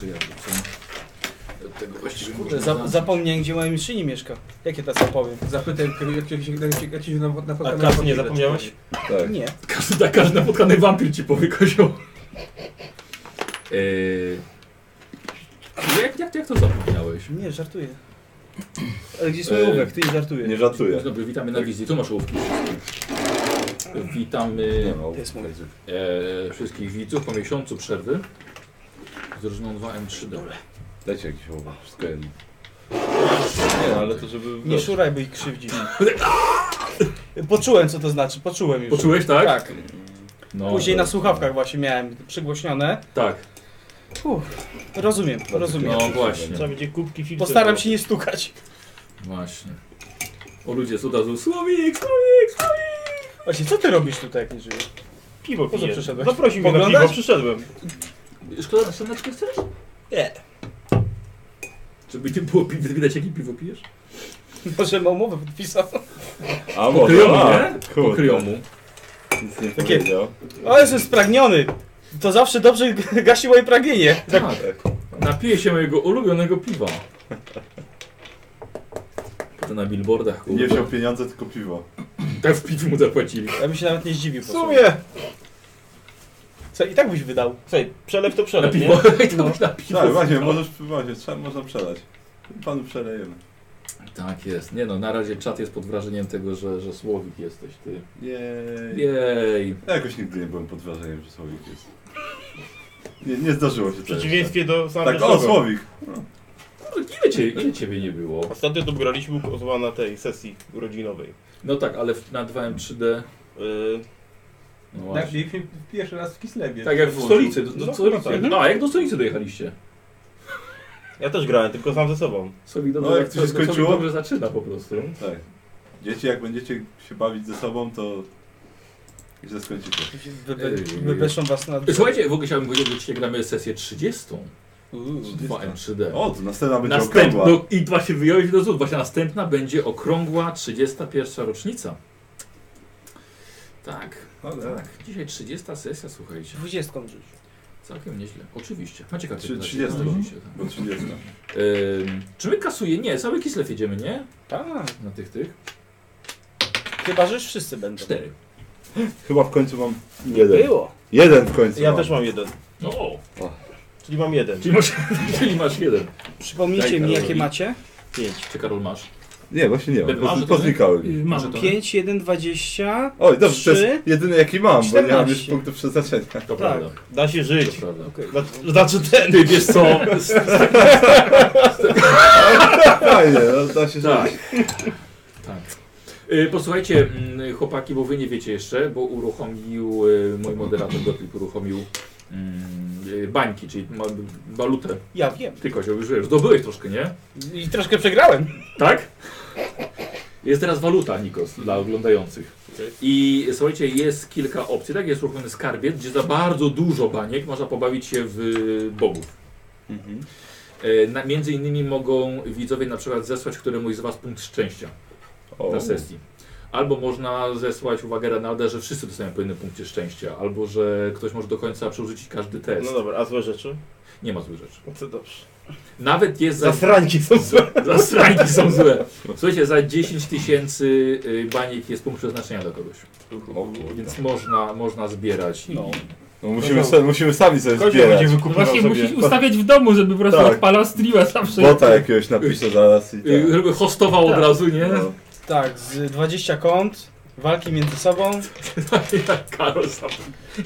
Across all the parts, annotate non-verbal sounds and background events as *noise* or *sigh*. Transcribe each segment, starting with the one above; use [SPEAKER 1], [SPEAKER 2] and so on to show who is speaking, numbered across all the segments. [SPEAKER 1] To ja wrócę. Od tego właściwie
[SPEAKER 2] Kurde,
[SPEAKER 1] można-
[SPEAKER 2] za, zapomniałem gdzie moja mistrzyni mieszka. Jak ja teraz opowiem?
[SPEAKER 3] Zapytaj, jak ci się jak ci się na, na
[SPEAKER 4] A
[SPEAKER 3] spotkaniu
[SPEAKER 4] kas nie
[SPEAKER 3] napotkać.
[SPEAKER 4] zapomniałeś?
[SPEAKER 1] Tak.
[SPEAKER 2] Nie.
[SPEAKER 4] Każdy, tak, każdy napotkany wampir ci powie kozioł.
[SPEAKER 1] Yy,
[SPEAKER 4] Jak, jak, jak to zapomniałeś?
[SPEAKER 2] Nie, żartuję. Ale gdzie jest mój
[SPEAKER 4] E,
[SPEAKER 1] Eee,
[SPEAKER 2] ołówek? Ty nie żartujesz.
[SPEAKER 1] nie żartuję.
[SPEAKER 4] Dzień dobry, witamy na wizji. Tu masz ołówki wszystkie. Witamy
[SPEAKER 1] Nie ma.
[SPEAKER 2] To jest mój.
[SPEAKER 4] e, wszystkich widzów po miesiącu przerwy. Z różną 2M3D.
[SPEAKER 1] Dajcie jakiś owoc, wszystko jedno. Nie, no, ale to żeby...
[SPEAKER 2] Nie szuraj, bo ich krzywdzi. Poczułem co to znaczy, poczułem już.
[SPEAKER 4] Poczułeś, tak?
[SPEAKER 2] Tak.
[SPEAKER 4] No,
[SPEAKER 2] Później na
[SPEAKER 4] tak.
[SPEAKER 2] słuchawkach właśnie miałem przygłośnione.
[SPEAKER 4] Tak.
[SPEAKER 2] Uff, rozumiem, rozumiem.
[SPEAKER 4] No właśnie.
[SPEAKER 5] Trzeba będzie kubki filtrować.
[SPEAKER 2] Postaram się nie stukać.
[SPEAKER 4] Właśnie. O ludzie z od razu Słowik, Słowik, Słowik!
[SPEAKER 2] Właśnie, co ty robisz tak, tutaj, jak nie żyjesz?
[SPEAKER 5] Piwo
[SPEAKER 2] Po co
[SPEAKER 5] piję.
[SPEAKER 2] przyszedłeś?
[SPEAKER 5] Zaprosił mnie na
[SPEAKER 2] Poglądasz?
[SPEAKER 5] piwo, przyszedłem.
[SPEAKER 4] Szkoda, na szaneczkę chcesz?
[SPEAKER 5] Nie.
[SPEAKER 4] Żeby nie było pi- widać jakie piwo pijesz?
[SPEAKER 2] Może ma umowę podpisał.
[SPEAKER 1] A
[SPEAKER 4] Po
[SPEAKER 1] może,
[SPEAKER 4] kryjomu,
[SPEAKER 1] a,
[SPEAKER 4] nie? Po
[SPEAKER 1] tak. kurde,
[SPEAKER 4] kryjomu.
[SPEAKER 1] nic nie
[SPEAKER 2] Takie-
[SPEAKER 1] powiedział.
[SPEAKER 2] O, jestem spragniony. To zawsze dobrze *laughs* gasi moje pragnienie.
[SPEAKER 4] Tak. Napiję się mojego ulubionego piwa. To na billboardach,
[SPEAKER 1] Nie
[SPEAKER 4] kurde.
[SPEAKER 1] wziął pieniądze, tylko piwo.
[SPEAKER 4] Tak w piwcu mu zapłacili.
[SPEAKER 2] Ja bym się nawet nie zdziwił.
[SPEAKER 5] W
[SPEAKER 2] po prostu.
[SPEAKER 5] sumie.
[SPEAKER 2] Co, i tak byś wydał.
[SPEAKER 5] Słuchaj, przelew to
[SPEAKER 4] Na
[SPEAKER 5] przelew, nie?
[SPEAKER 4] piwo. I to już na piwo.
[SPEAKER 1] Tak, właśnie, możesz, właśnie, trzeba, można przelać. Panu przelejemy.
[SPEAKER 4] Tak jest. Nie no, na razie czat jest pod wrażeniem tego, że, że Słowik jesteś ty.
[SPEAKER 1] Jej.
[SPEAKER 4] Jej.
[SPEAKER 1] Ja jakoś nigdy nie byłem pod wrażeniem, że Słowik jest. Nie, nie zdarzyło się
[SPEAKER 5] W
[SPEAKER 1] to
[SPEAKER 5] przeciwieństwie do
[SPEAKER 1] jeszcze.
[SPEAKER 5] samego
[SPEAKER 1] Tak, o, Słowik!
[SPEAKER 4] Kurde, Ile, cię, ile ciebie nie było?
[SPEAKER 5] Ostatnio tu graliśmy u kozła na tej sesji urodzinowej.
[SPEAKER 4] No tak, ale w- na 2M3D.
[SPEAKER 5] Yy,
[SPEAKER 4] No
[SPEAKER 3] Tak,
[SPEAKER 4] właśnie.
[SPEAKER 3] mieliśmy pierwszy raz w Kislewie.
[SPEAKER 4] Tak jak w stolicy. Do, do
[SPEAKER 5] No,
[SPEAKER 4] stolicy.
[SPEAKER 5] no tak.
[SPEAKER 4] A, jak do stolicy dojechaliście?
[SPEAKER 5] ja też grałem, tylko sam ze sobą.
[SPEAKER 4] Słowik dobrze,
[SPEAKER 1] No, jak to się
[SPEAKER 4] Słowik
[SPEAKER 1] skończyło?
[SPEAKER 4] dobrze zaczyna po prostu.
[SPEAKER 1] Tak. Dzieci, jak będziecie się bawić ze sobą, to źle skończycie.
[SPEAKER 2] Wy- wy- Wybeszą was na...
[SPEAKER 4] Słuchajcie, w ogóle chciałbym powiedzieć, że dzisiaj gramy sesję 30.
[SPEAKER 2] Uuu.
[SPEAKER 4] 2M3D.
[SPEAKER 1] O, to następna będzie
[SPEAKER 4] Następna,
[SPEAKER 1] okrągła.
[SPEAKER 4] no i właśnie wyjąłeś do złot, właśnie następna będzie okrągła 31 rocznica. Tak,
[SPEAKER 1] Ale-
[SPEAKER 4] tak. Dzisiaj 30 sesja, słuchajcie.
[SPEAKER 2] Dwudziestką rzuć.
[SPEAKER 4] Całkiem nieźle. Oczywiście. Macie kartę.
[SPEAKER 1] Trzy-
[SPEAKER 4] na-
[SPEAKER 1] 30.
[SPEAKER 4] na dzisiaj, tak.
[SPEAKER 1] Bo 30.
[SPEAKER 4] Ym, Czy my kasuje? Nie, cały Kislew jedziemy, nie?
[SPEAKER 2] Tak.
[SPEAKER 4] Na tych tych.
[SPEAKER 2] Chyba, że już wszyscy będą.
[SPEAKER 4] Cztery.
[SPEAKER 1] Chyba w końcu mam jeden.
[SPEAKER 2] Było.
[SPEAKER 1] Jeden w końcu
[SPEAKER 5] Ja
[SPEAKER 1] mam.
[SPEAKER 5] też mam jeden.
[SPEAKER 4] No,
[SPEAKER 5] Czyli mam jeden.
[SPEAKER 4] czyli masz, *laughs* czyli masz jeden. Daj,
[SPEAKER 2] Przypomnijcie mi,
[SPEAKER 4] Karol.
[SPEAKER 2] jakie macie.
[SPEAKER 5] Pięć.
[SPEAKER 4] Czy Karol masz?
[SPEAKER 1] Nie, właśnie nie mam.
[SPEAKER 4] Masz żetony?
[SPEAKER 1] Poz- Poznikałem.
[SPEAKER 4] Masz żetony?
[SPEAKER 2] 5, 1, 20.
[SPEAKER 1] Oj, dobrze, to
[SPEAKER 2] Trzy.
[SPEAKER 1] jest jedyny jaki mam, bo nie mam
[SPEAKER 2] 14.
[SPEAKER 1] już punktu przeznaczenia.
[SPEAKER 4] To
[SPEAKER 2] Tak.
[SPEAKER 4] prawda.
[SPEAKER 5] Da się
[SPEAKER 4] To
[SPEAKER 5] żyć.
[SPEAKER 4] prawda.
[SPEAKER 5] Zna- Znaczy ten.
[SPEAKER 4] Ty wiesz co? Z, z,
[SPEAKER 1] Fajnie, no da się
[SPEAKER 4] Tak.
[SPEAKER 1] żyć.
[SPEAKER 4] tak. Y, Posłuchajcie, mm, chłopaki, bo wy nie wiecie jeszcze, bo uruchomił, y, mój moderator Gotlik uruchomił mm, y, bańki, czyli ma- walutę.
[SPEAKER 2] Ja wiem.
[SPEAKER 4] Ty Kozio, już wiesz, zdobyłeś troszkę, nie?
[SPEAKER 2] I troszkę przegrałem.
[SPEAKER 4] Tak? Jest teraz waluta, Nikos, dla oglądających. I słuchajcie, jest kilka opcji. Tak, jest uruchomiony skarbiec, gdzie za bardzo dużo baniek można pobawić się w y, bogów. E, Na, między innymi mogą widzowie na przykład zesłać któremuś z Was punkt szczęścia
[SPEAKER 1] O,
[SPEAKER 4] na sesji. Albo można zesłać uwagę Renalda, że wszyscy dostają po jednym punkcie szczęścia, albo że ktoś może do końca przerzucić każdy test.
[SPEAKER 5] No dobra, a złe rzeczy?
[SPEAKER 4] Nie ma złych rzeczy.
[SPEAKER 5] No to dobrze.
[SPEAKER 4] Nawet jest za
[SPEAKER 5] Zasranki są złe.
[SPEAKER 4] Zastrajki są złe. Słuchajcie, za 10 tysięcy y, baniek jest punkt przeznaczenia dla kogoś.
[SPEAKER 1] o kurde.
[SPEAKER 4] Więc można, można zbierać. i-
[SPEAKER 2] No.
[SPEAKER 1] No musimy, sa- musimy sami sobie
[SPEAKER 5] Kozioł będzie
[SPEAKER 1] zbierać.
[SPEAKER 5] wykupywał
[SPEAKER 6] Właśnie
[SPEAKER 5] sobie.
[SPEAKER 6] musisz ustawiać w domu, żeby po prostu
[SPEAKER 1] Tak.
[SPEAKER 6] odpalał streama zawsze.
[SPEAKER 1] Bota
[SPEAKER 5] tak.
[SPEAKER 1] jakiegoś napiszę zaraz i tak.
[SPEAKER 4] Y, Żeby hostował od
[SPEAKER 6] Tak.
[SPEAKER 4] razu, nie?
[SPEAKER 1] No.
[SPEAKER 2] Tak, z 20 kąt. Walki między sobą.
[SPEAKER 4] Tak, Jak Karol sam.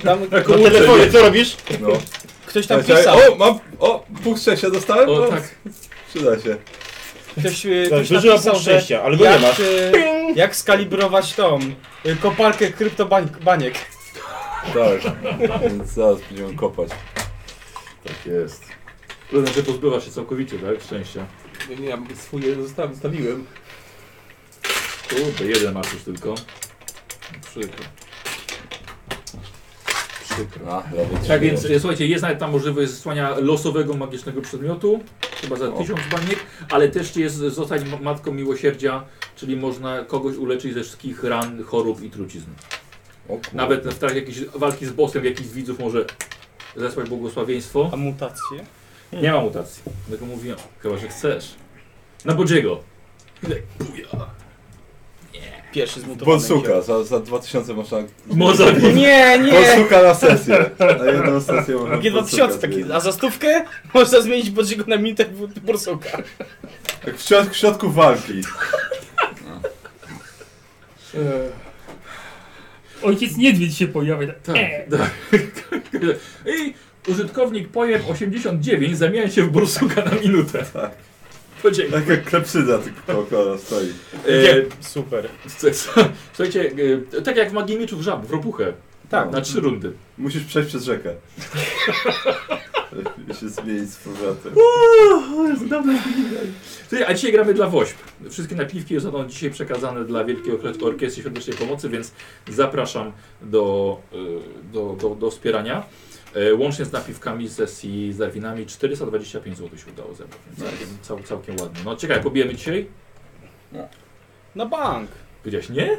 [SPEAKER 2] Tam
[SPEAKER 4] Jak
[SPEAKER 5] Na
[SPEAKER 4] uczy,
[SPEAKER 5] telefonie
[SPEAKER 4] nie?
[SPEAKER 5] co robisz?
[SPEAKER 1] No.
[SPEAKER 2] ktoś tam
[SPEAKER 1] Czekaj,
[SPEAKER 2] pisał.
[SPEAKER 1] O, mam, o, punkt szczęścia dostałem?
[SPEAKER 4] O
[SPEAKER 1] No,
[SPEAKER 4] tak.
[SPEAKER 1] Przyda się.
[SPEAKER 2] Ktoś, y,
[SPEAKER 5] Tak,
[SPEAKER 2] ktoś
[SPEAKER 5] Zużyła
[SPEAKER 2] napisał,
[SPEAKER 5] pół
[SPEAKER 2] że
[SPEAKER 5] szczęścia, ale go nie
[SPEAKER 2] jak,
[SPEAKER 5] masz.
[SPEAKER 2] y, jak skalibrować tą y, kopalkę kryptobaniek.
[SPEAKER 1] Tak. Więc zaraz będziemy kopać.
[SPEAKER 4] Tak jest. To znaczy pozbywa się całkowicie, tak? Szczęścia.
[SPEAKER 3] Nie, nie, ja swój jeden zostawiłem. zostawiłem.
[SPEAKER 4] Kurde, jeden masz już tylko. Przykro. Przykro.
[SPEAKER 1] A, lewo
[SPEAKER 4] Tak więc e, słuchajcie, jest nawet tam możliwość zesłania losowego magicznego przedmiotu, chyba za
[SPEAKER 1] O.
[SPEAKER 4] tysiąc baniek, ale też jest zostać ma- matką miłosierdzia, czyli można kogoś uleczyć ze wszystkich ran, chorób i trucizn. Nawet w trakcie jakiejś walki z bossem jakiś z widzów może zesłać błogosławieństwo.
[SPEAKER 2] A mutacje?
[SPEAKER 4] Nie ma mutacji. Tylko mówiłem, chyba że chcesz. No Na Bodziego. Ile buja.
[SPEAKER 5] Pierwszy zmutowany.
[SPEAKER 1] Bolsuka, za, za 2000 można...
[SPEAKER 4] Można
[SPEAKER 1] *laughs*
[SPEAKER 7] Nie, nie!
[SPEAKER 1] Bolsuka na sesję. Na jedną sesję można Bolsuka
[SPEAKER 7] G2000 taki,
[SPEAKER 1] zmienić.
[SPEAKER 7] a za
[SPEAKER 5] *laughs*
[SPEAKER 7] stówkę można zmienić Bodziego na minutę w Borsuka.
[SPEAKER 1] Tak w środku, w środku walki.
[SPEAKER 3] Ojciec niedźwiedź się pojawia. tak,
[SPEAKER 4] Tak,
[SPEAKER 3] e.
[SPEAKER 4] *laughs* tak. I użytkownik pojem 89 zamienia się w borsuka na minutę.
[SPEAKER 1] Tak.
[SPEAKER 4] Podzięki.
[SPEAKER 1] Tak jak klepsyda tylko koło stoi.
[SPEAKER 4] E,
[SPEAKER 7] Super.
[SPEAKER 4] s- s- słuchajcie, e, tak jak magii mieczów żab w ropuchę.
[SPEAKER 7] Tak.
[SPEAKER 4] Na trzy rundy.
[SPEAKER 1] No. Musisz przejść przez rzekę.
[SPEAKER 7] *laughs*
[SPEAKER 1] I się zmienić z powrotem.
[SPEAKER 4] Słuchaj, a dzisiaj gramy dla WOŚP. Wszystkie napiwki zostaną dzisiaj przekazane dla Wielkiej Orkre- Orkiestry Świątecznej Pomocy, więc zapraszam do, e, do, do, do wspierania. E, Łącznie z napiwkami z sesji z darwinami 425 zł się udało zebrać, więc całkiem, cał, całkiem ładnie. No ciekawe, pobijemy dzisiaj?
[SPEAKER 7] Na bank.
[SPEAKER 4] Powiedziałeś nie?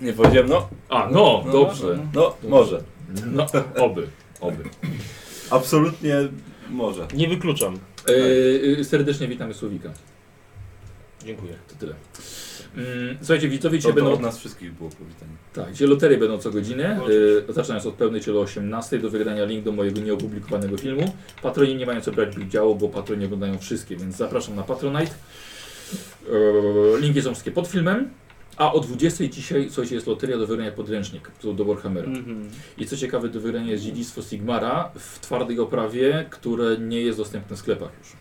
[SPEAKER 1] Nie powiedziałem, no,
[SPEAKER 4] A, no,
[SPEAKER 7] No,
[SPEAKER 4] dobrze.
[SPEAKER 1] no, może.
[SPEAKER 4] No, oby, oby.
[SPEAKER 1] Absolutnie może.
[SPEAKER 5] Nie wykluczam.
[SPEAKER 4] Yy, serdecznie witamy Słowika.
[SPEAKER 5] Dziękuję.
[SPEAKER 4] To tyle. Mm, słuchajcie, widzowie
[SPEAKER 1] To,
[SPEAKER 4] dzisiaj
[SPEAKER 1] to
[SPEAKER 4] będą...
[SPEAKER 1] od nas wszystkich było powitanie.
[SPEAKER 4] Tak, gdzie loterie będą co godzinę.
[SPEAKER 5] Oczywiście.
[SPEAKER 4] Yy, zaczynając od pełnej czyli o 18 do wygrania link do mojego nieopublikowanego filmu. Patroni nie mają co brać udziału, bo patroni oglądają wszystkie, więc zapraszam na Patronite. Yy, linki są wszystkie pod filmem. A o 20 dzisiaj, słuchajcie, jest loteria do wygrania podręcznik do do Warhammera.
[SPEAKER 7] Mhm.
[SPEAKER 4] I co ciekawe, do wygrania jest dziedzictwo Sigmara w twardej oprawie, które nie jest dostępne w sklepach już.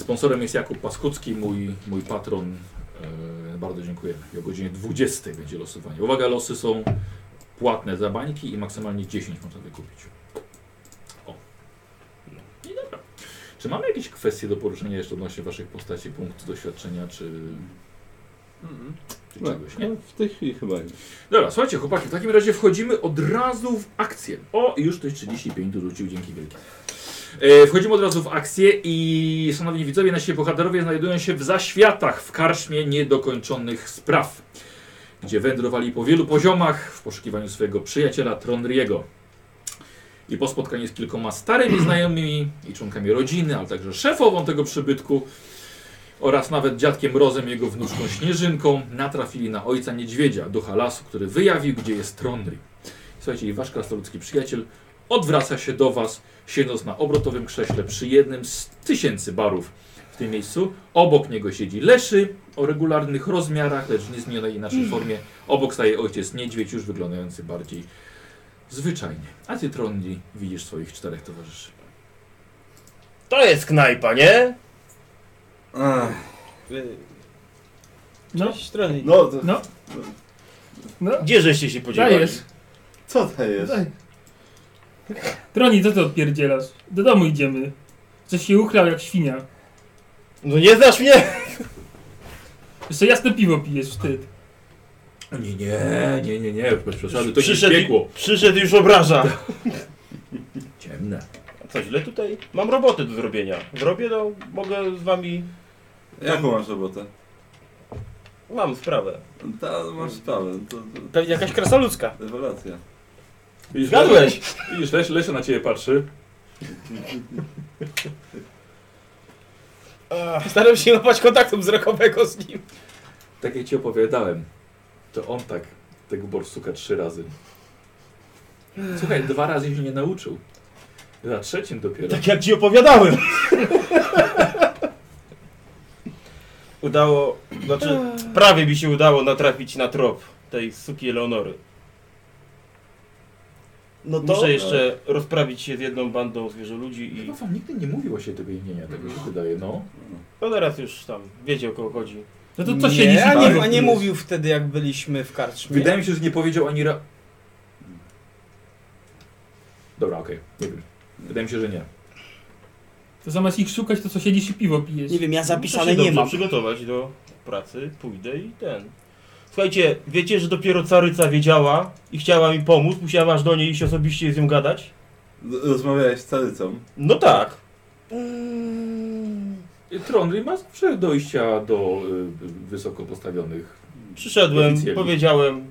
[SPEAKER 4] Sponsorem jest Jakub Paskucki, mój, mój patron. E, bardzo dziękuję. I o godzinie 20 będzie losowanie. Uwaga, losy są płatne za bańki i maksymalnie 10 można wykupić. O. No I dobra. Czy mamy jakieś kwestie do poruszenia jeszcze odnośnie Waszych postaci, punktów doświadczenia czy,
[SPEAKER 8] Mhm.
[SPEAKER 4] czy czegoś? Nie?
[SPEAKER 1] w tej chwili chyba już.
[SPEAKER 4] Dobra, słuchajcie, chłopaki, w takim razie wchodzimy od razu w akcję. O, już ktoś 35 dorzucił, dzięki wielkie. E, wchodzimy od razu w akcję i szanowni widzowie, nasi bohaterowie znajdują się w zaświatach, w karczmie niedokończonych spraw, gdzie wędrowali po wielu poziomach w poszukiwaniu swojego przyjaciela Tronriego. I po spotkaniu z kilkoma starymi znajomymi i członkami rodziny, ale także szefową tego przybytku oraz nawet dziadkiem Rozem, jego wnuczką Śnieżynką, natrafili na ojca niedźwiedzia, ducha lasu, który wyjawił, gdzie jest Trondry. Słuchajcie, i wasz krasnoludzki przyjaciel odwraca się do was, siedząc na obrotowym krześle przy jednym z tysięcy barów w tym miejscu. Obok niego siedzi Leszy o regularnych rozmiarach, lecz w niezmienionej naszej formie. Obok staje ojciec niedźwiedź, już wyglądający bardziej zwyczajnie. A ty, Trondi, widzisz swoich czterech towarzyszy.
[SPEAKER 5] To jest knajpa, nie?
[SPEAKER 3] No,
[SPEAKER 7] Trochę.
[SPEAKER 1] No, to,
[SPEAKER 3] no, no.
[SPEAKER 5] Gdzie żeście się podzielili?
[SPEAKER 3] Dajesz.
[SPEAKER 1] co to jest?
[SPEAKER 3] Daj. Troni, co ty odpierdzielasz? Do domu idziemy. Coś się uchlał jak świnia.
[SPEAKER 5] No nie znasz mnie?
[SPEAKER 3] Jeszcze jasne piwo pijesz, wstyd.
[SPEAKER 4] Nie, nie, nie, nie, nie, bez przesady, to się
[SPEAKER 5] Przyszedł-
[SPEAKER 4] piekło.
[SPEAKER 5] Przyszedł już obraża.
[SPEAKER 4] Ciemne.
[SPEAKER 5] Co źle tutaj? Mam roboty do zrobienia. Zrobię, no mogę z wami...
[SPEAKER 1] Jaką masz robotę?
[SPEAKER 5] Mam sprawę.
[SPEAKER 1] Ta, masz sprawę, to, to
[SPEAKER 7] Pewnie jakaś krasoludzka.
[SPEAKER 1] rewelacja.
[SPEAKER 4] Widzisz,
[SPEAKER 5] Zgadłeś!
[SPEAKER 2] *laughs*
[SPEAKER 4] Widzisz, Lesia, Lesia na ciebie patrzy.
[SPEAKER 7] Staram się nie łapać kontaktu wzrokowego z nim.
[SPEAKER 4] Tak jak ci opowiadałem, to on tak tego borsuka trzy razy. Słuchaj, dwa razy się nie nauczył. Za trzecim dopiero.
[SPEAKER 5] Tak jak ci opowiadałem. Udało, znaczy prawie mi się udało natrafić na trop tej suki Eleonory.
[SPEAKER 1] No
[SPEAKER 5] Muszę jeszcze
[SPEAKER 2] tak.
[SPEAKER 5] rozprawić się z jedną bandą zwierzoludzi i
[SPEAKER 4] Chyba wam nigdy nie mówił właśnie tego imienia, tego się wydaje, no.
[SPEAKER 5] no teraz już tam wiecie o kogo chodzi.
[SPEAKER 3] No to co siedzisz
[SPEAKER 7] a
[SPEAKER 3] i
[SPEAKER 7] nie,
[SPEAKER 3] piwo
[SPEAKER 7] a nie
[SPEAKER 3] pijesz?
[SPEAKER 7] mówił wtedy, jak byliśmy w karczmie.
[SPEAKER 4] Wydaje mi się, że nie powiedział ani ra... Dobra, okej, nie wiem. Wydaje mi się, że nie.
[SPEAKER 3] To zamiast ich szukać, to co siedzisz i piwo pijesz.
[SPEAKER 7] Nie wiem, ja
[SPEAKER 5] Muszę
[SPEAKER 7] zapisane
[SPEAKER 5] się
[SPEAKER 7] nie
[SPEAKER 5] dobrze
[SPEAKER 7] mam.
[SPEAKER 5] przygotować do pracy, pójdę i ten. Słuchajcie, wiecie, że dopiero caryca wiedziała i chciała mi pomóc, musiałem aż do niej iść osobiście i z nią gadać?
[SPEAKER 1] Rozmawiałeś z Carycą?
[SPEAKER 5] No tak.
[SPEAKER 2] Mm.
[SPEAKER 4] Trondry ma zawsze dojścia do y, wysoko postawionych.
[SPEAKER 5] Przyszedłem,
[SPEAKER 4] Oficjeli.
[SPEAKER 5] powiedziałem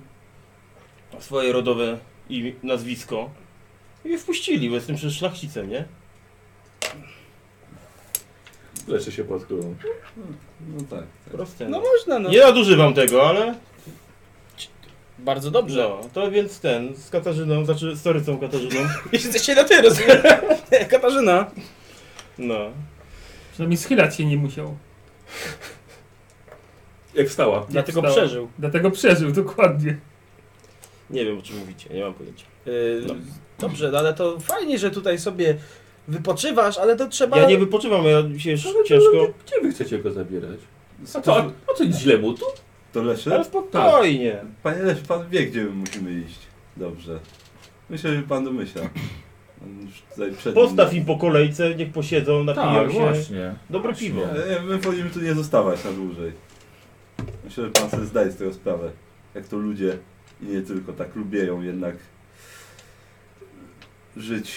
[SPEAKER 5] swoje rodowe i nazwisko i mnie wpuścili, bo jestem przecież szlachcicem, nie?
[SPEAKER 4] Leczy się pod królą.
[SPEAKER 1] No tak.
[SPEAKER 5] Proste.
[SPEAKER 2] No
[SPEAKER 5] No.
[SPEAKER 2] można, no.
[SPEAKER 5] Nie nadużywam tego, ale
[SPEAKER 2] Bardzo dobrze.
[SPEAKER 5] no, to więc ten, z Katarzyną, znaczy z Sorycą Katarzyną,
[SPEAKER 2] *laughs* Jesteście na ty, *laughs* rozumiem. Katarzyna.
[SPEAKER 5] no.
[SPEAKER 3] Przynajmniej schylać się nie musiał.
[SPEAKER 4] Jak wstała?
[SPEAKER 2] Dlatego
[SPEAKER 3] wstała.
[SPEAKER 2] przeżył.
[SPEAKER 3] Dlatego przeżył, dokładnie.
[SPEAKER 5] Nie wiem o czym mówicie, nie mam pojęcia. Yy,
[SPEAKER 2] No. Dobrze, no ale to fajnie, że tutaj sobie wypoczywasz, ale to trzeba...
[SPEAKER 5] Ja nie wypoczywam, ja się
[SPEAKER 4] No
[SPEAKER 5] ciężko.
[SPEAKER 4] Gdzie wy chcecie go zabierać? A co, a, a co nic źle mu tu?
[SPEAKER 1] To leszy?
[SPEAKER 5] Ale spokojnie.
[SPEAKER 1] Panie Leś, pan wie, gdzie my musimy iść. Dobrze. Myślę, że pan domyśla. On już tutaj przed nim-
[SPEAKER 5] Postaw im po kolejce, niech posiedzą, napiją się.
[SPEAKER 4] Tak, właśnie.
[SPEAKER 5] Dobre
[SPEAKER 4] Właśnie.
[SPEAKER 5] piwo.
[SPEAKER 1] Ale E, My powinniśmy tu nie zostawać na dłużej. Myślę, że pan sobie zdaje z tego sprawę. Jak to ludzie, i nie tylko, tak lubieją jednak żyć.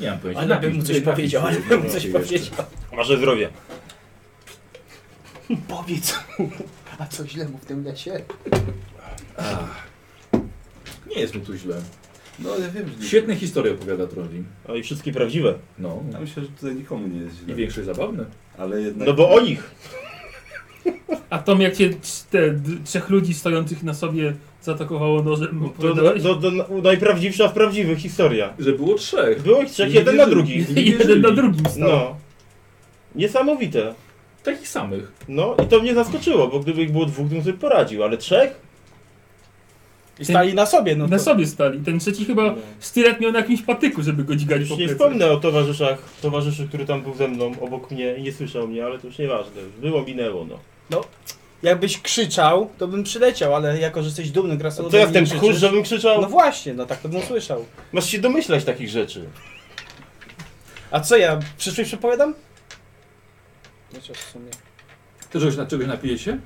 [SPEAKER 4] Nie mam pojęcia.
[SPEAKER 2] Ale bym
[SPEAKER 4] Napisz-
[SPEAKER 2] mu coś
[SPEAKER 4] napisz-
[SPEAKER 2] powiedział, ale
[SPEAKER 4] napisz-
[SPEAKER 2] bym mu coś
[SPEAKER 4] jeszcze.
[SPEAKER 2] powiedział.
[SPEAKER 5] Marzę zdrowie.
[SPEAKER 9] Powiedz mu, a co źle mu w tym lesie?
[SPEAKER 4] Ach. Nie jest mu tu źle.
[SPEAKER 1] No ale wiem, że nie.
[SPEAKER 4] Świetne historie opowiada Trolli.
[SPEAKER 5] A i wszystkie prawdziwe.
[SPEAKER 4] No.
[SPEAKER 1] Ja myślę, że tutaj nikomu nie jest
[SPEAKER 4] I
[SPEAKER 1] źle.
[SPEAKER 4] większość zabawne.
[SPEAKER 1] Ale jednak...
[SPEAKER 5] No bo o nich.
[SPEAKER 3] A Tom, jak cię trz- te d- trzech ludzi stojących na sobie zaatakowało nożem,
[SPEAKER 5] No To,
[SPEAKER 3] opowiadałeś?
[SPEAKER 5] to, to,
[SPEAKER 3] *laughs*
[SPEAKER 5] to najprawdziwsza w prawdziwych historia.
[SPEAKER 4] Że było trzech.
[SPEAKER 5] Było ich trzech,
[SPEAKER 4] Nie
[SPEAKER 5] jeden na
[SPEAKER 4] wierzy-
[SPEAKER 5] drugi.
[SPEAKER 4] nie
[SPEAKER 3] Jeden
[SPEAKER 4] wierzyli.
[SPEAKER 3] na drugim stał.
[SPEAKER 5] No. Niesamowite.
[SPEAKER 4] Takich samych.
[SPEAKER 5] No i to mnie zaskoczyło, bo gdyby ich było dwóch, to bym sobie poradził, ale trzech?
[SPEAKER 2] I stali na sobie, no
[SPEAKER 3] na
[SPEAKER 2] to...
[SPEAKER 3] sobie stali. Ten trzeci chyba stylet miał na jakimś patyku, żeby go dzigać
[SPEAKER 5] Już
[SPEAKER 3] po
[SPEAKER 5] nie
[SPEAKER 3] plecach.
[SPEAKER 5] wspomnę o towarzyszach, towarzyszu, który tam był ze mną, obok mnie i nie słyszał mnie, ale to już nieważne. Było, minęło, no.
[SPEAKER 2] Jakbyś krzyczał, to bym przyleciał, ale jako, że jesteś dumny
[SPEAKER 5] A
[SPEAKER 2] krasnoludem...
[SPEAKER 5] co ja w ten
[SPEAKER 2] nie krzyczysz-
[SPEAKER 5] tchórz, żebym krzyczał?
[SPEAKER 2] No właśnie, no tak to bym usłyszał.
[SPEAKER 5] Masz się domyślać takich rzeczy.
[SPEAKER 2] A co ja, przyszłość przepowiadam? Chociaż w sumie...
[SPEAKER 4] Ty czegoś, na- czegoś napije się?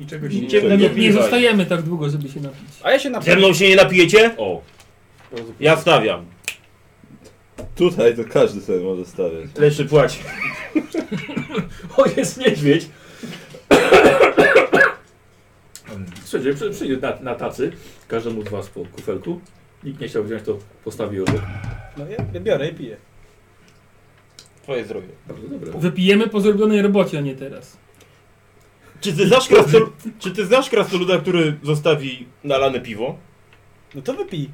[SPEAKER 8] I czegoś
[SPEAKER 3] Nie,
[SPEAKER 8] nie
[SPEAKER 5] Ciemne
[SPEAKER 3] nie,
[SPEAKER 5] napiwaj.
[SPEAKER 3] nie zostajemy tak długo, żeby się napić.
[SPEAKER 2] A ja się
[SPEAKER 5] Ze
[SPEAKER 2] naprawdę...
[SPEAKER 5] mną się nie napijecie?
[SPEAKER 4] O.
[SPEAKER 5] Ja stawiam.
[SPEAKER 1] Tutaj to każdy sobie może stawiać.
[SPEAKER 5] Leszy płaci.
[SPEAKER 4] O, jest niedźwiedź. Słuchajcie, przy, przyjdzie na, na tacy. Każdemu z was po kufelku. Nikt nie chciał wziąć, to postawił obok.
[SPEAKER 2] No ja, ja biorę i piję.
[SPEAKER 5] Twoje zdrowie.
[SPEAKER 4] Bardzo dobre.
[SPEAKER 3] Wypijemy po zrobionej robocie, a nie teraz.
[SPEAKER 5] Czy ty znasz, krasnol... Czy ty znasz krasnoluda, który zostawi nalane piwo?
[SPEAKER 2] No to wypij.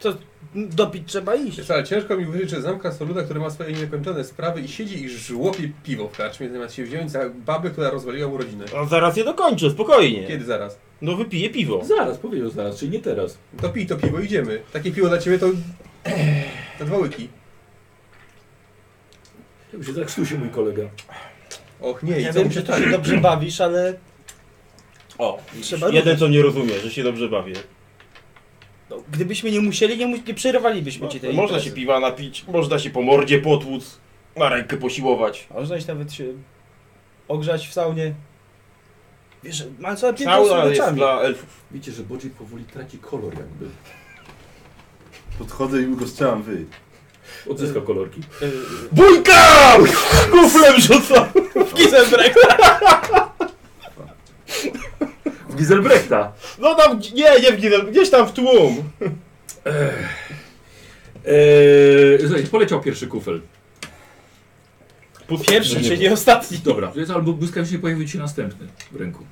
[SPEAKER 2] Co, dopić trzeba iść.
[SPEAKER 8] Wiesz, ale ciężko mi uwierzyć, że znam krasnoluda, który ma swoje niekończone sprawy i siedzi i żłopie piwo w karczmie, zamiast się wziąć za babę, która rozwaliła mu rodzinę.
[SPEAKER 5] A zaraz je dokończę, spokojnie.
[SPEAKER 8] Kiedy zaraz?
[SPEAKER 5] No wypije piwo.
[SPEAKER 4] Zaraz, powiedział zaraz, czyli nie teraz.
[SPEAKER 8] To pij to piwo, idziemy. Takie piwo dla ciebie to... *clears throat* Na dwa łyki.
[SPEAKER 4] Ja się zakrztusił mój kolega.
[SPEAKER 8] Och nie,
[SPEAKER 2] Ja
[SPEAKER 8] i co
[SPEAKER 2] wiem,
[SPEAKER 8] mu
[SPEAKER 2] że
[SPEAKER 8] się
[SPEAKER 2] ty się
[SPEAKER 8] tak?
[SPEAKER 2] dobrze bawisz, ale
[SPEAKER 5] O,
[SPEAKER 2] trzeba
[SPEAKER 5] jeden
[SPEAKER 2] ruszać.
[SPEAKER 5] co mnie rozumie, że się dobrze bawię.
[SPEAKER 2] No, gdybyśmy nie musieli, nie, mu- nie przerwalibyśmy ci tej
[SPEAKER 5] No, można
[SPEAKER 2] imprezy.
[SPEAKER 5] się piwa napić, można się po mordzie potłuc, na rękę posiłować.
[SPEAKER 2] Można iść nawet się ogrzać w saunie. Wiesz, mam całe piętro
[SPEAKER 5] Sauna
[SPEAKER 2] z
[SPEAKER 5] jest
[SPEAKER 2] oczami.
[SPEAKER 5] dla elfów.
[SPEAKER 4] Widzicie, że Bodzi powoli traci kolor jakby.
[SPEAKER 1] Podchodzę i go strzelam wy.
[SPEAKER 4] Odzyska kolorki.
[SPEAKER 2] *laughs*
[SPEAKER 5] *laughs* BÓJKA! Kuflem rzuca!
[SPEAKER 2] Gizelbrecht!
[SPEAKER 4] W Giselbrechta!
[SPEAKER 5] No tam, nie, nie w ginę, gdzieś tam w tłum.
[SPEAKER 4] Eee, słuchajcie, poleciał pierwszy kufel.
[SPEAKER 2] Pierwszy, czyli nie ostatni.
[SPEAKER 4] Dobra, to jest albo błyskawicznie pojawił ci następny w ręku.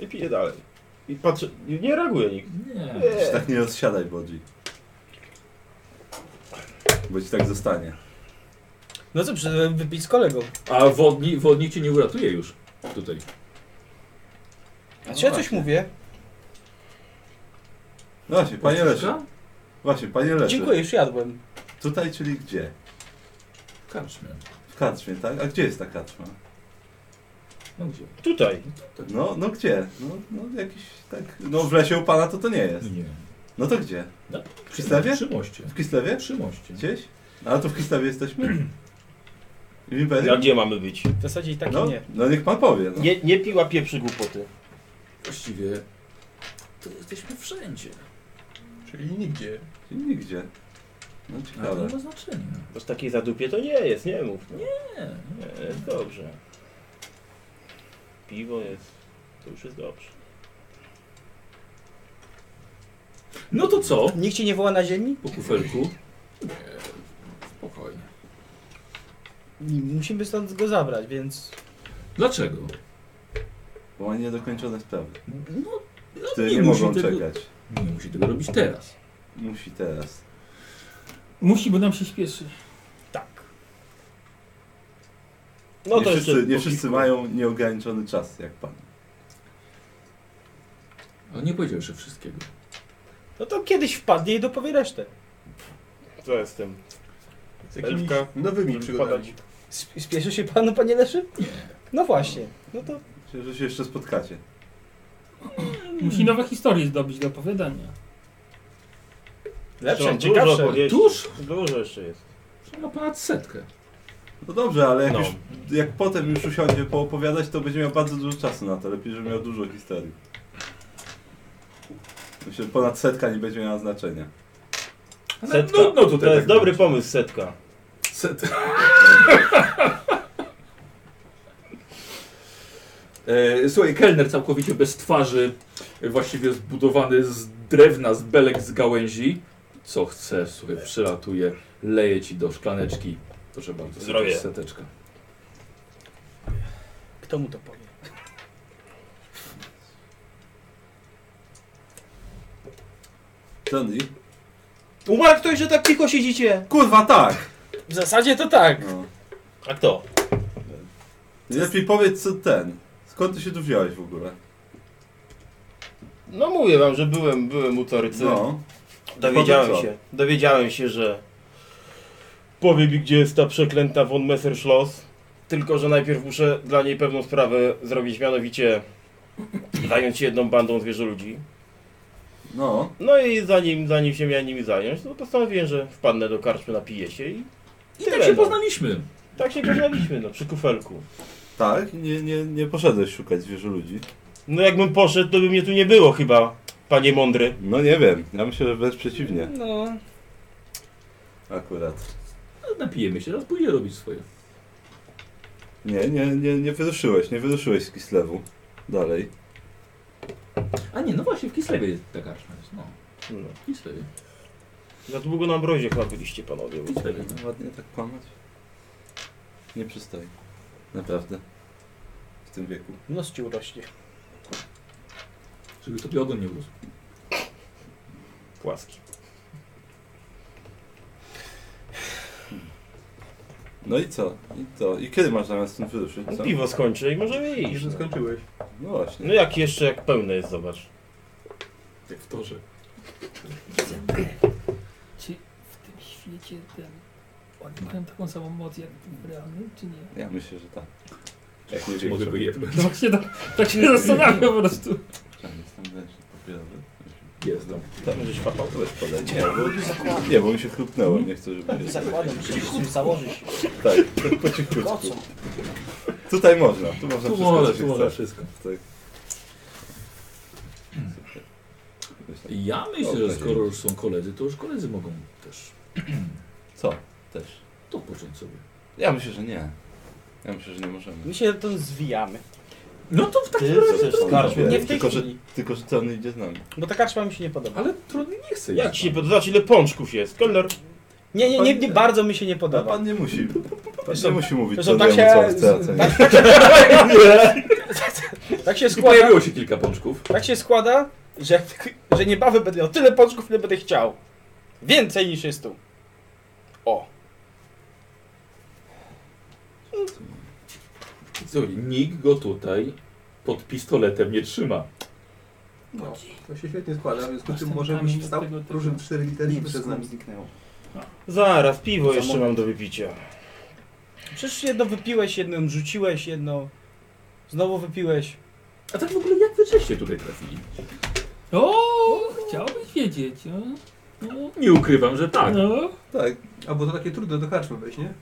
[SPEAKER 5] I piję dalej. I patrzę, nie reaguje nikt.
[SPEAKER 4] Nie.
[SPEAKER 1] Się tak nie rozsiadaj, Bodzi. Bo ci tak zostanie.
[SPEAKER 2] No co, przy- wypić z kolegą.
[SPEAKER 4] A wodni, wodnik cię nie uratuje już tutaj.
[SPEAKER 2] A czy ja coś mówię?
[SPEAKER 1] No właśnie, panie Leszy. Właśnie, panie Leszy.
[SPEAKER 2] Dziękuję, już jadłem.
[SPEAKER 1] Tutaj, czyli gdzie?
[SPEAKER 4] Karczmy.
[SPEAKER 1] W karczmie, tak? A gdzie jest ta karczma?
[SPEAKER 4] No gdzie?
[SPEAKER 5] Tutaj.
[SPEAKER 1] No, no gdzie? No, no jakiś tak... No w lesie u pana to to nie jest.
[SPEAKER 4] Nie.
[SPEAKER 1] No to gdzie?
[SPEAKER 4] No,
[SPEAKER 1] Przy stawie?
[SPEAKER 4] Przy moście.
[SPEAKER 1] W Kislewie?
[SPEAKER 4] Przy moście.
[SPEAKER 1] Gdzieś? No, ale to w Kislewie jesteśmy? *clears throat* I mi powie-
[SPEAKER 5] A gdzie mamy być?
[SPEAKER 2] W zasadzie i tak i
[SPEAKER 1] no,
[SPEAKER 2] nie.
[SPEAKER 1] no niech pan powie. No.
[SPEAKER 5] Nie, nie piła pieprzy głupoty.
[SPEAKER 4] Właściwie to jesteśmy wszędzie.
[SPEAKER 8] Czyli nigdzie.
[SPEAKER 1] Nigdzie. No
[SPEAKER 4] Ale to
[SPEAKER 1] ciekawe.
[SPEAKER 4] nie ma znaczenia.
[SPEAKER 5] To z takiej zadupie to nie jest, nie mów. No.
[SPEAKER 4] Nie.
[SPEAKER 5] Nie, jest dobrze. Piwo jest, to już jest dobrze.
[SPEAKER 4] No to co?
[SPEAKER 2] Nikt cię nie woła na ziemi?
[SPEAKER 4] Po kufelku? Nie, spokojnie.
[SPEAKER 7] Musimy stąd go zabrać, więc...
[SPEAKER 4] Dlaczego?
[SPEAKER 1] Bo ma niedokończone sprawy,
[SPEAKER 4] No,
[SPEAKER 1] które
[SPEAKER 4] nie
[SPEAKER 1] nie
[SPEAKER 4] musi
[SPEAKER 1] mogą
[SPEAKER 4] tego-
[SPEAKER 1] czekać.
[SPEAKER 4] nie musi tego robić teraz.
[SPEAKER 1] Musi teraz.
[SPEAKER 3] Musi, bo nam się śpieszy.
[SPEAKER 7] Tak. No
[SPEAKER 1] nie
[SPEAKER 7] to jeszcze...
[SPEAKER 1] wszyscy, nie
[SPEAKER 7] po
[SPEAKER 1] wszyscy
[SPEAKER 7] kilku.
[SPEAKER 1] mają nieograniczony czas, jak pan.
[SPEAKER 4] On nie powiedział jeszcze wszystkiego.
[SPEAKER 7] No to kiedyś wpadnie i dopowie resztę.
[SPEAKER 5] Co jestem?
[SPEAKER 8] Z jakimiś
[SPEAKER 5] Elfka.
[SPEAKER 8] nowymi
[SPEAKER 5] Podać.
[SPEAKER 8] przygodami.
[SPEAKER 7] Sp- Spieszy się panu, panie Leszy? No właśnie. No to...
[SPEAKER 1] Myślę, że się jeszcze spotkacie.
[SPEAKER 3] Musi nowe historie zdobyć do opowiadania.
[SPEAKER 7] Lepsze,
[SPEAKER 5] Są
[SPEAKER 7] ciekawsze.
[SPEAKER 5] opowieści.
[SPEAKER 4] Tuż?
[SPEAKER 5] Dużo jeszcze jest.
[SPEAKER 4] Ma ponad setkę.
[SPEAKER 1] No dobrze, ale jak,
[SPEAKER 5] No.
[SPEAKER 1] już, jak potem już usiądzie poopowiadać, to będzie miał bardzo dużo czasu na to. Lepiej, żeby miał dużo historii. Myślę, że ponad setka nie będzie miała znaczenia.
[SPEAKER 4] Ale
[SPEAKER 5] Setka.
[SPEAKER 4] nudno tutaj.
[SPEAKER 5] To jest
[SPEAKER 4] tak
[SPEAKER 5] dobry
[SPEAKER 4] będzie.
[SPEAKER 5] pomysł, setka.
[SPEAKER 4] Set. *laughs* E, Słuchaj, kelner całkowicie bez twarzy, e, właściwie zbudowany z drewna, z belek, z gałęzi. Co chce, słuchaj, przylatuje, leje ci do szklaneczki. Proszę bardzo,
[SPEAKER 5] Zdrowie.
[SPEAKER 4] seteczka.
[SPEAKER 7] Kto mu to powie?
[SPEAKER 1] Sandy?
[SPEAKER 5] Umarł ktoś, że tak cicho siedzicie?
[SPEAKER 1] Kurwa, tak!
[SPEAKER 7] W zasadzie to tak.
[SPEAKER 1] No.
[SPEAKER 5] A kto?
[SPEAKER 1] Lepiej powiedz, co ten. Skąd ty się tu wziąłeś w ogóle?
[SPEAKER 5] No mówię wam, że byłem, byłem u Torycy.
[SPEAKER 1] No.
[SPEAKER 5] Dowiedziałem
[SPEAKER 1] Powiedz
[SPEAKER 5] się, dowiedziałem się, że powie mi, gdzie jest ta przeklęta von Messerschloss. Tylko, że najpierw muszę dla niej pewną sprawę zrobić, mianowicie zająć się jedną bandą zwierzoludzi.
[SPEAKER 1] No.
[SPEAKER 5] No i zanim, zanim się miałem nimi zająć, to postanowiłem, że wpadnę do karczmy, napiję się i
[SPEAKER 4] I
[SPEAKER 5] Tyle,
[SPEAKER 4] tak się
[SPEAKER 5] no.
[SPEAKER 4] poznaliśmy.
[SPEAKER 5] tak się poznaliśmy, no, przy kufelku.
[SPEAKER 1] Tak? Nie, nie, nie poszedłeś szukać zwierzę ludzi.
[SPEAKER 5] No jakbym poszedł, to by mnie tu nie było chyba, panie mądry.
[SPEAKER 1] No nie wiem. Ja myślę, że wręcz przeciwnie.
[SPEAKER 7] No,
[SPEAKER 1] Akurat.
[SPEAKER 4] No, Napijemy się, raz pójdzie robić swoje.
[SPEAKER 1] Nie, nie, nie, nie wyruszyłeś. Nie wyruszyłeś z Kislewu. Dalej.
[SPEAKER 4] A nie, no właśnie, w Kislewie jest ta karczma. jest, No,
[SPEAKER 5] No.
[SPEAKER 4] w Kislewie.
[SPEAKER 5] Za długo na mrozie chyba byliście, panowie.
[SPEAKER 4] W Kislewie.
[SPEAKER 1] No, Ładnie tak kłamać? Nie przystoi. Naprawdę. W tym wieku.
[SPEAKER 7] nos ci urośnie.
[SPEAKER 4] Żeby tobie ogon nie urósł.
[SPEAKER 5] Płaski.
[SPEAKER 1] No i co? I co? I kiedy masz zamiar stąd wyruszyć?
[SPEAKER 5] No,
[SPEAKER 1] Co?
[SPEAKER 5] piwo skończę i możemy
[SPEAKER 8] Już
[SPEAKER 5] iść.
[SPEAKER 8] to
[SPEAKER 5] No.
[SPEAKER 8] skończyłeś.
[SPEAKER 1] No właśnie.
[SPEAKER 5] no jak jeszcze, jak pełne jest, zobacz.
[SPEAKER 4] Jak Tak w torze.
[SPEAKER 3] Czy w tym świecie ten... Oni mają taką samą moc jak w realnym, czy nie?
[SPEAKER 1] Ja myślę, że tak.
[SPEAKER 4] Jak nie mogę wyjebać.
[SPEAKER 3] No właśnie tak, tak się zastanawiam po prostu.
[SPEAKER 1] Tam jest tam ręcznik papierowy.
[SPEAKER 4] Jest no. tam.
[SPEAKER 1] Tam będziesz papał. To jest podaj. Nie, bo, nie, bo mi się chrupnęło. Nie chcę, żeby...
[SPEAKER 7] Zakładam, że się założysz.
[SPEAKER 1] Tak, po- po cichutku.
[SPEAKER 7] Kocą.
[SPEAKER 1] Tutaj można. Tu można
[SPEAKER 4] Tu
[SPEAKER 1] wszystko,
[SPEAKER 4] może,
[SPEAKER 1] co
[SPEAKER 4] tu
[SPEAKER 1] się
[SPEAKER 4] może
[SPEAKER 1] chce.
[SPEAKER 4] wszystko.
[SPEAKER 1] Tak. Super. Myślę-
[SPEAKER 4] Ja myślę, że
[SPEAKER 1] Dobra,
[SPEAKER 4] skoro już są koledzy, to już koledzy mogą też
[SPEAKER 1] Co? Też.
[SPEAKER 4] to począć sobie.
[SPEAKER 1] Ja myślę, że nie. Ja myślę, że nie możemy.
[SPEAKER 7] My się to zwijamy.
[SPEAKER 4] No to w takim
[SPEAKER 5] Ty
[SPEAKER 4] razie...
[SPEAKER 5] chcesz skarżę.
[SPEAKER 7] Nie w tej
[SPEAKER 1] Tylko, że-
[SPEAKER 7] chwili.
[SPEAKER 1] Tylko, że to on idzie z nami.
[SPEAKER 7] Bo ta karczma mi się nie podoba.
[SPEAKER 4] Ale trudny nie chce.
[SPEAKER 5] Jak ci się podoba? Zobacz ile pączków jest. Kolor.
[SPEAKER 7] Nie, nie, nie, nie bardzo mi się nie
[SPEAKER 1] No
[SPEAKER 7] podoba.
[SPEAKER 1] pan nie musi. Pan nie
[SPEAKER 7] Zresztą-
[SPEAKER 1] musi mówić, co
[SPEAKER 7] Zresztą tak się,
[SPEAKER 1] co on chce ocenić.
[SPEAKER 7] tak, tak, się- tak się
[SPEAKER 4] Tu
[SPEAKER 7] składa,
[SPEAKER 4] pojawiło się kilka pączków.
[SPEAKER 7] tak się składa, że, *laughs* że niebawem będę miał tyle pączków, ile będę chciał. Więcej niż jest tu. O.
[SPEAKER 4] Słuchaj, nikt go tutaj pod pistoletem nie trzyma.
[SPEAKER 3] No.
[SPEAKER 8] To się świetnie składa, więc po
[SPEAKER 3] Masz
[SPEAKER 8] czym
[SPEAKER 3] ten
[SPEAKER 8] może
[SPEAKER 3] kamień
[SPEAKER 8] być
[SPEAKER 3] z
[SPEAKER 8] stał
[SPEAKER 3] tego typu.
[SPEAKER 8] różem 4 litery przed nami.
[SPEAKER 10] zniknęło.
[SPEAKER 5] Zaraz, piwo
[SPEAKER 10] Za
[SPEAKER 5] jeszcze
[SPEAKER 10] moment.
[SPEAKER 5] mam do wypicia.
[SPEAKER 7] Przecież jedno wypiłeś, jedno rzuciłeś, jedno znowu wypiłeś.
[SPEAKER 4] A tak w ogóle jak wy żeście tutaj trafili?
[SPEAKER 3] O, chciałbyś wiedzieć, no. No,
[SPEAKER 4] Nie ukrywam, że tak.
[SPEAKER 3] no.
[SPEAKER 1] Tak,
[SPEAKER 8] A bo to takie trudne do karczmy wejść, nie?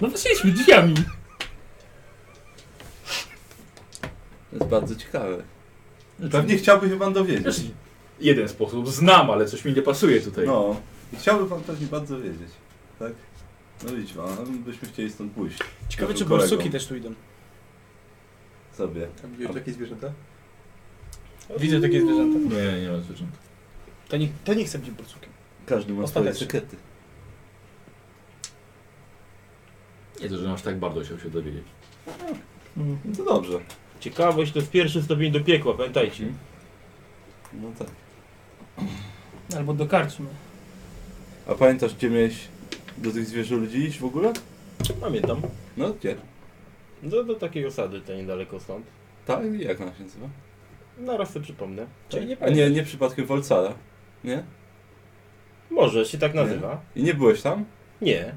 [SPEAKER 3] no weszliśmy drzwiami.
[SPEAKER 1] to jest bardzo ciekawe.
[SPEAKER 3] Znaczy,
[SPEAKER 1] Pewnie chciałby się pan dowiedzieć.
[SPEAKER 4] Wiesz, jeden sposób znam, ale coś mi nie pasuje tutaj.
[SPEAKER 1] No. I chciałby pan pewnie bardzo wiedzieć. Tak? No idź pan, byśmy chcieli stąd pójść.
[SPEAKER 7] Ciekawe,
[SPEAKER 1] Naszym
[SPEAKER 7] czy
[SPEAKER 1] kolegą.
[SPEAKER 7] borsuki też tu idą.
[SPEAKER 1] Sobie.
[SPEAKER 8] Tam widziałeś takie zwierzęta?
[SPEAKER 7] Widzę takie zwierzęta.
[SPEAKER 4] Nie, nie ma zwierząt.
[SPEAKER 7] To nie, to nie chcę być borsukiem.
[SPEAKER 1] Każdy ma swoje
[SPEAKER 7] Ostatecznie.
[SPEAKER 1] sekety.
[SPEAKER 4] Nie to, że aż tak bardzo chciał się dowiedzieć.
[SPEAKER 1] No to dobrze.
[SPEAKER 5] Ciekawość to jest pierwszy stopień do piekła, pamiętajcie.
[SPEAKER 1] No tak.
[SPEAKER 3] Albo do karczmy.
[SPEAKER 1] A pamiętasz, gdzie miałeś do tych zwierzę ludzi iść w ogóle?
[SPEAKER 5] Pamiętam.
[SPEAKER 1] No gdzie?
[SPEAKER 5] Do, do takiej osady to niedaleko stąd.
[SPEAKER 1] Tak, jak ona się nazywa?
[SPEAKER 5] Naraz sobie przypomnę. Czyli nie
[SPEAKER 1] A
[SPEAKER 5] pamiętam.
[SPEAKER 1] nie, nie przypadkiem Wolcara, nie?
[SPEAKER 5] Może się tak nazywa.
[SPEAKER 1] I nie byłeś tam,
[SPEAKER 5] Nie.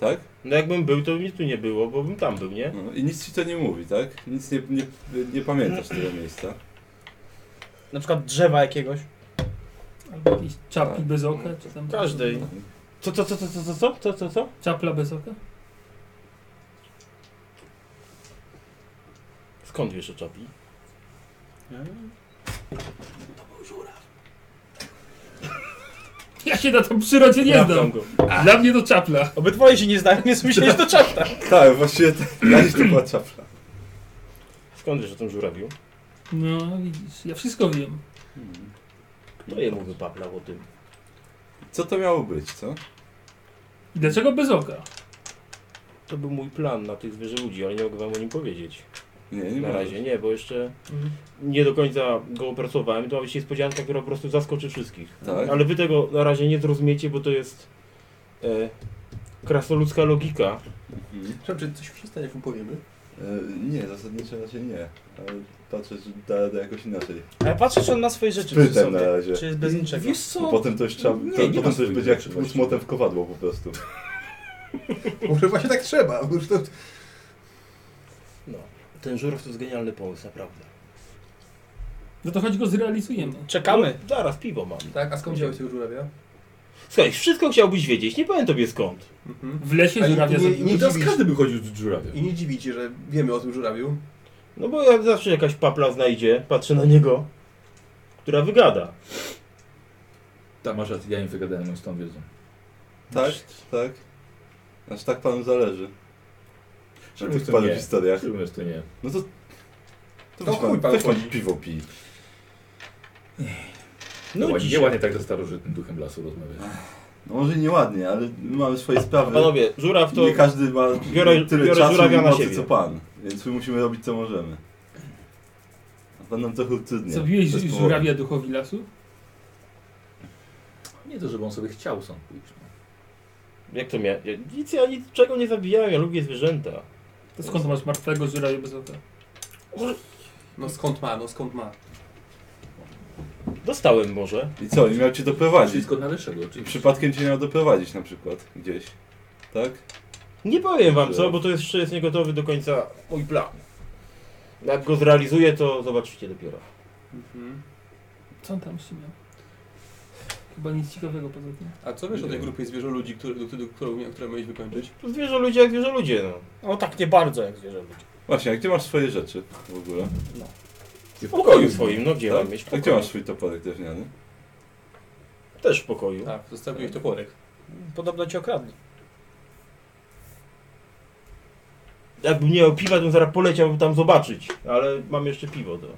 [SPEAKER 1] tak?
[SPEAKER 5] No jakbym był, to by mnie tu nie było, bo bym tam był, nie?
[SPEAKER 1] No, I nic ci to nie mówi, tak? Nic nie, nie, nie pamiętasz tego miejsca.
[SPEAKER 7] Na przykład drzewa jakiegoś.
[SPEAKER 3] Albo jakieś czapki
[SPEAKER 1] Tak.
[SPEAKER 3] bez oka. Czy tam
[SPEAKER 5] Każdej. Co, co, co, co, co, co, co, co, co, co?
[SPEAKER 3] Czapla bez oka?
[SPEAKER 5] Skąd wiesz o czapi?
[SPEAKER 3] Ja się na tą przyrodzie nie
[SPEAKER 5] Sprawdzam
[SPEAKER 3] znam.
[SPEAKER 5] go.
[SPEAKER 3] Dla mnie to czapla.
[SPEAKER 7] Obydwoje się nie znają, więc myśleliście, że to czapka.
[SPEAKER 1] Tak, właściwie tak. Dla nich to była czapla.
[SPEAKER 5] Skąd wiesz o tym żurawiu?
[SPEAKER 3] No widzisz, ja wszystko wiem.
[SPEAKER 5] To jemu wypaplał o tym.
[SPEAKER 1] Co to miało być, co?
[SPEAKER 3] I dlaczego bez oka?
[SPEAKER 5] To był mój plan na tych zwierzę ludzi, ale nie mogę wam o nim powiedzieć.
[SPEAKER 1] Nie, nie
[SPEAKER 5] Na
[SPEAKER 1] ma.
[SPEAKER 5] razie nie, Mhm. bo jeszcze nie do końca go opracowałem. To ma być niespodzianka, która po prostu zaskoczy wszystkich.
[SPEAKER 1] Tak.
[SPEAKER 5] Ale wy tego na razie nie zrozumiecie, bo to jest e, krasnoludzka logika.
[SPEAKER 1] Mhm.
[SPEAKER 8] Przepraszam, czy coś się stanie, jak mu powiemy? *laughs*
[SPEAKER 1] E, nie, zasadniczo raczej nie. Ale patrzę, czy da radę jakoś inaczej.
[SPEAKER 7] A ja patrzę, czy on ma swoje rzeczy przy
[SPEAKER 1] Pytam na
[SPEAKER 7] sobie.
[SPEAKER 1] razie.
[SPEAKER 7] Czy jest bez niczego. No
[SPEAKER 4] Wiesz
[SPEAKER 1] Bo
[SPEAKER 4] co?
[SPEAKER 1] potem to już trzeba.
[SPEAKER 4] Nie,
[SPEAKER 1] to,
[SPEAKER 4] nie ma
[SPEAKER 1] potem to już
[SPEAKER 4] swoich
[SPEAKER 1] będzie jak
[SPEAKER 4] rzeczy
[SPEAKER 1] z
[SPEAKER 4] właściwie.
[SPEAKER 1] młotem w kowadło po prostu.
[SPEAKER 8] Może właśnie tak trzeba, bo już to...
[SPEAKER 5] No. Ten żuraw to jest genialny pomysł, naprawdę.
[SPEAKER 3] No to choć go zrealizujemy.
[SPEAKER 7] Czekamy.
[SPEAKER 5] No, zaraz piwo mam.
[SPEAKER 8] Tak, a skąd wziąłeś tego żurawia?
[SPEAKER 5] Słuchaj, wszystko chciałbyś wiedzieć, nie powiem tobie skąd.
[SPEAKER 8] Mhm.
[SPEAKER 3] W lesie
[SPEAKER 8] A nie-
[SPEAKER 3] żurawia
[SPEAKER 8] nie-
[SPEAKER 3] zabił.
[SPEAKER 4] Nie teraz
[SPEAKER 8] dziwisz.
[SPEAKER 4] każdy by chodził z żurawiem.
[SPEAKER 8] I nie dziwicie, że wiemy o tym żurawiu.
[SPEAKER 5] No bo jak zawsze jakaś papla znajdzie, patrzę na niego, która wygada.
[SPEAKER 4] Tak, masz rację, ja im wygadałem, oni stąd wiedzą.
[SPEAKER 1] Tak, tak. Aż tak panu zależy. Na
[SPEAKER 4] Czemu
[SPEAKER 1] tych
[SPEAKER 4] to
[SPEAKER 1] panu
[SPEAKER 4] nie?
[SPEAKER 1] historiach.
[SPEAKER 4] Czemu to nie?
[SPEAKER 1] No to.
[SPEAKER 8] To
[SPEAKER 1] weź
[SPEAKER 8] chuj pan
[SPEAKER 1] weź
[SPEAKER 8] chodzi.
[SPEAKER 1] piwo pij.
[SPEAKER 5] No
[SPEAKER 4] No
[SPEAKER 5] dzisiaj.
[SPEAKER 4] nie ładnie tak ze starożytnym duchem lasu rozmawiać.
[SPEAKER 1] No może nieładnie, ale my mamy swoje
[SPEAKER 5] A
[SPEAKER 1] sprawy.
[SPEAKER 5] Panowie, żuraw to...
[SPEAKER 1] Nie każdy ma
[SPEAKER 5] biorę-
[SPEAKER 1] tyle
[SPEAKER 5] biorę
[SPEAKER 1] czasu
[SPEAKER 5] żurawia
[SPEAKER 1] i
[SPEAKER 5] na
[SPEAKER 1] mocy
[SPEAKER 5] siebie.
[SPEAKER 1] co pan, więc my musimy robić co możemy. A pan nam trochę utrudnia.
[SPEAKER 3] Zabiłeś
[SPEAKER 1] bez powodu.
[SPEAKER 3] żurawia duchowi lasu?
[SPEAKER 4] Nie to, żeby on sobie chciał stąd pójść. No.
[SPEAKER 5] Jak to miałem? Ja nic, ja niczego nie zabijałem, ja lubię zwierzęta.
[SPEAKER 3] To skąd masz martwego żurawia bez oka?
[SPEAKER 8] No skąd ma, no skąd ma.
[SPEAKER 5] Dostałem może.
[SPEAKER 1] I co, i miał cię doprowadzić?
[SPEAKER 4] Wszystko należego,
[SPEAKER 1] I
[SPEAKER 4] oczywiście.
[SPEAKER 1] przypadkiem cię miał doprowadzić na przykład gdzieś, tak?
[SPEAKER 5] Nie powiem wam co, bo to jeszcze jest niegotowy do końca mój plan. Jak go zrealizuję, to zobaczycie dopiero.
[SPEAKER 8] Mhm.
[SPEAKER 3] Co on tam jeszcze miał? Chyba nic ciekawego poza tym.
[SPEAKER 8] A co wiesz o
[SPEAKER 1] Nie
[SPEAKER 8] tej
[SPEAKER 1] wiem.
[SPEAKER 8] grupie zwierzę ludzi, które, do, do, którą, które miałeś wykończyć?
[SPEAKER 5] To zwierzę ludzie jak zwierzę ludzie, no.
[SPEAKER 7] No tak nie bardzo jak zwierzę. ludzie.
[SPEAKER 1] Właśnie, a gdzie masz swoje rzeczy w ogóle?
[SPEAKER 5] W pokoju swoim, no gdzie
[SPEAKER 1] Tak?
[SPEAKER 5] mam mieć
[SPEAKER 1] A gdzie
[SPEAKER 5] pokój?
[SPEAKER 1] masz swój toporek drewniany?
[SPEAKER 5] Też w pokoju.
[SPEAKER 8] Tak, zostawiłeś toporek.
[SPEAKER 7] Podobno cię okradli.
[SPEAKER 5] Jakbym nie miał piwa, to bym zaraz poleciał bym tam zobaczyć. Ale mam jeszcze piwo do...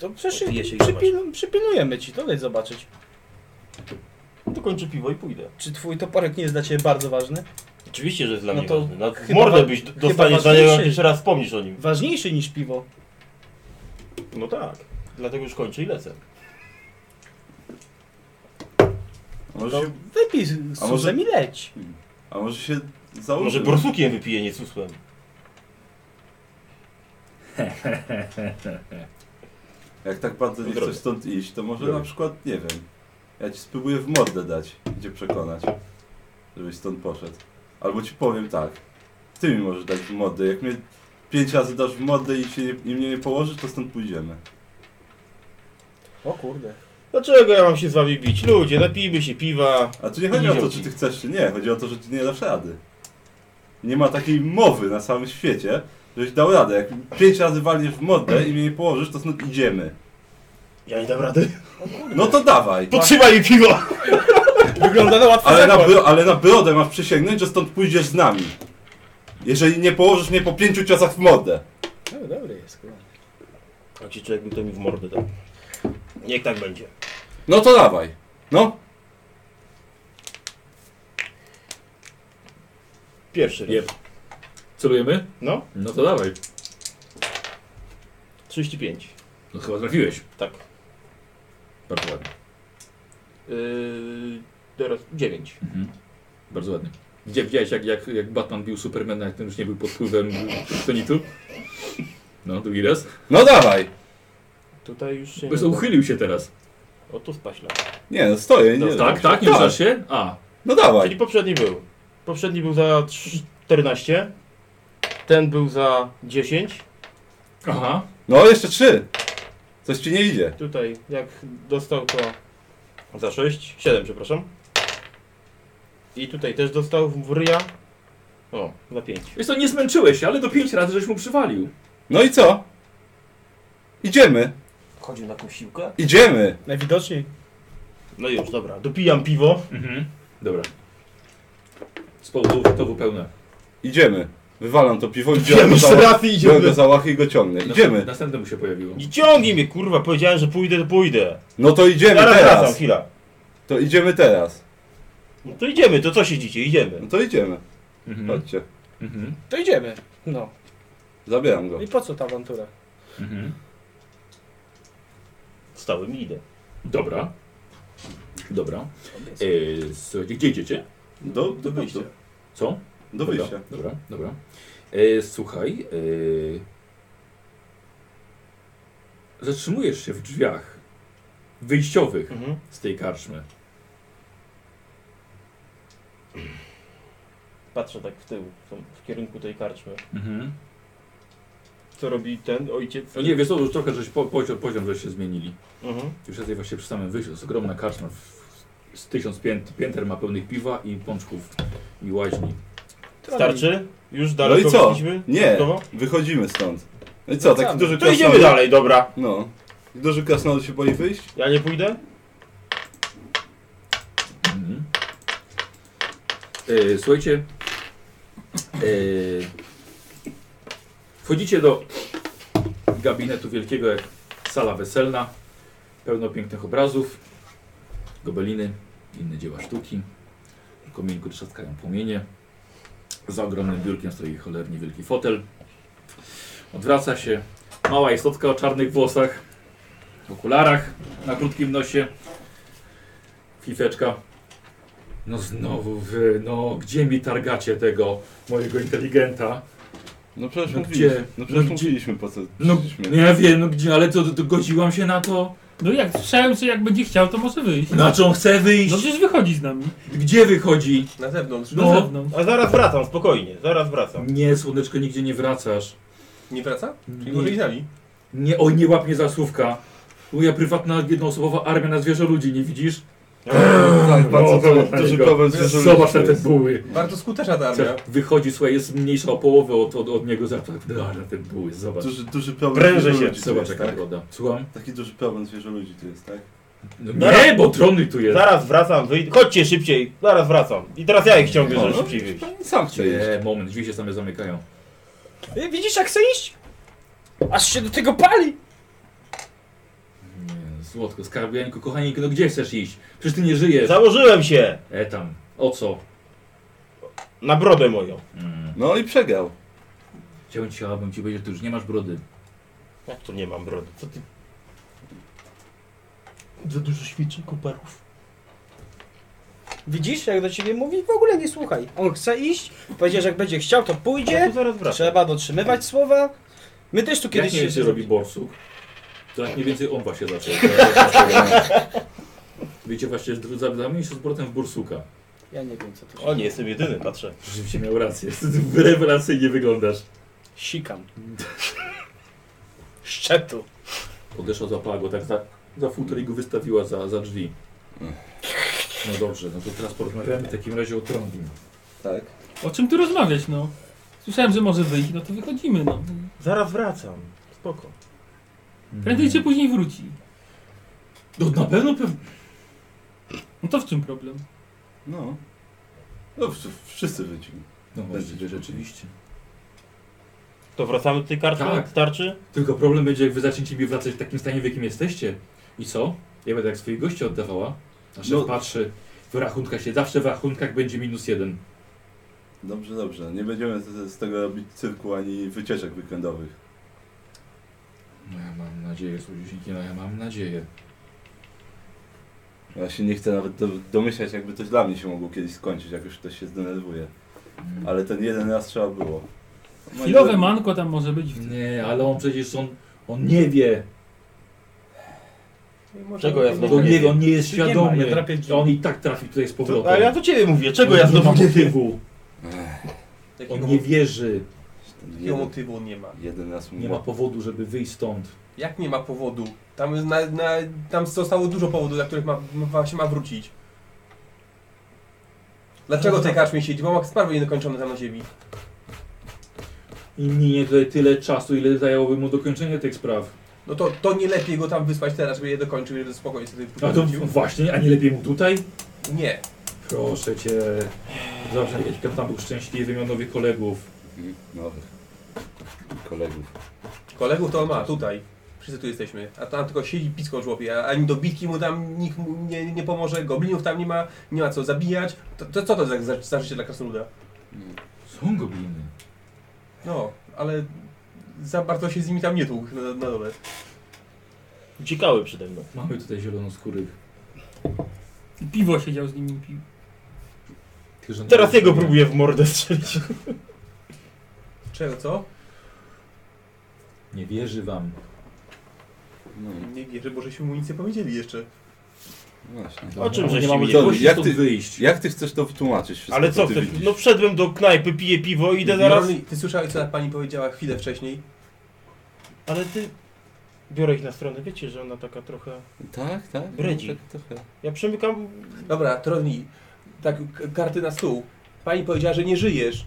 [SPEAKER 7] To przecież
[SPEAKER 5] Odbije się i
[SPEAKER 7] przypil, przypilnujemy ci, to leć zobaczyć.
[SPEAKER 5] No to kończę piwo i pójdę.
[SPEAKER 7] Czy twój toporek nie jest dla ciebie bardzo ważny?
[SPEAKER 5] Oczywiście, że jest dla
[SPEAKER 7] No
[SPEAKER 5] mnie
[SPEAKER 7] to
[SPEAKER 5] ważny. Na
[SPEAKER 7] chyba
[SPEAKER 5] mordę
[SPEAKER 7] wa-
[SPEAKER 5] byś d-
[SPEAKER 7] chyba
[SPEAKER 5] dostaniesz za niego, jak
[SPEAKER 7] ważniejszy.
[SPEAKER 5] jeszcze raz wspomnisz o nim.
[SPEAKER 7] Ważniejszy niż piwo.
[SPEAKER 5] No tak. Dlatego już kończę i lecę.
[SPEAKER 1] A może,
[SPEAKER 7] No,
[SPEAKER 1] się,
[SPEAKER 7] wypij
[SPEAKER 1] A
[SPEAKER 7] z
[SPEAKER 1] może-
[SPEAKER 7] może... i leć.
[SPEAKER 1] a może się założy?
[SPEAKER 5] Może borsukiem wypiję, nie susłem.
[SPEAKER 1] Jak tak bardzo nie
[SPEAKER 5] Zrobię.
[SPEAKER 1] chcesz stąd iść, to może
[SPEAKER 4] Zrobię.
[SPEAKER 1] na przykład, nie wiem, ja ci spróbuję w mordę dać i cię przekonać, żebyś stąd poszedł. Albo ci powiem tak, ty mi możesz dać w mordę, jak mnie pięć razy dasz w mordę i, się nie, i mnie nie położysz, to stąd pójdziemy.
[SPEAKER 7] O kurde.
[SPEAKER 5] Dlaczego ja mam się z wami bić? Ludzie, napijmy się piwa.
[SPEAKER 1] A tu nie chodzi o to, czy
[SPEAKER 5] Idioci.
[SPEAKER 1] ty chcesz, czy nie, chodzi o to, że ty nie dasz rady. Nie ma takiej mowy na całym świecie, żebyś dał radę. Jak pięć razy walniesz w mordę i mnie nie położysz, to stąd idziemy.
[SPEAKER 5] Ja nie dam rady. *laughs*
[SPEAKER 1] No to dawaj!
[SPEAKER 5] Potrzymaj mi piwo!
[SPEAKER 7] Wygląda na łatwy
[SPEAKER 1] Ale na,
[SPEAKER 7] zakład.
[SPEAKER 1] bro, ale na brodę masz przysięgnąć, że stąd pójdziesz z nami. Jeżeli nie położysz mnie po pięciu ciosach w mordę.
[SPEAKER 7] No, dobry jest, kurwa.
[SPEAKER 5] Jak ci człowiek by to mi w mordę dał. Niech tak będzie.
[SPEAKER 1] No to dawaj. No.
[SPEAKER 5] Pierwszy raz.
[SPEAKER 4] Jeb. Celujemy?
[SPEAKER 5] No.
[SPEAKER 4] No to dawaj.
[SPEAKER 5] 35.
[SPEAKER 4] No chyba trafiłeś.
[SPEAKER 7] Tak.
[SPEAKER 4] Bardzo ładnie.
[SPEAKER 7] Yy, teraz 9.
[SPEAKER 4] Mhm. Bardzo ładnie. Gdzie widziałeś, jak, jak, jak Batman bił Supermana, jak ten już nie był pod wpływem *laughs* kryptonitu? No, drugi raz.
[SPEAKER 1] No dawaj!
[SPEAKER 7] Tutaj już się.
[SPEAKER 4] Bo jest- uchylił się teraz.
[SPEAKER 7] O tu spaśla.
[SPEAKER 1] Nie, no stoję, nie.
[SPEAKER 7] No,
[SPEAKER 4] Tak, tak, nie ruszasz się? A,
[SPEAKER 1] No dawaj.
[SPEAKER 7] Czyli poprzedni był. Poprzedni był za 14. Ten był za 10.
[SPEAKER 4] aha.
[SPEAKER 1] No jeszcze trzy. Coś ci nie idzie.
[SPEAKER 7] Tutaj jak dostał to za 6. 7, przepraszam. I tutaj też dostał w ryja. O, za 5.
[SPEAKER 4] Wiesz to nie zmęczyłeś się, ale do pięć razy żeś mu przywalił.
[SPEAKER 1] No i co? Idziemy.
[SPEAKER 10] Chodził na tą siłkę?
[SPEAKER 1] Idziemy.
[SPEAKER 7] Najwidoczniej.
[SPEAKER 5] No już, dobra. Dopijam piwo.
[SPEAKER 4] Mhm. Dobra. Z powodu to pełne.
[SPEAKER 1] Idziemy. Wywalam to piwo i
[SPEAKER 5] Dopijam
[SPEAKER 1] biorę
[SPEAKER 5] jeszcze
[SPEAKER 1] za,
[SPEAKER 5] raz i
[SPEAKER 1] biorę go
[SPEAKER 5] idziemy.
[SPEAKER 1] za łachy i go ciągnę.
[SPEAKER 4] No.
[SPEAKER 1] Idziemy.
[SPEAKER 4] Następne mu się pojawiło.
[SPEAKER 5] Nie ciągnij mnie, kurwa. Powiedziałem, że pójdę, to pójdę.
[SPEAKER 1] No to idziemy
[SPEAKER 5] Zaraz wracam,
[SPEAKER 1] teraz.
[SPEAKER 5] chwila.
[SPEAKER 1] To idziemy teraz.
[SPEAKER 5] No to idziemy, to co siedzicie? Idziemy.
[SPEAKER 1] No to idziemy.
[SPEAKER 4] Mhm.
[SPEAKER 1] Chodźcie.
[SPEAKER 4] Mhm.
[SPEAKER 7] To idziemy. No.
[SPEAKER 1] Zabieram go.
[SPEAKER 7] I po co ta awantura?
[SPEAKER 4] Mhm.
[SPEAKER 5] Stałem i idę.
[SPEAKER 4] Dobra. Dobra. Eee, słuchajcie, gdzie idziecie?
[SPEAKER 1] Do, do wyjścia.
[SPEAKER 4] Co?
[SPEAKER 1] Do
[SPEAKER 4] Dobra,
[SPEAKER 1] wyjścia.
[SPEAKER 4] Dobra, dobra. Eee, słuchaj. eee, Zatrzymujesz się w drzwiach wyjściowych
[SPEAKER 7] Mhm.
[SPEAKER 4] z tej karczmy.
[SPEAKER 7] Patrzę tak w tył, w, tą- w kierunku tej karczmy.
[SPEAKER 4] Mhm.
[SPEAKER 7] Co robi ten ojciec?
[SPEAKER 4] No nie, wiesz co, już trochę żeś po, poziom, poziom żeś się zmienili.
[SPEAKER 7] Mhm.
[SPEAKER 4] Już jesteś właśnie przy samym wyjściu, to jest ogromna karczma. w- Z tysiąc pięt, pięter ma pełnych piwa i pączków i łaźni.
[SPEAKER 5] Starczy? Już
[SPEAKER 1] No
[SPEAKER 5] daleko
[SPEAKER 1] i co?
[SPEAKER 5] wyszliśmy?
[SPEAKER 1] Nie.
[SPEAKER 5] Dodatkowo?
[SPEAKER 1] Wychodzimy stąd. No i co, taki
[SPEAKER 7] Wracamy.
[SPEAKER 1] duży
[SPEAKER 5] To
[SPEAKER 1] krasnolud?
[SPEAKER 5] idziemy dalej, dobra.
[SPEAKER 1] No. Duży krasnolud się boi wyjść?
[SPEAKER 5] Ja nie pójdę?
[SPEAKER 4] Mhm. E, słuchajcie. E, wchodzicie do gabinetu wielkiego jak sala weselna. Pełno pięknych obrazów, gobeliny, inne dzieła sztuki. W kominku trzaskają płomienie. Za ogromnym biurkiem stoi cholernie wielki fotel. Odwraca się mała istotka o czarnych włosach, w okularach, na krótkim nosie. Fifeczka. No znowu wy, no gdzie mi targacie tego mojego inteligenta?
[SPEAKER 1] No przecież
[SPEAKER 4] No
[SPEAKER 1] mówiliśmy.
[SPEAKER 4] gdzie?
[SPEAKER 1] No przecież
[SPEAKER 4] No gdzie?
[SPEAKER 1] mówiliśmy po co.
[SPEAKER 4] No,
[SPEAKER 1] przyszliśmy.
[SPEAKER 4] no ja wiem, no gdzie, ale to, to godziłam się na to?
[SPEAKER 3] No jak słyszałem, że jak będzie chciał, to może wyjść.
[SPEAKER 4] Na czą chcę
[SPEAKER 3] No
[SPEAKER 4] wyjść?
[SPEAKER 3] przecież wychodzi z nami.
[SPEAKER 4] Gdzie wychodzi?
[SPEAKER 8] Na zewnątrz.
[SPEAKER 3] Na
[SPEAKER 4] No.
[SPEAKER 3] zewnątrz.
[SPEAKER 5] A zaraz wracam, spokojnie, zaraz wracam.
[SPEAKER 4] Nie, słoneczko, nigdzie nie wracasz.
[SPEAKER 8] Nie wraca? Czyli może
[SPEAKER 4] Nie,
[SPEAKER 8] i z nami.
[SPEAKER 4] nie, o, nie łap mnie za słówka. Moja prywatna, jednoosobowa armia na zwierzę ludzi, nie widzisz?
[SPEAKER 1] Tak, bardzo
[SPEAKER 4] to-
[SPEAKER 1] to, duży
[SPEAKER 4] tego.
[SPEAKER 1] problem z dużym
[SPEAKER 4] Zobacz na
[SPEAKER 1] ludźmi
[SPEAKER 4] te
[SPEAKER 1] jest.
[SPEAKER 4] buły.
[SPEAKER 8] Bardzo skuteczna ta armia.
[SPEAKER 4] Wychodzi, słuchaj, jest mniejsza o połowę od, od, od niego. Zobacz na te buły, zobacz.
[SPEAKER 1] Duży, duży problem
[SPEAKER 5] Prężę
[SPEAKER 1] zwierzę
[SPEAKER 5] się.
[SPEAKER 1] ludzi tu
[SPEAKER 4] Zobacz
[SPEAKER 1] jest,
[SPEAKER 4] jaka
[SPEAKER 1] tak?
[SPEAKER 4] pogoda. Słucham?
[SPEAKER 1] Taki duży problem zwierzę ludzi tu jest, tak?
[SPEAKER 4] No nie, bo trony tu jest.
[SPEAKER 5] Zaraz wracam, wyjdę. Chodźcie szybciej, zaraz wracam. I teraz ja ich ciągnę,
[SPEAKER 1] No,
[SPEAKER 5] żeby
[SPEAKER 1] no.
[SPEAKER 5] szybciej wyjść.
[SPEAKER 1] Sam chcę iść.
[SPEAKER 4] Nie, moment, drzwi się same zamykają.
[SPEAKER 2] Y,
[SPEAKER 7] E, Widzisz jak chce iść? Aż się do tego pali!
[SPEAKER 4] Nie, złotko, skarbiańku, kochanieńku, no gdzie chcesz iść? Przecież ty nie żyjesz.
[SPEAKER 5] Założyłem się
[SPEAKER 4] E tam, o co?
[SPEAKER 5] na brodę moją.
[SPEAKER 4] Mm.
[SPEAKER 1] No i przegrał.
[SPEAKER 4] Chciałbym, chciałabym ci powiedzieć, że ty już nie masz brody.
[SPEAKER 5] Jak to nie mam brody? Co ty?
[SPEAKER 7] Za dużo świczy, kuperów.
[SPEAKER 2] Widzisz, jak do ciebie mówi? W ogóle nie słuchaj. On chce iść, powiedział, że jak będzie chciał, to
[SPEAKER 5] Ja
[SPEAKER 2] pójdzie.
[SPEAKER 5] tu zaraz wracam.
[SPEAKER 2] Trzeba dotrzymywać słowa. My też tu
[SPEAKER 4] Kiedyś
[SPEAKER 2] kiedyś
[SPEAKER 4] jak nie się robi borsuk, to tak mniej więcej on właśnie *laughs* zaczął. Wiecie, właśnie z- za- zamienił się z portem w borsuka.
[SPEAKER 2] Ja nie wiem, co to
[SPEAKER 5] O nie, jestem jedyny, patrzę.
[SPEAKER 4] Rzeczywiście miał rację, *laughs* rewelacyjnie wyglądasz.
[SPEAKER 2] Sikam. Szczetu.
[SPEAKER 4] Podeszła, złapała go tak za, za futer i go wystawiła za, za drzwi. No dobrze, no to teraz porozmawiamy w takim razie o trąbim.
[SPEAKER 1] Tak.
[SPEAKER 3] O czym tu rozmawiać, no? Słyszałem, że może wyjść, no to wychodzimy, no.
[SPEAKER 5] Zaraz wracam. Spoko.
[SPEAKER 3] Prędzej czy później wróci.
[SPEAKER 4] No na pewno, pewnie.
[SPEAKER 3] No to w czym problem?
[SPEAKER 1] No. No wsz- wszyscy wycili.
[SPEAKER 4] No
[SPEAKER 1] właśnie,
[SPEAKER 4] rzeczywiście.
[SPEAKER 5] To wracamy do tej karty?
[SPEAKER 4] Tak.
[SPEAKER 5] Starczy?
[SPEAKER 4] Tylko problem będzie, jak wy zaczniecie mi wracać w takim stanie, w jakim jesteście. I co? Ja będę jak swoich gości oddawała. A szef
[SPEAKER 1] No.
[SPEAKER 4] patrzy, w rachunkach się, zawsze w rachunkach będzie minus jeden.
[SPEAKER 1] Dobrze, dobrze. Nie będziemy z, z tego robić cyrku ani wycieczek weekendowych.
[SPEAKER 4] No ja mam nadzieję, słodziusinki, no ja mam nadzieję.
[SPEAKER 1] Ja się nie chcę nawet do, domyślać, jakby to dla mnie się mogło kiedyś skończyć, jak już ktoś się zdenerwuje.
[SPEAKER 4] Mm.
[SPEAKER 1] Ale ten jeden raz trzeba było. No i
[SPEAKER 3] Chwilowe
[SPEAKER 1] to-
[SPEAKER 3] manko tam może być.
[SPEAKER 4] Nie, ale on przecież on, on nie wie.
[SPEAKER 5] Czego ja
[SPEAKER 4] Bo
[SPEAKER 5] znowu
[SPEAKER 4] nie wie, on nie jest
[SPEAKER 2] Nie ma,
[SPEAKER 4] świadomy.
[SPEAKER 2] ja trapię drzwi.
[SPEAKER 4] on i tak trafi tutaj z powrotem.
[SPEAKER 5] A ja do ciebie mówię, czego
[SPEAKER 4] On
[SPEAKER 5] ja
[SPEAKER 4] nie ma
[SPEAKER 5] znowu nie wiem?
[SPEAKER 4] motywu. On nie wierzy.
[SPEAKER 1] Ten
[SPEAKER 8] Jakiego
[SPEAKER 1] Jeden,
[SPEAKER 8] motywu nie ma?
[SPEAKER 1] jeden raz mu
[SPEAKER 4] Nie ma powodu, żeby wyjść stąd.
[SPEAKER 8] Jak nie ma powodu? Tam, na, na, tam zostało dużo powodów, dla których ma, ma, się ma wrócić. Dlaczego w tej karczmie siedzi? Bo ma sprawy niedokończone tam na ziemi.
[SPEAKER 4] I minie tutaj tyle czasu, ile zajęłoby mu dokończenie tych spraw.
[SPEAKER 8] No to, to nie lepiej go tam wysłać teraz, żeby je dokończył, żeby spokojnie sobie
[SPEAKER 4] A to
[SPEAKER 8] wrócił?
[SPEAKER 4] właśnie, a nie lepiej mu tutaj?
[SPEAKER 8] Nie.
[SPEAKER 4] Proszę cię. Zawsze jakiś tam był szczęśliwy, miał nowych kolegów.
[SPEAKER 1] Nowych kolegów.
[SPEAKER 8] Kolegów to ma, tutaj. Wszyscy tu jesteśmy. A tam tylko siedzi pisko żłobie, a ani do bitki mu tam nikt mu nie, nie pomoże, goblinów tam nie ma, nie ma co zabijać. To, to co to za, za, za życie dla krasnoluda?
[SPEAKER 4] Są gobliny.
[SPEAKER 8] No, ale za bardzo się z nimi tam nie tłukł na, na dole.
[SPEAKER 5] Uciekały przede mną.
[SPEAKER 4] Mamy tutaj zielonoskórych.
[SPEAKER 3] I piwo siedział z nimi i pił.
[SPEAKER 4] Tylko, że-
[SPEAKER 5] Teraz jego próbuję w mordę strzelić.
[SPEAKER 8] Czego, co?
[SPEAKER 4] Nie wierzy wam.
[SPEAKER 1] No
[SPEAKER 8] Nie wierzę, bo żeśmy mu nic nie powiedzieli jeszcze.
[SPEAKER 1] właśnie.
[SPEAKER 5] O czym
[SPEAKER 4] Nie
[SPEAKER 5] żeście
[SPEAKER 4] mamy
[SPEAKER 5] mi
[SPEAKER 1] Tony,
[SPEAKER 4] możliwości
[SPEAKER 1] No jak
[SPEAKER 4] stąd
[SPEAKER 1] ty-
[SPEAKER 4] wyjść.
[SPEAKER 1] Jak ty chcesz to wytłumaczyć? Wszystko,
[SPEAKER 5] Ale co
[SPEAKER 1] ty
[SPEAKER 5] chcesz?
[SPEAKER 1] widzisz?
[SPEAKER 5] No wszedłem do knajpy, piję piwo, idę zaraz.
[SPEAKER 8] Jorli, Ty słyszałeś, co ta pani powiedziała chwilę wcześniej?
[SPEAKER 5] Ale ty... Biorę ich na stronę, wiecie, że ona taka trochę...
[SPEAKER 1] Tak, tak.
[SPEAKER 5] Brydzi.
[SPEAKER 1] No, tak trochę.
[SPEAKER 5] Ja przemykam...
[SPEAKER 8] Dobra, Troni, tak k- karty na stół. Pani powiedziała, że nie żyjesz.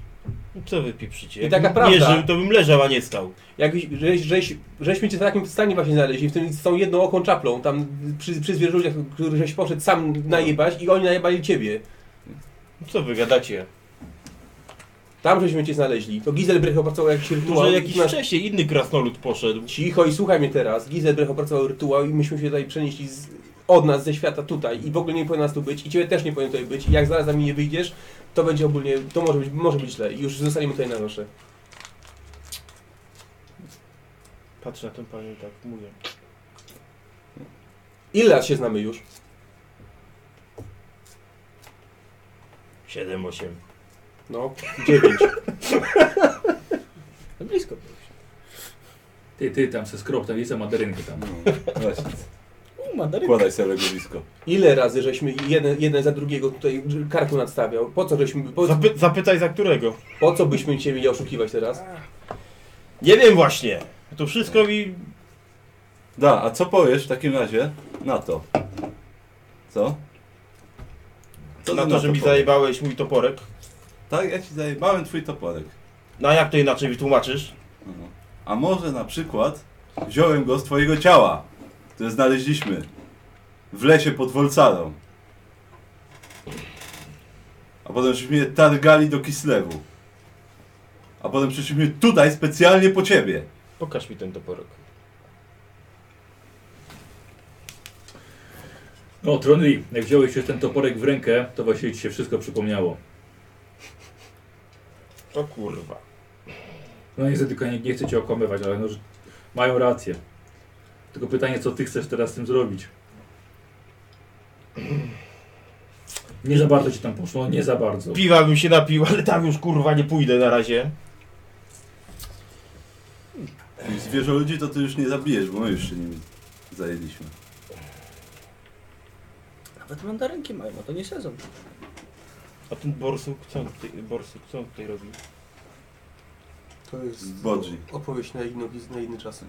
[SPEAKER 5] Co wy pieprzycie?
[SPEAKER 8] I taka
[SPEAKER 5] Jakbym
[SPEAKER 8] prawda.
[SPEAKER 5] Nie żył, to bym leżał, a nie stał.
[SPEAKER 8] Jakbyś, żeś, żeś, żeśmy cię w takim stanie właśnie znaleźli, w tym z tą jedną oką czaplą, tam przy, przy zwierzęciach, których żeś poszedł sam najebać i oni najebali ciebie.
[SPEAKER 5] Co wy gadacie?
[SPEAKER 8] Tam żeśmy cię znaleźli. To Gizelbrecht opracował jakiś rytuał.
[SPEAKER 5] Może jakiś
[SPEAKER 8] Nasz-
[SPEAKER 5] wcześniej inny krasnolud poszedł.
[SPEAKER 8] Cicho i słuchaj mnie teraz. Gizelbrecht opracował rytuał i myśmy się tutaj przenieśli z, od nas, ze świata tutaj i w ogóle nie powinien nas tu być i ciebie też nie powinien tutaj być i jak zaraz za mnie nie wyjdziesz, to będzie ogólnie, to może być, może być źle i już zostaniemy tutaj na nosze.
[SPEAKER 5] Patrzę na tę panią i tak mówię.
[SPEAKER 8] Ile lat się znamy już?
[SPEAKER 5] 7, 8.
[SPEAKER 8] No, dziewięć.
[SPEAKER 2] No blisko.
[SPEAKER 4] Ty, ty tam se skrop, tam jest maderynkę tam.
[SPEAKER 1] No, właśnie.
[SPEAKER 2] U, mandarynka.
[SPEAKER 1] Kładaj sobie legowisko.
[SPEAKER 8] Ile razy żeśmy jeden, jeden za drugiego tutaj karku nadstawiał? Po co żeśmy, po,
[SPEAKER 5] Zapy zapytaj za którego.
[SPEAKER 8] po co byśmy cię mieli oszukiwać teraz?
[SPEAKER 5] Nie wiem właśnie. To wszystko mi...
[SPEAKER 1] Da, a co powiesz w takim razie na to? Co? Co
[SPEAKER 5] na
[SPEAKER 1] ty
[SPEAKER 5] to, że mi
[SPEAKER 1] powiesz?
[SPEAKER 5] zajebałeś mój toporek.
[SPEAKER 1] Tak, ja ci zajebałem twój toporek.
[SPEAKER 5] No a jak to inaczej wytłumaczysz?
[SPEAKER 1] Mhm. A może na przykład wziąłem go z twojego ciała, które znaleźliśmy w lesie pod Wolcarą. A potem żeśmy je targali do Kislewu. A potem przyszliśmy tutaj specjalnie po ciebie.
[SPEAKER 5] Pokaż mi ten toporek.
[SPEAKER 4] No, Tronli, jak wziąłeś już ten toporek w rękę, to właściwie ci się wszystko przypomniało.
[SPEAKER 5] O kurwa.
[SPEAKER 4] No niestety, tylko nie, nie chcę cię okłamywać, ale no, że mają rację. Tylko pytanie, co ty chcesz teraz z tym zrobić? Nie za bardzo ci tam poszło, nie za bardzo.
[SPEAKER 5] Piwa bym się napił, ale tam już kurwa nie pójdę na razie.
[SPEAKER 1] I zwierzę ludzi to ty już nie zabijesz, bo my już się nimi zajęliśmy.
[SPEAKER 2] Nawet mandarynki mają, a to nie sezon.
[SPEAKER 5] A ten borsuk, co on tutaj, borsuk, co on tutaj robi?
[SPEAKER 8] To jest
[SPEAKER 1] Zbodzi.
[SPEAKER 8] opowieść na, inną, na inny czas.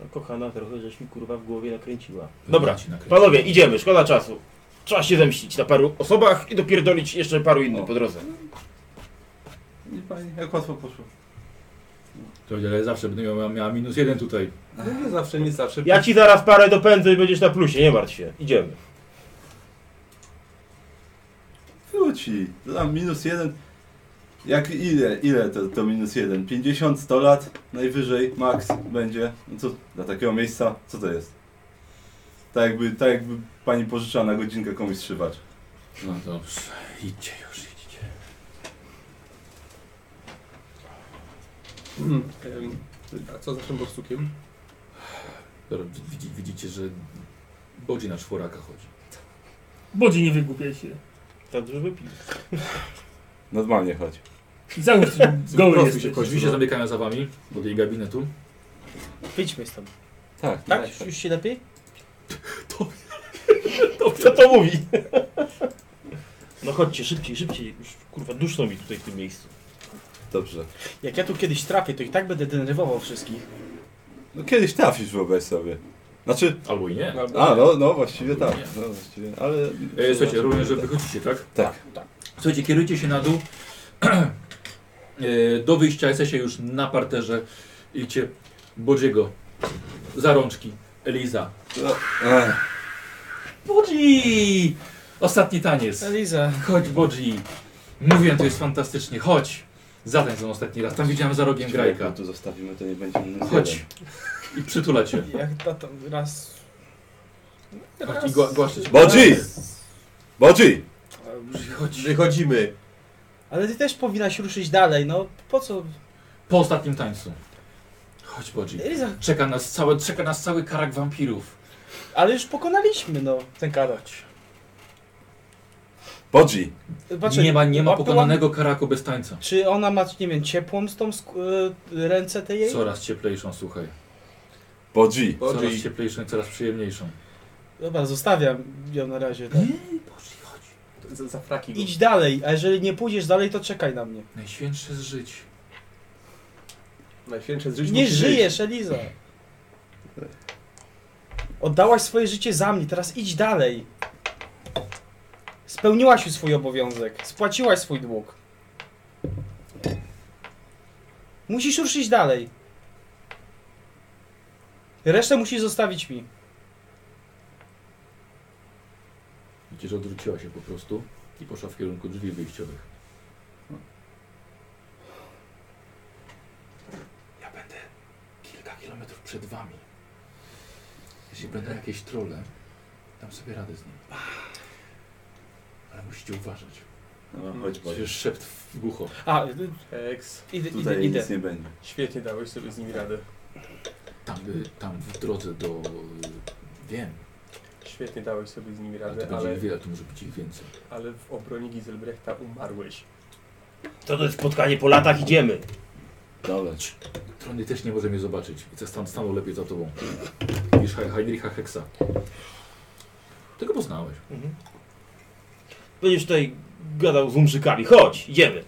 [SPEAKER 5] No kochana, trochę żeś mi kurwa w głowie nakręciła.
[SPEAKER 4] Ja
[SPEAKER 5] Dobra,
[SPEAKER 4] ci nakręcę.
[SPEAKER 5] panowie, idziemy, szkoda czasu. Trzeba się zemścić na paru osobach i dopierdolić jeszcze paru innych
[SPEAKER 1] O.
[SPEAKER 5] po drodze.
[SPEAKER 1] Nie pani, jak łatwo poszło.
[SPEAKER 4] To ja zawsze będę miała, miała minus jeden tutaj.
[SPEAKER 8] No nie zawsze, nie zawsze.
[SPEAKER 5] Ja ci zaraz parę dopędzę i będziesz na plusie, nie martw się. Idziemy.
[SPEAKER 1] Wróci. Dodam minus jeden. Jak ile, ile to, to minus jeden? 50, 100 lat najwyżej, max będzie. No co, dla takiego miejsca, co to jest? Tak jakby, tak jakby pani pożyczała na godzinkę komuś strzywacz.
[SPEAKER 4] No dobrze, idźcie już, idźcie.
[SPEAKER 8] Em, Hmm, A co za tym borsukiem?
[SPEAKER 4] Dobra, wi- widzi- Widzicie, że Bodzi na czworaka chodzi.
[SPEAKER 3] Bodzi nie wygłupiaj się.
[SPEAKER 5] Tak, żeby pił.
[SPEAKER 1] Normalnie chodź.
[SPEAKER 3] Załóż, że goły
[SPEAKER 4] Proszę się,
[SPEAKER 3] jesteś.
[SPEAKER 4] kogoś.
[SPEAKER 8] no.
[SPEAKER 4] Drzwi się zamykają za wami, do jej gabinetu.
[SPEAKER 2] Wyjdźmy stąd.
[SPEAKER 1] Tak,
[SPEAKER 2] Tak? Już, już się
[SPEAKER 5] *laughs*
[SPEAKER 2] lepiej?
[SPEAKER 5] Co to mówi? No chodźcie, szybciej, szybciej. Już, kurwa, duszno mi tutaj w tym miejscu.
[SPEAKER 1] Dobrze.
[SPEAKER 2] Jak ja tu kiedyś trafię, to i tak będę denerwował wszystkich.
[SPEAKER 1] No kiedyś trafisz wyobraź sobie. Znaczy,
[SPEAKER 4] Albo i nie.
[SPEAKER 1] a no, no właściwie tak. No, właściwie, ale...
[SPEAKER 4] E, słuchajcie, również, że wychodzicie, tak?
[SPEAKER 1] Tak.
[SPEAKER 4] Słuchajcie, kierujcie się na dół. *clears throat* E, Do wyjścia jesteście już na parterze. Idźcie Bodziego. Za rączki. Eliza.
[SPEAKER 1] Ech,
[SPEAKER 4] Bodzi! Ostatni taniec.
[SPEAKER 2] Eliza.
[SPEAKER 4] Chodź Bodzi. Mówię, to jest fantastycznie. Chodź. Zatań ten ostatni raz. Tam widziałem za rogiem grajka.
[SPEAKER 1] jak tu zostawimy, to nie będzie nic
[SPEAKER 4] Chodź. I przytula cię.
[SPEAKER 2] Jak na to raz...
[SPEAKER 4] Chodź i gła- głaszczę cię.
[SPEAKER 1] Bodzi! Bodzi!
[SPEAKER 4] Chodź.
[SPEAKER 8] Wychodzimy.
[SPEAKER 2] Ale ty też powinnaś ruszyć dalej, no. Po co?
[SPEAKER 4] Po ostatnim tańcu. Chodź Bodzi.
[SPEAKER 2] Eliza,
[SPEAKER 4] Czeka nas, całe, czeka nas cały karak wampirów.
[SPEAKER 2] ale już pokonaliśmy, no, ten karać.
[SPEAKER 1] Bodzi!
[SPEAKER 4] Nie ma, nie ma pokonanego karaku bez tańca.
[SPEAKER 2] Czy ona ma, nie wiem, ciepłą z tą sk- y, ręce tej jej?
[SPEAKER 4] Coraz cieplejszą, słuchaj.
[SPEAKER 1] Bodzi!
[SPEAKER 4] Coraz
[SPEAKER 8] Bodzi.
[SPEAKER 4] cieplejszą i coraz przyjemniejszą.
[SPEAKER 2] Dobra, zostawiam ją na razie. Tak.
[SPEAKER 8] Za, za fraki.
[SPEAKER 2] Idź dalej, a jeżeli nie pójdziesz dalej, to czekaj na mnie.
[SPEAKER 4] Najświętsze z żyć.
[SPEAKER 8] Najświętsze z żyć
[SPEAKER 2] Nie
[SPEAKER 8] musi żyć.
[SPEAKER 2] żyjesz, Eliza. Oddałaś swoje życie za mnie, teraz idź dalej. Spełniłaś już swój obowiązek, spłaciłaś swój dług. Musisz ruszyć dalej. Resztę musisz zostawić mi.
[SPEAKER 4] Widzicie, że odwróciła się po prostu i poszła w kierunku drzwi wyjściowych. Ja będę kilka kilometrów przed wami. Jeśli będą jakieś trole, dam sobie radę z nimi. Ale musicie uważać.
[SPEAKER 1] No, chodź Bodzi.
[SPEAKER 4] Przecież szept w głucho.
[SPEAKER 2] A,
[SPEAKER 8] Eks.
[SPEAKER 2] idę, idę,
[SPEAKER 1] Tutaj
[SPEAKER 2] idę.
[SPEAKER 1] nic nie będzie.
[SPEAKER 8] Świetnie dałeś sobie z nimi radę.
[SPEAKER 4] Tam, y, tam w drodze do... y, Wiem,
[SPEAKER 8] Świetnie dałeś sobie z nimi
[SPEAKER 4] ale
[SPEAKER 8] radę,
[SPEAKER 4] to,
[SPEAKER 8] ale,
[SPEAKER 4] będzie wiele, to może być ich więcej.
[SPEAKER 8] ale w obronie Gizelbrechta umarłeś.
[SPEAKER 5] To to jest spotkanie po latach, idziemy.
[SPEAKER 1] Dobra.
[SPEAKER 4] Trony też nie może mnie zobaczyć. I co stan stanął lepiej za tobą. Niż Hei- Heinricha Hexa. Tego poznałeś.
[SPEAKER 5] Będziesz tutaj gadał z umrzykami. Chodź, idziemy.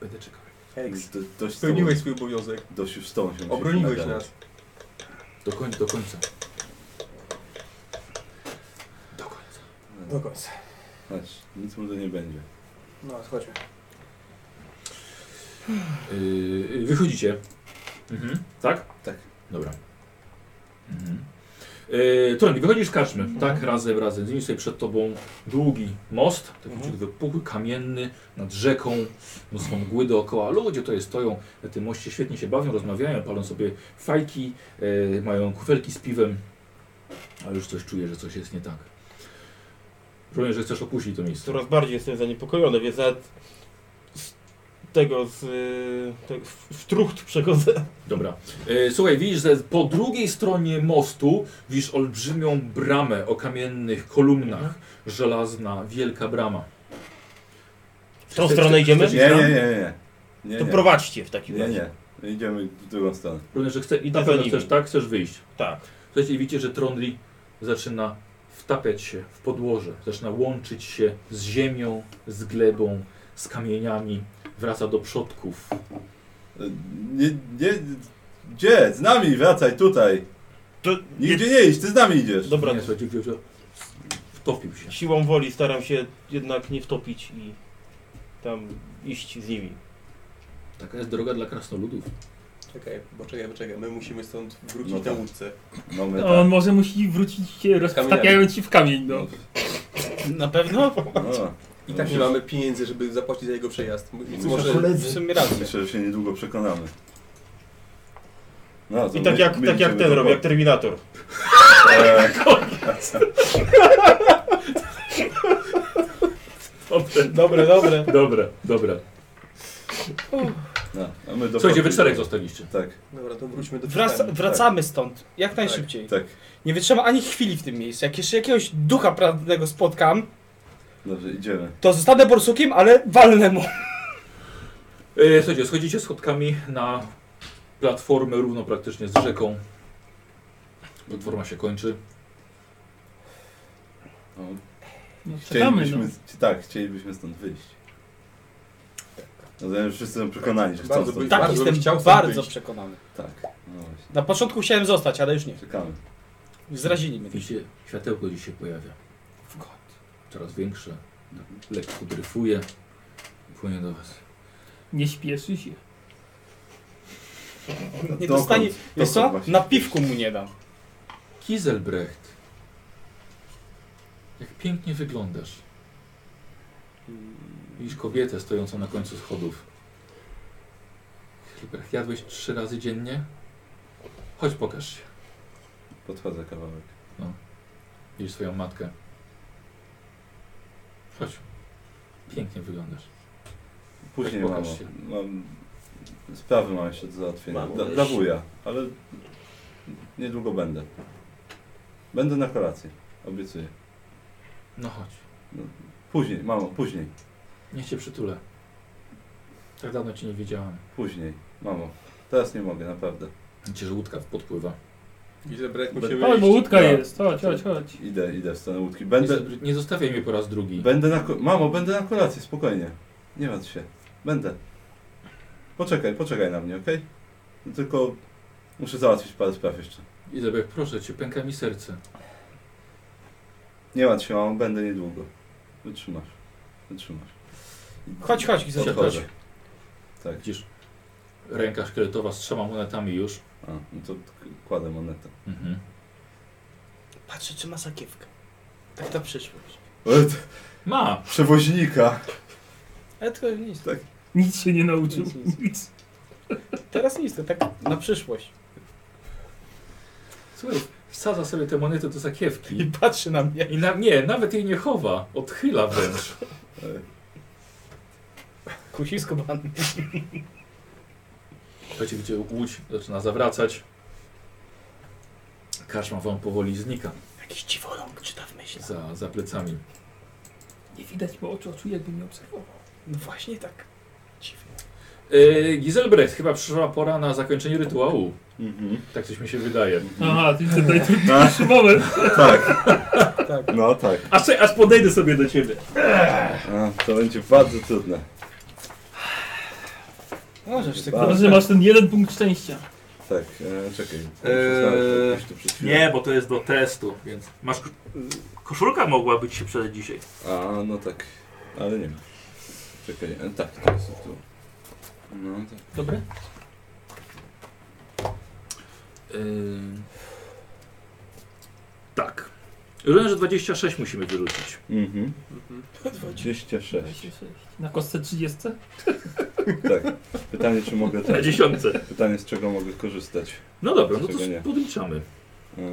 [SPEAKER 4] Będę czekał.
[SPEAKER 1] Już do, dość, z tobą,
[SPEAKER 8] Spełniłeś swój obowiązek.
[SPEAKER 1] dość już z tą się
[SPEAKER 8] Obroniłeś
[SPEAKER 1] nagadać.
[SPEAKER 8] nas.
[SPEAKER 4] Do końca. Do końca. Do końca.
[SPEAKER 1] No,
[SPEAKER 8] końca.
[SPEAKER 1] Chodź, nic mu to nie będzie.
[SPEAKER 8] No, chodźmy.
[SPEAKER 4] Yy, yy, wychodzicie. Mhm. Tak?
[SPEAKER 1] Tak.
[SPEAKER 4] Dobra. Mhm. Yy, Trony, wychodzisz z karczmy. Tak, razem, razem. Zmienisz sobie przed tobą długi most, taki ciut wypukły, kamienny, nad rzeką. No są mgły dookoła. Ludzie tutaj stoją na tym moście, świetnie się bawią, rozmawiają, palą sobie fajki, yy, mają kufelki z piwem. Ale już coś czuję, że coś jest nie tak. Rozumiem, że chcesz opuścić to miejsce.
[SPEAKER 5] Coraz bardziej jestem zaniepokojony, więc nawet z tego, z... y, Te, w, w trucht przechodzę.
[SPEAKER 4] Dobra. E, Słuchaj, widzisz, że po drugiej stronie mostu widzisz olbrzymią bramę o kamiennych
[SPEAKER 5] Mhm.
[SPEAKER 4] kolumnach. Żelazna, wielka brama.
[SPEAKER 5] W tą stronę idziemy?
[SPEAKER 1] Nie, nie, nie, nie. Nie,
[SPEAKER 5] To
[SPEAKER 1] nie.
[SPEAKER 5] prowadźcie w takim
[SPEAKER 1] Nie,
[SPEAKER 5] razie.
[SPEAKER 1] nie. Idziemy w drugą stronę.
[SPEAKER 4] Również, że chce, i na
[SPEAKER 5] Za
[SPEAKER 4] pewno
[SPEAKER 5] nimi.
[SPEAKER 4] chcesz, tak? Chcesz wyjść.
[SPEAKER 5] Tak.
[SPEAKER 4] Słuchajcie, i widzicie, że Trondli zaczyna wtapiać się w podłoże. Zaczyna łączyć się z ziemią, z glebą, z kamieniami. Wraca do przodków.
[SPEAKER 1] E, Nie, nie, gdzie? Z nami, wracaj tutaj.
[SPEAKER 5] To
[SPEAKER 1] Nigdzie nie idź, ty z nami idziesz.
[SPEAKER 5] Dobra,
[SPEAKER 4] Nie, słuchajcie, widzicie, że wtopił się.
[SPEAKER 5] siłą woli staram się jednak nie wtopić i tam iść z nimi.
[SPEAKER 4] Taka jest droga dla krasnoludów.
[SPEAKER 8] Czekaj, bo czekaj, bo czekaj. My musimy stąd wrócić
[SPEAKER 1] No tak.
[SPEAKER 8] na łódce.
[SPEAKER 1] Mamy tak.
[SPEAKER 3] No, On może musi wrócić się roztapiając się w kamień, no.
[SPEAKER 2] Na pewno?
[SPEAKER 1] No,
[SPEAKER 8] I tak nie mamy pieniędzy, żeby zapłacić za jego przejazd. Więc
[SPEAKER 1] Muszę
[SPEAKER 8] może...
[SPEAKER 2] W sumie rację.
[SPEAKER 1] myślę, że się niedługo przekonamy. No, to
[SPEAKER 5] I tak
[SPEAKER 1] my-
[SPEAKER 5] jak,
[SPEAKER 1] my
[SPEAKER 5] tak jak
[SPEAKER 1] idziemy
[SPEAKER 5] ten
[SPEAKER 1] do
[SPEAKER 5] robi, jak Terminator.
[SPEAKER 1] Eee,
[SPEAKER 4] Dobre,
[SPEAKER 2] Dobre, dobre.
[SPEAKER 4] *laughs* dobre. dobre.
[SPEAKER 1] No, a my do
[SPEAKER 4] Słuchajcie, wy
[SPEAKER 1] Patryka.
[SPEAKER 4] czterech zostaliście.
[SPEAKER 1] Tak,
[SPEAKER 8] Dobra, to wróćmy do
[SPEAKER 2] Wraca,
[SPEAKER 8] Tristana.
[SPEAKER 2] wracamy stąd, jak najszybciej.
[SPEAKER 1] tak.
[SPEAKER 2] Nie wytrzyma ani chwili w tym miejscu. Jak jeszcze jakiegoś ducha prawnego spotkam,
[SPEAKER 1] Dobrze, idziemy.
[SPEAKER 2] to zostanę borsukiem, ale walnę mu.
[SPEAKER 4] E, słuchajcie, schodzicie schodkami na platformę równo praktycznie z rzeką. Platforma się kończy.
[SPEAKER 1] No,
[SPEAKER 3] No, czekamy, no.
[SPEAKER 1] chcielibyśmy, tak, chcielibyśmy stąd wyjść. Rozumiem, że wszyscy są przekonani, że chcą
[SPEAKER 8] Bardzo
[SPEAKER 1] stąd
[SPEAKER 8] by-
[SPEAKER 2] Tak,
[SPEAKER 8] Bardzo bym
[SPEAKER 2] jestem
[SPEAKER 8] chciał stąd
[SPEAKER 2] bardzo
[SPEAKER 8] wyjść.
[SPEAKER 2] przekonany.
[SPEAKER 1] Tak, no właśnie.
[SPEAKER 2] Na początku chciałem zostać, ale już nie.
[SPEAKER 1] Czekamy.
[SPEAKER 2] Zrazili mnie.
[SPEAKER 4] Widzicie, światełko gdzieś się pojawia. W kąt. Coraz większe. Lekko dryfuje. Płynie do was.
[SPEAKER 3] Nie śpieszy się.
[SPEAKER 2] Nie
[SPEAKER 1] Dokąd?
[SPEAKER 2] dostanie. Wiesz
[SPEAKER 1] Dokąd
[SPEAKER 2] co?
[SPEAKER 1] właśnie?
[SPEAKER 2] Na piwku mu nie dam.
[SPEAKER 4] Kieselbrecht. Jak pięknie wyglądasz. Widzisz kobietę stojącą na końcu schodów. Kieselbrecht, jadłeś trzy razy dziennie? Chodź, pokaż się.
[SPEAKER 1] Podchodzę kawałek.
[SPEAKER 4] Widzisz swoją matkę. Chodź. Pięknie wyglądasz.
[SPEAKER 1] Później
[SPEAKER 4] Tak,
[SPEAKER 1] mam,
[SPEAKER 4] pokaż się.
[SPEAKER 1] mam... No, Sprawy mam jeszcze do załatwienia.
[SPEAKER 8] Mam
[SPEAKER 1] Dla,
[SPEAKER 8] też.
[SPEAKER 1] dla wuja, ale niedługo będę. Będę na kolacji, obiecuję.
[SPEAKER 4] No chodź.
[SPEAKER 1] Później, mamo, później,
[SPEAKER 4] Niech cię przytulę. Tak dawno cię nie widziałam.
[SPEAKER 1] później. Mamo, teraz nie mogę, naprawdę.
[SPEAKER 4] Widzicie, że łódka podpływa.
[SPEAKER 8] Gilbert musimy
[SPEAKER 3] Chodź, bo
[SPEAKER 8] iść.
[SPEAKER 3] łódka
[SPEAKER 1] Ja.
[SPEAKER 3] jest. Chodź, chodź, chodź.
[SPEAKER 1] Idę, idę w stronę łódki.
[SPEAKER 4] Będę...
[SPEAKER 1] Będę,
[SPEAKER 4] Nie, nie zostawiaj mnie po raz drugi.
[SPEAKER 1] będę na... ko- Mamo, będę na kolacji, spokojnie. Nie martw się. Będę. Poczekaj, poczekaj na mnie, okej? No Tylko muszę załatwić parę spraw jeszcze.
[SPEAKER 4] Izabel, proszę cię, pęka mi serce.
[SPEAKER 1] Nie martw się, mamo, będę niedługo. Wytrzymasz. Wytrzymasz.
[SPEAKER 2] Chodź, chodź, Gizel.
[SPEAKER 4] Siadaj.
[SPEAKER 1] Podchodzę. Tak.
[SPEAKER 4] Widzisz, ręka szkieletowa z trzema monetami już.
[SPEAKER 1] A, no to k- kładę monetę.
[SPEAKER 4] Mhm.
[SPEAKER 2] Patrzę, czy ma sakiewkę. Tak na przyszłość.
[SPEAKER 1] E, t-
[SPEAKER 4] Ma!
[SPEAKER 1] Przewoźnika!
[SPEAKER 2] Ale tylko nic.
[SPEAKER 3] Nic się nie nauczył.
[SPEAKER 2] Nic, nic.
[SPEAKER 3] Nic.
[SPEAKER 2] Teraz nic, to tak na przyszłość.
[SPEAKER 4] Słuchaj, wsadza sobie te monety do
[SPEAKER 2] I
[SPEAKER 4] sakiewki.
[SPEAKER 2] patrzy na mnie.
[SPEAKER 4] I na, nie, nawet jej nie chowa. Odchyla wręcz.
[SPEAKER 1] E,
[SPEAKER 2] Kusisko pan.
[SPEAKER 4] Słuchajcie, widzicie, łódź zaczyna zawracać. Kaszma wam powoli znika
[SPEAKER 2] Jakiś dziwoląg czyta w myśli.
[SPEAKER 4] za, za plecami.
[SPEAKER 3] Nie widać, bo oczu oczu jakby mnie obserwował.
[SPEAKER 2] No właśnie tak. Dziwne.
[SPEAKER 4] Yy, Giselbrecht, chyba przyszła pora na zakończenie rytuału.
[SPEAKER 1] Mhm.
[SPEAKER 4] Tak coś mi się wydaje.
[SPEAKER 3] Aha,
[SPEAKER 1] *laughs*
[SPEAKER 3] to jest ten najtrudniejszy
[SPEAKER 1] A,
[SPEAKER 3] moment.
[SPEAKER 1] tak,
[SPEAKER 2] Tak.
[SPEAKER 1] no tak.
[SPEAKER 4] Aż, aż podejdę sobie do ciebie.
[SPEAKER 1] A, to będzie bardzo trudne.
[SPEAKER 2] Możesz ty
[SPEAKER 1] Chyba.
[SPEAKER 3] Dobrze, że masz ten jeden punkt szczęścia.
[SPEAKER 1] Tak, e, czekaj.
[SPEAKER 11] Eee,
[SPEAKER 1] Muszę znaleźć to gdzieś tu przed chwilą.
[SPEAKER 11] Nie, bo to jest do testu, więc masz... Koszulka mogłaby ci się przydać dzisiaj.
[SPEAKER 1] A, no tak, ale nie ma. Czekaj, e, tak, to jest tu. No tak.
[SPEAKER 4] Dobre? E, tak. Rozumiem, że 26 musimy wyrzucić.
[SPEAKER 1] Mhm. 26.
[SPEAKER 3] Na kostce 30?
[SPEAKER 1] Tak. Pytanie, czy mogę
[SPEAKER 4] Na
[SPEAKER 1] tak.
[SPEAKER 4] dziesiątce.
[SPEAKER 1] Pytanie, z czego mogę korzystać.
[SPEAKER 4] No dobra, no to
[SPEAKER 1] Dlaczego nie?
[SPEAKER 4] podliczamy.
[SPEAKER 1] Eee,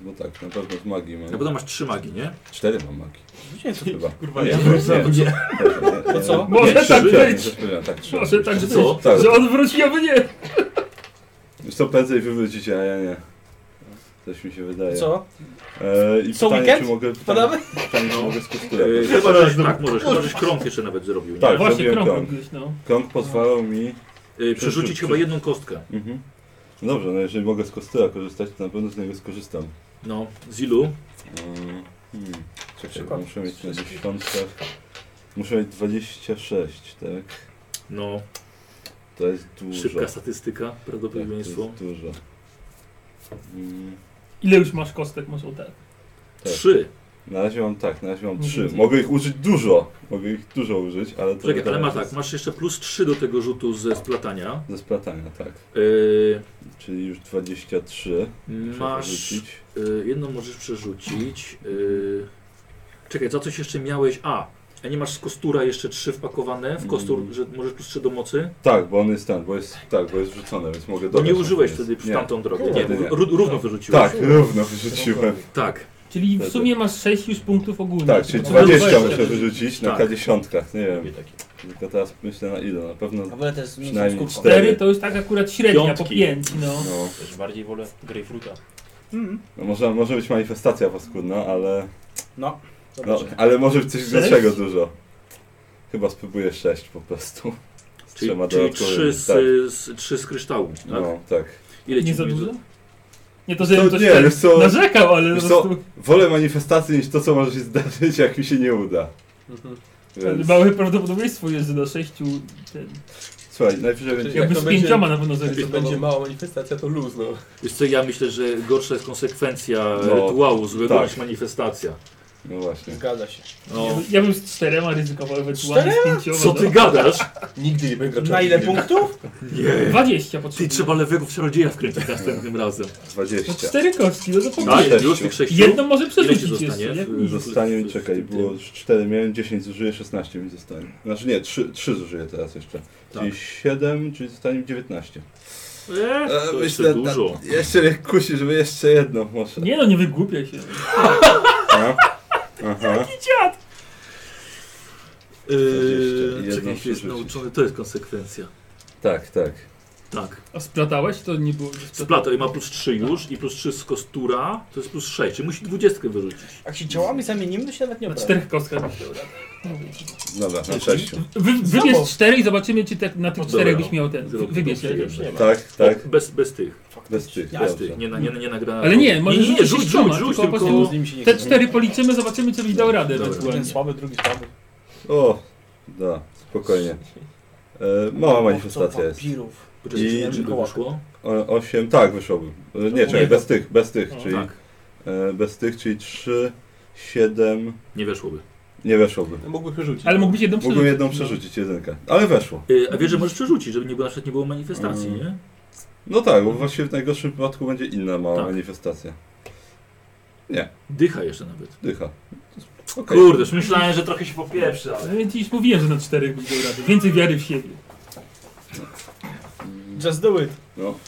[SPEAKER 1] bo tak, na pewno z magii
[SPEAKER 4] A
[SPEAKER 1] mam.
[SPEAKER 4] potem masz trzy magii, nie?
[SPEAKER 1] Cztery mam magii. Chyba.
[SPEAKER 2] Kurwa,
[SPEAKER 1] Nie,
[SPEAKER 2] ja
[SPEAKER 1] nie,
[SPEAKER 2] wrócę.
[SPEAKER 1] nie. To
[SPEAKER 2] co?
[SPEAKER 3] Może
[SPEAKER 4] tak
[SPEAKER 3] być.
[SPEAKER 1] Tak, trzy.
[SPEAKER 3] Może tak
[SPEAKER 4] Czy
[SPEAKER 3] być,
[SPEAKER 4] co?
[SPEAKER 1] Tak.
[SPEAKER 3] że odwróci, aby nie.
[SPEAKER 1] Już co prędzej wywrócicie, a ja nie. Coś mi się wydaje.
[SPEAKER 2] Co?
[SPEAKER 1] Eee, I
[SPEAKER 2] Co,
[SPEAKER 1] pytanie,
[SPEAKER 2] weekend?
[SPEAKER 1] czy mogę. Pytanie,
[SPEAKER 2] Podamy?
[SPEAKER 1] pytanie, czy mogę
[SPEAKER 4] Yy,
[SPEAKER 1] skonstruować.
[SPEAKER 4] chyba, że tak możesz, chyba żeś krąg jeszcze nawet zrobił. Nie?
[SPEAKER 1] Tak,
[SPEAKER 3] Właśnie
[SPEAKER 1] zrobiłem
[SPEAKER 3] krąg
[SPEAKER 1] krąg.
[SPEAKER 3] gdzieś, no.
[SPEAKER 1] Krąg pozwalał mi
[SPEAKER 4] Yy, przerzucić chyba jedną kostkę.
[SPEAKER 1] Mhm. No dobrze, no jeżeli mogę z kostyla korzystać, to na pewno z niego skorzystam.
[SPEAKER 4] No, z ilu?
[SPEAKER 1] Mm, Hmm. Czekaj, bo
[SPEAKER 2] Przykład.
[SPEAKER 1] muszę mieć na dziesiątkach. Muszę mieć 26, tak?
[SPEAKER 4] No,
[SPEAKER 1] To jest dużo.
[SPEAKER 4] szybka
[SPEAKER 1] Tak,
[SPEAKER 4] statystyka,
[SPEAKER 1] to jest
[SPEAKER 4] prawdopodobieństwo.
[SPEAKER 1] dużo. Mm,
[SPEAKER 3] Ile już masz kostek, może tak.
[SPEAKER 1] tak.
[SPEAKER 4] Trzy.
[SPEAKER 1] Na razie mam tak, na razie mam
[SPEAKER 3] Mhm.
[SPEAKER 1] trzy. Mogę ich użyć dużo. Mogę ich dużo użyć, ale to.
[SPEAKER 4] Czekaj, ale
[SPEAKER 1] to
[SPEAKER 4] ma
[SPEAKER 1] jest
[SPEAKER 4] tak, masz jeszcze plus trzy do tego rzutu ze splatania.
[SPEAKER 1] Ze splatania, tak.
[SPEAKER 4] Yy,
[SPEAKER 1] Czyli już 23. Muszę
[SPEAKER 4] masz...
[SPEAKER 1] wyrzucić.
[SPEAKER 4] Y, Jedną możesz przerzucić. y, Czekaj, za coś jeszcze miałeś. A, a nie masz z kostura jeszcze trzy wpakowane w kostur,
[SPEAKER 1] Mm.
[SPEAKER 4] że możesz plus trzy do mocy?
[SPEAKER 1] Tak, bo on jest ten, bo jest. Tak, bo jest rzucone, więc mogę
[SPEAKER 4] Bo
[SPEAKER 1] dodać.
[SPEAKER 4] nie
[SPEAKER 1] na
[SPEAKER 4] użyłeś
[SPEAKER 1] koniec.
[SPEAKER 4] wtedy przy
[SPEAKER 1] Nie.
[SPEAKER 4] tamtą drogę. Nie,
[SPEAKER 1] Kurde,
[SPEAKER 4] bo
[SPEAKER 1] nie.
[SPEAKER 4] ró- równo wyrzuciłeś.
[SPEAKER 1] Tak, równo wyrzuciłem.
[SPEAKER 4] Tak.
[SPEAKER 3] Czyli w
[SPEAKER 1] Wtedy.
[SPEAKER 3] sumie masz 6 już punktów ogólnie.
[SPEAKER 1] Tak, czyli
[SPEAKER 3] No,
[SPEAKER 1] 20
[SPEAKER 3] dwadzieścia
[SPEAKER 1] muszę
[SPEAKER 3] wyrzucić.
[SPEAKER 1] wyrzucić na
[SPEAKER 4] Tak.
[SPEAKER 1] K10, nie wiem.
[SPEAKER 4] Lubię takie.
[SPEAKER 1] Tylko teraz myślę na ile, na pewno
[SPEAKER 12] W ogóle to jest mniejszą
[SPEAKER 1] Przynajmniej
[SPEAKER 12] skórką.
[SPEAKER 1] cztery.
[SPEAKER 3] 4 to już tak akurat średnia, po
[SPEAKER 7] Piątki.
[SPEAKER 3] 5, no.
[SPEAKER 1] no,
[SPEAKER 7] Też bardziej wolę grejpfruta.
[SPEAKER 3] Mm.
[SPEAKER 1] no może, może być manifestacja paskudna, ale
[SPEAKER 12] No,
[SPEAKER 1] no,
[SPEAKER 12] zobaczę.
[SPEAKER 1] ale może być coś
[SPEAKER 3] Sześć?
[SPEAKER 1] gorszego dużo. Chyba spróbuję 6 po prostu. Z
[SPEAKER 4] Czyli,
[SPEAKER 1] trzema
[SPEAKER 4] czyli
[SPEAKER 1] dodatkowymi,
[SPEAKER 4] trzy, z,
[SPEAKER 1] tak.
[SPEAKER 4] z, trzy z kryształu, tak?
[SPEAKER 1] No, tak.
[SPEAKER 4] Ile ci
[SPEAKER 3] Nie za
[SPEAKER 4] mówi-
[SPEAKER 3] dużo? Nie to, że
[SPEAKER 1] To
[SPEAKER 3] to, tak.
[SPEAKER 1] nie, wiesz co,
[SPEAKER 3] narzekał, ale
[SPEAKER 1] wiesz
[SPEAKER 3] po
[SPEAKER 1] co,
[SPEAKER 3] prostu
[SPEAKER 1] Wolę manifestację niż to, co może się zdarzyć, jak mi się nie uda.
[SPEAKER 8] Mhm.
[SPEAKER 1] Więc,
[SPEAKER 3] małe prawdopodobieństwo jest, że do 6 ten,
[SPEAKER 1] słuchaj, najwyżej będzie...
[SPEAKER 3] jakby
[SPEAKER 8] to
[SPEAKER 3] z
[SPEAKER 8] będzie-
[SPEAKER 3] pięcioma na pewno
[SPEAKER 8] Jak
[SPEAKER 3] zarysował.
[SPEAKER 8] będzie mała manifestacja, to luz, no.
[SPEAKER 4] Wiesz co, ja myślę, że gorsza jest konsekwencja
[SPEAKER 1] No,
[SPEAKER 4] rytuału złego
[SPEAKER 1] tak.
[SPEAKER 4] niż manifestacja.
[SPEAKER 1] No właśnie.
[SPEAKER 12] Zgadza się.
[SPEAKER 3] Ja
[SPEAKER 4] No.
[SPEAKER 3] bym- Ja bym z czterema ryzykował, ewentualnie z pięcioma.
[SPEAKER 4] Co
[SPEAKER 3] no.
[SPEAKER 4] ty gadasz?
[SPEAKER 8] Nigdy nie będę
[SPEAKER 2] Na ile punktów?
[SPEAKER 4] Nie.
[SPEAKER 3] 20
[SPEAKER 4] Ty
[SPEAKER 3] potrzebuję.
[SPEAKER 4] trzeba lewego czarodzieja wkręcić następnym razem.
[SPEAKER 3] No
[SPEAKER 1] 20.
[SPEAKER 3] cztery kostki, no to po
[SPEAKER 1] Tak.
[SPEAKER 4] Tak,
[SPEAKER 1] sześciu.
[SPEAKER 4] już tych sześciu?
[SPEAKER 3] Jedną może
[SPEAKER 4] Ile ci
[SPEAKER 3] przerzucić
[SPEAKER 4] zostanie?
[SPEAKER 3] jeszcze, nie?
[SPEAKER 4] w- w-
[SPEAKER 1] Zostanie
[SPEAKER 4] w-
[SPEAKER 1] mi,
[SPEAKER 4] w-
[SPEAKER 1] czekaj,
[SPEAKER 4] w-
[SPEAKER 1] było 4, miałem 10, zużyję 16 mi zostanie. Znaczy nie, 3, 3 zużyję teraz jeszcze.
[SPEAKER 4] Tak.
[SPEAKER 1] Czyli 7, czyli zostanie mi 19.
[SPEAKER 4] Eee, to jeszcze dużo.
[SPEAKER 1] jeszcze mnie kusi, żeby jeszcze jedno może.
[SPEAKER 3] Nie no, nie wygłupiaj się.
[SPEAKER 1] A? Aha.
[SPEAKER 4] Eee,
[SPEAKER 1] Jedną
[SPEAKER 4] czekaj, się jest
[SPEAKER 1] przerzucić.
[SPEAKER 4] nauczony, to jest konsekwencja.
[SPEAKER 1] Tak, tak.
[SPEAKER 4] Tak.
[SPEAKER 3] A splatałeś? To nie było...
[SPEAKER 4] Splata i ma plus 3 już i plus 3 z kostura, to jest plus 6, czyli musi 20 wyrzucić.
[SPEAKER 12] Jak się działami zamienimy, to się nawet nie
[SPEAKER 2] Tak.
[SPEAKER 3] Na
[SPEAKER 12] obrazi.
[SPEAKER 3] czterech kostkach.
[SPEAKER 1] Dobra, na 6.
[SPEAKER 3] Wy, wybierz cztery i zobaczymy, czy te, na tych
[SPEAKER 4] No Dobra.
[SPEAKER 3] czterech byś miał ten.
[SPEAKER 4] Zrób
[SPEAKER 3] Wybierz
[SPEAKER 4] to
[SPEAKER 3] jeden.
[SPEAKER 4] przyjemne.
[SPEAKER 1] Tak, tak.
[SPEAKER 4] O, bez, bez tych,
[SPEAKER 1] Bez tych,
[SPEAKER 4] bez tych,
[SPEAKER 1] dobrze.
[SPEAKER 4] nie, na, nie, na- nie nagrana.
[SPEAKER 3] Ale nie, może
[SPEAKER 4] nie,
[SPEAKER 3] rzucić
[SPEAKER 4] rzuć,
[SPEAKER 3] trzema,
[SPEAKER 4] rzuć, rzuć,
[SPEAKER 3] tylko po
[SPEAKER 4] tylko...
[SPEAKER 3] prostu-
[SPEAKER 12] Z nimi się nie
[SPEAKER 3] Te cztery policzymy, zobaczymy, czy byś dał radę
[SPEAKER 4] Dobra.
[SPEAKER 3] ewentualnie.
[SPEAKER 12] Jeden słaby, drugi słaby.
[SPEAKER 1] O, da, spokojnie. E, mała manifestacja jest.
[SPEAKER 12] Wampirów.
[SPEAKER 4] Poczekaj,
[SPEAKER 1] I-
[SPEAKER 4] czy nam to wyszło?
[SPEAKER 1] 8, tak, wyszłoby. E, Nie, czekaj, bez tych, bez tych, czyli...
[SPEAKER 4] Tak,
[SPEAKER 1] E, bez tych, czyli 3, 7...
[SPEAKER 4] nie weszłoby.
[SPEAKER 1] Nie weszłoby.
[SPEAKER 8] Mógłbyś rzucić.
[SPEAKER 3] Ale mógłbyś jedną
[SPEAKER 1] Mogłem
[SPEAKER 3] przerzucić.
[SPEAKER 1] jedną przerzucić, jedynkę. Ale weszło.
[SPEAKER 4] Yy, a wiesz, że możesz przerzucić, żeby nie było, na przykład nie było manifestacji,
[SPEAKER 1] Mm.
[SPEAKER 4] nie?
[SPEAKER 1] No tak, bo właściwie w najgorszym przypadku będzie inna mała
[SPEAKER 4] Tak.
[SPEAKER 1] manifestacja.
[SPEAKER 4] Dycha jeszcze nawet.
[SPEAKER 1] Dycha. Okej.
[SPEAKER 4] Kurde, już myślałem,
[SPEAKER 11] Myślałem, że trochę się popieprzy, ale...
[SPEAKER 3] No, Ja ci już mówiłem, że na czterech byś dał radę. Więcej wiary w siebie.
[SPEAKER 2] Just do it.
[SPEAKER 1] No.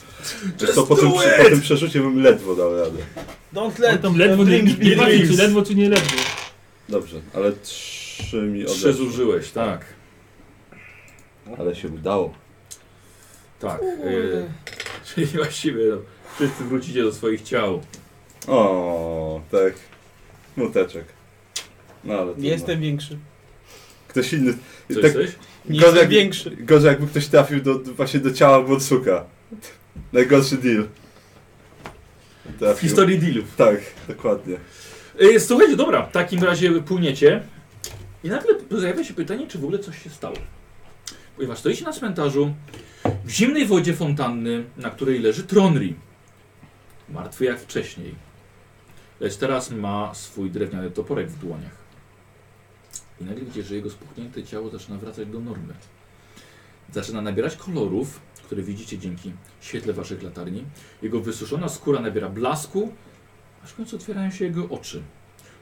[SPEAKER 1] Wiesz co, po tym, po tym przerzucie bym ledwo dał radę.
[SPEAKER 2] Don't
[SPEAKER 3] Bo
[SPEAKER 5] Tak.
[SPEAKER 2] let
[SPEAKER 3] tam ledwo,
[SPEAKER 2] the
[SPEAKER 3] nie,
[SPEAKER 2] dreams
[SPEAKER 3] nie
[SPEAKER 2] be
[SPEAKER 3] patrzy, czy
[SPEAKER 2] dreams.
[SPEAKER 3] ledwo, czy nie ledwo.
[SPEAKER 1] Dobrze, ale trzy mi
[SPEAKER 4] Trzy
[SPEAKER 1] odeszło.
[SPEAKER 4] zużyłeś, tak.
[SPEAKER 1] Ale się udało.
[SPEAKER 4] Tak. Yy, czyli właściwie no, wszyscy wrócicie do swoich ciał.
[SPEAKER 1] O, tak. Muteczek. No ale trudno.
[SPEAKER 2] Nie jestem większy.
[SPEAKER 1] Ktoś inny.
[SPEAKER 4] Co
[SPEAKER 1] tak,
[SPEAKER 4] jesteś?
[SPEAKER 2] Nie
[SPEAKER 1] Gorzej
[SPEAKER 2] jestem
[SPEAKER 1] jakby-
[SPEAKER 2] większy.
[SPEAKER 1] Gorzej jakby ktoś trafił do, do- właśnie do ciała Bonsuka. Najgorszy deal. Trafił.
[SPEAKER 4] W historii dealów.
[SPEAKER 1] Tak, dokładnie.
[SPEAKER 4] Yy, słuchajcie, dobra, w takim razie płyniecie. I nagle pojawia się pytanie, czy w ogóle coś się stało. Ponieważ stoicie na cmentarzu, w zimnej wodzie fontanny, na której leży Tronri. Martwy jak wcześniej. Lecz teraz ma swój drewniany toporek w dłoniach. I nagle widzicie, że jego spuchnięte ciało zaczyna wracać do normy. Zaczyna nabierać kolorów, które widzicie dzięki świetle waszych latarni. Jego wysuszona skóra nabiera blasku, aż w końcu otwierają się jego oczy.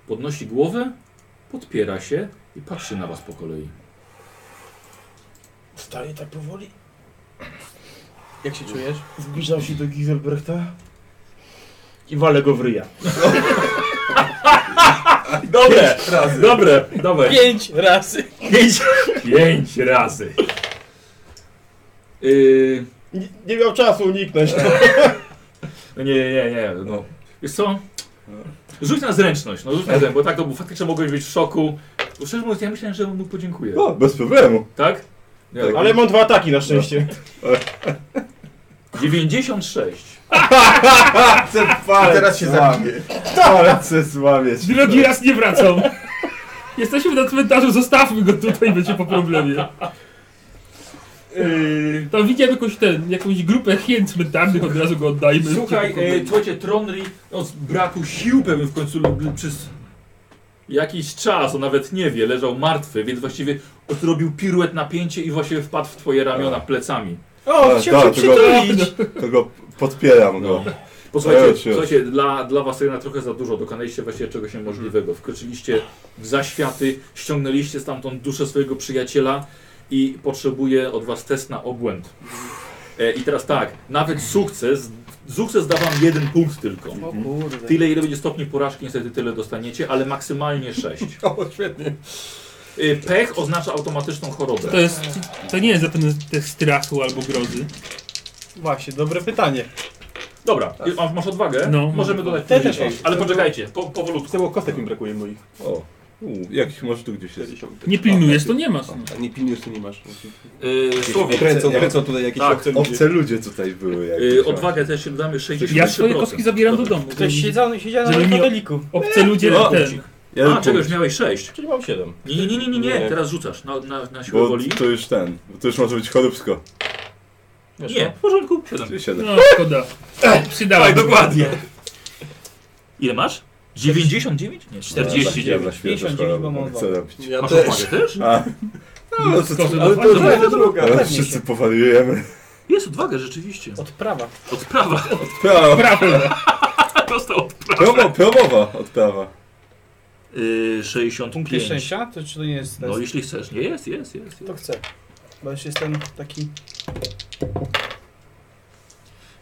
[SPEAKER 4] Podnosi głowę, podpiera się i patrzy na was po kolei.
[SPEAKER 2] Stary, tak powoli. Jak się czujesz?
[SPEAKER 5] Zbliżam się do Giselbrechta i walę go w ryja.
[SPEAKER 4] Dobre! Dobre! Dawaj!
[SPEAKER 2] Pięć razy.
[SPEAKER 4] Pięć, pięć razy! Yy,
[SPEAKER 5] Nie, nie miał czasu
[SPEAKER 4] *laughs*
[SPEAKER 5] uniknąć.
[SPEAKER 4] no nie, nie, nie, nie, no. Wiesz co? Rzuć na zręczność, no rzuć na zręczność, bo tak, to faktycznie mogłeś być w szoku. Bo Szczerze mówiąc, ja myślałem, że mu podziękuję.
[SPEAKER 1] O, No, bez problemu.
[SPEAKER 4] Tak? Nie,
[SPEAKER 1] Tak.
[SPEAKER 5] Ale mam dwa ataki na
[SPEAKER 4] No.
[SPEAKER 5] szczęście.
[SPEAKER 4] 96.
[SPEAKER 1] Chcę palec teraz się złamie. Palec chcę złamieć.
[SPEAKER 3] Drugi raz nie wracam. Jesteśmy na cmentarzu, zostawmy go tutaj, będzie po problemie. Yy, Tam widziałem jakąś, ten, jakąś grupę hien cmentarnych, od razu go oddajmy. będzie po
[SPEAKER 4] Słuchaj,
[SPEAKER 3] problemie.
[SPEAKER 4] e, słuchajcie, Tronry no, z braku sił pewnie w końcu l- l- przez jakiś czas, on nawet nie wie, leżał martwy, więc właściwie zrobił piruet napięcie i właśnie wpadł w twoje ramiona plecami.
[SPEAKER 2] O,
[SPEAKER 1] A,
[SPEAKER 2] chciał
[SPEAKER 1] dobra,
[SPEAKER 2] się
[SPEAKER 1] to go-
[SPEAKER 2] przytulić.
[SPEAKER 1] To go podpieram
[SPEAKER 4] No.
[SPEAKER 1] go.
[SPEAKER 4] Posłuchajcie,
[SPEAKER 1] Już, już.
[SPEAKER 4] słuchajcie dla, dla was jednak trochę za dużo, dokonaliście właściwie czegoś niemożliwego. Wkroczyliście w zaświaty, ściągnęliście stamtąd duszę swojego przyjaciela i potrzebuje od was test na obłęd. E, I teraz tak, nawet sukces, sukces da wam jeden punkt tylko.
[SPEAKER 12] O kurde. *laughs*
[SPEAKER 4] Tyle, ile będzie stopni porażki, niestety tyle dostaniecie, ale maksymalnie 6.
[SPEAKER 8] O, świetnie.
[SPEAKER 4] Y, Pech oznacza automatyczną chorobę.
[SPEAKER 3] To jest, to nie jest zapewne test strachu albo grozy.
[SPEAKER 12] Właśnie, dobre pytanie.
[SPEAKER 4] Dobra, y, a masz odwagę?
[SPEAKER 3] No.
[SPEAKER 4] Możemy dodać
[SPEAKER 12] Te
[SPEAKER 4] później.
[SPEAKER 12] też mam.
[SPEAKER 4] Ale poczekajcie, po, powolutku.
[SPEAKER 5] Chcę, bo kostek mi brakuje moich.
[SPEAKER 1] O, u, jakichś może tu gdzieś jest.
[SPEAKER 5] 50.
[SPEAKER 3] Nie pilnujesz, to nie masz. No.
[SPEAKER 5] A nie pilniesz, to nie masz.
[SPEAKER 4] Y, Słowik,
[SPEAKER 5] Kręcą, kręcą tutaj jakieś
[SPEAKER 4] Tak,
[SPEAKER 5] obce ludzie.
[SPEAKER 1] Obce ludzie tutaj były jakieś.
[SPEAKER 4] y, odwagę też się dodamy 63%.
[SPEAKER 3] Ja swoje kostki zabieram do
[SPEAKER 4] Dobra.
[SPEAKER 3] domu.
[SPEAKER 2] Ktoś siedział, siedział
[SPEAKER 3] Żeby
[SPEAKER 2] na
[SPEAKER 3] mi-
[SPEAKER 2] foteliku.
[SPEAKER 3] Obce ludzie
[SPEAKER 1] No.
[SPEAKER 3] ten.
[SPEAKER 1] Ja
[SPEAKER 4] A,
[SPEAKER 1] bym
[SPEAKER 4] czego już
[SPEAKER 1] pomyślał,
[SPEAKER 4] miałeś 6?
[SPEAKER 5] Czyli mam 7.
[SPEAKER 4] Nie, nie, nie, nie, nie, nie.
[SPEAKER 5] Nie.
[SPEAKER 4] teraz rzucasz na, na, na siłę
[SPEAKER 1] Bo
[SPEAKER 4] woli.
[SPEAKER 1] to już ten, bo to już może być choróbsko.
[SPEAKER 4] Nie, w porządku, 7.
[SPEAKER 1] Czyli siedem.
[SPEAKER 3] No, szkoda. Przydała
[SPEAKER 4] Tak, dokładnie. Ile masz? 99? Nie,
[SPEAKER 1] Ja
[SPEAKER 4] 49.
[SPEAKER 1] na świeżo
[SPEAKER 12] 59
[SPEAKER 1] chorobę,
[SPEAKER 12] mam
[SPEAKER 1] no, co robić.
[SPEAKER 8] Ja
[SPEAKER 4] Masz
[SPEAKER 8] też.
[SPEAKER 4] odwagę też?
[SPEAKER 1] A, no, to, to,
[SPEAKER 3] Ale
[SPEAKER 1] to,
[SPEAKER 4] to-
[SPEAKER 2] no,
[SPEAKER 8] druga.
[SPEAKER 1] teraz wszyscy powariujemy.
[SPEAKER 4] Jest odwaga, rzeczywiście.
[SPEAKER 2] Odprawa.
[SPEAKER 4] Odprawa. *laughs*
[SPEAKER 1] Prawa,
[SPEAKER 3] Prawda.
[SPEAKER 4] Prosta odprawa.
[SPEAKER 1] promo, promowa odprawa.
[SPEAKER 4] Yy,
[SPEAKER 2] Punkty
[SPEAKER 4] 65.
[SPEAKER 2] szczęścia? To czy to nie jest test?
[SPEAKER 4] No jeśli chcesz. Nie, jest, jest, jest.
[SPEAKER 2] To
[SPEAKER 4] jest.
[SPEAKER 2] chcę. Bo już jestem taki...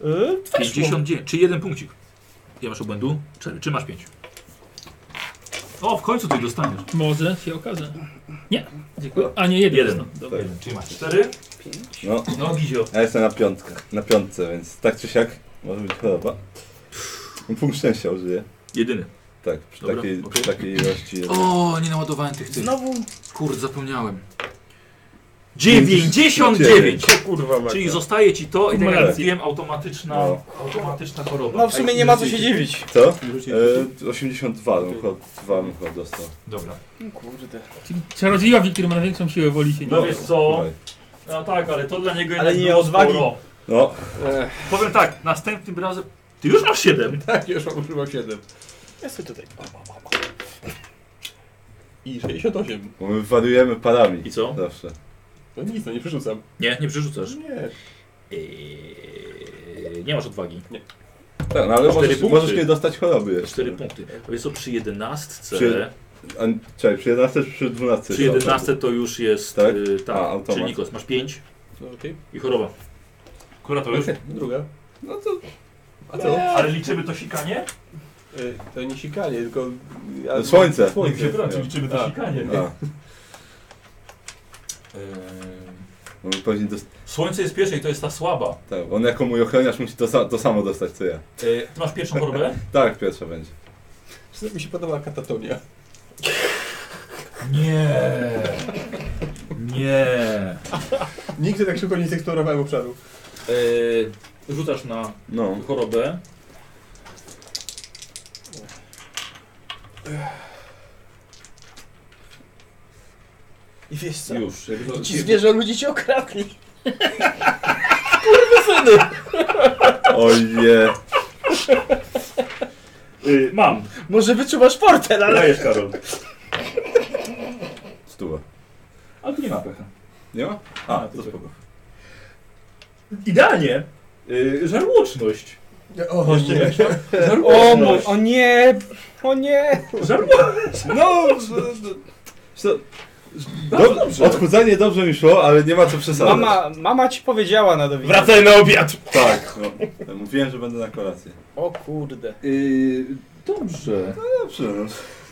[SPEAKER 2] Yy,
[SPEAKER 4] 59. Czy jeden punkcik. Ile masz obłędu? 4. Czy masz 5? O, w końcu ty dostaniesz.
[SPEAKER 3] Może się okaże. Nie, dziękuję. A nie, jeden.
[SPEAKER 4] Jeden.
[SPEAKER 3] jeden. Dobra.
[SPEAKER 1] Tak.
[SPEAKER 4] Czyli masz 4.
[SPEAKER 1] No,
[SPEAKER 4] No, Gizio.
[SPEAKER 1] ja jestem na piątkach, na piątce, więc tak czy siak może być choroba. Punkt szczęścia użyję.
[SPEAKER 4] Jedyny.
[SPEAKER 1] Tak, przy
[SPEAKER 4] Dobra,
[SPEAKER 1] takiej,
[SPEAKER 4] okej.
[SPEAKER 1] przy takiej ilości jest.
[SPEAKER 4] O, nie naładowałem tych tych.
[SPEAKER 2] Znowu
[SPEAKER 4] Kurde, zapomniałem.
[SPEAKER 1] 99.
[SPEAKER 4] 99!
[SPEAKER 5] Kurwa macie.
[SPEAKER 4] Czyli zostaje ci to i tak jak
[SPEAKER 3] Kumulacja.
[SPEAKER 4] mówiłem, automatyczna,
[SPEAKER 1] No.
[SPEAKER 4] automatyczna choroba.
[SPEAKER 2] No w sumie nie ma co się dziwić.
[SPEAKER 1] Co? E, 82 bym chyba- dwa bym chyba dostał.
[SPEAKER 4] Dobra.
[SPEAKER 5] Kurde.
[SPEAKER 3] Czyli Czarodziejowi, który ma największą siłę woli się nie
[SPEAKER 4] No wiesz co,
[SPEAKER 1] Dawaj.
[SPEAKER 4] no tak, ale to dla niego
[SPEAKER 2] Ale
[SPEAKER 4] jednak
[SPEAKER 2] nie
[SPEAKER 4] było
[SPEAKER 2] odwagi.
[SPEAKER 4] sporo.
[SPEAKER 1] No,
[SPEAKER 4] Powiem tak, następnym razem... Ty już masz 7.
[SPEAKER 5] Tak, już mam chyba 7.
[SPEAKER 2] Ja sobie tutaj.
[SPEAKER 5] I 68.
[SPEAKER 1] bo my wariujemy parami.
[SPEAKER 4] I co?
[SPEAKER 1] Zawsze.
[SPEAKER 5] No nic, no nie przerzucam.
[SPEAKER 4] Nie, nie przerzucasz.
[SPEAKER 5] Nie.
[SPEAKER 4] Eee, nie masz odwagi.
[SPEAKER 1] Tak, no ale
[SPEAKER 4] Cztery
[SPEAKER 1] możesz,
[SPEAKER 4] punkty.
[SPEAKER 1] możesz kiedyś dostać choroby jeszcze.
[SPEAKER 4] 4 punkty. A Wiesz co, przy 11,
[SPEAKER 1] Przy-
[SPEAKER 4] przy,
[SPEAKER 1] A, czekaj, przy 11 czy przy 12?
[SPEAKER 4] przy 11 to już jest...
[SPEAKER 1] Tak?
[SPEAKER 4] y, tak,
[SPEAKER 1] A, automat.
[SPEAKER 4] czyli Nikos, masz 5
[SPEAKER 5] No, Okej.
[SPEAKER 4] i choroba.
[SPEAKER 11] Która to już?
[SPEAKER 5] Druga.
[SPEAKER 1] No to...
[SPEAKER 5] A co?
[SPEAKER 4] Ale liczymy to sikanie?
[SPEAKER 5] Y, To nie sikanie, tylko... ja-
[SPEAKER 1] No, słońce.
[SPEAKER 5] Słońce.
[SPEAKER 4] liczymy
[SPEAKER 5] to
[SPEAKER 4] sikanie.
[SPEAKER 1] A, no, później dost...
[SPEAKER 4] Słońce jest pierwsze i to jest ta słaba.
[SPEAKER 1] tak, on jako mój ochroniarz musi to, sa- to samo dostać co ja.
[SPEAKER 4] Eee, ty masz pierwszą chorobę?
[SPEAKER 1] Tak, pierwsza będzie.
[SPEAKER 5] Mi się podoba katatonia.
[SPEAKER 4] Nie. Nie.
[SPEAKER 5] Nigdy tak szybko nie zeksplorowałem obszaru.
[SPEAKER 4] Eee, rzucasz na
[SPEAKER 1] No.
[SPEAKER 4] chorobę.
[SPEAKER 2] I wiesz co?
[SPEAKER 4] Już. jakby to-
[SPEAKER 2] Ci zwierzę ludzi cię okradli.
[SPEAKER 1] Oje.
[SPEAKER 4] Y, Mam.
[SPEAKER 2] Może wyczuwasz portel, ale...
[SPEAKER 4] Dajesz, Karol.
[SPEAKER 1] Stuwa.
[SPEAKER 4] Ale tu nie ma pecha.
[SPEAKER 1] Nie ma? A, to spoko.
[SPEAKER 4] Idealnie. Yy, żarłoczność.
[SPEAKER 10] O, nie.
[SPEAKER 2] O, mój, o nie! O nie!
[SPEAKER 4] Żarłoczność.
[SPEAKER 2] No!
[SPEAKER 1] Co?
[SPEAKER 4] No,
[SPEAKER 1] Dob- odchudzanie dobrze mi szło, ale nie ma co przesadzać.
[SPEAKER 2] Mama, mama ci powiedziała na dowiedzenie.
[SPEAKER 5] Wracaj na obiad!
[SPEAKER 1] Tak, no. Mówiłem, że będę na kolację.
[SPEAKER 2] O kurde.
[SPEAKER 4] Yy, dobrze.
[SPEAKER 1] Dobrze, no.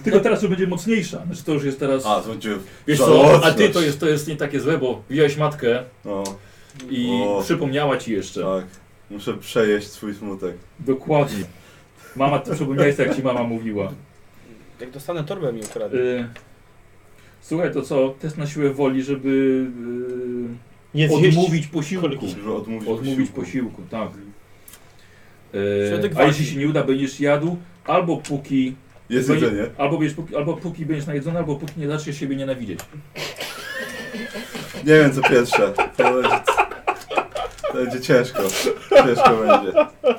[SPEAKER 4] Tylko teraz już będzie mocniejsza. Znaczy to już jest teraz...
[SPEAKER 1] A, złodziejów.
[SPEAKER 4] wiesz co, a ty to jest, to jest nie takie złe, bo wziąłeś matkę
[SPEAKER 1] No,
[SPEAKER 4] i
[SPEAKER 1] O.
[SPEAKER 4] przypomniała ci jeszcze.
[SPEAKER 1] tak. Muszę przejeść swój smutek.
[SPEAKER 4] Dokładnie. Mama, ty przypomniałeś tak jak ci mama mówiła.
[SPEAKER 2] Jak dostanę torbę mi ukradnie.
[SPEAKER 4] Yy, słuchaj, to co? Test na siłę woli, żeby
[SPEAKER 2] Nie
[SPEAKER 4] yy, odmówić posiłku.
[SPEAKER 1] Żeby odmówić,
[SPEAKER 4] Odmówić posiłku, tak. Yy,
[SPEAKER 2] Środek
[SPEAKER 4] a jeśli
[SPEAKER 2] walki.
[SPEAKER 4] się nie uda, będziesz jadł albo póki
[SPEAKER 1] Jest
[SPEAKER 4] Bo nie-
[SPEAKER 1] jedzenie.
[SPEAKER 4] Albo, będziesz, póki, albo póki będziesz najedzony, albo póki nie zaczniesz siebie nienawidzieć.
[SPEAKER 1] Nie wiem co pierwsze. To będzie, to będzie ciężko. Ciężko będzie. No.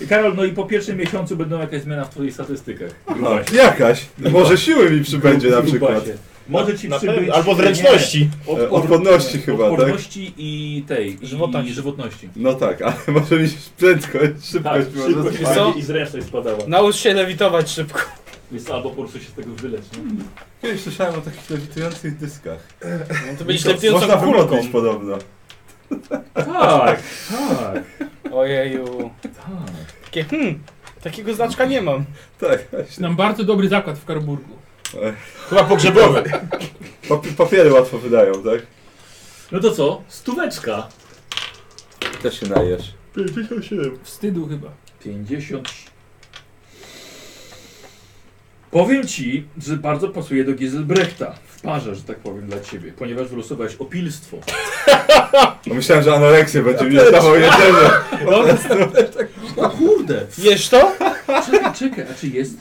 [SPEAKER 4] I Karol, no i po pierwszym miesiącu będą jakaś zmiana w twoich statystykach.
[SPEAKER 1] No, jakaś. Może siły mi przybędzie na przykład.
[SPEAKER 4] Grubasie. Może ci
[SPEAKER 5] Na
[SPEAKER 4] przybyć...
[SPEAKER 5] pewno. Albo
[SPEAKER 4] nie,
[SPEAKER 5] zręczności.
[SPEAKER 4] od-
[SPEAKER 1] E,
[SPEAKER 4] od-
[SPEAKER 1] odporności chyba, tak?
[SPEAKER 4] Odporności i tej, i żywotności.
[SPEAKER 2] Żywotności.
[SPEAKER 4] żywotności.
[SPEAKER 1] No tak, ale może mi się prędkość, szybkość
[SPEAKER 4] Tak,
[SPEAKER 1] może
[SPEAKER 4] szybkość
[SPEAKER 1] spadnie.
[SPEAKER 2] Co?
[SPEAKER 4] i zręczność spadała.
[SPEAKER 2] Naucz się lewitować szybko.
[SPEAKER 4] Więc albo po prostu się z tego wylecz, nie?
[SPEAKER 1] Kiedyś słyszałem o takich lewitujących dyskach.
[SPEAKER 2] No to będziesz
[SPEAKER 1] Można
[SPEAKER 2] lewitującą kulką.
[SPEAKER 1] wymodlić podobno.
[SPEAKER 4] *laughs* Tak, tak,
[SPEAKER 2] Ojeju.
[SPEAKER 4] tak.
[SPEAKER 2] Takie, hmm, takiego znaczka nie mam.
[SPEAKER 1] Tak, właśnie.
[SPEAKER 3] No. Nam bardzo dobry zakład w Karburgu.
[SPEAKER 5] Chyba pogrzebowy.
[SPEAKER 1] Papi- papiery łatwo wydają, tak?
[SPEAKER 4] No to co? Stóweczka.
[SPEAKER 1] Też się najesz.
[SPEAKER 4] 57.
[SPEAKER 3] Wstydu chyba.
[SPEAKER 4] 50. Powiem ci, że bardzo pasuje do Giselbrechta. W parze, że tak powiem, dla ciebie. Ponieważ wylosowałeś opilstwo.
[SPEAKER 1] No myślałem, że anoreksję będzie mi dawał jedzenie.
[SPEAKER 4] O kurde!
[SPEAKER 5] Jesz to?
[SPEAKER 4] Czekaj, czekaj, a czy jest?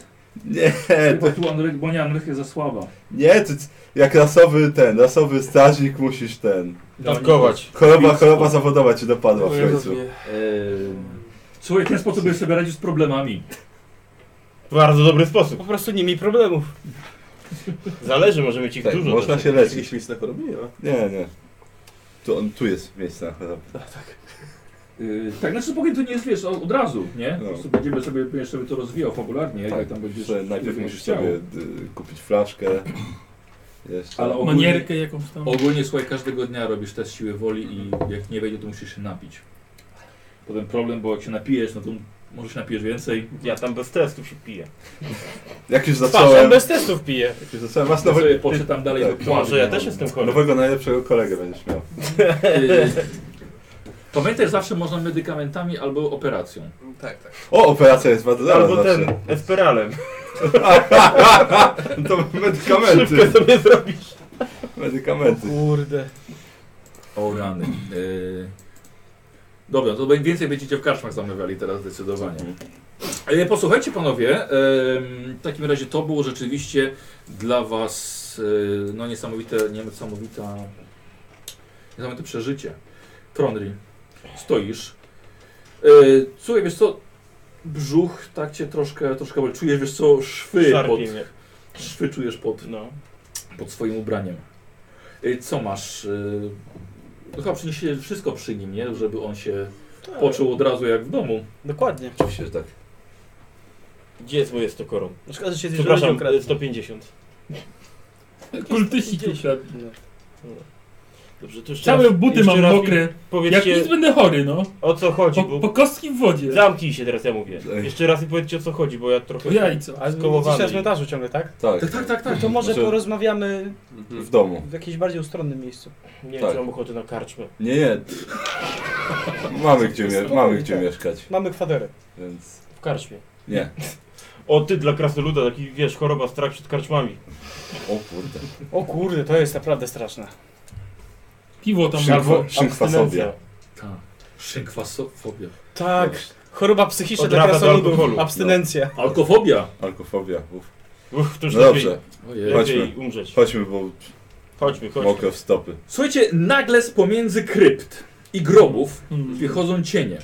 [SPEAKER 1] Nie,
[SPEAKER 4] Bo
[SPEAKER 1] to,
[SPEAKER 4] tu Andrek, bo nie, Andrek jest za słaba.
[SPEAKER 1] nie, to c- jak rasowy ten, rasowy strażnik musisz ten.
[SPEAKER 2] No,
[SPEAKER 5] Dawkować.
[SPEAKER 1] Choroba, choroba zawodowa cię dopadła w końcu.
[SPEAKER 4] Słuchaj, w ten sposób będziesz sobie radził z problemami.
[SPEAKER 5] Bardzo dobry sposób.
[SPEAKER 12] Po prostu nie miej problemów.
[SPEAKER 5] Zależy, może mieć ich
[SPEAKER 1] Tak,
[SPEAKER 5] dużo.
[SPEAKER 1] można
[SPEAKER 5] też.
[SPEAKER 1] się leczyć.
[SPEAKER 12] miejsce na chorobę nie ma.
[SPEAKER 1] Nie, nie. Tu, on, tu jest miejsce na chorobę.
[SPEAKER 4] Yy, tak, znaczy spokojnie to nie jest, wiesz, od od razu, nie?
[SPEAKER 1] No.
[SPEAKER 4] Po prostu będziemy sobie, będziesz sobie to rozwijał fabularnie,
[SPEAKER 1] Tak,
[SPEAKER 4] jak tam będziesz...
[SPEAKER 1] że najpierw
[SPEAKER 4] będziesz
[SPEAKER 1] musisz
[SPEAKER 4] chciał.
[SPEAKER 1] sobie y, kupić flaszkę. Jeszcze.
[SPEAKER 4] Ale ogólnie-
[SPEAKER 3] Manierkę jakąś tam.
[SPEAKER 4] Ogólnie słuchaj, każdego dnia robisz test siły woli i jak nie wejdzie, to musisz się napić. Potem problem, bo jak się napijesz, no to możesz napijesz więcej.
[SPEAKER 5] Ja tam bez testów się piję.
[SPEAKER 1] Jak już
[SPEAKER 5] Patrzę,
[SPEAKER 1] zacząłem,
[SPEAKER 5] bez testów piję.
[SPEAKER 1] jak już zacząłem, masz
[SPEAKER 4] Ja
[SPEAKER 1] nowego,
[SPEAKER 4] sobie poczytam dalej
[SPEAKER 1] No, tak,
[SPEAKER 4] do
[SPEAKER 5] To może ja
[SPEAKER 4] no.
[SPEAKER 5] też jestem chory.
[SPEAKER 1] nowego najlepszego kolegę będziesz miał.
[SPEAKER 4] Yy, Pamiętaj, zawsze można medykamentami albo operacją.
[SPEAKER 12] Tak, tak.
[SPEAKER 1] O, operacja jest bardzo dobra znaczy. zawsze.
[SPEAKER 5] Albo ten, Esperalem.
[SPEAKER 1] To *laughs* medykamenty.
[SPEAKER 5] sobie zrobisz.
[SPEAKER 1] Medykamenty.
[SPEAKER 5] Kurde.
[SPEAKER 4] O rany. Yy... Dobra, to bę- więcej będziecie w karczmach zamawiali teraz zdecydowanie. E, Posłuchajcie panowie, em, w takim razie to było rzeczywiście dla was e, no niesamowite, niesamowita, niesamowite przeżycie. Tronry, stoisz. E, Słuchaj, wiesz co, brzuch tak cię troszkę, troszkę boli. czujesz, wiesz co, szwy, pod,
[SPEAKER 5] Szarpie mnie.
[SPEAKER 4] szwy czujesz pod,
[SPEAKER 5] No.
[SPEAKER 4] pod swoim ubraniem. Y, Co masz? y, No chyba przyniesie wszystko przy nim, nie? Żeby on się poczuł od razu jak w domu.
[SPEAKER 2] Dokładnie.
[SPEAKER 1] Oczywiście, że tak.
[SPEAKER 5] Gdzie jest moje 100 koron?
[SPEAKER 2] No Szkoda, że się zjeżdżają
[SPEAKER 5] Przepraszam,
[SPEAKER 2] kradną.
[SPEAKER 5] 150.
[SPEAKER 3] Kultyści tu siadł.
[SPEAKER 5] Dobrze, to jeszcze
[SPEAKER 3] Całe
[SPEAKER 5] raz-
[SPEAKER 3] buty
[SPEAKER 5] jeszcze
[SPEAKER 3] mam
[SPEAKER 5] raz mi
[SPEAKER 3] mokre. Jak
[SPEAKER 5] Powiedzcie,
[SPEAKER 3] nic będę chory, no.
[SPEAKER 5] o co chodzi,
[SPEAKER 3] Po,
[SPEAKER 5] bo...
[SPEAKER 3] po kostki w wodzie.
[SPEAKER 5] Zamknij się teraz, ja mówię.
[SPEAKER 1] Ej.
[SPEAKER 5] Jeszcze raz i powiedzcie, o co chodzi, bo ja
[SPEAKER 3] Po
[SPEAKER 5] trochę...
[SPEAKER 3] jajco.
[SPEAKER 2] Ale
[SPEAKER 5] Skołowany.
[SPEAKER 2] jesteś na cmentarzu ciągle, tak?
[SPEAKER 1] Tak,
[SPEAKER 4] Tak, tak, tak, tak.
[SPEAKER 2] To może
[SPEAKER 1] Znaczy-
[SPEAKER 2] porozmawiamy
[SPEAKER 1] w domu.
[SPEAKER 2] w jakimś bardziej ustronnym miejscu.
[SPEAKER 5] Nie
[SPEAKER 1] Tak.
[SPEAKER 5] wiem, czy mam ochotę na karczmę.
[SPEAKER 1] Nie, nie. Mamy gdzie, mie- mamy gdzie
[SPEAKER 2] tak.
[SPEAKER 1] mieszkać,
[SPEAKER 2] Mamy kwaterę.
[SPEAKER 1] więc
[SPEAKER 5] W karczmie.
[SPEAKER 1] nie.
[SPEAKER 5] O, ty dla krasnoluda, taki, wiesz, choroba, strach przed karczmami.
[SPEAKER 1] O kurde.
[SPEAKER 2] O kurde, to jest naprawdę straszne.
[SPEAKER 3] Piwo tam
[SPEAKER 1] Szynk-
[SPEAKER 3] było.
[SPEAKER 1] Szynkwa
[SPEAKER 5] Abstynencja.
[SPEAKER 1] sobie.
[SPEAKER 4] Ta. Szynkwasofobia.
[SPEAKER 2] Tak, choroba psychiczna
[SPEAKER 5] Od
[SPEAKER 2] dla
[SPEAKER 5] rawa do
[SPEAKER 2] krasoludów.
[SPEAKER 5] alkoholu.
[SPEAKER 2] Abstynencja.
[SPEAKER 4] Alkofobia.
[SPEAKER 1] Alkofobia. Uf.
[SPEAKER 5] Uff, to już
[SPEAKER 1] No
[SPEAKER 5] lepiej,
[SPEAKER 1] dobrze,
[SPEAKER 4] Ojej.
[SPEAKER 5] lepiej
[SPEAKER 1] Chodźmy.
[SPEAKER 5] umrzeć.
[SPEAKER 1] chodźmy, bo
[SPEAKER 5] Chodźmy, chodźmy.
[SPEAKER 1] mokro w stopy.
[SPEAKER 4] Słuchajcie, nagle z pomiędzy krypt i grobów
[SPEAKER 3] Mm.
[SPEAKER 4] wychodzą cienie,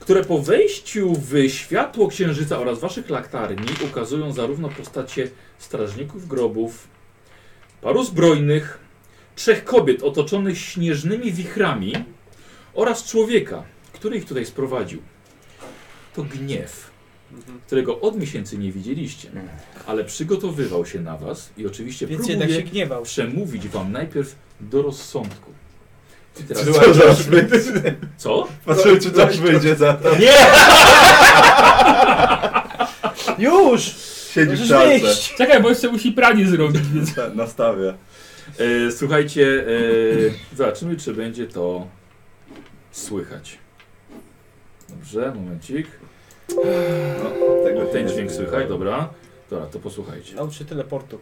[SPEAKER 4] które po wejściu w światło księżyca oraz waszych laktarni ukazują zarówno postacie strażników grobów, paru zbrojnych, trzech kobiet otoczonych śnieżnymi wichrami oraz człowieka, który ich tutaj sprowadził. To gniew, którego od miesięcy nie widzieliście, ale przygotowywał się na was i oczywiście
[SPEAKER 2] Mhm. Więc
[SPEAKER 4] próbuje
[SPEAKER 2] jednak się gniewał.
[SPEAKER 4] przemówić wam najpierw do rozsądku. I teraz...
[SPEAKER 1] Co zaraz wyjdzie?
[SPEAKER 4] Co?
[SPEAKER 1] Patrzymy, czy coś wyjdzie za to.
[SPEAKER 2] *laughs* Już!
[SPEAKER 1] Siedzi w
[SPEAKER 2] Możesz
[SPEAKER 1] szalce.
[SPEAKER 2] wyjść!
[SPEAKER 3] Czekaj, bo jeszcze musi pranie zrobić, więc...
[SPEAKER 1] Ta- Nastawia.
[SPEAKER 4] E, słuchajcie, e, zobaczymy, czy będzie to słychać. Dobrze, momencik.
[SPEAKER 1] No, tego się
[SPEAKER 4] Ten
[SPEAKER 1] nie
[SPEAKER 4] dźwięk
[SPEAKER 1] spodziewałem.
[SPEAKER 4] słychać, dobra. Dobra, to posłuchajcie.
[SPEAKER 2] Naucz się teleportu.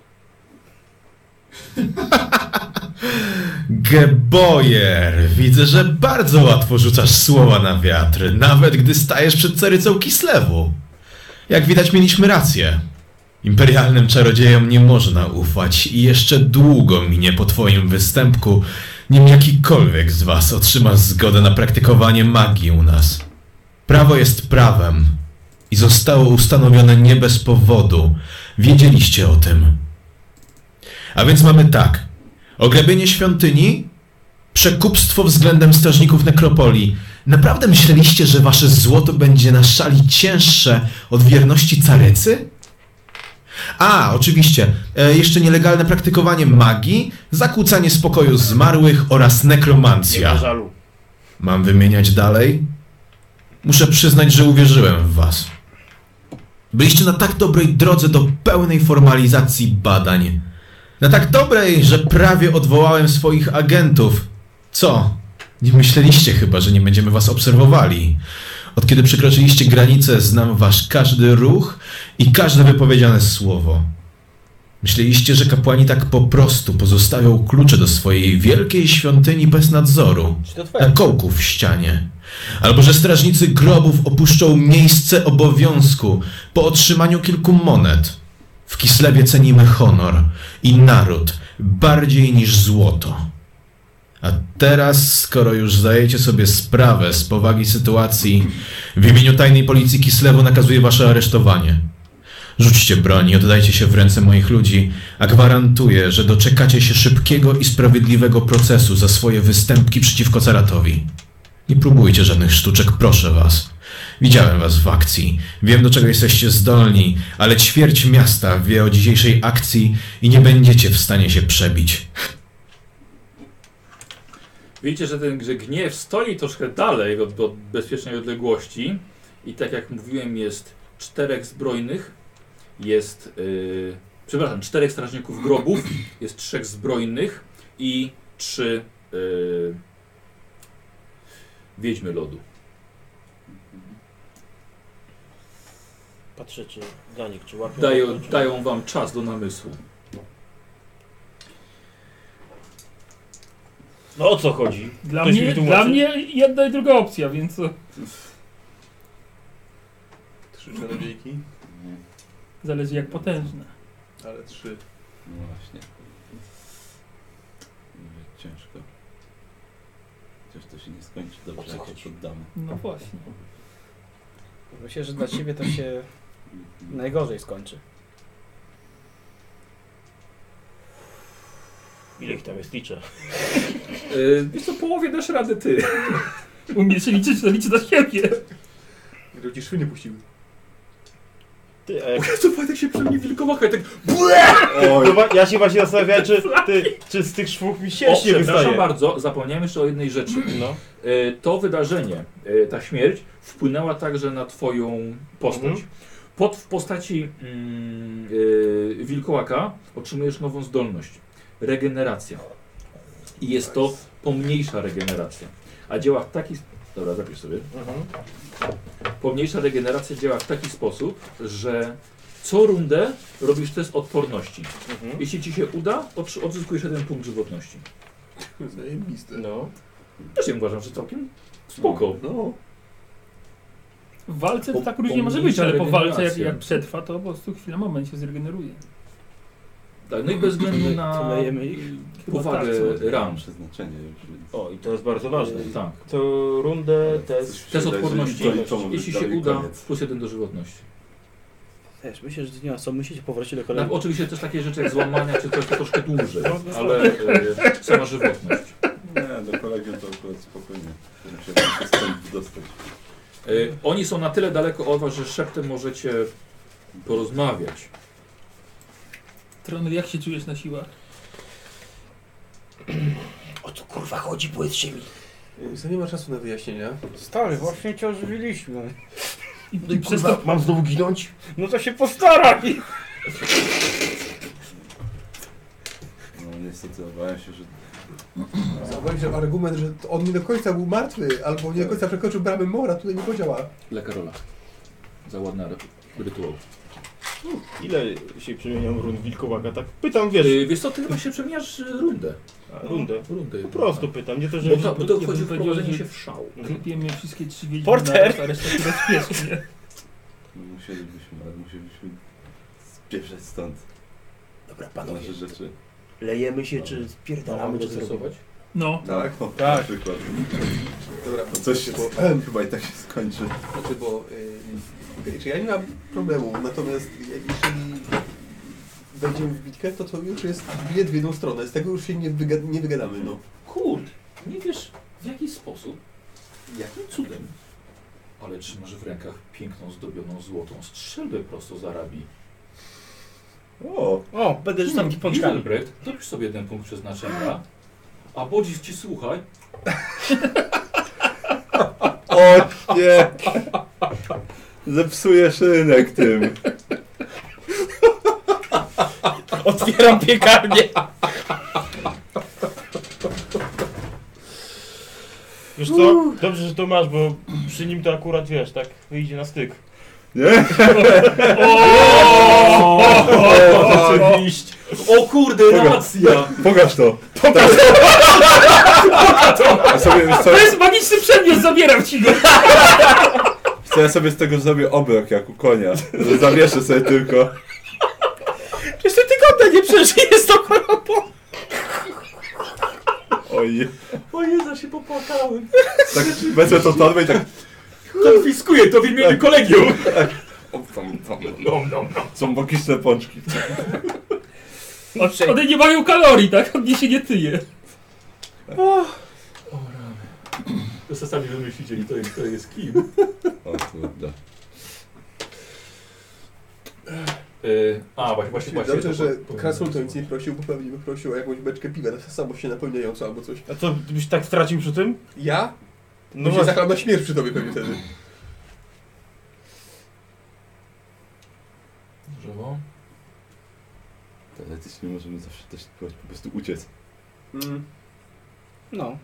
[SPEAKER 13] Gebojer, widzę, że bardzo łatwo rzucasz słowa na wiatr, nawet gdy stajesz przed carycą Kislewu. Jak widać, mieliśmy rację. Imperialnym czarodziejom nie można ufać i jeszcze długo minie po twoim występku, nim jakikolwiek z was otrzyma zgodę na praktykowanie magii u nas. Prawo jest prawem i zostało ustanowione nie bez powodu. Wiedzieliście o tym. A więc mamy tak. Ograbienie świątyni, przekupstwo względem strażników nekropolii. Naprawdę myśleliście, że wasze złoto będzie na szali cięższe od wierności carycy? A, oczywiście, e, jeszcze nielegalne praktykowanie magii, zakłócanie spokoju zmarłych oraz
[SPEAKER 5] Nie ma
[SPEAKER 13] nekromancja.
[SPEAKER 5] żalu.
[SPEAKER 13] Mam wymieniać dalej? Muszę przyznać, że uwierzyłem w was. Byliście na tak dobrej drodze do pełnej formalizacji badań. Na tak dobrej, że prawie odwołałem swoich agentów. Co? Nie myśleliście chyba, że nie będziemy was obserwowali. Od kiedy przekroczyliście granicę, znam wasz każdy ruch i każde wypowiedziane słowo. Myśleliście, że kapłani tak po prostu pozostawią klucze do swojej wielkiej świątyni bez nadzoru, na kołku w ścianie. Albo że strażnicy grobów opuszczą miejsce obowiązku po otrzymaniu kilku monet. W Kislewie cenimy honor i naród bardziej niż złoto. A teraz, skoro już zdajecie sobie sprawę z powagi sytuacji, w imieniu tajnej policji Kislewu nakazuję wasze aresztowanie. Rzućcie broń i oddajcie się w ręce moich ludzi, a gwarantuję, że doczekacie się szybkiego i sprawiedliwego procesu za swoje występki przeciwko Caratowi. Nie próbujcie żadnych sztuczek, proszę was. Widziałem was w akcji, wiem do czego jesteście zdolni, ale ćwierć miasta wie o dzisiejszej akcji i nie będziecie w stanie się przebić.
[SPEAKER 4] Widzicie, że ten że gniew stoi troszkę dalej od, od bezpiecznej odległości i tak jak mówiłem jest czterech zbrojnych, jest, yy, przepraszam, czterech strażników grobów, jest trzech zbrojnych i trzy yy, wiedźmy lodu.
[SPEAKER 5] Patrzę, czy dla nich, czy łapią.
[SPEAKER 4] Dają, dają wam czas do namysłu.
[SPEAKER 5] No o co chodzi?
[SPEAKER 3] Dla
[SPEAKER 5] Ktoś
[SPEAKER 3] mnie,
[SPEAKER 5] mi tłumaczy.
[SPEAKER 3] dla mnie jedna i druga opcja, więc co?
[SPEAKER 12] Trzy czarodziejki,
[SPEAKER 3] Zależy jak potężna.
[SPEAKER 12] ale trzy.
[SPEAKER 1] No właśnie. Ciężko. Chociaż to się nie skończy dobrze, jak się poddamy.
[SPEAKER 3] No właśnie.
[SPEAKER 2] Myślę, że dla ciebie to się najgorzej skończy.
[SPEAKER 5] Ile ich tam jest, liczę.
[SPEAKER 4] Yy, wiesz co, połowie dasz radę ty.
[SPEAKER 3] Umiesz liczyć, to liczy do siebie.
[SPEAKER 12] Gdyby ci szwy nie puściły.
[SPEAKER 5] Ty, a jak...
[SPEAKER 4] To Wojtek się przy mnie wilkołaka i tak
[SPEAKER 5] No wa- ja się właśnie zastanawiałem, czy, ty, czy z tych szwów mi
[SPEAKER 4] O,
[SPEAKER 5] sierść nie
[SPEAKER 4] przepraszam
[SPEAKER 5] wystaje.
[SPEAKER 4] bardzo, zapomniałem jeszcze o jednej rzeczy.
[SPEAKER 5] No.
[SPEAKER 4] E, To wydarzenie, e, ta śmierć, wpłynęła także na twoją postać.
[SPEAKER 5] Mhm.
[SPEAKER 4] Pod, w postaci mm, e, wilkołaka otrzymujesz nową zdolność. Regeneracja. I jest to pomniejsza regeneracja. A działa w taki... Dobra, zapisz sobie.
[SPEAKER 5] Mhm.
[SPEAKER 4] Pomniejsza regeneracja działa w taki sposób, że co rundę robisz test odporności.
[SPEAKER 5] Mhm.
[SPEAKER 4] Jeśli ci się uda, otrzy- odzyskujesz jeden punkt żywotności.
[SPEAKER 12] Zajebiste.
[SPEAKER 5] No.
[SPEAKER 4] Też ja uważam, że całkiem spoko.
[SPEAKER 12] No.
[SPEAKER 3] W walce to
[SPEAKER 4] Po-
[SPEAKER 3] tak różnie może być,
[SPEAKER 4] pomniejsza
[SPEAKER 3] ale po walce jak,
[SPEAKER 4] regeneracja.
[SPEAKER 3] jak przetrwa, to po prostu chwila moment się zregeneruje.
[SPEAKER 4] Tak, no i bez względu
[SPEAKER 5] To
[SPEAKER 4] na
[SPEAKER 5] lejemy ich?
[SPEAKER 4] powagę
[SPEAKER 3] Chyba tak,
[SPEAKER 4] ram.
[SPEAKER 1] Przeznaczenie już.
[SPEAKER 5] O, i to jest bardzo ważne.
[SPEAKER 4] Tak.
[SPEAKER 5] To rundę test...
[SPEAKER 4] Test odporności,
[SPEAKER 1] Jeżeli to liczą,
[SPEAKER 4] jeśli
[SPEAKER 1] to
[SPEAKER 4] się
[SPEAKER 1] i
[SPEAKER 4] uda,
[SPEAKER 1] koniec.
[SPEAKER 4] plus jeden do żywotności.
[SPEAKER 5] Też, myślę, że nie ma co, myślicie powrocie do
[SPEAKER 4] Tak,
[SPEAKER 5] kolegi.
[SPEAKER 4] oczywiście też takie rzeczy jak złamania czy coś to troszkę dłużej,
[SPEAKER 5] No,
[SPEAKER 4] ale e, sama żywotność.
[SPEAKER 1] Nie, do kolegium to akurat spokojnie. Musiałem się stąd dostać.
[SPEAKER 4] E, oni są na tyle daleko od was, że szeptem możecie porozmawiać.
[SPEAKER 3] Tronel, jak się czujesz na siłach?
[SPEAKER 10] O co kurwa chodzi, bo jest ziemi?
[SPEAKER 12] y, Za nie ma czasu na wyjaśnienia.
[SPEAKER 2] Stary, właśnie cię ożywiliśmy.
[SPEAKER 3] I,
[SPEAKER 12] No
[SPEAKER 3] i
[SPEAKER 12] i
[SPEAKER 3] przez
[SPEAKER 12] kurwa,
[SPEAKER 3] to
[SPEAKER 12] mam znowu ginąć?
[SPEAKER 2] No to się postaraj!
[SPEAKER 1] No niestety obawiam się, że
[SPEAKER 12] Zauważyłem, że argument, że to on nie do końca był martwy, albo nie do końca przekroczył bramę mora, tutaj nie podziała.
[SPEAKER 4] Dla Karola. Za ładny re- rytuał.
[SPEAKER 5] Ile się przemienią rund wilkołaka? Tak pytam, wiesz,
[SPEAKER 4] E, wiesz co, ty chyba się przemieniasz e, rundę.
[SPEAKER 5] a, rundę.
[SPEAKER 4] Rundę. tak.
[SPEAKER 5] Po prostu pytam, nie to, że...
[SPEAKER 4] Bo to, bo to chodzi o
[SPEAKER 3] powiedział,
[SPEAKER 4] wprowadzenie
[SPEAKER 3] że-
[SPEAKER 4] się w szał.
[SPEAKER 3] klepiemy wszystkie trzy wiedźmy
[SPEAKER 5] Porter!
[SPEAKER 3] naraz, a reszta się rozpiesznie.
[SPEAKER 1] musielibyśmy, ale musielibyśmy spieszać stąd
[SPEAKER 10] Dobra,
[SPEAKER 1] nasze rzeczy.
[SPEAKER 10] Lejemy się, czy spierdalamy, czy co robimy?
[SPEAKER 3] No,
[SPEAKER 1] Tak, o,
[SPEAKER 12] Tak.
[SPEAKER 1] na przykład.
[SPEAKER 12] Dobra,
[SPEAKER 1] No coś się,
[SPEAKER 12] bo,
[SPEAKER 1] chyba i tak się skończy.
[SPEAKER 12] znaczy, bo y, czy ja nie mam problemu, natomiast jeżeli wejdziemy w bitkę, to to już jest bilet w jedną stronę, z tego już się nie, wyga nie wygadamy, no.
[SPEAKER 4] Kurde, nie wiesz w jaki sposób,
[SPEAKER 12] Jakim
[SPEAKER 4] No cudem, ale trzymasz w rękach piękną, zdobioną złotą strzelbę prosto z Arabii.
[SPEAKER 1] O,
[SPEAKER 2] O, będę rzucał
[SPEAKER 4] *laughs*
[SPEAKER 2] hmm, pączkami.
[SPEAKER 4] Hildebrand, dopisz sobie jeden punkt przeznaczenia, a Bodzisz ci słuchaj,
[SPEAKER 12] *laughs* O nie!
[SPEAKER 1] Zepsujesz rynek tym.
[SPEAKER 5] Otwieram piekarnię. Wiesz co, dobrze, że to masz, bo przy nim to akurat, wiesz, tak wyjdzie na styk.
[SPEAKER 1] Nie?
[SPEAKER 5] O!
[SPEAKER 4] Oczywiście. O kurde, racja!
[SPEAKER 1] Pokaż to. Pokaż to. Ja sobie, wiesz co,
[SPEAKER 3] To jest magiczny przedmiot, zabieram ci go!
[SPEAKER 1] co, ja sobie z tego zrobię obrok jak u konia. Że Zawieszę sobie tylko.
[SPEAKER 2] Przecież to tygodnia nie przeżyjesz to chorobą.
[SPEAKER 1] Oj.
[SPEAKER 11] O Jezu, się popłakałem.
[SPEAKER 1] Tak wezmę tą torbę i tak...
[SPEAKER 4] Konfiskuję to w imieniu kolegium.
[SPEAKER 1] O, tam, tam, nom, nom, nom. Są bokiczne pączki.
[SPEAKER 3] Od- One nie mają kalorii, tak? On nie się nie tyje.
[SPEAKER 4] To se sami wymyślicie, kto jest, kto jest kim.
[SPEAKER 1] O kurde.
[SPEAKER 4] Yy, a, właśnie, właśnie, właśnie.
[SPEAKER 12] Dobrze,
[SPEAKER 4] to
[SPEAKER 12] że
[SPEAKER 4] po- po-
[SPEAKER 12] Krasul to nic nie prosił, bo pewnie by prosił o jakąś beczkę piwa, na samo się napełniającą albo coś.
[SPEAKER 5] A co, byś tak stracił przy tym?
[SPEAKER 12] Ja?
[SPEAKER 5] No
[SPEAKER 12] No
[SPEAKER 5] właśnie.
[SPEAKER 12] się zakładam na śmierć przy tobie pewnie wtedy.
[SPEAKER 4] Drzewo.
[SPEAKER 1] Teoretycznie możemy zawsze też spróbować po prostu uciec.
[SPEAKER 12] Mm.
[SPEAKER 2] No.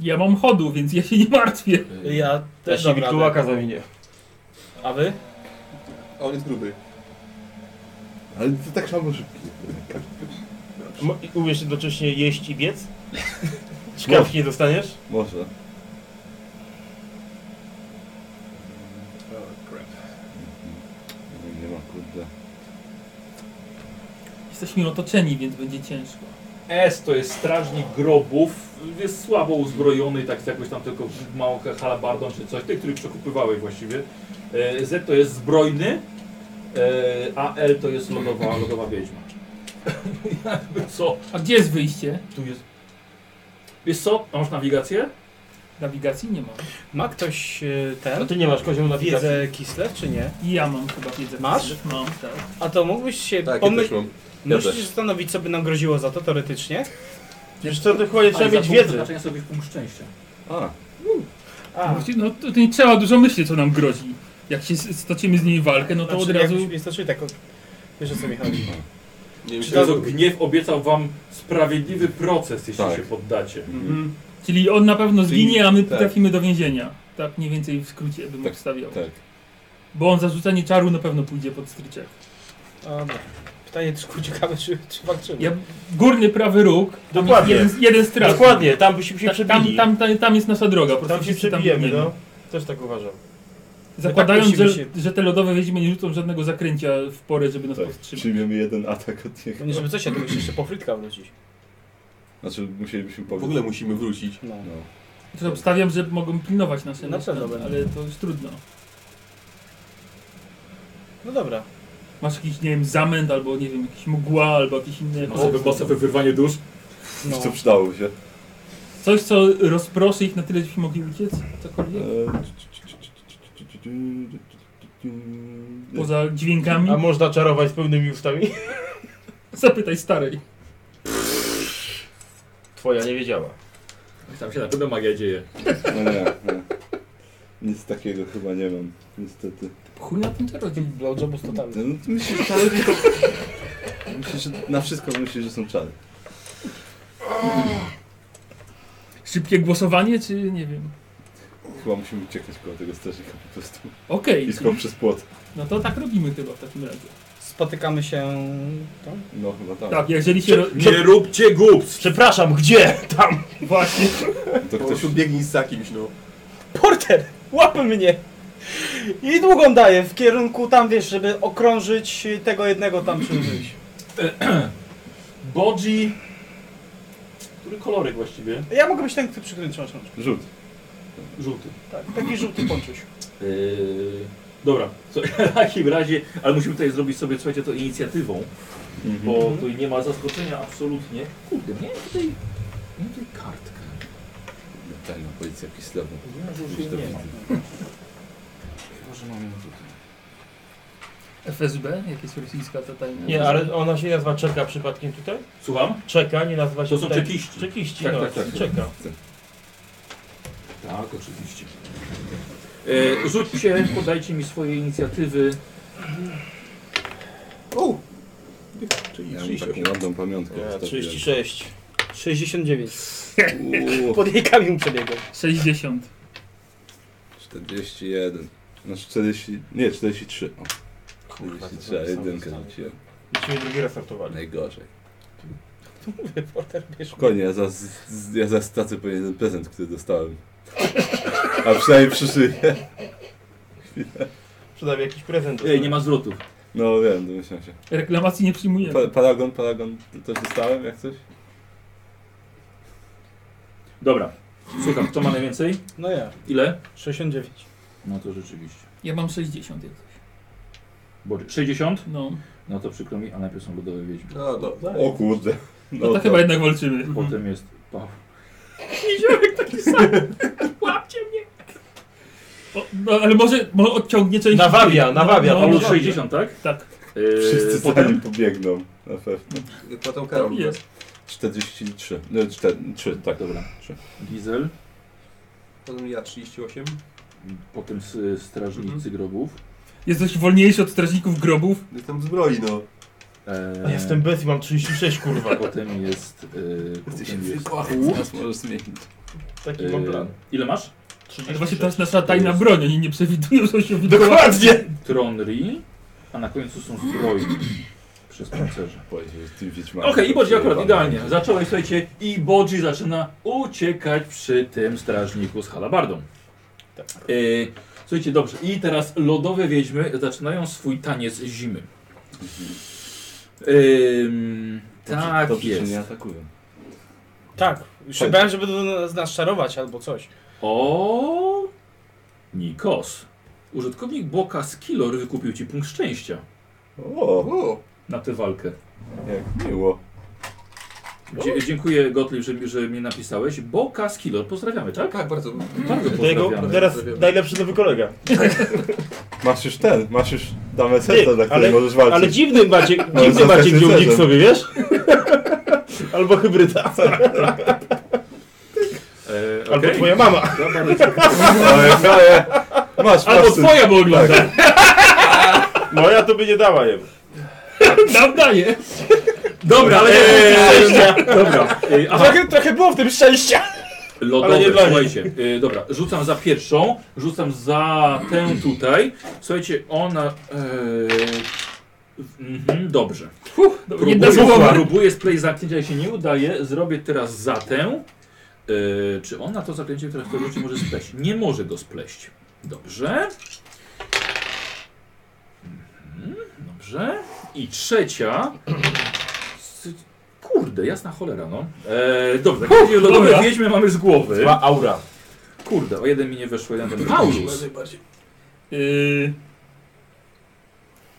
[SPEAKER 3] Ja mam chodu, więc ja się nie martwię.
[SPEAKER 2] Ja
[SPEAKER 5] Ja
[SPEAKER 2] też
[SPEAKER 5] się
[SPEAKER 2] dam radę.
[SPEAKER 5] wirtułaka zawinie.
[SPEAKER 2] A wy?
[SPEAKER 12] A on jest gruby.
[SPEAKER 1] Ale to tak samo szybki.
[SPEAKER 5] Mo- i Umiesz jednocześnie jeść i *laughs* biec? Ciekawki nie dostaniesz?
[SPEAKER 1] Może. Mhm. Nie ma kurde.
[SPEAKER 3] Jesteśmy otoczeni, więc będzie ciężko.
[SPEAKER 4] S to jest strażnik grobów. Jest słabo uzbrojony, tak z jakąś tam tylko małą halabardą czy coś. Tych, których przekupywałeś właściwie. E, Z to jest zbrojny. e, A L to jest *clears throat* lodowa, lodowa wiedźma. Jakby co?
[SPEAKER 3] A gdzie jest wyjście?
[SPEAKER 4] Tu jest... Wiesz co? A Masz nawigację?
[SPEAKER 3] Nawigacji nie mam.
[SPEAKER 2] Ma ktoś e, ten?
[SPEAKER 5] A ty nie masz kozioł na
[SPEAKER 2] wiedzę Kislev, czy nie?
[SPEAKER 3] I ja mam chyba wiedzę.
[SPEAKER 2] Masz?
[SPEAKER 3] Mam, tak.
[SPEAKER 2] A to mógłbyś się
[SPEAKER 12] Tak, ja też
[SPEAKER 2] pomyśleć.
[SPEAKER 12] mam.
[SPEAKER 1] Ja
[SPEAKER 2] Musisz
[SPEAKER 1] też.
[SPEAKER 2] się zastanowić, co by nam groziło za to teoretycznie.
[SPEAKER 5] Wiesz co, dokładnie trzeba mieć wiedzę.
[SPEAKER 4] Zaczenia sobie w punkt szczęścia.
[SPEAKER 1] A,
[SPEAKER 2] A,
[SPEAKER 3] Właściwie, No to, to nie trzeba dużo myśleć, co nam grozi. Jak się s- stoczymy z nimi walkę, no to
[SPEAKER 2] znaczy,
[SPEAKER 3] od razu...
[SPEAKER 2] jakbyś mnie stoczyli tak. o- Wiesz o co mi chodzi.
[SPEAKER 12] Nie
[SPEAKER 4] Czy ten gniew obiecał wam sprawiedliwy proces, jeśli
[SPEAKER 1] Tak.
[SPEAKER 4] się poddacie.
[SPEAKER 12] Mhm.
[SPEAKER 3] Czyli on na pewno
[SPEAKER 1] Czyli-
[SPEAKER 3] zginie, a my
[SPEAKER 1] tak.
[SPEAKER 3] trafimy do więzienia. Tak mniej więcej w skrócie bym
[SPEAKER 1] Tak,
[SPEAKER 3] obstawiał.
[SPEAKER 1] tak.
[SPEAKER 3] Bo on za rzucanie czaru na pewno pójdzie pod stryczek.
[SPEAKER 2] A, no. Pytanie tylko ciekawe, czy, czy walczymy.
[SPEAKER 3] Ja, górny prawy róg, tam jest
[SPEAKER 5] Dokładnie.
[SPEAKER 3] jeden, jeden strach.
[SPEAKER 5] Tak. Dokładnie, tam byśmy się
[SPEAKER 3] Ta, tam,
[SPEAKER 5] przebili. Tam,
[SPEAKER 3] tam, tam, tam jest nasza droga. Po prostu
[SPEAKER 5] się
[SPEAKER 3] wszyscy
[SPEAKER 5] przebijemy,
[SPEAKER 3] biegniemy.
[SPEAKER 5] no. Też tak uważam.
[SPEAKER 3] Zakładając,
[SPEAKER 2] Tak musimy
[SPEAKER 3] że,
[SPEAKER 2] się-
[SPEAKER 3] że te lodowe wiedźmy nie rzucą żadnego zakręcia w porę, żeby nas
[SPEAKER 1] tak.
[SPEAKER 3] powstrzymać.
[SPEAKER 1] Przyjmiemy jeden atak od niego.
[SPEAKER 2] No nie, żeby coś, ja to jeszcze po frytka wrócić.
[SPEAKER 1] Znaczy musielibyśmy
[SPEAKER 12] W
[SPEAKER 1] powiedzieć.
[SPEAKER 12] ogóle musimy wrócić.
[SPEAKER 2] No.
[SPEAKER 1] No.
[SPEAKER 3] To obstawiam, że mogą pilnować nasze
[SPEAKER 2] Na pewno
[SPEAKER 3] nasze-
[SPEAKER 2] będą.
[SPEAKER 3] ale to już trudno.
[SPEAKER 2] No dobra.
[SPEAKER 3] Masz jakiś, nie wiem, zamęt, albo nie wiem, jakiś mgła, albo jakieś inne...
[SPEAKER 4] Masowe, masowe wyrwanie dusz.
[SPEAKER 2] No.
[SPEAKER 1] Co przydało się?
[SPEAKER 3] Coś, co rozproszy ich na tyle, żebyśmy mogli uciec? Cokolwiek? Poza dźwiękami?
[SPEAKER 5] A można czarować z pełnymi ustami? *laughs*
[SPEAKER 3] Zapytaj starej.
[SPEAKER 5] Twoja nie wiedziała.
[SPEAKER 4] Tam się na pewno magia dzieje.
[SPEAKER 1] No nie, nie. Nic takiego chyba nie mam, niestety.
[SPEAKER 3] Chuj na tym czarodziej.
[SPEAKER 2] Blowjobu z totami.
[SPEAKER 1] No, to myślę, że
[SPEAKER 12] *laughs*
[SPEAKER 1] czary to... Myślę, że na wszystko myślę, że są czary.
[SPEAKER 3] Szybkie głosowanie, czy nie wiem?
[SPEAKER 1] Chyba musimy uciekać koło tego strażnika po prostu. *laughs*
[SPEAKER 3] Okej,
[SPEAKER 1] I skąd przez płot.
[SPEAKER 3] no to tak robimy chyba w takim razie.
[SPEAKER 2] Spotykamy się tam.
[SPEAKER 1] No chyba tak.
[SPEAKER 3] Tak, jeżeli się... Ro...
[SPEAKER 4] Nie róbcie głupstw!
[SPEAKER 5] Przepraszam, gdzie? Tam!
[SPEAKER 3] Właśnie.
[SPEAKER 1] To
[SPEAKER 12] Po
[SPEAKER 1] ktoś...
[SPEAKER 12] prostu biegnij z jakimś, no.
[SPEAKER 2] Porter! Łapy mnie! I długą daję w kierunku tam, wiesz, żeby okrążyć tego jednego tam
[SPEAKER 5] *clears throat*
[SPEAKER 2] czymś.
[SPEAKER 4] Bodzi. Który kolorek właściwie?
[SPEAKER 2] Ja mogę być ten, który przykręcił książkę.
[SPEAKER 1] Rzut.
[SPEAKER 4] Żółty. Yy,
[SPEAKER 2] Tak, taki żółty ponczuś.
[SPEAKER 4] Dobra, co, *laughs* w takim razie, ale musimy tutaj zrobić sobie, słuchajcie, to inicjatywą, bo
[SPEAKER 2] Mhm.
[SPEAKER 4] tutaj nie ma zaskoczenia absolutnie. Kurde, miałem tutaj, miałem tutaj kartkę.
[SPEAKER 1] Tajna policja Kislewu.
[SPEAKER 4] Ja już jej nie mam. Chyba, że mam ją tutaj.
[SPEAKER 3] FSB? Jak jest rosyjska ta tajna?
[SPEAKER 5] Nie, ale ona się nazywa Czeka przypadkiem tutaj?
[SPEAKER 4] Słucham?
[SPEAKER 5] Czeka, nie nazywa się
[SPEAKER 4] To są
[SPEAKER 5] tutaj-
[SPEAKER 4] czekiści.
[SPEAKER 5] Czekiści,
[SPEAKER 4] Tak,
[SPEAKER 5] no.
[SPEAKER 4] tak, tak.
[SPEAKER 5] Czeka.
[SPEAKER 4] Tak, oczywiście. E, rzućcie, podajcie mi swoje inicjatywy.
[SPEAKER 12] O!
[SPEAKER 1] Ja mam taką ładną pamiątkę.
[SPEAKER 5] Ja,
[SPEAKER 1] zostawiłem.
[SPEAKER 5] 36. 69.
[SPEAKER 1] Uuu.
[SPEAKER 5] Pod jej kamień przebiegłem.
[SPEAKER 3] 60.
[SPEAKER 1] 41. No 40. Nie, 43. O. 43, a jedynkę rzuciłem.
[SPEAKER 5] Musimy drugi raz startowali.
[SPEAKER 1] Najgorzej.
[SPEAKER 5] Reporter bierz.
[SPEAKER 1] Konie, ja za, z- ja za stację powiem ten prezent, który dostałem. A przynajmniej przyszyję.
[SPEAKER 5] Przynajmniej jakiś prezent.
[SPEAKER 4] Ej, Yy, nie ma zwrotów.
[SPEAKER 1] No wiem, domyślam się.
[SPEAKER 3] Reklamacji nie przyjmujemy.
[SPEAKER 1] Pa, paragon, paragon też dostałem, jak coś?
[SPEAKER 4] Dobra. Słucham, kto ma najwięcej?
[SPEAKER 5] No ja.
[SPEAKER 4] Ile?
[SPEAKER 5] 69.
[SPEAKER 4] No to rzeczywiście.
[SPEAKER 3] Ja mam 60 jakoś.
[SPEAKER 4] Bo 60?
[SPEAKER 3] No.
[SPEAKER 4] No to przykro mi, a najpierw są lodowe wiedźmy. Mhm.
[SPEAKER 12] No, no,
[SPEAKER 1] O kurde.
[SPEAKER 3] No to
[SPEAKER 4] tak.
[SPEAKER 3] chyba jednak walczymy.
[SPEAKER 4] Potem jest Paweł.
[SPEAKER 3] Niziołek taki sam. Łapcie mnie. O, no, ale może, może odciągnie część.
[SPEAKER 5] Nawabia, nawabia,
[SPEAKER 3] No,
[SPEAKER 4] Paweł
[SPEAKER 3] no,
[SPEAKER 4] 60, tak?
[SPEAKER 3] Tak.
[SPEAKER 4] Yy,
[SPEAKER 1] Wszyscy
[SPEAKER 12] Eee,
[SPEAKER 1] za
[SPEAKER 4] potem?
[SPEAKER 1] nim pobiegną, na pewno.
[SPEAKER 12] Płatą karą.
[SPEAKER 3] Tam no, jest.
[SPEAKER 1] 43. No, 4, 3, tak.
[SPEAKER 4] Dobra.
[SPEAKER 1] Trzy.
[SPEAKER 4] Diesel,
[SPEAKER 12] Potem ja 38.
[SPEAKER 4] potem s- strażnicy
[SPEAKER 5] Mhm.
[SPEAKER 4] grobów.
[SPEAKER 3] Jest dość wolniejszy od strażników grobów.
[SPEAKER 12] Jestem w zbroi, no.
[SPEAKER 4] E,
[SPEAKER 5] Ja jestem bez i mam 36 kurwa.
[SPEAKER 4] Potem jest. Yy,
[SPEAKER 12] Ty się
[SPEAKER 4] potem jest
[SPEAKER 12] wykochał, teraz możesz zmienić.
[SPEAKER 5] Taki mam
[SPEAKER 4] yy,
[SPEAKER 5] plan.
[SPEAKER 4] ile masz?
[SPEAKER 3] Ale właśnie to jest nasza tajna broń, oni nie przewidują, że się wydarzy.
[SPEAKER 4] Tronri, a na końcu są zbrojni *clears throat* przez pancerze.
[SPEAKER 1] Powiedział, że tym
[SPEAKER 4] Okej, i Bodzi akurat idealnie. Zacząłeś, słuchajcie, i Bodzi zaczyna uciekać przy tym strażniku z halabardą.
[SPEAKER 1] Tak.
[SPEAKER 4] E, słuchajcie, dobrze. I teraz lodowe wiedźmy zaczynają swój taniec zimy. Ym, tak
[SPEAKER 1] Mhm. Dobrze, że
[SPEAKER 4] jest.
[SPEAKER 1] nie atakują.
[SPEAKER 5] Tak. Już się bałem, że będą nas, nas czarować albo coś.
[SPEAKER 4] O, Nikos. Użytkownik Boka Skillor wykupił ci punkt szczęścia
[SPEAKER 1] O,
[SPEAKER 12] O,
[SPEAKER 4] na tę walkę.
[SPEAKER 1] jak miło.
[SPEAKER 4] Dzie dziękuję Gottlieb, że, że mnie napisałeś. Boka Skillor, pozdrawiamy, tak?
[SPEAKER 12] tak, bardzo.
[SPEAKER 4] Bardzo
[SPEAKER 5] To jego
[SPEAKER 4] pozdrawiamy.
[SPEAKER 5] teraz najlepszy nowy kolega.
[SPEAKER 1] Masz już ten, masz już damę
[SPEAKER 5] Nie,
[SPEAKER 1] serca, na
[SPEAKER 5] ale-
[SPEAKER 1] której możesz walczyć.
[SPEAKER 5] Ale dziwny Maciek,
[SPEAKER 1] No,
[SPEAKER 5] dziwny
[SPEAKER 1] zostań
[SPEAKER 5] Maciek
[SPEAKER 1] rycerzem.
[SPEAKER 5] dziąbnik sobie, wiesz? *laughs* Albo
[SPEAKER 4] E,
[SPEAKER 5] hybryda. Albo
[SPEAKER 4] okej.
[SPEAKER 5] twoja mama.
[SPEAKER 4] *laughs* Dobra,
[SPEAKER 5] *laughs*
[SPEAKER 4] lecimy.
[SPEAKER 1] Ale, ale, masz,
[SPEAKER 4] Albo
[SPEAKER 1] masz syn.
[SPEAKER 4] twoja, bo ogląda.
[SPEAKER 5] Tak. Moja to by nie dała jemu.
[SPEAKER 3] Nam daje.
[SPEAKER 4] Dobra, ale
[SPEAKER 5] Eee.
[SPEAKER 4] nie Dobra. e, Aha,
[SPEAKER 5] Trochę, trochę było w tym szczęścia.
[SPEAKER 4] lodowe,
[SPEAKER 5] Ale nie dla nich.
[SPEAKER 4] słuchajcie. E, Dobra, rzucam za pierwszą, rzucam za tę tutaj. Słuchajcie, ona... e, w- Mhm, dobrze.
[SPEAKER 5] no,
[SPEAKER 3] Dobra, Jedna
[SPEAKER 4] Próbuję,
[SPEAKER 3] słowa.
[SPEAKER 4] próbuję splay zaklęcia, ale się nie udaje. Zrobię teraz za tę. E, czy ona to zaklęcie, które w to rzuci, może spleść? Nie może go spleść. Dobrze. Mhm, dobrze. I trzecia. S- Kurde, jasna cholera, no. E, dobrze, zaklęcie lodowe
[SPEAKER 3] dobra.
[SPEAKER 4] wiedźmy mamy z głowy.
[SPEAKER 5] Ma aura.
[SPEAKER 4] Kurde, o jeden mi nie weszło, jeden ten Paulus.
[SPEAKER 3] Y,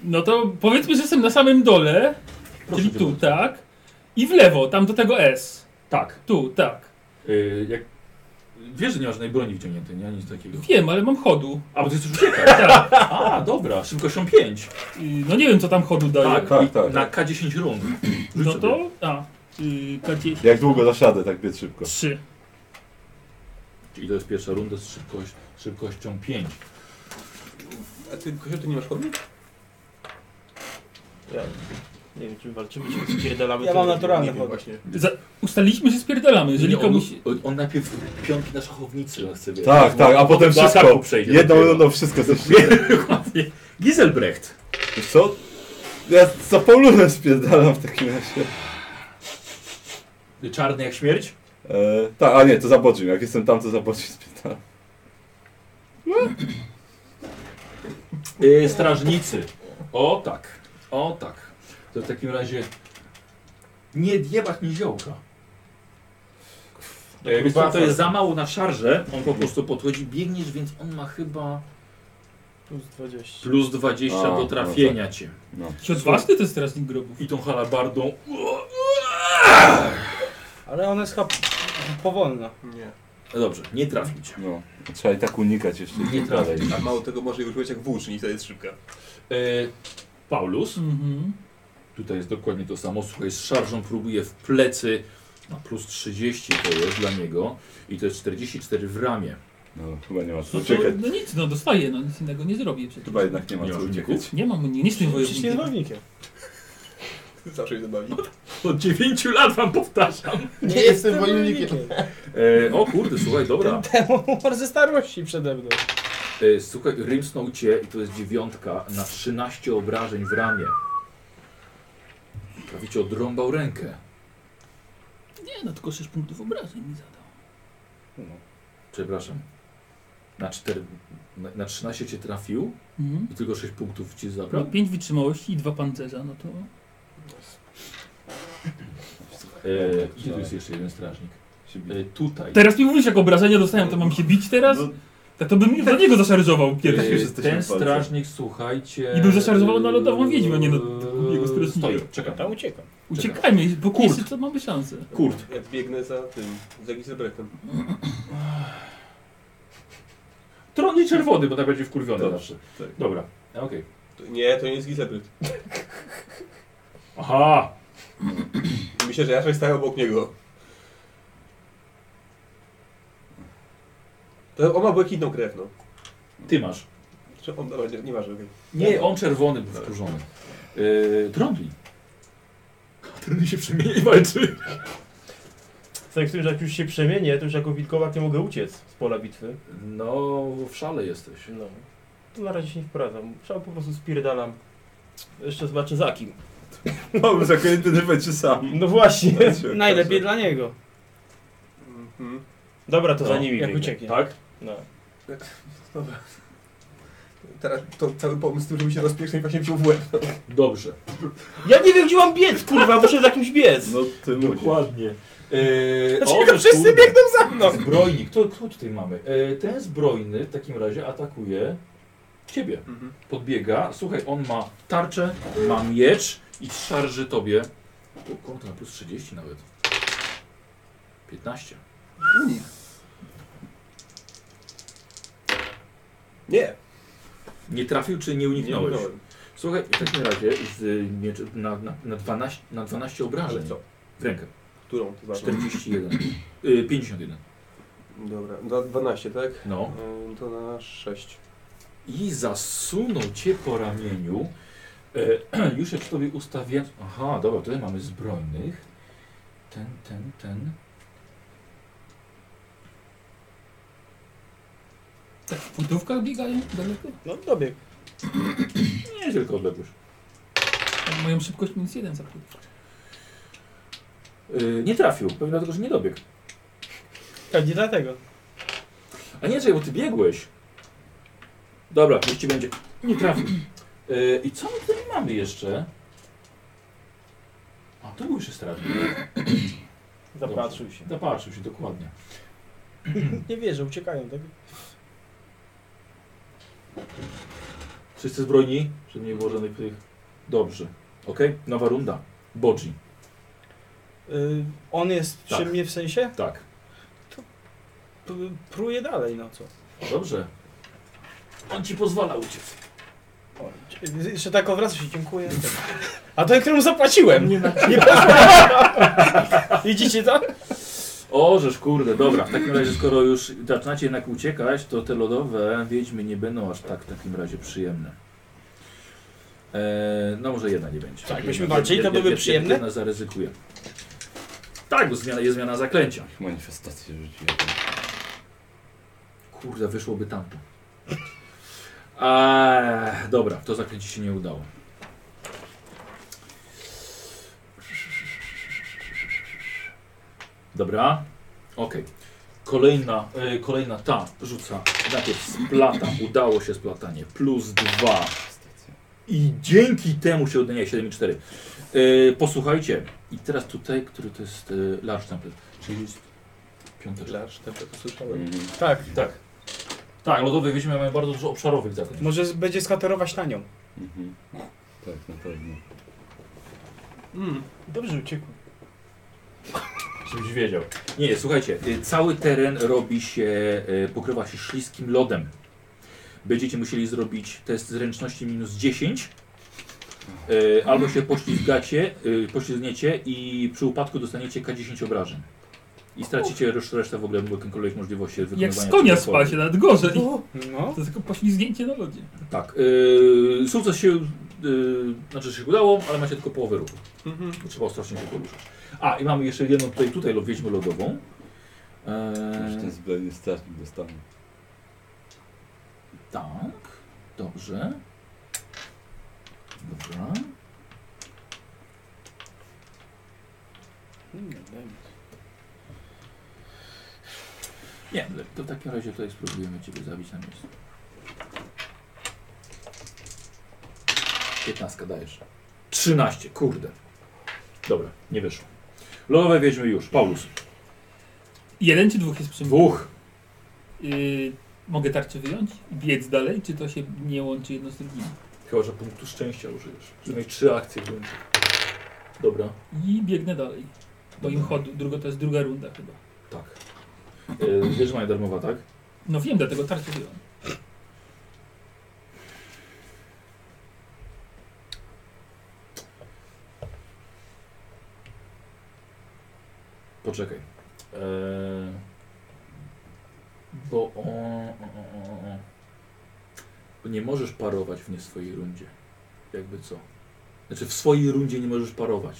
[SPEAKER 3] No to powiedzmy, że jestem na samym dole,
[SPEAKER 4] Proszę
[SPEAKER 3] czyli
[SPEAKER 4] cię
[SPEAKER 3] tu,
[SPEAKER 4] bardzo.
[SPEAKER 3] tak. I w lewo, tam do tego S.
[SPEAKER 4] Tak.
[SPEAKER 3] Tu, tak.
[SPEAKER 4] E, jak... Wiesz, że nie masz żadnej broni wciągniętej, nie? Nic takiego.
[SPEAKER 3] Wiem, ale mam chodu.
[SPEAKER 4] A, bo ty chcesz *laughs* uciekać.
[SPEAKER 3] Tak.
[SPEAKER 4] A, dobra, szybkością 5.
[SPEAKER 3] Y, No nie wiem, co tam chodu daje.
[SPEAKER 4] Tak,
[SPEAKER 1] Tak,
[SPEAKER 4] i
[SPEAKER 1] tak.
[SPEAKER 4] na K10 rund. Rzuć
[SPEAKER 3] No
[SPEAKER 4] sobie.
[SPEAKER 3] to. A. Yy, K10.
[SPEAKER 1] Jak długo zasiadę, tak biec szybko.
[SPEAKER 3] 3.
[SPEAKER 4] I to jest pierwsza runda z szybkość, szybkością 5.
[SPEAKER 12] A ty, Kozio, ty nie masz chodni?
[SPEAKER 5] Ja, nie wiem, czy my walczymy, czy spierdalamy.
[SPEAKER 2] Ja
[SPEAKER 5] to-
[SPEAKER 2] mam naturalne
[SPEAKER 5] nie wiem.
[SPEAKER 2] chodnie.
[SPEAKER 12] Właśnie.
[SPEAKER 3] Za, ustaliliśmy, że spierdalamy. Jeżeli
[SPEAKER 4] Nie, on,
[SPEAKER 3] komuś.
[SPEAKER 4] on- on najpierw piątki na szachownicy chce wiedzieć.
[SPEAKER 1] Tak, tak, a potem
[SPEAKER 4] do ataku
[SPEAKER 1] wszystko.
[SPEAKER 4] przejdzie.
[SPEAKER 1] Jedną
[SPEAKER 4] dopiero.
[SPEAKER 1] rundą wszystko zniszczyłem.
[SPEAKER 4] Dokładnie. Giselbrecht.
[SPEAKER 1] Wiesz co? Ja za Paulunę spierdalam w takim razie.
[SPEAKER 4] Czarny jak śmierć.
[SPEAKER 1] E, tak, a nie, to zabodzim. Jak jestem tam, to zabodzim spierdalam.
[SPEAKER 4] Yy, strażnicy. O tak. O tak. To w takim razie nie jebać niziołka. Yy, Więc to, to jest za mało na szarże. On po prostu podchodzi, biegniesz, więc on ma chyba
[SPEAKER 5] Plus 20.
[SPEAKER 4] plus 20
[SPEAKER 1] A,
[SPEAKER 4] do
[SPEAKER 1] no
[SPEAKER 4] trafienia cię.
[SPEAKER 1] No.
[SPEAKER 3] Ci odważny to jest strażnik grobów.
[SPEAKER 4] I tą halabardą.
[SPEAKER 2] Ale ona jest chyba powolna.
[SPEAKER 12] Nie.
[SPEAKER 4] No Dobrze, nie trafił cię.
[SPEAKER 1] No. Trzeba i tak unikać jeszcze.
[SPEAKER 4] Nie trafię.
[SPEAKER 12] A mało tego może jej używać jak włóczni, to jest szybka.
[SPEAKER 4] E, Paulus,
[SPEAKER 3] Mhm.
[SPEAKER 4] tutaj jest dokładnie to samo. Słuchaj, z szarżą próbuje w No, plecy. Na plus 30 to jest dla niego. I to jest 44 w ramię.
[SPEAKER 1] No, chyba nie ma co
[SPEAKER 3] No, to,
[SPEAKER 1] uciekać.
[SPEAKER 3] no nic, no dostaję, no nic innego nie zrobię przecież.
[SPEAKER 1] Chyba jednak nie ma co uciekać.
[SPEAKER 3] Nie mam, nie jestem
[SPEAKER 2] Przecież nie
[SPEAKER 3] wojownikiem.
[SPEAKER 2] wojownikiem.
[SPEAKER 12] *laughs* Zawsze się bawi.
[SPEAKER 4] Od 9 lat wam powtarzam.
[SPEAKER 12] Nie jestem wojownikiem.
[SPEAKER 4] E, o kurde, słuchaj, dobra.
[SPEAKER 2] Demon ze starości przede mną.
[SPEAKER 4] E, słuchaj, rymsnął cię i to jest dziewiątka na 13 obrażeń w ramię. Prawie cię odrąbał rękę.
[SPEAKER 3] Nie, no tylko 6 punktów obrażeń mi zadał.
[SPEAKER 4] Przepraszam. Na, 4, na, na 13 cię trafił
[SPEAKER 3] Mhm.
[SPEAKER 4] i tylko 6 punktów ci
[SPEAKER 3] No,
[SPEAKER 4] zabrał.
[SPEAKER 3] 5 wytrzymałości i 2 pancerza, no to...
[SPEAKER 4] E, gdzie tu jest jeszcze jeden strażnik? E, tutaj.
[SPEAKER 3] Teraz mi mówisz, jak obrażenia dostałem, to mam się bić teraz? Tak to bym do niego zaszarżował
[SPEAKER 4] E,
[SPEAKER 3] pierwszy.
[SPEAKER 4] ten strażnik, słuchajcie... e,
[SPEAKER 3] I był zaszarżowany na lodową wiedźmę, a nie na drugiego strażnika.
[SPEAKER 4] Stoi, czekam.
[SPEAKER 2] Tam uciekam.
[SPEAKER 3] Uciekajmy, bo
[SPEAKER 4] Kurt.
[SPEAKER 3] kurczę, to mamy szansę.
[SPEAKER 4] Kurt.
[SPEAKER 12] Ja biegnę za tym, za Gizelbrechtem.
[SPEAKER 4] Tron i czerwony, bo tak będzie wkurwiony zawsze.
[SPEAKER 1] tak.
[SPEAKER 4] Dobra, okej.
[SPEAKER 12] To- Nie, to nie jest Gizelbrecht.
[SPEAKER 4] Aha!
[SPEAKER 12] Myślę, że Jaszek stał obok niego. To on ma błękitną krew, no.
[SPEAKER 4] Ty masz.
[SPEAKER 12] Czy on, dobra, nie, nie ważne,
[SPEAKER 1] *laughs*
[SPEAKER 12] okej.
[SPEAKER 4] Nie, on czerwony był wkurzony. Yy, Trondli. Trondli się przemienia i walczy.
[SPEAKER 5] Co jak, to już, jak już się przemienię, to już jako wilkowak nie mogę uciec z pola bitwy.
[SPEAKER 4] No, w szale jesteś.
[SPEAKER 5] No. To na razie się nie wprowadzam. Trzeba po prostu spierdalam. Jeszcze zobaczę za kim.
[SPEAKER 1] Mam zakręty, nie będzie sam.
[SPEAKER 5] No właśnie.
[SPEAKER 2] Najlepiej dla niego.
[SPEAKER 12] Mhm.
[SPEAKER 5] Dobra, to
[SPEAKER 4] No,
[SPEAKER 5] za nimi
[SPEAKER 2] jak
[SPEAKER 5] biegnie.
[SPEAKER 2] ucieknie.
[SPEAKER 4] Tak?
[SPEAKER 5] No.
[SPEAKER 12] Dobra. Teraz to cały pomysł, żeby się rozpieszyć, właśnie wziął w łeb.
[SPEAKER 4] Dobrze.
[SPEAKER 5] Ja nie wiem, gdzie mam biec, kurwa, muszę za kimś biec.
[SPEAKER 1] No ty musisz.
[SPEAKER 4] Dokładnie. Yy,
[SPEAKER 2] Dlaczego
[SPEAKER 4] o,
[SPEAKER 2] wszyscy
[SPEAKER 4] kurde.
[SPEAKER 2] biegną za mną?
[SPEAKER 4] Zbrojnik. Kto, kto tutaj mamy? Yy, ten zbrojny w takim razie atakuje ciebie.
[SPEAKER 12] Mhm.
[SPEAKER 4] Podbiega. Słuchaj, on ma tarczę, ma miecz i szarży tobie. O, kontra plus 30 nawet. 15.
[SPEAKER 12] Nie,
[SPEAKER 4] Nie trafił czy nie
[SPEAKER 12] nie
[SPEAKER 4] uniknąłeś?
[SPEAKER 12] minąłem.
[SPEAKER 4] Słuchaj, w takim razie z, y, miecz, na, na, na, 12, na 12 obrażeń
[SPEAKER 12] Ale co?
[SPEAKER 4] w rękę.
[SPEAKER 12] Którą? To ważne.
[SPEAKER 4] 41. Y, 51.
[SPEAKER 12] Dobra, na 12, tak?
[SPEAKER 4] No.
[SPEAKER 12] Ym, To na 6.
[SPEAKER 4] I zasunął cię po ramieniu. E, *clears throat* już jak tobie ustawiam. Aha, dobra, tutaj mamy zbrojnych. Ten, ten, ten.
[SPEAKER 3] Tak w punktówkach biegają daleko?
[SPEAKER 2] No dobieg.
[SPEAKER 4] Nie, tylko odległość.
[SPEAKER 3] Tak, Moją szybkość minus 1 za punkt.
[SPEAKER 4] Y, nie trafił, pewnie dlatego, że nie dobiegł.
[SPEAKER 2] Pewnie dlatego.
[SPEAKER 4] A nie, czekaj, bo ty biegłeś. Dobra, niech ci będzie. Nie trafił. E, I co my tutaj mamy jeszcze? A, to był jeszcze strażnik.
[SPEAKER 2] Zapatrzył się.
[SPEAKER 4] Zapatrzył się, dokładnie.
[SPEAKER 2] Nie wierzę, uciekają. Tak?
[SPEAKER 4] Wszyscy zbrojni? Żeby nie było żadnych tych... Dobrze. Okej, nowa runda. Bodzi.
[SPEAKER 2] Y, on jest przy
[SPEAKER 4] Tak.
[SPEAKER 2] mnie w sensie?
[SPEAKER 4] Tak.
[SPEAKER 2] P pruje dalej, no co?
[SPEAKER 4] Dobrze. On ci pozwala uciec.
[SPEAKER 2] O, dzie- jeszcze tak obraca się, dziękuję. A ten, któremu zapłaciłem! Nie, nie *laughs* Widzicie to?
[SPEAKER 4] O, żeż kurde, dobra. W takim razie, skoro już zaczynacie jednak uciekać, to te lodowe wiedźmy nie będą aż tak w takim razie przyjemne. Eee, no może jedna nie będzie.
[SPEAKER 2] Tak,
[SPEAKER 4] Jedna-
[SPEAKER 2] byśmy walczyli, to
[SPEAKER 4] jedna-
[SPEAKER 2] były
[SPEAKER 4] jedna-
[SPEAKER 2] przyjemne?
[SPEAKER 4] Jedna zaryzykuje. Tak, bo zmiana, jest zmiana zaklęcia.
[SPEAKER 1] Manifestację rzuciłem.
[SPEAKER 4] Kurde, wyszłoby tamto. Eee, dobra, to zakręcie się nie udało. Dobra, okej. Kolejna, e, kolejna ta rzuca. Najpierw splata, udało się splatanie. Plus dwa. I dzięki temu się odmienia 7 i 4. E, posłuchajcie. I teraz tutaj, który to jest e, large template, czyli jest piąteczka.
[SPEAKER 12] Larz, ten to słyszałem.
[SPEAKER 1] Mhm.
[SPEAKER 2] Tak.
[SPEAKER 4] Tak. Tak, lodowe wieźmy mamy bardzo dużo obszarowych zakręć.
[SPEAKER 2] Może z- będzie skaterować na nią.
[SPEAKER 1] Mhm. Tak, na pewno.
[SPEAKER 2] Dobrze uciekł.
[SPEAKER 4] Żebyś wiedział. Nie, słuchajcie, y, cały teren robi się, y, pokrywa się śliskim lodem. Będziecie musieli zrobić test zręczności minus 10. y, Albo się poślizgacie, y, poślizgniecie i przy upadku dostaniecie K10 obrażeń. i stracicie reszt- resztę w ogóle jakiekolwiek możliwości
[SPEAKER 3] Jak
[SPEAKER 4] wykonywania
[SPEAKER 3] z konia
[SPEAKER 4] czegokolwiek.
[SPEAKER 3] spać, nawet gorzej.
[SPEAKER 4] No.
[SPEAKER 3] To tylko poślizgnięcie na lodzie.
[SPEAKER 4] Tak. Yy, sukces się, yy, znaczy się udało, ale macie tylko połowę ruchu.
[SPEAKER 3] Mhm.
[SPEAKER 4] Trzeba ostrożnie się poruszać. A, i mamy jeszcze jedną tutaj, tutaj lo- wiedźmę lodową.
[SPEAKER 1] Już ten
[SPEAKER 4] Eee,
[SPEAKER 1] zbrojny strażnik dostanie.
[SPEAKER 4] tak, dobrze. Dobra. Nie, le- to w takim razie tutaj spróbujemy Ciebie zabić na miejscu. 15 dajesz. 13, kurde. Dobra, nie wyszło. Lodowe wiedźmy już. Paulus.
[SPEAKER 3] Jeden czy dwóch jest przy mnie?
[SPEAKER 4] Dwóch.
[SPEAKER 3] Y, mogę tarczę wyjąć? i Biec dalej, czy to się nie łączy jedno z drugim?
[SPEAKER 4] Chyba, że punktu szczęścia użyjesz. Przynajmniej trzy akcje w rundzie. Dobra.
[SPEAKER 3] I biegnę dalej. Bo im chodu, drugo, to jest druga runda chyba.
[SPEAKER 4] Tak. Yy, wiesz, że mają darmowa, tak?
[SPEAKER 3] No wiem, dlatego tarczę wyjąłem.
[SPEAKER 4] Poczekaj. Eee, bo o, o, o, o, o. Bo nie możesz parować w nie swojej rundzie. Jakby co? Znaczy w swojej rundzie nie możesz parować.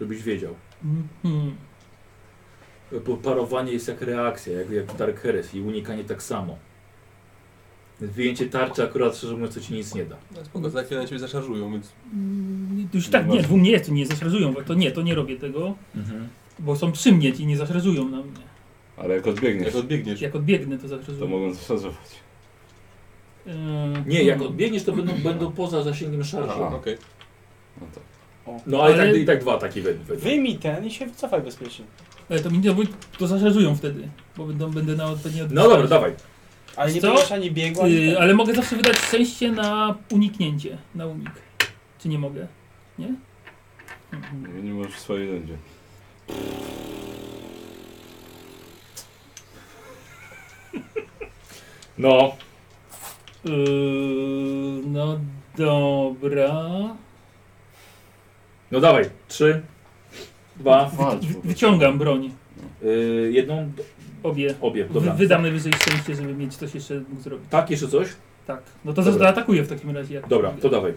[SPEAKER 4] Żebyś wiedział.
[SPEAKER 3] Mhm.
[SPEAKER 4] Bo parowanie jest jak reakcja, jak, jak Dark Heresy i unikanie tak samo. Więc Wyjęcie tarczy akurat szczerze mówiąc to ci nic nie da.
[SPEAKER 8] No spoko, za chwilę na ciebie zaszarżują, więc...
[SPEAKER 3] Mm,
[SPEAKER 4] No
[SPEAKER 3] Już tak, nie, dwóm nie jest, nie zaszarżują, bo to nie, to nie robię tego.
[SPEAKER 4] Mhm.
[SPEAKER 3] Bo są przy mnie i nie zaszarżują na mnie.
[SPEAKER 1] Ale jak odbiegniesz,
[SPEAKER 12] Jak odbiegniesz.
[SPEAKER 3] Jak odbiegnę, to
[SPEAKER 1] to
[SPEAKER 3] zaszarżują.
[SPEAKER 1] mogą zaszarżować.
[SPEAKER 3] Yy,
[SPEAKER 4] Nie, jak
[SPEAKER 3] hmm.
[SPEAKER 4] odbiegniesz to będą, będą poza zasięgiem szarży.
[SPEAKER 1] A,
[SPEAKER 12] okej.
[SPEAKER 1] No to.
[SPEAKER 4] No ale,
[SPEAKER 3] Ale-
[SPEAKER 4] Tak, i tak dwa takie będą.
[SPEAKER 2] Wyjmij ten i się wycofaj bezpiecznie.
[SPEAKER 3] Ale E, to mi nie, bo to zaszarżują wtedy, bo będą, będę na odpowiednie
[SPEAKER 4] No dobra, dawaj.
[SPEAKER 2] Ale nie
[SPEAKER 3] Co?
[SPEAKER 2] będziesz ani biegła, ani
[SPEAKER 3] Yy,
[SPEAKER 2] ten.
[SPEAKER 3] ale mogę zawsze wydać szczęście na uniknięcie, na unik. Czy nie mogę? Nie? Mhm.
[SPEAKER 1] Nie możesz w swojej rundzie.
[SPEAKER 4] No.
[SPEAKER 3] Yy, no dobra.
[SPEAKER 4] No dawaj, trzy, dwa,
[SPEAKER 3] Wy, wyciągam broń,
[SPEAKER 4] yy, jedną,
[SPEAKER 3] obie.
[SPEAKER 4] obie,
[SPEAKER 3] Wy,
[SPEAKER 4] dobra.
[SPEAKER 3] wydam najwyżej szczęście, żeby mieć coś jeszcze mógł zrobić.
[SPEAKER 4] Tak, jeszcze coś?
[SPEAKER 3] Tak. No to
[SPEAKER 4] Dobra.
[SPEAKER 3] zaatakuję w takim razie. Jak
[SPEAKER 4] Dobra, to dawaj.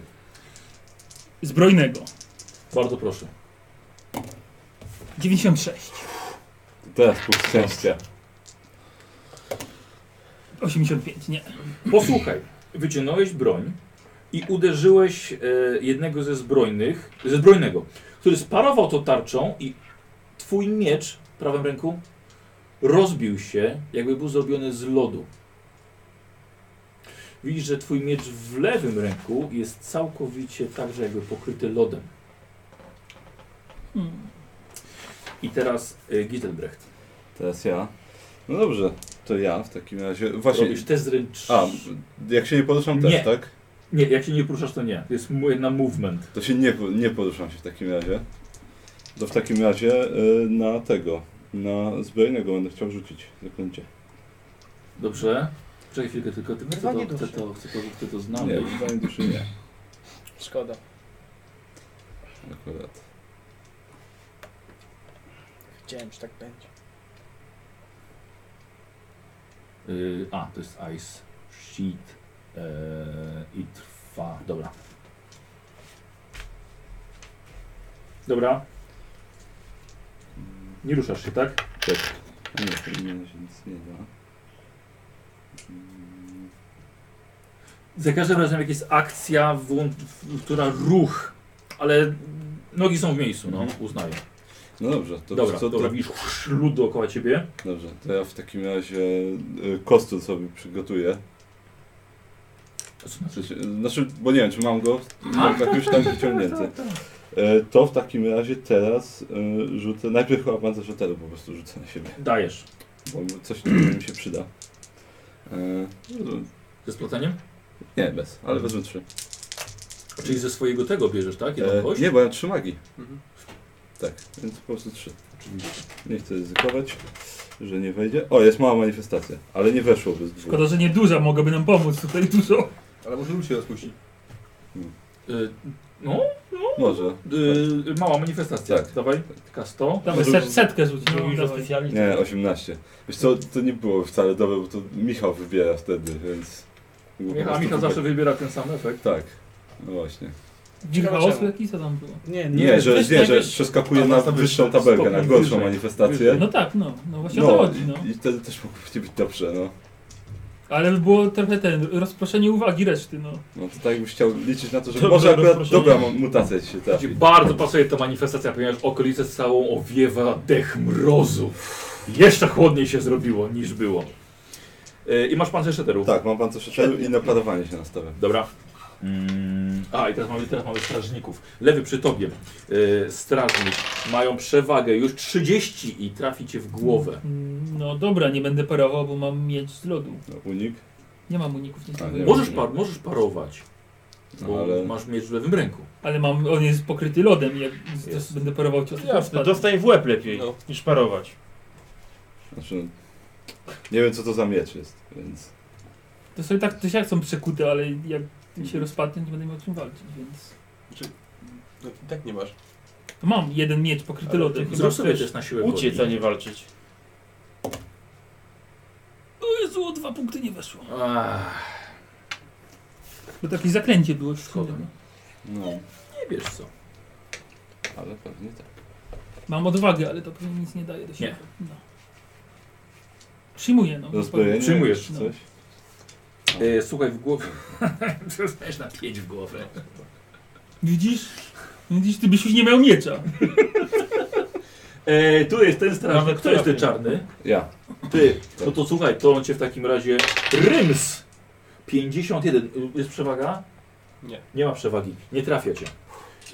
[SPEAKER 3] Zbrojnego.
[SPEAKER 4] Bardzo proszę.
[SPEAKER 3] 96.
[SPEAKER 1] To Teraz punkt szczęścia.
[SPEAKER 3] 85, nie.
[SPEAKER 4] Posłuchaj, wyciągnąłeś broń i uderzyłeś e, jednego ze zbrojnych, ze zbrojnego, który sparował to tarczą i twój miecz w prawym ręku rozbił się, jakby był zrobiony z lodu. Widzisz, że twój miecz w lewym ręku jest całkowicie także jakby pokryty lodem.
[SPEAKER 3] Hmm.
[SPEAKER 4] I teraz y, Gittelbrecht.
[SPEAKER 1] Teraz ja. No dobrze, to ja w takim razie. Właśnie.
[SPEAKER 4] Robisz test zręcz...
[SPEAKER 1] A, jak się nie poruszam też,
[SPEAKER 4] Nie.
[SPEAKER 1] tak?
[SPEAKER 4] Nie, jak się nie poruszasz, to nie. To jest mu- na movement.
[SPEAKER 1] To się nie, nie poruszam się w takim razie. To w takim razie y, na tego. Na zbrojnego będę chciał rzucić. Zaklęcie.
[SPEAKER 4] Dobrze. Czekaj chwilkę, tylko ty, chcę,
[SPEAKER 2] Wyrwanie
[SPEAKER 4] to, chcę,
[SPEAKER 2] duszy.
[SPEAKER 4] to, chcę, to, chcę to
[SPEAKER 2] No,
[SPEAKER 1] Nie,
[SPEAKER 4] znaleźć.
[SPEAKER 1] wyzwanie duszy nie.
[SPEAKER 2] Szkoda.
[SPEAKER 1] Akurat.
[SPEAKER 2] Wiedziałem, że tak będzie.
[SPEAKER 4] Y, a, to jest Ice Sheet. E, I trwa. Dobra. Dobra. Nie ruszasz się, tak?
[SPEAKER 1] Tak. A Nie, to nie, się nic nie da. Mm,
[SPEAKER 4] Za każdym razem jak jest akcja, włą- w- która ruch, ale nogi są w miejscu, no,
[SPEAKER 1] Mhm.
[SPEAKER 4] uznaję.
[SPEAKER 1] No dobrze, to
[SPEAKER 4] Dobra,
[SPEAKER 1] co
[SPEAKER 4] to
[SPEAKER 1] to,
[SPEAKER 4] robisz lód dookoła ciebie.
[SPEAKER 1] Dobrze, to ja w takim razie y, kostur sobie przygotuję.
[SPEAKER 4] To znaczy,
[SPEAKER 1] Znaczy, znaczy, bo nie wiem, czy mam go,
[SPEAKER 5] Tak.
[SPEAKER 1] mam jakoś tam
[SPEAKER 3] No
[SPEAKER 1] wyciągnięty. E, To w takim razie teraz e, rzucę, najpierw chyba pancerzotelu po prostu rzucę na siebie,
[SPEAKER 4] dajesz.
[SPEAKER 1] bo coś takiego mi się przyda. E,
[SPEAKER 4] Ze splotaniem?
[SPEAKER 1] Nie, bez, ale wezmę trzy.
[SPEAKER 4] Czyli ze swojego tego bierzesz, tak? Jedną
[SPEAKER 1] E,
[SPEAKER 4] kość?
[SPEAKER 1] Nie, bo ja trzy magii.
[SPEAKER 8] Mhm.
[SPEAKER 1] Tak, więc po prostu trzy. Nie chcę ryzykować, że nie wejdzie. O, jest mała manifestacja, ale nie weszło bez dwóch.
[SPEAKER 3] Szkoda, że nie duża, mogłaby nam pomóc tutaj dużo.
[SPEAKER 12] Ale może lud się rozpuści.
[SPEAKER 4] Y, No,
[SPEAKER 1] Może.
[SPEAKER 4] y, mała manifestacja.
[SPEAKER 1] Tak.
[SPEAKER 4] Dawaj, tylko 100.
[SPEAKER 1] Dawaj, set-
[SPEAKER 3] setkę rzuć, no, mówisz, że
[SPEAKER 1] Nie, 18. Wiesz co, to nie było wcale dobre, bo to Michał wybiera wtedy, więc...
[SPEAKER 4] Michał- Michał zawsze wybiera ten sam efekt.
[SPEAKER 1] Tak, no właśnie.
[SPEAKER 3] Dziwne
[SPEAKER 4] Ciekawe
[SPEAKER 3] osły, jaki co tam było?
[SPEAKER 1] Nie, że, nie, że przeskakuje na wyższą tabelkę, na gorszą manifestację.
[SPEAKER 3] No tak, no, no właśnie o to chodzi, no.
[SPEAKER 1] I, I wtedy też mogłoby być dobrze, no.
[SPEAKER 3] Ale było trochę ten, rozproszenie uwagi reszty, no.
[SPEAKER 1] No to tak jakbyś chciał liczyć na to, że
[SPEAKER 3] Dobre
[SPEAKER 1] może akurat
[SPEAKER 3] rozproszenie.
[SPEAKER 1] dobra mu- mutacja ci się trafi.
[SPEAKER 4] Znaczy, bardzo pasuje ta manifestacja, ponieważ okolicę całą owiewa dech mrozu. Jeszcze chłodniej się zrobiło niż było. Y, I masz pancerz eteru.
[SPEAKER 1] Tak, mam pan coś jeszcze i napadowanie się nastawiam.
[SPEAKER 4] Dobra. Mm, a i teraz mamy, teraz mamy strażników. Lewy przy tobie. Yy, strażnik. Mają przewagę już 30 i trafi cię w głowę.
[SPEAKER 3] No dobra, nie będę parował, bo mam miecz z lodu.
[SPEAKER 1] No, Unik?
[SPEAKER 3] Nie mam uników, nie
[SPEAKER 1] A,
[SPEAKER 3] mam.
[SPEAKER 1] nie
[SPEAKER 4] Tak, Możesz, par, możesz parować.
[SPEAKER 1] No,
[SPEAKER 4] Bo
[SPEAKER 1] ale-
[SPEAKER 4] masz miecz w lewym ręku.
[SPEAKER 3] Ale mam, on jest pokryty lodem i jak też będę parował ciosem, to
[SPEAKER 5] Jasne,
[SPEAKER 3] spadnę.
[SPEAKER 5] dostań w łeb lepiej niż parować.
[SPEAKER 1] Znaczy, no, nie wiem co to za miecz jest, więc...
[SPEAKER 3] To sobie tak, to się jak są przekute, ale jak mi
[SPEAKER 8] Mhm.
[SPEAKER 3] się rozpadnie, nie będę miał o czym walczyć, więc...
[SPEAKER 8] No, i tak nie masz.
[SPEAKER 3] To mam jeden miecz pokryty
[SPEAKER 5] Ale
[SPEAKER 3] lodem.
[SPEAKER 5] ty chyba chcesz Uciec, a nie walczyć.
[SPEAKER 3] O Jezu, o dwa punkty nie weszło.
[SPEAKER 4] Ach,
[SPEAKER 3] Bo takie zaklęcie było szkoda.
[SPEAKER 1] No,
[SPEAKER 4] nie wiesz co.
[SPEAKER 1] ale pewnie tak.
[SPEAKER 3] Mam odwagę, ale to pewnie nic nie daje do siebie.
[SPEAKER 4] Nie.
[SPEAKER 3] No. Przyjmuję, no.
[SPEAKER 1] Rozbrojenie?
[SPEAKER 4] Przyjmujesz
[SPEAKER 1] czy coś?
[SPEAKER 4] E, słuchaj w
[SPEAKER 5] *laughs*
[SPEAKER 4] głowę. Dostajesz na pięć w głowę.
[SPEAKER 3] Widzisz? Widzisz, ty byś już nie miał miecza.
[SPEAKER 4] E, tu jest ten strażnik.
[SPEAKER 3] Nawet
[SPEAKER 4] Kto jest ten
[SPEAKER 3] trafię.
[SPEAKER 4] czarny?
[SPEAKER 1] Ja.
[SPEAKER 4] Ty. No to słuchaj, to on cię w takim razie. Ryms! 51. Jest przewaga?
[SPEAKER 8] Nie.
[SPEAKER 4] Nie ma przewagi. Nie trafia cię.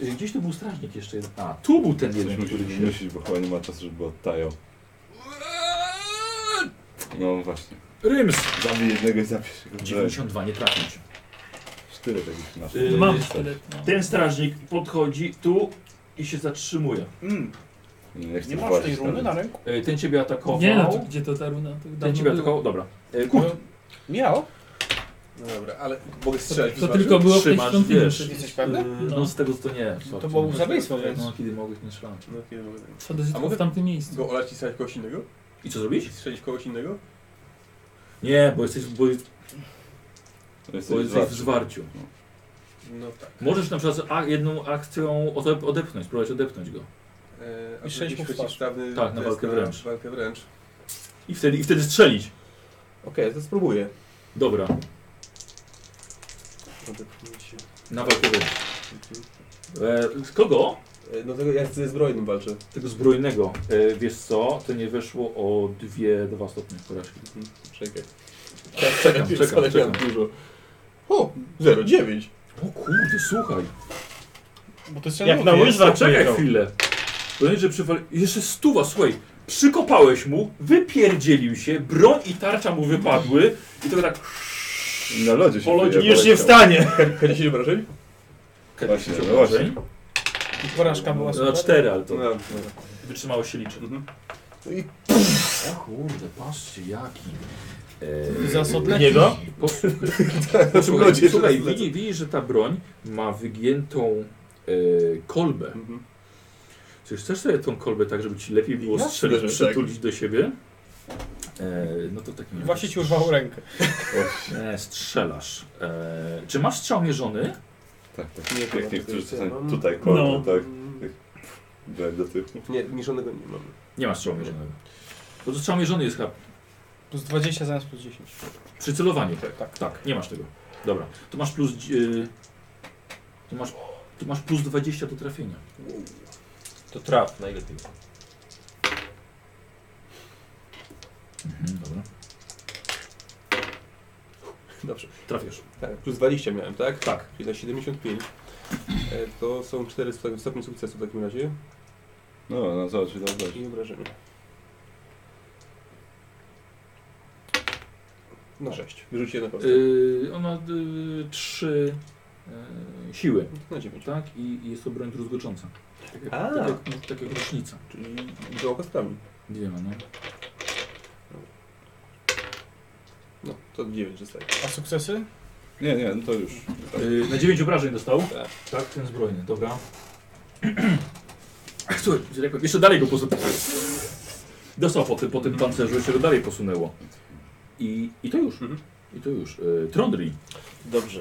[SPEAKER 4] E, Gdzieś tu był strażnik jeszcze jeden. A, tu był ten
[SPEAKER 1] Coś
[SPEAKER 4] jeden, który
[SPEAKER 1] musisz
[SPEAKER 4] się...
[SPEAKER 1] myśleć, bo chyba nie ma czasu, żeby odtajał. No właśnie.
[SPEAKER 4] Ryms!
[SPEAKER 1] Zabij jednego i zapisz go.
[SPEAKER 4] 92, nie trafił cię.
[SPEAKER 1] Cztery takich masz.
[SPEAKER 4] Y,
[SPEAKER 3] Mam sztylet, no.
[SPEAKER 4] Ten strażnik podchodzi tu i się zatrzymuje.
[SPEAKER 2] Mm.
[SPEAKER 1] Nie, chcę
[SPEAKER 2] Nie masz
[SPEAKER 1] płacić
[SPEAKER 2] tej runy
[SPEAKER 1] nawet.
[SPEAKER 2] na ręku?
[SPEAKER 4] E, Ten ciebie atakował.
[SPEAKER 3] Nie no, to gdzie to ta runa? To
[SPEAKER 4] Ten
[SPEAKER 3] dawno
[SPEAKER 4] ciebie
[SPEAKER 3] było.
[SPEAKER 4] atakował. Dobra. E, Kurt,
[SPEAKER 2] Miał?
[SPEAKER 12] No dobra, ale mogę strzelać.
[SPEAKER 3] To tylko było w tej
[SPEAKER 4] trzymasz,
[SPEAKER 3] świątyni.
[SPEAKER 4] wiesz.
[SPEAKER 2] Jesteś pewny?
[SPEAKER 4] y, No z tego to nie. słuchajcie.
[SPEAKER 2] było zabójstwo, więc-
[SPEAKER 4] No kiedy mogłeś, nie szlam.
[SPEAKER 12] No, kiedy mogę tak.
[SPEAKER 3] Co do
[SPEAKER 12] A
[SPEAKER 3] życia
[SPEAKER 12] mogę
[SPEAKER 3] w tamtym miejscu.
[SPEAKER 12] Go olać i strzelać kogoś innego?
[SPEAKER 4] I co zrobić?
[SPEAKER 12] Strzelić kogoś innego?
[SPEAKER 4] Nie, bo jesteś, bo,
[SPEAKER 1] To jest
[SPEAKER 4] bo
[SPEAKER 1] coś
[SPEAKER 4] jesteś w
[SPEAKER 1] za-
[SPEAKER 4] zwarciu.
[SPEAKER 12] No tak.
[SPEAKER 4] Możesz na przykład a, jedną akcją odep odepchnąć, spróbować odepchnąć go.
[SPEAKER 12] Eee,
[SPEAKER 2] I strzelić mu w twarz.
[SPEAKER 12] przeciwstawny
[SPEAKER 4] Tak, na
[SPEAKER 12] test
[SPEAKER 4] walkę wręcz.
[SPEAKER 12] walkę wręcz.
[SPEAKER 4] I wtedy, I wtedy strzelić.
[SPEAKER 8] Okej, to spróbuję.
[SPEAKER 4] Dobra,
[SPEAKER 8] Odepchnij się.
[SPEAKER 4] na walkę wręcz. E, z kogo?
[SPEAKER 8] E, No tego ja ze zbrojnym walczę.
[SPEAKER 4] Tego zbrojnego. E, wiesz co, to nie weszło o dwie, dwa stopnie porażki.
[SPEAKER 1] Mhm,
[SPEAKER 8] Czekaj.
[SPEAKER 4] Czekam, czekam,
[SPEAKER 8] Ale
[SPEAKER 4] czekam.
[SPEAKER 8] miałem dużo. O, 0,9.
[SPEAKER 4] O kurde, słuchaj.
[SPEAKER 2] Bo to jest
[SPEAKER 5] Jak na łyżwach
[SPEAKER 4] Zaczekaj
[SPEAKER 5] pojechał.
[SPEAKER 4] chwilę. To nie, że przywal... Jeszcze stuwa, słuchaj. Przykopałeś mu, wypierdzielił się, broń i tarcza mu wypadły i to tak...
[SPEAKER 1] Na lodzie się
[SPEAKER 4] Po lodzie
[SPEAKER 1] wyjebał.
[SPEAKER 5] Już nie wstanie. *laughs*
[SPEAKER 8] Kiedy się obrażeń?
[SPEAKER 1] Właśnie,
[SPEAKER 4] Kiedyś
[SPEAKER 1] no właśnie.
[SPEAKER 4] obrażeń.
[SPEAKER 2] Porażka była
[SPEAKER 4] No na
[SPEAKER 2] super.
[SPEAKER 4] cztery, ale to
[SPEAKER 12] No, no.
[SPEAKER 4] wytrzymało się liczy.
[SPEAKER 8] I-
[SPEAKER 4] O kurde, patrzcie jaki. e,
[SPEAKER 2] Za sodleki.
[SPEAKER 5] Niego?
[SPEAKER 4] Posłuchaj,
[SPEAKER 12] Ludzie, *laughs*
[SPEAKER 4] posłuchaj, słuchaj
[SPEAKER 12] ludzie.
[SPEAKER 4] widzisz, widzisz, że ta broń ma wygiętą e, kolbę.
[SPEAKER 12] Mhm.
[SPEAKER 4] Czy chcesz sobie tą kolbę tak, żeby ci lepiej było
[SPEAKER 12] Jasne,
[SPEAKER 4] strzelić,
[SPEAKER 12] że tak.
[SPEAKER 4] przytulić do siebie? E, no to tak
[SPEAKER 2] I właśnie ci urwało rękę.
[SPEAKER 4] e, Strzelasz. E, czy masz strzał mierzony?
[SPEAKER 1] Tak, tak.
[SPEAKER 8] Nie,
[SPEAKER 1] Jak niektórzy czasami tutaj
[SPEAKER 3] No.
[SPEAKER 1] kończą, tak. Byłem do tyłu.
[SPEAKER 8] Nie, niszonego nie mam.
[SPEAKER 4] Nie masz strzału mierzonego. Bo to strzał mierzony jest chyba
[SPEAKER 2] Plus 20 zamiast plus 10.
[SPEAKER 4] przycelowanie.
[SPEAKER 2] Tak, tak.
[SPEAKER 4] Tak, nie masz tego. Dobra. To masz plus. Yy, tu, masz, tu masz plus 20 do trafienia.
[SPEAKER 7] To traf najlepiej.
[SPEAKER 4] Mhm, dobra.
[SPEAKER 8] Dobrze.
[SPEAKER 4] Trafiasz.
[SPEAKER 8] Tak, plus 20 miałem, tak?
[SPEAKER 4] Tak.
[SPEAKER 8] Czyli na 75. E, To są 4 sto- stopnie sukcesu w takim razie
[SPEAKER 1] No, no zobacz, dobrze.
[SPEAKER 8] i obrażenia. No 6. Wyrzuciłem na kostkę.
[SPEAKER 4] Yy, ona yy, trzy yy, siły.
[SPEAKER 8] No Na 9.
[SPEAKER 4] Tak? I, i jest to broń druzgocząca. Tak jak,
[SPEAKER 8] A.
[SPEAKER 4] tak jak, tak jak rocznica.
[SPEAKER 8] Czyli było kostkami.
[SPEAKER 4] Wiemy, no.
[SPEAKER 8] No, to 9 zostaje.
[SPEAKER 2] A sukcesy?
[SPEAKER 1] Nie, nie, no to już.
[SPEAKER 4] Yy, na 9 obrażeń dostał? Tak. ten zbrojny, dobra. *clears throat* Słuchaj, że tak powiem, jeszcze dalej go posunęło. Dostał po tym, po tym pancerzu, jeszcze go dalej posunęło. I, i to już. I to już. Yy, Trondri.
[SPEAKER 5] Dobrze.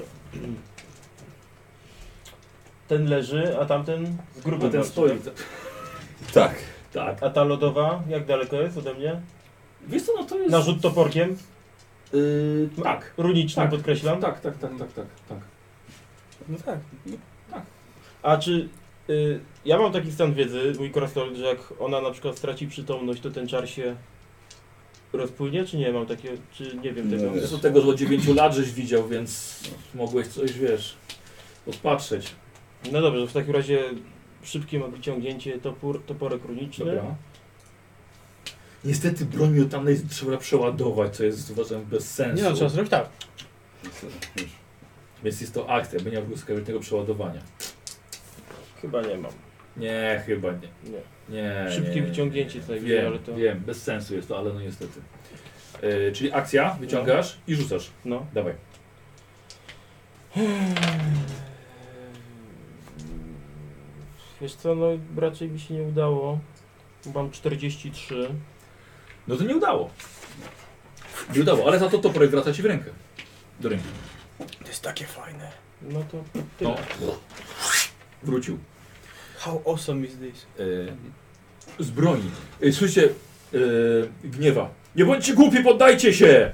[SPEAKER 5] Ten leży, a tamten z grupy
[SPEAKER 4] A ten stoi.
[SPEAKER 1] Tak.
[SPEAKER 4] Tak.
[SPEAKER 5] A ta lodowa, jak daleko jest ode mnie?
[SPEAKER 4] Wiesz co, no to jest...
[SPEAKER 5] Narzut toporkiem?
[SPEAKER 4] tak.
[SPEAKER 5] Runicznym
[SPEAKER 4] Tak.
[SPEAKER 5] podkreślam?
[SPEAKER 4] Tak, tak, tak, tak, tak, tak.
[SPEAKER 5] No tak. A czy... y, ja mam taki stan wiedzy, mój krasnolud, że jak ona na przykład straci przytomność, to ten czar się rozpłynie, czy nie? Mam takie... czy nie wiem tego.
[SPEAKER 4] Wiesz, od tego, że od 9 lat żeś widział, więc mogłeś coś, wiesz, odpatrzeć.
[SPEAKER 5] No dobrze, to w takim razie szybkie mam wyciągnięcie topór, toporek runiczny.
[SPEAKER 4] Dobra. Niestety broń miotanej trzeba przeładować, co jest uważam bez sensu.
[SPEAKER 2] Nie no, trzeba zrobić tak.
[SPEAKER 4] Więc jest to akcja, by nie było skażonego przeładowania.
[SPEAKER 5] Chyba nie mam.
[SPEAKER 4] Nie, chyba nie. Nie. nie
[SPEAKER 5] Szybkie
[SPEAKER 4] nie, nie,
[SPEAKER 5] wyciągnięcie
[SPEAKER 4] nie.
[SPEAKER 5] co najwyżej,
[SPEAKER 4] Wiem,
[SPEAKER 5] ale to...
[SPEAKER 4] wiem, bez sensu jest to, ale no niestety. E, czyli akcja, wyciągasz i rzucasz.
[SPEAKER 5] No.
[SPEAKER 4] Dawaj.
[SPEAKER 5] *sighs* Wiesz co, no raczej mi się nie udało. Mam 43.
[SPEAKER 4] No to nie udało. Nie udało, ale za to toporek wraca ci w rękę. Do ręki.
[SPEAKER 10] To jest takie fajne.
[SPEAKER 5] No to
[SPEAKER 4] No. Wrócił.
[SPEAKER 2] How awesome is this?
[SPEAKER 4] E, z broni. E, słyszycie, e, gniewa. Nie bądźcie głupi, poddajcie się!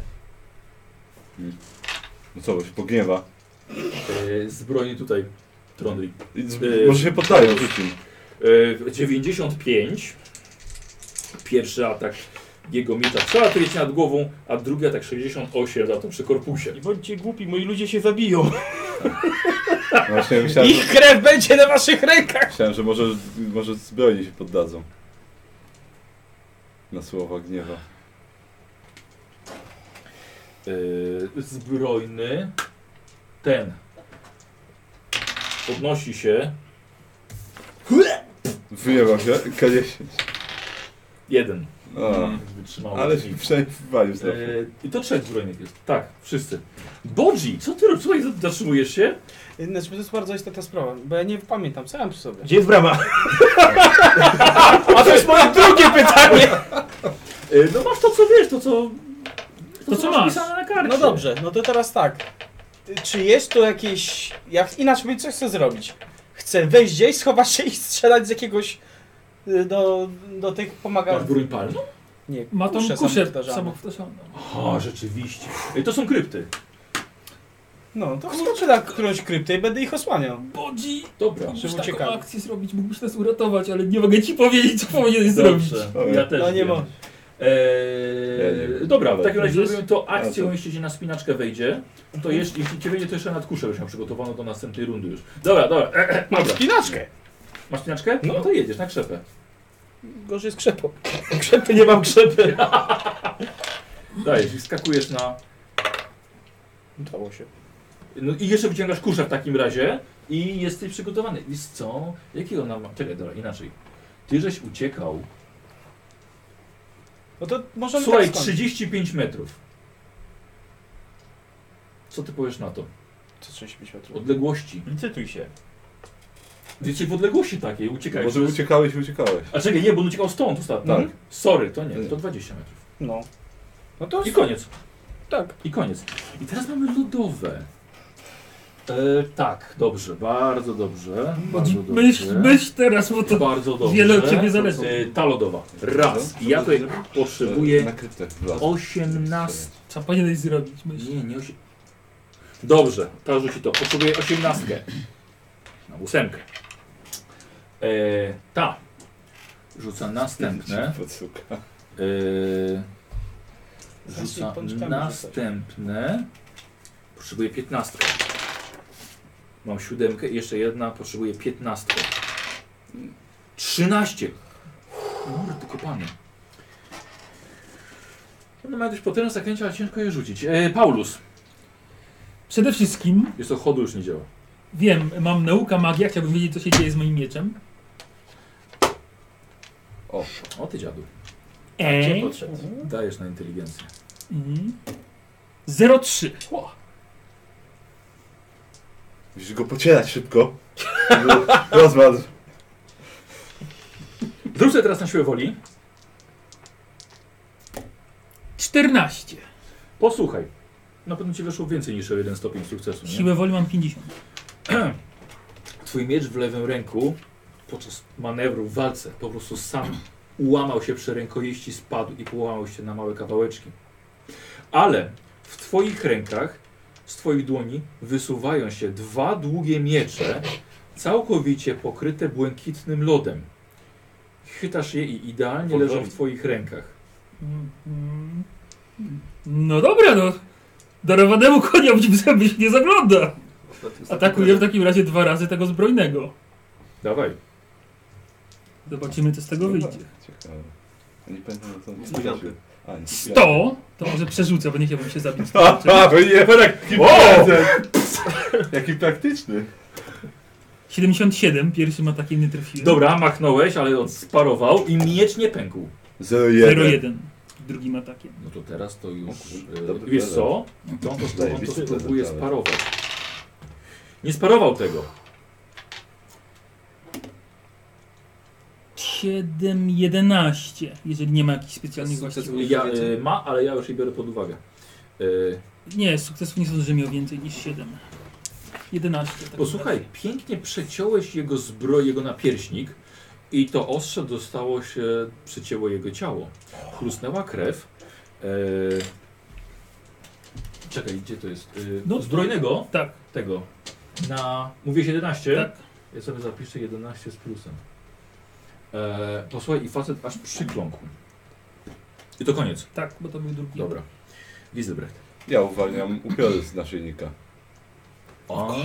[SPEAKER 1] No co, bo się pogniewa.
[SPEAKER 4] E, z broni tutaj, Trondri.
[SPEAKER 1] I z-
[SPEAKER 8] E,
[SPEAKER 1] może się poddają, rzucim.
[SPEAKER 4] E, 95. Pierwszy atak jego miecza przelatuje ci nad głową, a drugi atak 68 za to przy korpusie.
[SPEAKER 5] I bądźcie głupi, moi ludzie się zabiją.
[SPEAKER 1] Właśnie myślałem, że,
[SPEAKER 2] krew będzie na waszych rękach!
[SPEAKER 1] myślałem, że może, może zbrojnie się poddadzą. Na słowa gniewa.
[SPEAKER 4] Yy, zbrojny ten podnosi się
[SPEAKER 1] Wyjebał się, K10.
[SPEAKER 4] jeden.
[SPEAKER 1] A.
[SPEAKER 4] Mm. Wytrzymał.
[SPEAKER 1] Ale się przewalił znowu.
[SPEAKER 4] Yy, I to trzech zbrojnych jest. Tak, wszyscy. Bodzi, co ty robisz? Słuchaj, Zatrzymujesz się?
[SPEAKER 2] Znaczy, to jest bardzo istotna sprawa, bo ja nie pamiętam, co ja mam przy sobie.
[SPEAKER 5] Gdzie jest brama?
[SPEAKER 2] A to jest moje drugie pytanie!
[SPEAKER 4] Yy, no masz to co wiesz, to co...
[SPEAKER 2] To co masz?
[SPEAKER 4] wpisane na karcie.
[SPEAKER 2] No dobrze, no to teraz tak. Ty- Czy jest tu jakieś... Ja ch- inaczej mówię, co chcę zrobić? Chcę wejść gdzieś, schować się i strzelać z jakiegoś... y, do, do tych
[SPEAKER 4] Masz
[SPEAKER 2] pomagających.
[SPEAKER 4] broń palną?
[SPEAKER 2] Nie,
[SPEAKER 3] Ma tą
[SPEAKER 2] kuszę
[SPEAKER 3] kuszę
[SPEAKER 2] samowtarzane.
[SPEAKER 3] samowtarzalną.
[SPEAKER 4] Aha, rzeczywiście. Yy, to są krypty.
[SPEAKER 2] No, to skoczę na którąś kryptę i będę ich osłaniał.
[SPEAKER 3] Bodzi!
[SPEAKER 4] Dobra.
[SPEAKER 3] Mógłbyś taką
[SPEAKER 2] uciekamy.
[SPEAKER 3] akcję zrobić, mógłbyś nas uratować, ale nie mogę ci powiedzieć, co powinieneś zrobić.
[SPEAKER 4] Dobrze,
[SPEAKER 1] Dobra.
[SPEAKER 4] ja też
[SPEAKER 2] No nie
[SPEAKER 4] wiem.
[SPEAKER 2] ma.
[SPEAKER 4] Eee, dobra, w takim razie
[SPEAKER 3] Widzisz?
[SPEAKER 4] zrobimy to akcją,
[SPEAKER 1] A, to-
[SPEAKER 4] jeśli się na spinaczkę wejdzie, to jeśli, jeśli cię wejdzie, to jeszcze nadkuszę już miał przygotowaną do następnej rundy już. Dobra, dobra, e, e, dobra.
[SPEAKER 2] Spinaczkę!
[SPEAKER 4] Masz spinaczkę? No to jedziesz na krzepę.
[SPEAKER 2] Gorzej jest krzepą. Krzepy nie mam krzepy.
[SPEAKER 4] Dajesz i skakujesz na...
[SPEAKER 2] Udało się.
[SPEAKER 4] No i jeszcze wyciągasz kusza w takim razie i jesteś przygotowany. Wiesz co? Jakiego ona ma? Czekaj, dobra, inaczej. Ty żeś uciekał,
[SPEAKER 2] No to możemy
[SPEAKER 4] słuchaj,
[SPEAKER 2] tak skończyć.
[SPEAKER 4] 35 metrów. Co ty powiesz na to?
[SPEAKER 2] Co 35 metrów?
[SPEAKER 4] Odległości.
[SPEAKER 5] Licytuj się.
[SPEAKER 4] Wiecie, w odległości takiej
[SPEAKER 8] tak,
[SPEAKER 4] uciekałeś.
[SPEAKER 1] Może
[SPEAKER 4] To jest-
[SPEAKER 1] uciekałeś i uciekałeś.
[SPEAKER 4] A czekaj, nie, bo on uciekał stąd ostatnio.
[SPEAKER 2] Mhm.
[SPEAKER 1] Tak.
[SPEAKER 4] Sorry, to nie, to 20 metrów.
[SPEAKER 2] No. No to
[SPEAKER 4] I koniec,
[SPEAKER 2] tak.
[SPEAKER 4] i koniec. I teraz mamy lodowe. E, tak, dobrze, bardzo dobrze.
[SPEAKER 3] Bodzi,
[SPEAKER 4] Bardzo dobrze.
[SPEAKER 3] myśl, myśl teraz, bo to
[SPEAKER 4] Bardzo dobrze.
[SPEAKER 3] wiele od ciebie zależy.
[SPEAKER 4] E, ta lodowa. Raz. I ja tutaj
[SPEAKER 1] Na
[SPEAKER 4] potrzebuję
[SPEAKER 1] kryptach wlazł.
[SPEAKER 4] 18.
[SPEAKER 3] co powinieneś zrobić, myśl.
[SPEAKER 4] Nie, nie osie... Dobrze, to rzuci to. Potrzebuję 18. Na ósemkę. E, ta. Rzuca następne.
[SPEAKER 1] Podsuka.
[SPEAKER 4] Eee,
[SPEAKER 2] Właśnie
[SPEAKER 4] rzuca
[SPEAKER 2] pączkami
[SPEAKER 4] następne. Potrzebuję 15. Mam siódemkę, i jeszcze jedna, potrzebuję 15. 13. Kurde, kopany. No mają dość potężne zaklęcia, ale ciężko je rzucić. Eee, Paulus.
[SPEAKER 3] Przede wszystkim,
[SPEAKER 4] Jest to chodu już nie działa.
[SPEAKER 3] wiem, mam nauka magia, chciałbym wiedzieć, co się dzieje z moim mieczem.
[SPEAKER 1] O,
[SPEAKER 4] O ty dziadu. Tak,
[SPEAKER 3] Eee.
[SPEAKER 4] Dajesz na inteligencję.
[SPEAKER 3] Mhm. 03.
[SPEAKER 1] Musisz go pocierać szybko. *laughs* Rozmaz.
[SPEAKER 4] Zrób sobie teraz na siłę woli.
[SPEAKER 3] 14.
[SPEAKER 4] Posłuchaj. Na pewno ci weszło więcej niż o jeden stopień sukcesu. Nie?
[SPEAKER 3] Siłę woli mam 50.
[SPEAKER 4] Twój miecz w lewym ręku podczas manewru w walce po prostu sam ułamał się przy rękojeści, spadł i połamał się na małe kawałeczki. Ale w twoich rękach, z twoich dłoni wysuwają się dwa długie miecze, całkowicie pokryte błękitnym lodem. Chytasz je i idealnie leżą w twoich rękach.
[SPEAKER 3] Mhm. No dobra, no. Darowanemu konia w zęby się nie zagląda. Atakuję w takim razie dwa razy tego zbrojnego.
[SPEAKER 4] Dawaj.
[SPEAKER 3] Zobaczymy, co z tego wyjdzie.
[SPEAKER 1] Ciekawe. Nie pamiętam, co on
[SPEAKER 12] Dziewiąty.
[SPEAKER 1] A,
[SPEAKER 3] *laughs*
[SPEAKER 1] nie.
[SPEAKER 3] 100? To może przerzucę, bo nie chciałbym się zabić.
[SPEAKER 1] nie,
[SPEAKER 3] Jaki
[SPEAKER 1] jaki prezent. *laughs* Jaki praktyczny.
[SPEAKER 3] 77, pierwszym atakiem nie trafiłem.
[SPEAKER 4] Dobra, machnąłeś, ale on sparował i miecz nie pękł.
[SPEAKER 3] 0-1, drugim atakiem.
[SPEAKER 4] No to teraz to już. e,
[SPEAKER 1] dobry
[SPEAKER 4] wiesz
[SPEAKER 1] prezent.
[SPEAKER 4] co? To on to, on to
[SPEAKER 1] Zajebisty prezent,
[SPEAKER 4] spróbuje
[SPEAKER 1] ale.
[SPEAKER 4] sparować. Nie sparował tego.
[SPEAKER 3] 7, 11, jeżeli nie ma jakichś specjalnych właściwości.
[SPEAKER 4] Ja, e, ma, ale ja już jej biorę pod uwagę. E,
[SPEAKER 3] Nie, sukcesów nie sądzę, że miał więcej niż 7. 11. Tak
[SPEAKER 4] posłuchaj, pięknie przeciąłeś jego zbroję, jego napierśnik i to ostrze dostało się, przycięło jego ciało. Chrusnęła krew. E, czekaj, gdzie to jest? E,
[SPEAKER 3] No.
[SPEAKER 4] zbrojnego?
[SPEAKER 3] Tak.
[SPEAKER 4] Tego. Na, mówię 11?
[SPEAKER 3] Tak.
[SPEAKER 4] Ja sobie zapiszę 11 z plusem. E, posłuchaj, i facet aż przykląkł. I to koniec.
[SPEAKER 3] Tak, bo to był drugi.
[SPEAKER 4] Dobra. Gizelbrecht.
[SPEAKER 1] Ja uwalniam upiory z naszyjnika.
[SPEAKER 4] O,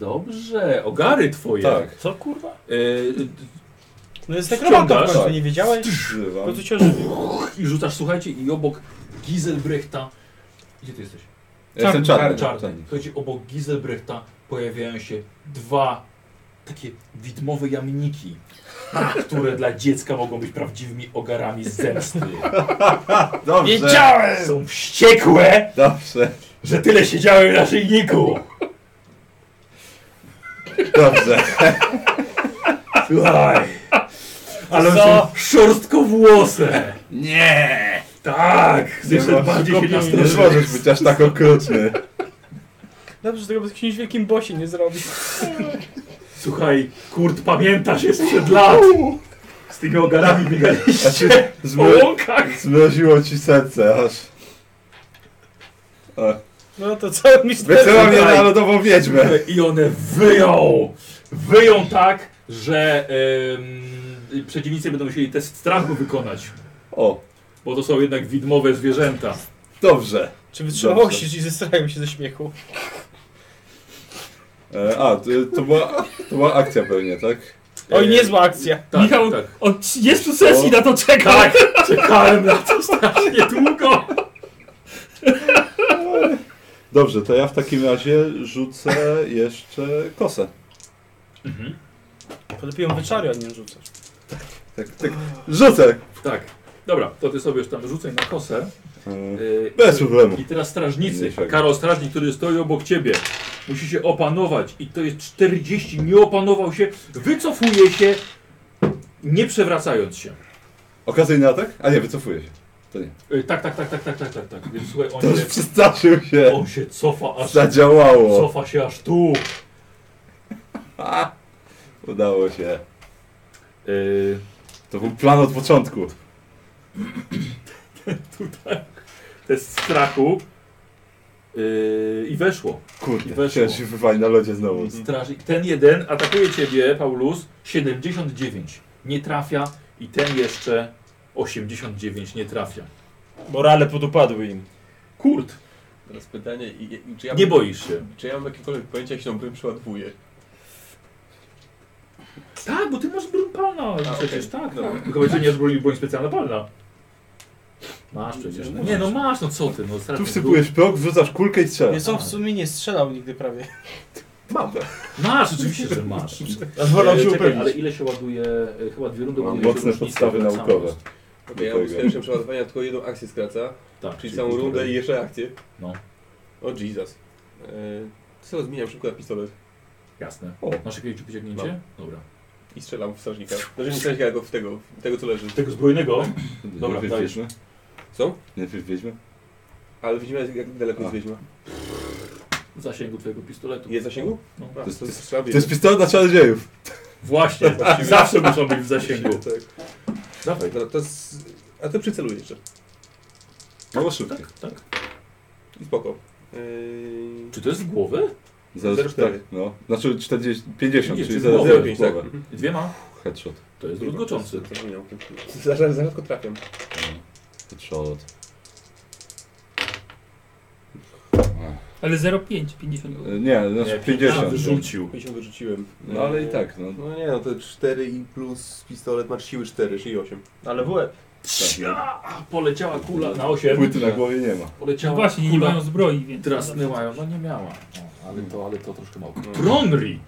[SPEAKER 4] dobrze. Ogary twoje. E,
[SPEAKER 1] Tak.
[SPEAKER 11] Co kurwa?
[SPEAKER 4] no
[SPEAKER 2] jest tak nekromantą w końcu, nie wiedziałeś?
[SPEAKER 1] Zrywam.
[SPEAKER 2] Po co cię ożywił?
[SPEAKER 4] I rzucasz, słuchajcie, i obok Giselbrechta... Gdzie ty jesteś?
[SPEAKER 1] Ja jestem czarny.
[SPEAKER 4] Czarny. Słuchajcie, obok Giselbrechta pojawiają się dwa takie widmowe jamniki, które dla dziecka mogą być prawdziwymi ogarami z zemsty.
[SPEAKER 1] Dobrze.
[SPEAKER 4] Wiedziałem! Są wściekłe,
[SPEAKER 1] Dobrze.
[SPEAKER 4] że tyle siedziałem na szyjniku.
[SPEAKER 1] Dobrze.
[SPEAKER 4] Słuchaj. Ale
[SPEAKER 1] Co?
[SPEAKER 4] są szorstkowłose.
[SPEAKER 1] Nie!
[SPEAKER 4] Tak! Jeszcze bardziej się
[SPEAKER 1] Nie
[SPEAKER 4] nastraszyłem.
[SPEAKER 1] możesz być aż tak okrutny.
[SPEAKER 2] Dobrze, że tego bez jakimś wielkim bosie nie zrobi.
[SPEAKER 4] Słuchaj, Kurt, pamiętasz, jest sprzed lat. Z tymi ogarami
[SPEAKER 1] A
[SPEAKER 4] biegaliście.
[SPEAKER 1] ci
[SPEAKER 4] Po
[SPEAKER 1] zmro-
[SPEAKER 4] łąkach.
[SPEAKER 1] Zmroziło ci serce aż. O.
[SPEAKER 2] No to cały misterium.
[SPEAKER 1] Wysyła mnie na lodową wiedźmę.
[SPEAKER 4] I one wyją! Wyją tak, że ym, przeciwnicy będą musieli test strachu wykonać.
[SPEAKER 1] O,
[SPEAKER 4] Bo to są jednak widmowe zwierzęta.
[SPEAKER 1] dobrze.
[SPEAKER 2] Czy wytrzymało
[SPEAKER 1] Dobrze.
[SPEAKER 2] się, czy zestrałem się ze śmiechu?
[SPEAKER 1] E, a, to, to, była, to była akcja pewnie, tak?
[SPEAKER 2] Oj, niezła akcja.
[SPEAKER 4] Tak,
[SPEAKER 3] Michał
[SPEAKER 4] tak.
[SPEAKER 3] od 30 sesji na to czekał.
[SPEAKER 4] Tak, czekałem na to strasznie długo.
[SPEAKER 1] Dobrze, to ja w takim razie rzucę jeszcze kosę.
[SPEAKER 2] Podlepiłem wyczary, a nie rzucasz.
[SPEAKER 1] Tak, tak. Rzucę!
[SPEAKER 4] Tak, dobra, to ty sobie już tam rzucaj na kosę. Yy,
[SPEAKER 1] Bez
[SPEAKER 4] i-
[SPEAKER 1] problemu.
[SPEAKER 4] I teraz strażnicy,
[SPEAKER 1] Mniejszego.
[SPEAKER 4] Karol strażnik, który stoi obok ciebie, musi się opanować i to jest 40, nie opanował się, wycofuje się, nie przewracając się.
[SPEAKER 1] Okazyjny atak? A nie, wycofuję się. *laughs* To nie.
[SPEAKER 4] Yy, tak, tak, tak, tak, tak, tak, tak, tak. Więc słuchaj, on
[SPEAKER 1] To już
[SPEAKER 4] się,
[SPEAKER 1] przestraszył się.
[SPEAKER 4] on się cofa aż
[SPEAKER 1] Zadziałało.
[SPEAKER 4] cofa się aż tu.
[SPEAKER 1] A, udało się. Y,
[SPEAKER 4] Yy,
[SPEAKER 1] To był plan od początku.
[SPEAKER 4] tutaj test strachu. Yy, I weszło. I
[SPEAKER 1] Kurde,
[SPEAKER 4] weszło.
[SPEAKER 1] chciałem się wywalić na lodzie znowu.
[SPEAKER 4] Strażnik. Ten jeden atakuje ciebie, Paulus, 79. Nie trafia i ten jeszcze 89 nie trafia.
[SPEAKER 5] Morale podupadły im.
[SPEAKER 4] Kurt,
[SPEAKER 12] Teraz pytanie, i- i- czy ja,
[SPEAKER 4] nie boisz się.
[SPEAKER 12] czy ja mam jakiekolwiek pojęcie, jak się tą broń przeładowuje?
[SPEAKER 4] Tak, bo ty masz broń palna. przecież
[SPEAKER 12] okej.
[SPEAKER 4] tak.
[SPEAKER 12] Dobra.
[SPEAKER 4] tak. Tylko będzie nie zbroi broń specjalna palna. Masz przecież.
[SPEAKER 12] No,
[SPEAKER 4] Nie no masz, no co ty, no
[SPEAKER 1] Tu
[SPEAKER 4] strażnik.
[SPEAKER 1] wsypujesz prog, wrzucasz kulkę i
[SPEAKER 2] Nie
[SPEAKER 1] strzelasz.
[SPEAKER 2] są w sumie nie strzelał nigdy prawie.
[SPEAKER 1] Mam.
[SPEAKER 4] Masz, oczywiście, że *laughs* masz.
[SPEAKER 5] Wolał
[SPEAKER 4] E,
[SPEAKER 5] się
[SPEAKER 4] czekaj,
[SPEAKER 5] upewnić.
[SPEAKER 4] ale ile się ładuje? E, Chyba dwie rundy
[SPEAKER 1] Mam
[SPEAKER 4] ładuje się
[SPEAKER 1] mocne
[SPEAKER 4] różnica,
[SPEAKER 1] podstawy
[SPEAKER 4] tak samo
[SPEAKER 1] naukowe.
[SPEAKER 4] jest.
[SPEAKER 12] Okej, ja mam z pierwszym przeładowania tylko jedną akcję skraca,
[SPEAKER 4] Tak,
[SPEAKER 12] czyli całą rundę i jeszcze akcję.
[SPEAKER 4] No.
[SPEAKER 12] O Jesus. E,
[SPEAKER 8] Co zmieniam szybko na pistolet?
[SPEAKER 4] Jasne. Masz jakieś przyciągnięcie? Dobra.
[SPEAKER 8] I strzelam w strażnika. Znaczy nie strażnika, tylko w tego, w tego co leży.
[SPEAKER 4] Tego zbrojnego?
[SPEAKER 1] Dobra,
[SPEAKER 8] daj.
[SPEAKER 1] wiedźmy.
[SPEAKER 8] Co?
[SPEAKER 1] Najpierw wiedźmy.
[SPEAKER 8] Ale widzimy jak- jak daleko jest wiedźma.
[SPEAKER 4] W zasięgu twojego pistoletu.
[SPEAKER 8] Jest w zasięgu?
[SPEAKER 4] No.
[SPEAKER 8] A, to, to
[SPEAKER 1] To jest pistolet na czarodziejów.
[SPEAKER 4] Właśnie,
[SPEAKER 1] Właściwie.
[SPEAKER 4] zawsze muszą być w zasięgu. Dawaj.
[SPEAKER 8] Tak. Dobra, to jest... A to przyceluję jeszcze.
[SPEAKER 1] Mało szybko.
[SPEAKER 4] Tak.
[SPEAKER 8] I spoko. Yy...
[SPEAKER 4] Czy to jest w głowę?
[SPEAKER 1] 0,4. No, znaczy 40, 50,
[SPEAKER 4] Nie,
[SPEAKER 1] czyli
[SPEAKER 4] czyli w głowę.
[SPEAKER 1] *laughs* 0,5
[SPEAKER 4] Tak.
[SPEAKER 1] głowę.
[SPEAKER 4] Mhm. Dwiema?
[SPEAKER 1] Headshot.
[SPEAKER 4] To jest druzgoczący.
[SPEAKER 8] Zaraz, zaraz go trafiam.
[SPEAKER 1] Headshot.
[SPEAKER 3] Ale 0,5, 50 było.
[SPEAKER 8] E,
[SPEAKER 1] Nie, znaczy 50.
[SPEAKER 8] się wyrzuciłem.
[SPEAKER 1] No ale i tak, no.
[SPEAKER 12] No nie, no to 4 i plus pistolet masz siły 4, czyli 8.
[SPEAKER 2] Ale w łeb.
[SPEAKER 4] A, poleciała kula na 8.
[SPEAKER 1] no, Płyty na głowie nie ma.
[SPEAKER 4] Poleciała
[SPEAKER 3] No właśnie, nie
[SPEAKER 4] kula.
[SPEAKER 3] mają zbroi, więc...
[SPEAKER 4] Trasnęła ją, Mm. no nie miała. O, ale to, ale to troszkę mało. Tronri!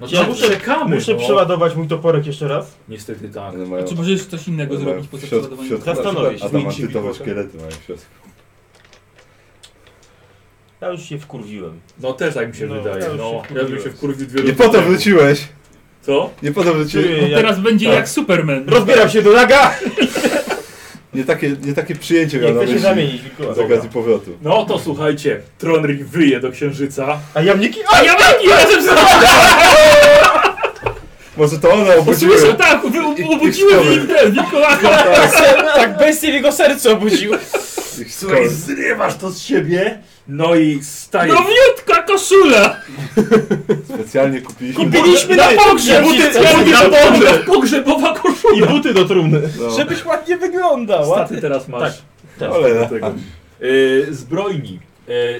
[SPEAKER 4] No
[SPEAKER 5] Ja
[SPEAKER 4] to czekamy!
[SPEAKER 5] muszę
[SPEAKER 4] no.
[SPEAKER 5] przeładować mój toporek jeszcze raz.
[SPEAKER 4] Niestety tak.
[SPEAKER 1] mają-
[SPEAKER 3] A czy możesz coś innego
[SPEAKER 1] mają
[SPEAKER 3] zrobić poza
[SPEAKER 1] w środku-
[SPEAKER 3] przeładowaniem?
[SPEAKER 1] w środku na
[SPEAKER 5] Zastanowię
[SPEAKER 1] przykład
[SPEAKER 5] się.
[SPEAKER 1] Adamantytowe szkielety mają w środku.
[SPEAKER 5] Ja już się wkurwiłem.
[SPEAKER 4] No też tak mi się
[SPEAKER 5] No,
[SPEAKER 4] wydaje.
[SPEAKER 5] ja już się
[SPEAKER 4] no, ja bym
[SPEAKER 5] wkurwiłem.
[SPEAKER 4] się wkurwił dwie
[SPEAKER 1] Nie
[SPEAKER 4] rundy
[SPEAKER 1] po to
[SPEAKER 4] temu.
[SPEAKER 1] wróciłeś!
[SPEAKER 4] Co?
[SPEAKER 1] Nie po to
[SPEAKER 3] No
[SPEAKER 1] wróciłeś!
[SPEAKER 3] teraz będzie
[SPEAKER 5] tak.
[SPEAKER 3] jak Superman.
[SPEAKER 5] Rozbieram się do naga!
[SPEAKER 1] Nie takie, nie takie przyjęcie
[SPEAKER 5] Nie
[SPEAKER 1] miał na
[SPEAKER 5] chcę się
[SPEAKER 1] myśli
[SPEAKER 5] zamienić, Mikołaj.
[SPEAKER 1] z okazji powrotu.
[SPEAKER 4] No to słuchajcie, Tronri wyje do księżyca.
[SPEAKER 5] A jamniki?
[SPEAKER 4] A ja mam razem z
[SPEAKER 1] *laughs* Może to one obudziły.
[SPEAKER 3] Usłyszał tak, wy-
[SPEAKER 1] ich
[SPEAKER 3] obudziłem
[SPEAKER 1] skory.
[SPEAKER 3] im ten, Mikołaja.
[SPEAKER 2] Tak bestie w jego sercu obudził.
[SPEAKER 1] ich skory.
[SPEAKER 4] Słuchaj, zrywasz to z siebie, no i staje.
[SPEAKER 3] Nowiutka koszula!
[SPEAKER 1] Specjalnie kupiliśmy.
[SPEAKER 2] Kupiliśmy
[SPEAKER 4] No
[SPEAKER 2] na pogrzeb!
[SPEAKER 4] na pogrzeb! Pogrzebowa
[SPEAKER 5] I
[SPEAKER 4] koszula!
[SPEAKER 5] buty do trumny.
[SPEAKER 1] No.
[SPEAKER 2] Żebyś ładnie wyglądał. a?
[SPEAKER 4] Staty teraz masz.
[SPEAKER 1] Cholera.
[SPEAKER 4] E, zbrojni.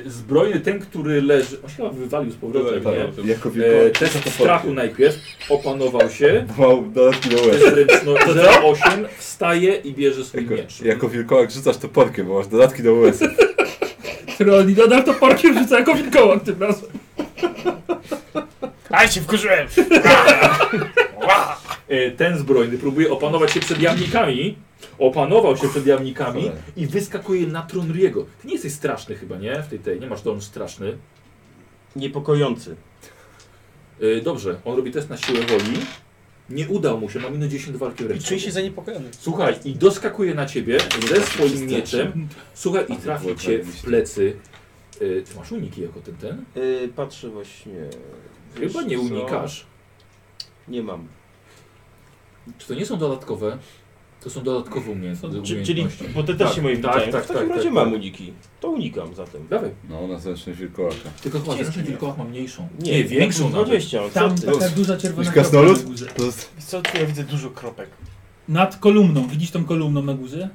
[SPEAKER 4] E, zbrojny ten, który leży... On się chyba wywalił z powrotem,
[SPEAKER 1] Dobra,
[SPEAKER 4] nie?
[SPEAKER 1] dobra. Jako
[SPEAKER 4] E,
[SPEAKER 1] wilkołak.
[SPEAKER 4] test strachu najpierw, opanował się.
[SPEAKER 1] Wow, dodatki do
[SPEAKER 8] *laughs*
[SPEAKER 1] łez.
[SPEAKER 4] Test ręczno 08, wstaje i bierze swój
[SPEAKER 1] Jako,
[SPEAKER 4] miecz.
[SPEAKER 1] jako wilkołak rzucasz to porkiem, bo masz dodatki do
[SPEAKER 8] E
[SPEAKER 1] łez.
[SPEAKER 3] Troli nadal to parkiem no rzuca jako wilkołak tym razem.
[SPEAKER 2] Aj się wkurzyłem!
[SPEAKER 4] E, ten zbrojny próbuje opanować się przed jamnikami. Opanował się przed jamnikami
[SPEAKER 1] Cholera.
[SPEAKER 4] i wyskakuje na Tronriego. Ty nie jesteś straszny chyba, nie? W tej, tej nie masz dąż straszny.
[SPEAKER 5] Niepokojący.
[SPEAKER 4] E, dobrze, on robi test na siłę woli. Nie udał mu się, ma minus 10 do walki
[SPEAKER 2] I
[SPEAKER 4] wręcz.
[SPEAKER 2] czuję się zaniepokojony.
[SPEAKER 4] Słuchaj, i doskakuje na ciebie ze swoim mieczem. Słuchaj, i trafi cię w plecy. E, Ty masz uniki jako ten ten?
[SPEAKER 5] Yy, patrzę właśnie. Wiesz
[SPEAKER 4] Chyba nie
[SPEAKER 5] co?
[SPEAKER 4] unikasz.
[SPEAKER 5] Nie mam.
[SPEAKER 4] Czy to nie są dodatkowe? To są dodatkowe umiejętności.
[SPEAKER 5] Czy, czyli,
[SPEAKER 4] umiejętności.
[SPEAKER 5] bo te też
[SPEAKER 4] Tak,
[SPEAKER 5] się moim
[SPEAKER 4] tak,
[SPEAKER 5] pytają.
[SPEAKER 4] tak,
[SPEAKER 5] w takim
[SPEAKER 4] tak,
[SPEAKER 5] razie
[SPEAKER 4] tak,
[SPEAKER 5] mam
[SPEAKER 4] tak.
[SPEAKER 5] uniki. To unikam zatem.
[SPEAKER 4] Dawaj.
[SPEAKER 1] No, na zręczność wilkołaka.
[SPEAKER 4] Tylko chyba
[SPEAKER 2] Gdzie jest
[SPEAKER 4] zresztą
[SPEAKER 2] unijak?
[SPEAKER 4] wilkołak ma mniejszą. Nie, większą
[SPEAKER 5] tak,
[SPEAKER 4] nawet.
[SPEAKER 5] 20. ale co
[SPEAKER 3] Tam
[SPEAKER 5] ty?
[SPEAKER 3] taka duża czerwona kropka
[SPEAKER 1] Jakiś krasnolud?
[SPEAKER 3] na górze.
[SPEAKER 1] To jest...
[SPEAKER 2] Wiesz Co tu ja widzę dużo kropek.
[SPEAKER 3] Nad kolumną, widzisz tą kolumną na górze?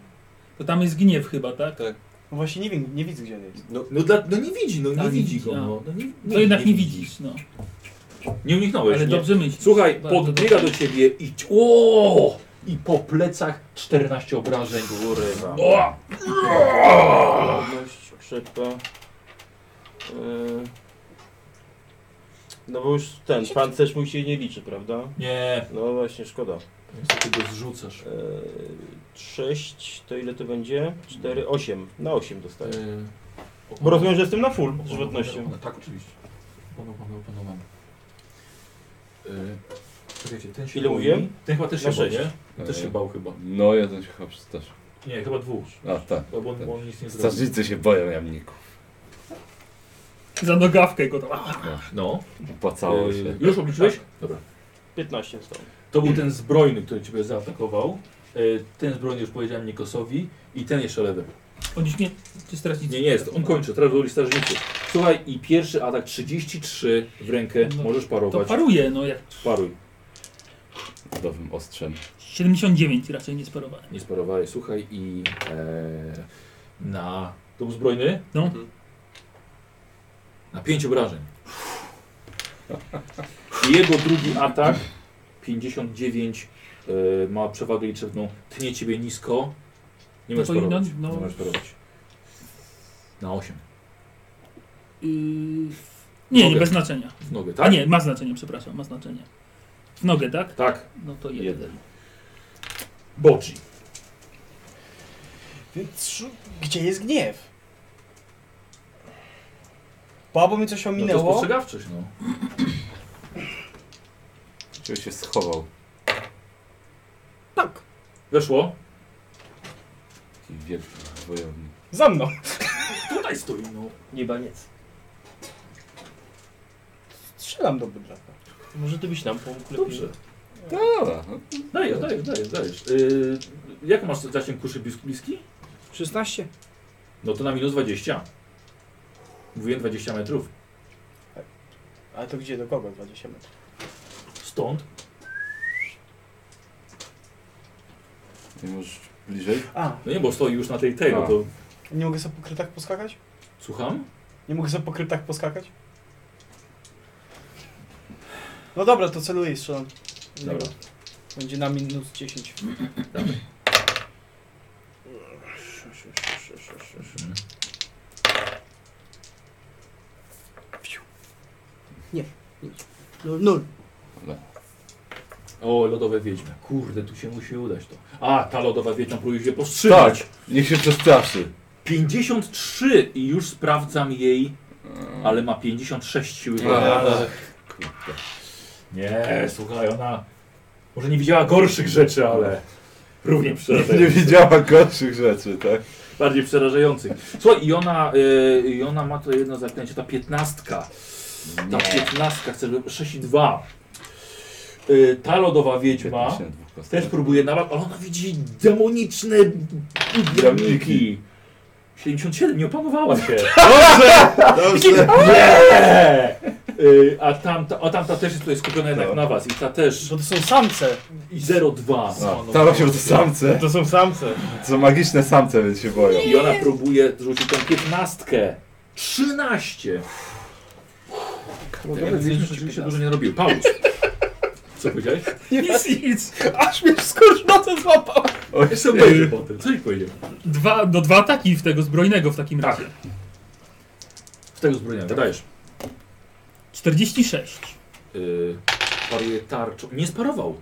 [SPEAKER 3] To tam jest gniew chyba, tak?
[SPEAKER 2] No Właśnie nie wiem, nie widzę gdzie on jest.
[SPEAKER 4] No, dla, no nie widzi, no nie
[SPEAKER 3] A, nie
[SPEAKER 4] widzi
[SPEAKER 3] widzi,
[SPEAKER 4] go.
[SPEAKER 3] a.
[SPEAKER 4] No, no, nie,
[SPEAKER 3] To jednak nie widzisz, no.
[SPEAKER 4] Nie uniknąłeś,
[SPEAKER 3] Ale
[SPEAKER 4] nie.
[SPEAKER 3] dobrze myślisz.
[SPEAKER 4] Słuchaj,
[SPEAKER 3] Bardzo
[SPEAKER 4] podbiega do
[SPEAKER 3] dobrze.
[SPEAKER 4] ciebie i... O! I po plecach 14 obrażeń.
[SPEAKER 5] Urywa.
[SPEAKER 4] O!
[SPEAKER 5] Wolność, krzepa. Yy. No bo już ten pancerz mój się nie liczy, prawda?
[SPEAKER 4] Nie.
[SPEAKER 5] No właśnie, szkoda.
[SPEAKER 4] Niestety go zrzucasz.
[SPEAKER 5] Yy, 6 to ile to będzie? 4, 8. Na 8 dostaję.
[SPEAKER 4] Yy,
[SPEAKER 5] Bo rozumiem, że jestem na full z żywotnością.
[SPEAKER 4] Tak, oczywiście. Opanowany, opanowany. Yy, Czekajcie, ten się
[SPEAKER 5] Ile
[SPEAKER 4] boi.
[SPEAKER 5] mówiłem?
[SPEAKER 4] Ten chyba też
[SPEAKER 5] Na
[SPEAKER 4] się bał,
[SPEAKER 5] sześć.
[SPEAKER 4] nie? Ten też
[SPEAKER 1] Eee.
[SPEAKER 4] się bał chyba.
[SPEAKER 1] No, jeden się chyba przestraszył.
[SPEAKER 4] Nie, chyba dwóch.
[SPEAKER 1] A, tak.
[SPEAKER 4] Bo on, bo on nic nie zrobił.
[SPEAKER 1] Strażnicy się boją jamników.
[SPEAKER 3] Za nogawkę go tam.
[SPEAKER 4] No.
[SPEAKER 1] Opłacało się.
[SPEAKER 4] Yy, Już obliczyłeś? Dobra.
[SPEAKER 5] 15 zostało.
[SPEAKER 4] To był ten zbrojny, który ciebie zaatakował. Yy, Ten zbrojny już powiedziałem Nikosowi i ten jeszcze lewy.
[SPEAKER 3] On już nie... Czy stracić?
[SPEAKER 4] Nie, nie jest. On kończy. Teraz woli strażnicy. Słuchaj, i pierwszy atak 33 w rękę.
[SPEAKER 3] No,
[SPEAKER 4] Możesz
[SPEAKER 3] To
[SPEAKER 4] parować.
[SPEAKER 3] paruje, no jak...
[SPEAKER 4] Paruj.
[SPEAKER 1] Nowym ostrzem.
[SPEAKER 3] 79 raczej nie sparowałem.
[SPEAKER 4] Nie sparowałeś. Słuchaj i e, na... To był zbrojny?
[SPEAKER 3] No.
[SPEAKER 4] Na 5 obrażeń. I *laughs* Jego drugi atak 59 e, ma przewagę liczebną. Tnie ciebie nisko. Nie
[SPEAKER 3] No
[SPEAKER 4] możesz
[SPEAKER 3] to inna-
[SPEAKER 4] parować.
[SPEAKER 3] no.
[SPEAKER 4] Nie możesz parować. Na 8.
[SPEAKER 3] Yy... Nie, nie,
[SPEAKER 4] Nogę.
[SPEAKER 3] bez znaczenia.
[SPEAKER 4] W nogę, tak?
[SPEAKER 3] A nie, ma znaczenie, przepraszam, ma znaczenie. W nogę, tak?
[SPEAKER 4] Tak.
[SPEAKER 3] No to jeden.
[SPEAKER 4] Jeden. Boczy. No,
[SPEAKER 2] Więc szu- gdzie jest gniew? Bo albo mi coś
[SPEAKER 4] No to
[SPEAKER 2] ominęło.
[SPEAKER 4] spostrzegawczość, no.
[SPEAKER 1] Czego się schował?
[SPEAKER 4] Weszło.
[SPEAKER 1] Taki wielki wojownik.
[SPEAKER 2] Za mną.
[SPEAKER 4] Tutaj stoi, no.
[SPEAKER 5] Niebaniec.
[SPEAKER 2] Strzelam do bydlaka.
[SPEAKER 5] Może ty byś nam pomógł lepiej.
[SPEAKER 4] Dobrze. Dajesz, dajesz, dajesz, dajesz. Yy, jak masz zasięg kuszy blis- bliski?
[SPEAKER 2] 16.
[SPEAKER 4] No to na minus 20. Mówiłem 20 metrów.
[SPEAKER 2] Ale to gdzie, do kogo 20 metrów?
[SPEAKER 4] Stąd.
[SPEAKER 1] Nie możesz bliżej?
[SPEAKER 2] A.
[SPEAKER 4] No nie, bo stoi już na tej tej, no
[SPEAKER 1] A.
[SPEAKER 4] to...
[SPEAKER 2] Nie mogę sobie po krytach poskakać?
[SPEAKER 4] Słucham?
[SPEAKER 2] Nie mogę sobie po krytach poskakać? No dobra, to celuję i strzelam. w niego.
[SPEAKER 4] Dobra.
[SPEAKER 2] Będzie na minus 10.
[SPEAKER 4] Dawaj.
[SPEAKER 2] Nul, nul.
[SPEAKER 4] O, lodowe wiedźmy. Kurde, tu się musi udać to. A, ta lodowa wiedźma próbuje się powstrzymać.
[SPEAKER 1] Tak, niech się przestraszy.
[SPEAKER 4] 53 i już sprawdzam jej, ale ma 56 siły.
[SPEAKER 5] No,
[SPEAKER 1] Ale-
[SPEAKER 4] Nie, słuchaj, ona może nie widziała gorszych rzeczy, ale równie
[SPEAKER 5] no.
[SPEAKER 1] Nie, nie
[SPEAKER 4] przerażających.
[SPEAKER 1] widziała gorszych rzeczy, tak?
[SPEAKER 4] Bardziej przerażających. Słuchaj, i ona, y, i ona ma to jedno zaklęcie, ta piętnastka. Ta piętnastka, chce, żeby 6 i 2. Y, ta lodowa wiedźma
[SPEAKER 1] 15 na dwóch kostkach.
[SPEAKER 4] też próbuje nawet, ale ona widzi demoniczne dramiki. 77, nie opanowała się.
[SPEAKER 1] *laughs* Dobrze! Dobrze!
[SPEAKER 4] Nie! Y, A tamta, a tamta też jest tutaj skupiona jednak
[SPEAKER 1] No.
[SPEAKER 4] na was i ta też.
[SPEAKER 2] Bo to są samce.
[SPEAKER 4] I 0,2.
[SPEAKER 2] no
[SPEAKER 1] A, Tam się to samce.
[SPEAKER 5] To są samce.
[SPEAKER 1] To są magiczne samce, więc się boją.
[SPEAKER 4] I ona próbuje rzucić tą piętnastkę. 13. Ja
[SPEAKER 12] zjeść
[SPEAKER 4] wiem, że się dużo nie robił. Paulus. Co powiedziałeś?
[SPEAKER 3] *laughs* Nic, nic.
[SPEAKER 2] Aż mnie skurcz na to złapał.
[SPEAKER 4] O, jeszcze będzie potem. Co ich powiedział?
[SPEAKER 3] Dwa, no dwa ataki w tego zbrojnego w takim razie.
[SPEAKER 4] Tak. W tego zbrojenia. Dajesz.
[SPEAKER 3] 46.
[SPEAKER 4] Yy, paruje tarczą. Nie sparował.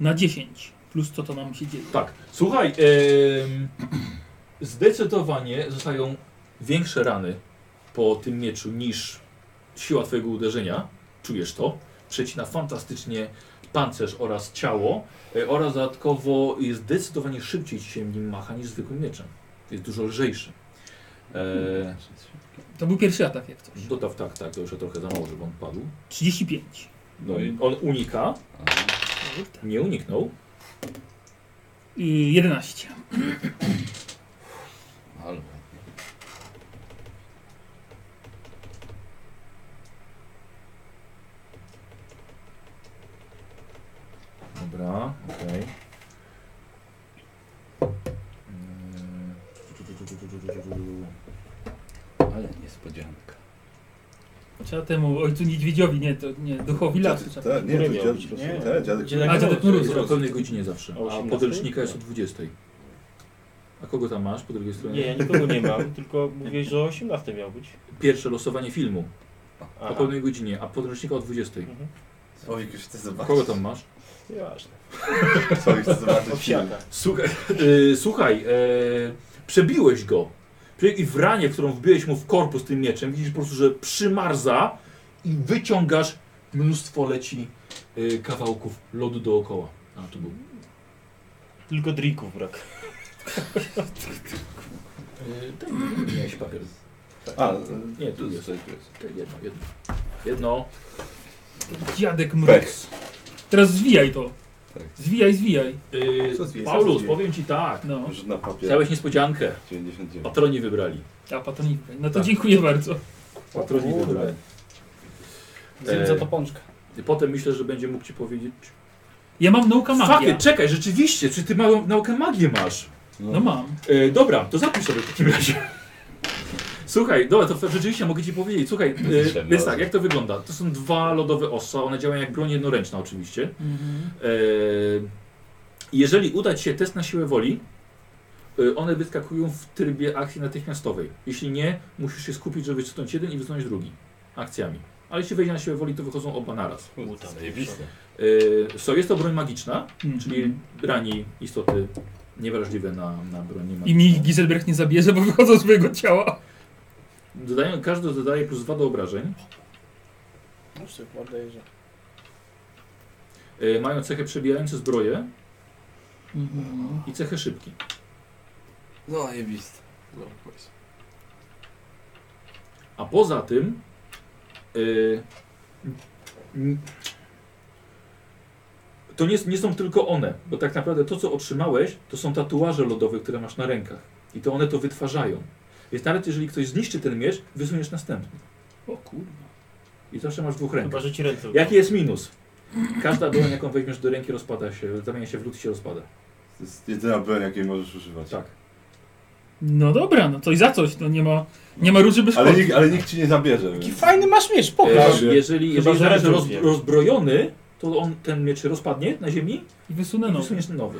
[SPEAKER 3] Na 10. Plus co to nam się dzieje.
[SPEAKER 4] Tak. Słuchaj, em, zdecydowanie zostają większe rany po tym mieczu niż siła twojego uderzenia. Czujesz to. Przecina fantastycznie pancerz oraz ciało e, oraz dodatkowo jest zdecydowanie szybciej ci się nim macha niż zwykłym mieczem. Jest dużo lżejszy. E,
[SPEAKER 3] To był pierwszy atak jak coś.
[SPEAKER 4] dodaw tak, tak, to już trochę za mało, żeby on padł.
[SPEAKER 3] 35.
[SPEAKER 4] No i on unika. Nie uniknął.
[SPEAKER 3] Yy, 11.
[SPEAKER 1] Halo.
[SPEAKER 4] Dobra, okej.
[SPEAKER 1] Ale niespodzianka.
[SPEAKER 3] Trzeba temu ojcu niedźwiedziowi, nie, to nie, duchowi lasu. trzeba-
[SPEAKER 1] Tak, nie, to dziadek,
[SPEAKER 2] Nie.
[SPEAKER 1] tak, dziadek.
[SPEAKER 2] Dziadek
[SPEAKER 3] A, dziadek Mróz.
[SPEAKER 4] Jest o pełnej godzinie zawsze,
[SPEAKER 5] O
[SPEAKER 4] a
[SPEAKER 5] 18?
[SPEAKER 4] podręcznika jest o 20. A kogo tam masz po drugiej stronie?
[SPEAKER 5] Nie, ja nikogo nie mam, tylko mówiłeś, że o 18 miał być.
[SPEAKER 4] Pierwsze losowanie filmu
[SPEAKER 5] Aha.
[SPEAKER 4] o pełnej godzinie, a podręcznika o 20.
[SPEAKER 1] Słowik już chce
[SPEAKER 4] A
[SPEAKER 1] zobaczyć.
[SPEAKER 4] kogo tam masz?
[SPEAKER 5] Nieważne.
[SPEAKER 1] Słowik chce zobaczyć film.
[SPEAKER 5] Owsiaka.
[SPEAKER 4] Słuchaj, y, słuchaj y, przebiłeś go. Przebi- I w ranie, którą wbiłeś mu w korpus tym mieczem, widzisz po prostu, że przymarza i wyciągasz mnóstwo leci y, kawałków lodu dookoła. A tu był.
[SPEAKER 5] Tylko drików brak.
[SPEAKER 4] Y, ten miałeś papier.
[SPEAKER 1] A,
[SPEAKER 4] Nie, tu jest. Te Jedno, jedno. Jedno. tak.
[SPEAKER 3] Dziadek
[SPEAKER 1] Pech.
[SPEAKER 3] mróz. Teraz zwijaj to.
[SPEAKER 1] Tak.
[SPEAKER 3] Zwijaj, zwijaj.
[SPEAKER 4] Y,
[SPEAKER 12] Co zwie- co
[SPEAKER 4] Paulus,
[SPEAKER 12] zwie?
[SPEAKER 4] powiem ci tak.
[SPEAKER 3] No.
[SPEAKER 1] Rzut na papier.
[SPEAKER 4] Chciałeś niespodziankę.
[SPEAKER 1] 99.
[SPEAKER 4] Patroni wybrali.
[SPEAKER 3] A patronika. No to
[SPEAKER 4] Tak.
[SPEAKER 3] dziękuję bardzo.
[SPEAKER 4] Patroni wybrali. E,
[SPEAKER 2] Zjem za to pączkę.
[SPEAKER 4] I potem myślę, że będzie mógł ci powiedzieć.
[SPEAKER 3] Ja mam nauka magia.
[SPEAKER 4] Fabie, czekaj, rzeczywiście, czy ty małą naukę magię masz?
[SPEAKER 3] No mam.
[SPEAKER 4] E, dobra, to zapisz sobie w takim razie. Słuchaj, dobra, to f- rzeczywiście mogę ci powiedzieć. Słuchaj, e, więc tak, jak to wygląda? To są dwa lodowe osa, one działają jak broń jednoręczna oczywiście.
[SPEAKER 3] Mhm.
[SPEAKER 4] E, jeżeli uda ci się test na siłę woli, e, one wyskakują w trybie akcji natychmiastowej. Jeśli nie, musisz się skupić, żeby wysunąć jeden i wysunąć drugi akcjami. Ale jeśli wejdzie na siłę woli, to wychodzą oba naraz.
[SPEAKER 1] Zajebiste.
[SPEAKER 4] E, so, jest to broń magiczna,
[SPEAKER 3] Mhm.
[SPEAKER 4] czyli rani istoty niewrażliwe na, na broń.
[SPEAKER 3] I mi ich Giselbrecht nie zabierze, bo wychodzą z mojego ciała.
[SPEAKER 4] Dodają, każdy dodaje plus 2 do obrażeń.
[SPEAKER 2] Muszę, mordę że.
[SPEAKER 4] E, mają cechę przebijające zbroje
[SPEAKER 3] Mhm.
[SPEAKER 4] i cechę szybki.
[SPEAKER 8] No, jebiste. No,
[SPEAKER 4] A poza tym y, n- to nie, nie są tylko one, bo tak naprawdę to, co otrzymałeś, to są tatuaże lodowe, które masz na rękach. I to one to wytwarzają. Więc nawet jeżeli ktoś zniszczy ten miecz, wysuniesz następny. O kurwa. I zawsze masz w dwóch rękach.
[SPEAKER 5] Chyba, że ci ręce
[SPEAKER 4] Jaki jest minus? Każda broń, jaką weźmiesz do ręki, rozpada się, zamienia się w lód i się rozpada.
[SPEAKER 8] To jest jedyna broń, jakiej możesz używać.
[SPEAKER 4] Tak.
[SPEAKER 3] No dobra, no coś za coś, no nie ma, nie ma ruszy bez
[SPEAKER 8] Ale
[SPEAKER 3] kości.
[SPEAKER 8] nikt, ale nikt ci nie zabierze.
[SPEAKER 2] Jaki
[SPEAKER 8] Więc.
[SPEAKER 2] fajny masz miecz, pokaż.
[SPEAKER 4] Jeżeli, E, jeżeli,
[SPEAKER 5] Chyba,
[SPEAKER 4] jeżeli
[SPEAKER 5] że
[SPEAKER 4] będziesz roz,
[SPEAKER 5] ręce rozbije.
[SPEAKER 4] rozbrojony, to on ten miecz rozpadnie na ziemi
[SPEAKER 3] I wysunę
[SPEAKER 4] i
[SPEAKER 3] nowy.
[SPEAKER 4] wysuniesz nowy.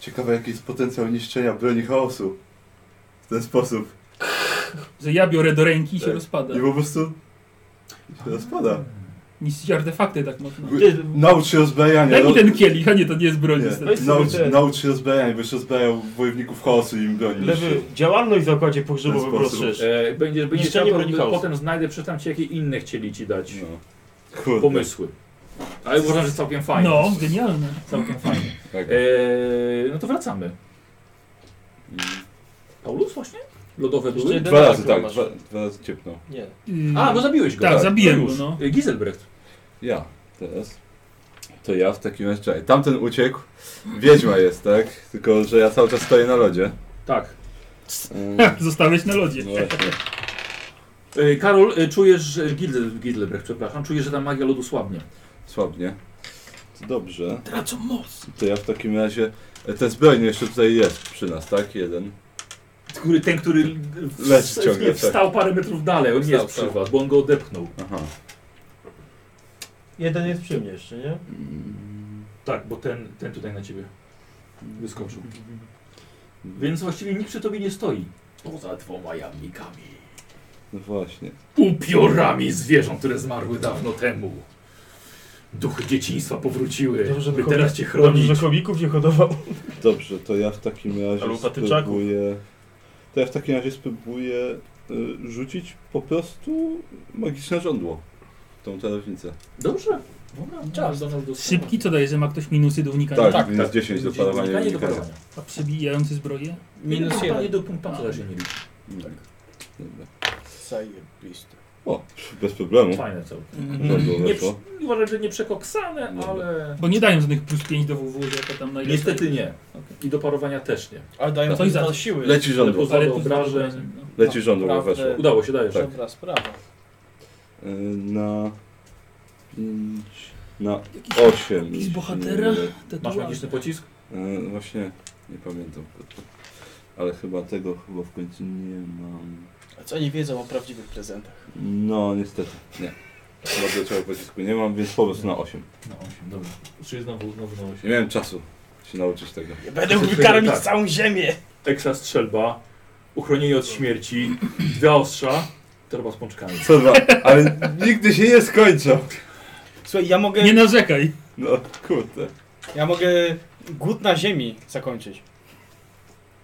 [SPEAKER 8] Ciekawe, jaki jest potencjał niszczenia broni chaosu. W ten sposób.
[SPEAKER 3] Że ja biorę do ręki i się
[SPEAKER 8] Tak.
[SPEAKER 3] rozpada.
[SPEAKER 8] I po prostu... się rozpada.
[SPEAKER 3] Niszczyć artefakty tak mocno.
[SPEAKER 8] Wy- Naucz się rozbrajania.
[SPEAKER 3] Daj mi
[SPEAKER 8] no-
[SPEAKER 3] ten kielich, a nie, to nie jest broń
[SPEAKER 8] Nie.
[SPEAKER 3] niestety.
[SPEAKER 8] Naucz,
[SPEAKER 5] ten.
[SPEAKER 8] naucz się rozbrajania, byś rozbrajał wojowników chaosu i im broni.
[SPEAKER 5] Lewy, działalność w zakładzie
[SPEAKER 8] W
[SPEAKER 5] pogrzebowym
[SPEAKER 8] ten sposób.
[SPEAKER 5] rozszerz.
[SPEAKER 4] E, będziesz będziesz
[SPEAKER 5] Niszczenie
[SPEAKER 4] chciał,
[SPEAKER 5] broni
[SPEAKER 4] to
[SPEAKER 5] chaosu.
[SPEAKER 4] potem znajdę, przeczytam ci, jakie inne chcieli ci dać
[SPEAKER 8] No. Kurde.
[SPEAKER 4] pomysły. Ale uważam, że całkiem fajnie.
[SPEAKER 3] No, genialne.
[SPEAKER 4] Całkiem fajnie.
[SPEAKER 8] Tak.
[SPEAKER 4] E, no to wracamy.
[SPEAKER 8] Mm.
[SPEAKER 4] Paulus właśnie? Lodowe
[SPEAKER 5] Jeszcze
[SPEAKER 4] były?
[SPEAKER 5] jeden
[SPEAKER 8] Dwa razy
[SPEAKER 5] atak
[SPEAKER 8] tak,
[SPEAKER 5] masz.
[SPEAKER 8] dwa, dwa razy ciepnął.
[SPEAKER 5] Nie.
[SPEAKER 3] Yy,
[SPEAKER 4] A, bo zabiłeś go.
[SPEAKER 3] Tak, zabiłem
[SPEAKER 4] no
[SPEAKER 3] go,
[SPEAKER 4] już.
[SPEAKER 3] no.
[SPEAKER 4] E, Giselbrecht.
[SPEAKER 8] Ja teraz. To ja w takim razie. czekaj, Tamten uciekł. Wiedźma jest, tak? Tylko, że ja cały czas stoję na lodzie.
[SPEAKER 4] Tak.
[SPEAKER 8] Mm,
[SPEAKER 3] Ha, *laughs* Zostałeś na lodzie.
[SPEAKER 8] No właśnie.
[SPEAKER 4] E, Karol, e, czujesz, że Gidel, Gidelbrecht, przepraszam, czujesz, że ta magia lodu słabnie.
[SPEAKER 8] Słabnie. To dobrze.
[SPEAKER 14] Tracą moc.
[SPEAKER 8] To ja w takim razie. e, Ten zbrojny jeszcze tutaj jest przy nas, tak? Jeden.
[SPEAKER 4] Który, ten, który w-
[SPEAKER 8] Leci ciągle,
[SPEAKER 4] nie,
[SPEAKER 8] tak.
[SPEAKER 4] wstał parę metrów dalej, on nie
[SPEAKER 8] Wstał,
[SPEAKER 4] jest przy
[SPEAKER 8] wstał.
[SPEAKER 4] was, bo on go odepchnął.
[SPEAKER 8] Aha.
[SPEAKER 5] Jeden jest przy mnie jeszcze, nie?
[SPEAKER 4] Tak, bo ten, ten tutaj na ciebie wyskoczył. Więc właściwie nikt przy tobie nie stoi. Poza dwoma jamnikami.
[SPEAKER 8] No właśnie.
[SPEAKER 4] Upiorami zwierząt, które zmarły dawno temu. Duchy dzieciństwa powróciły,
[SPEAKER 5] Dobrze,
[SPEAKER 4] by
[SPEAKER 5] że
[SPEAKER 4] teraz
[SPEAKER 5] chodzi-
[SPEAKER 4] cię chronić.
[SPEAKER 5] Dobrze, że chomików nie hodował.
[SPEAKER 8] Dobrze, to ja w takim razie
[SPEAKER 5] Albo patyczaków.
[SPEAKER 8] spróbuję. To ja w takim razie spróbuję y, rzucić po prostu magiczne żądło. Tą czarownicę.
[SPEAKER 4] Dobrze. Dobra, czas do nas dostawa.
[SPEAKER 3] Szybki co daje, że ma ktoś minusy do unikania?
[SPEAKER 8] Tak,
[SPEAKER 4] tak,
[SPEAKER 8] minus
[SPEAKER 4] tak.
[SPEAKER 8] 10 do
[SPEAKER 4] Dzień-
[SPEAKER 8] parowania
[SPEAKER 4] unikanie do
[SPEAKER 8] unikania.
[SPEAKER 4] parowania.
[SPEAKER 3] A przebijający zbroję?
[SPEAKER 2] Minus
[SPEAKER 4] Jeden
[SPEAKER 2] jeden.
[SPEAKER 4] do punktu razie nie liczy.
[SPEAKER 8] Tak. Dobra.
[SPEAKER 2] Zajebiste.
[SPEAKER 8] O, bez problemu.
[SPEAKER 4] Fajne całkiem.
[SPEAKER 5] Mhm.
[SPEAKER 8] Żądło
[SPEAKER 4] Nie,
[SPEAKER 8] Hmm? weszło.
[SPEAKER 4] przy- uważam, że nie przekoksane,
[SPEAKER 8] Dobra.
[SPEAKER 4] ale...
[SPEAKER 3] Bo nie dają żadnych plus 5 do WW, jako tam na ile
[SPEAKER 4] Niestety nie. I do parowania też nie.
[SPEAKER 2] Ale dają
[SPEAKER 3] To i za-
[SPEAKER 2] to siły.
[SPEAKER 8] Tak. Leci
[SPEAKER 4] Ale
[SPEAKER 8] żądło.
[SPEAKER 4] poza
[SPEAKER 3] Ale
[SPEAKER 4] obrażeń...
[SPEAKER 3] no.
[SPEAKER 8] Leci żądło,
[SPEAKER 2] Naprawdę.
[SPEAKER 8] weszło.
[SPEAKER 4] Udało się, dajesz.
[SPEAKER 8] Tak.
[SPEAKER 2] Dobra sprawa.
[SPEAKER 8] Y, Na 5, na 8.
[SPEAKER 3] Jakiś bohatera?
[SPEAKER 4] tak? Masz magiczny pocisk?
[SPEAKER 8] E, właśnie, nie pamiętam. Ale chyba tego chyba w końcu nie mam.
[SPEAKER 2] A co oni wiedzą o prawdziwych prezentach?
[SPEAKER 8] No, niestety, nie. Chyba do czego pocisku nie mam, więc po prostu na 8.
[SPEAKER 4] No 8, dobra. Czyli znowu, znowu na
[SPEAKER 8] Nie
[SPEAKER 4] 8.
[SPEAKER 8] miałem czasu się nauczyć tego.
[SPEAKER 2] Ja będę
[SPEAKER 4] Wszyscy
[SPEAKER 2] mógł karmić
[SPEAKER 4] tak.
[SPEAKER 2] całą ziemię!
[SPEAKER 4] Ekstra strzelba, uchronienie od śmierci, dwa ostrza, torba z pączkami.
[SPEAKER 8] Co dwa, ale nigdy się nie skończą.
[SPEAKER 2] Słuchaj, ja mogę,
[SPEAKER 3] Nie narzekaj.
[SPEAKER 8] No, kurde.
[SPEAKER 2] ja mogę głód na ziemi zakończyć.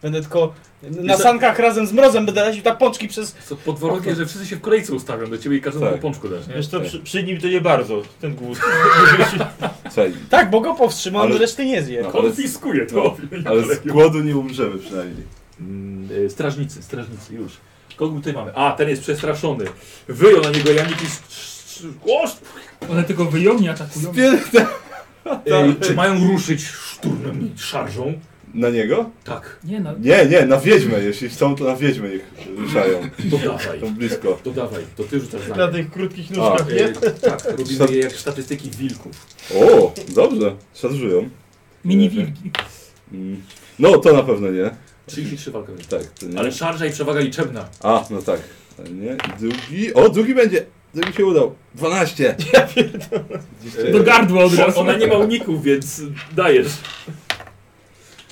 [SPEAKER 2] Będę tylko na
[SPEAKER 4] za-
[SPEAKER 2] sankach razem z mrozem będę lecił tak pączki przez...
[SPEAKER 4] Co, pod warunkiem, że wszyscy się w kolejce ustawią do ciebie i każdemu
[SPEAKER 8] Tak.
[SPEAKER 4] po pączku dasz, nie?
[SPEAKER 5] Wiesz co,
[SPEAKER 8] tak.
[SPEAKER 5] przy, przy nim to nie bardzo, ten głód.
[SPEAKER 8] Słuchaj,
[SPEAKER 2] Tak, bo go powstrzymam,
[SPEAKER 8] Ale-
[SPEAKER 2] reszty nie zje.
[SPEAKER 8] No.
[SPEAKER 4] Konfiskuję to.
[SPEAKER 8] ale z głodu nie umrzemy przynajmniej.
[SPEAKER 4] Mm, y, Strażnicy, strażnicy, już. Kogo tutaj mamy? A, ten jest przestraszony. Wyjął na niego Janik i... strz- strz- Głos!
[SPEAKER 3] One tylko wyją, nie atakują.
[SPEAKER 4] Ej, czy mają ruszyć szturmem, szarżą?
[SPEAKER 8] Na niego?
[SPEAKER 4] Tak,
[SPEAKER 3] Nie no,
[SPEAKER 8] Nie, nie, na wiedźmę. Jeśli chcą, to na wiedźmę ich ruszają.
[SPEAKER 4] to dawaj.
[SPEAKER 8] Są blisko.
[SPEAKER 4] To dawaj, to ty rzucasz za
[SPEAKER 5] Na
[SPEAKER 4] nie.
[SPEAKER 5] tych krótkich
[SPEAKER 8] A,
[SPEAKER 5] nóżkach, nie?
[SPEAKER 4] Ej, tak, robimy je jak statystyki wilków.
[SPEAKER 8] o, dobrze. Szarżują.
[SPEAKER 3] mini wilki.
[SPEAKER 8] Mm. No, to na pewno nie.
[SPEAKER 4] 33 walka wręcz.
[SPEAKER 8] Tak, to nie.
[SPEAKER 4] Ale szarża i przewaga liczebna.
[SPEAKER 8] A, no tak. Nie, drugi. O, drugi będzie. Drugi się udał. 12. Ja
[SPEAKER 3] Do gardła od
[SPEAKER 4] Bo
[SPEAKER 3] razu.
[SPEAKER 4] ona nie ma uników, więc dajesz.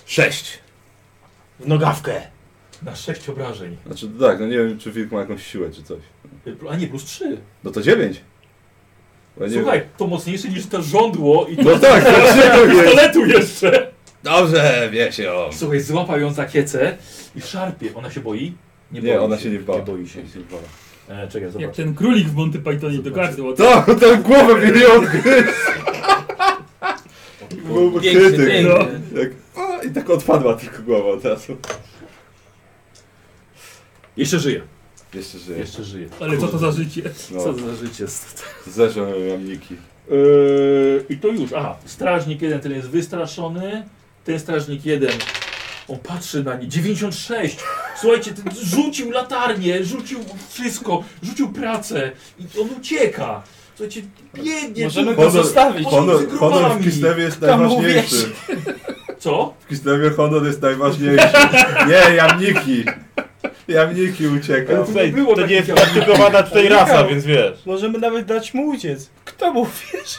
[SPEAKER 8] Sześć.
[SPEAKER 5] W nogawkę.
[SPEAKER 4] Na 6 obrażeń.
[SPEAKER 8] Znaczy no tak, no nie wiem czy wilk ma jakąś siłę czy coś.
[SPEAKER 4] A nie, plus 3.
[SPEAKER 8] No to dziewięć. Bo ja nie
[SPEAKER 4] Słuchaj, to mocniejsze niż to żądło i
[SPEAKER 8] wiem.
[SPEAKER 4] to
[SPEAKER 8] No tak, dlaczego jest?
[SPEAKER 4] pistoletu jeszcze.
[SPEAKER 8] Dobrze, wie się o.
[SPEAKER 4] Słuchaj, złapał ją za kiecę i szarpie. Ona się boi. Nie,
[SPEAKER 1] Nie,
[SPEAKER 4] boi
[SPEAKER 1] ona
[SPEAKER 4] się,
[SPEAKER 1] się nie bała.
[SPEAKER 4] Nie boi się. E, czekaj,
[SPEAKER 3] Jak
[SPEAKER 4] zobacz.
[SPEAKER 3] ten królik w Monty Pythonie do każdy
[SPEAKER 1] Tak, ten głowę mieli odgryźć. Byłby
[SPEAKER 3] Piękny,
[SPEAKER 1] krytyk.
[SPEAKER 3] piękny.
[SPEAKER 1] No. Jak, a, I tak odpadła tylko głowa od razu.
[SPEAKER 4] Jeszcze żyje.
[SPEAKER 1] Jeszcze żyje.
[SPEAKER 4] Jeszcze żyje. no.
[SPEAKER 3] Ale co to za życie?
[SPEAKER 4] Co to za życie?
[SPEAKER 1] Zeszłam jamniki.
[SPEAKER 4] Yy, I to już, aha, strażnik jeden ten jest wystraszony, ten strażnik jeden, on patrzy na nie, 96, słuchajcie, ten rzucił latarnię, rzucił wszystko, rzucił pracę i on ucieka, słuchajcie, biegnie.
[SPEAKER 1] Możemy
[SPEAKER 4] tu,
[SPEAKER 1] go
[SPEAKER 4] poza-
[SPEAKER 1] zostawić.
[SPEAKER 4] poza
[SPEAKER 1] Honor-
[SPEAKER 4] tymi grupami.
[SPEAKER 1] honor w Kislewie jest
[SPEAKER 4] Tam
[SPEAKER 1] najważniejszy.
[SPEAKER 4] mówię się. Co?
[SPEAKER 1] W Kislewie honor jest najważniejszy. Nie, jamniki. Jamniki uciekał.
[SPEAKER 5] Słuchaj, to nie jest praktykowana tutaj rasa, więc wiesz.
[SPEAKER 2] Możemy nawet dać mu uciec. Kto mu wiesz?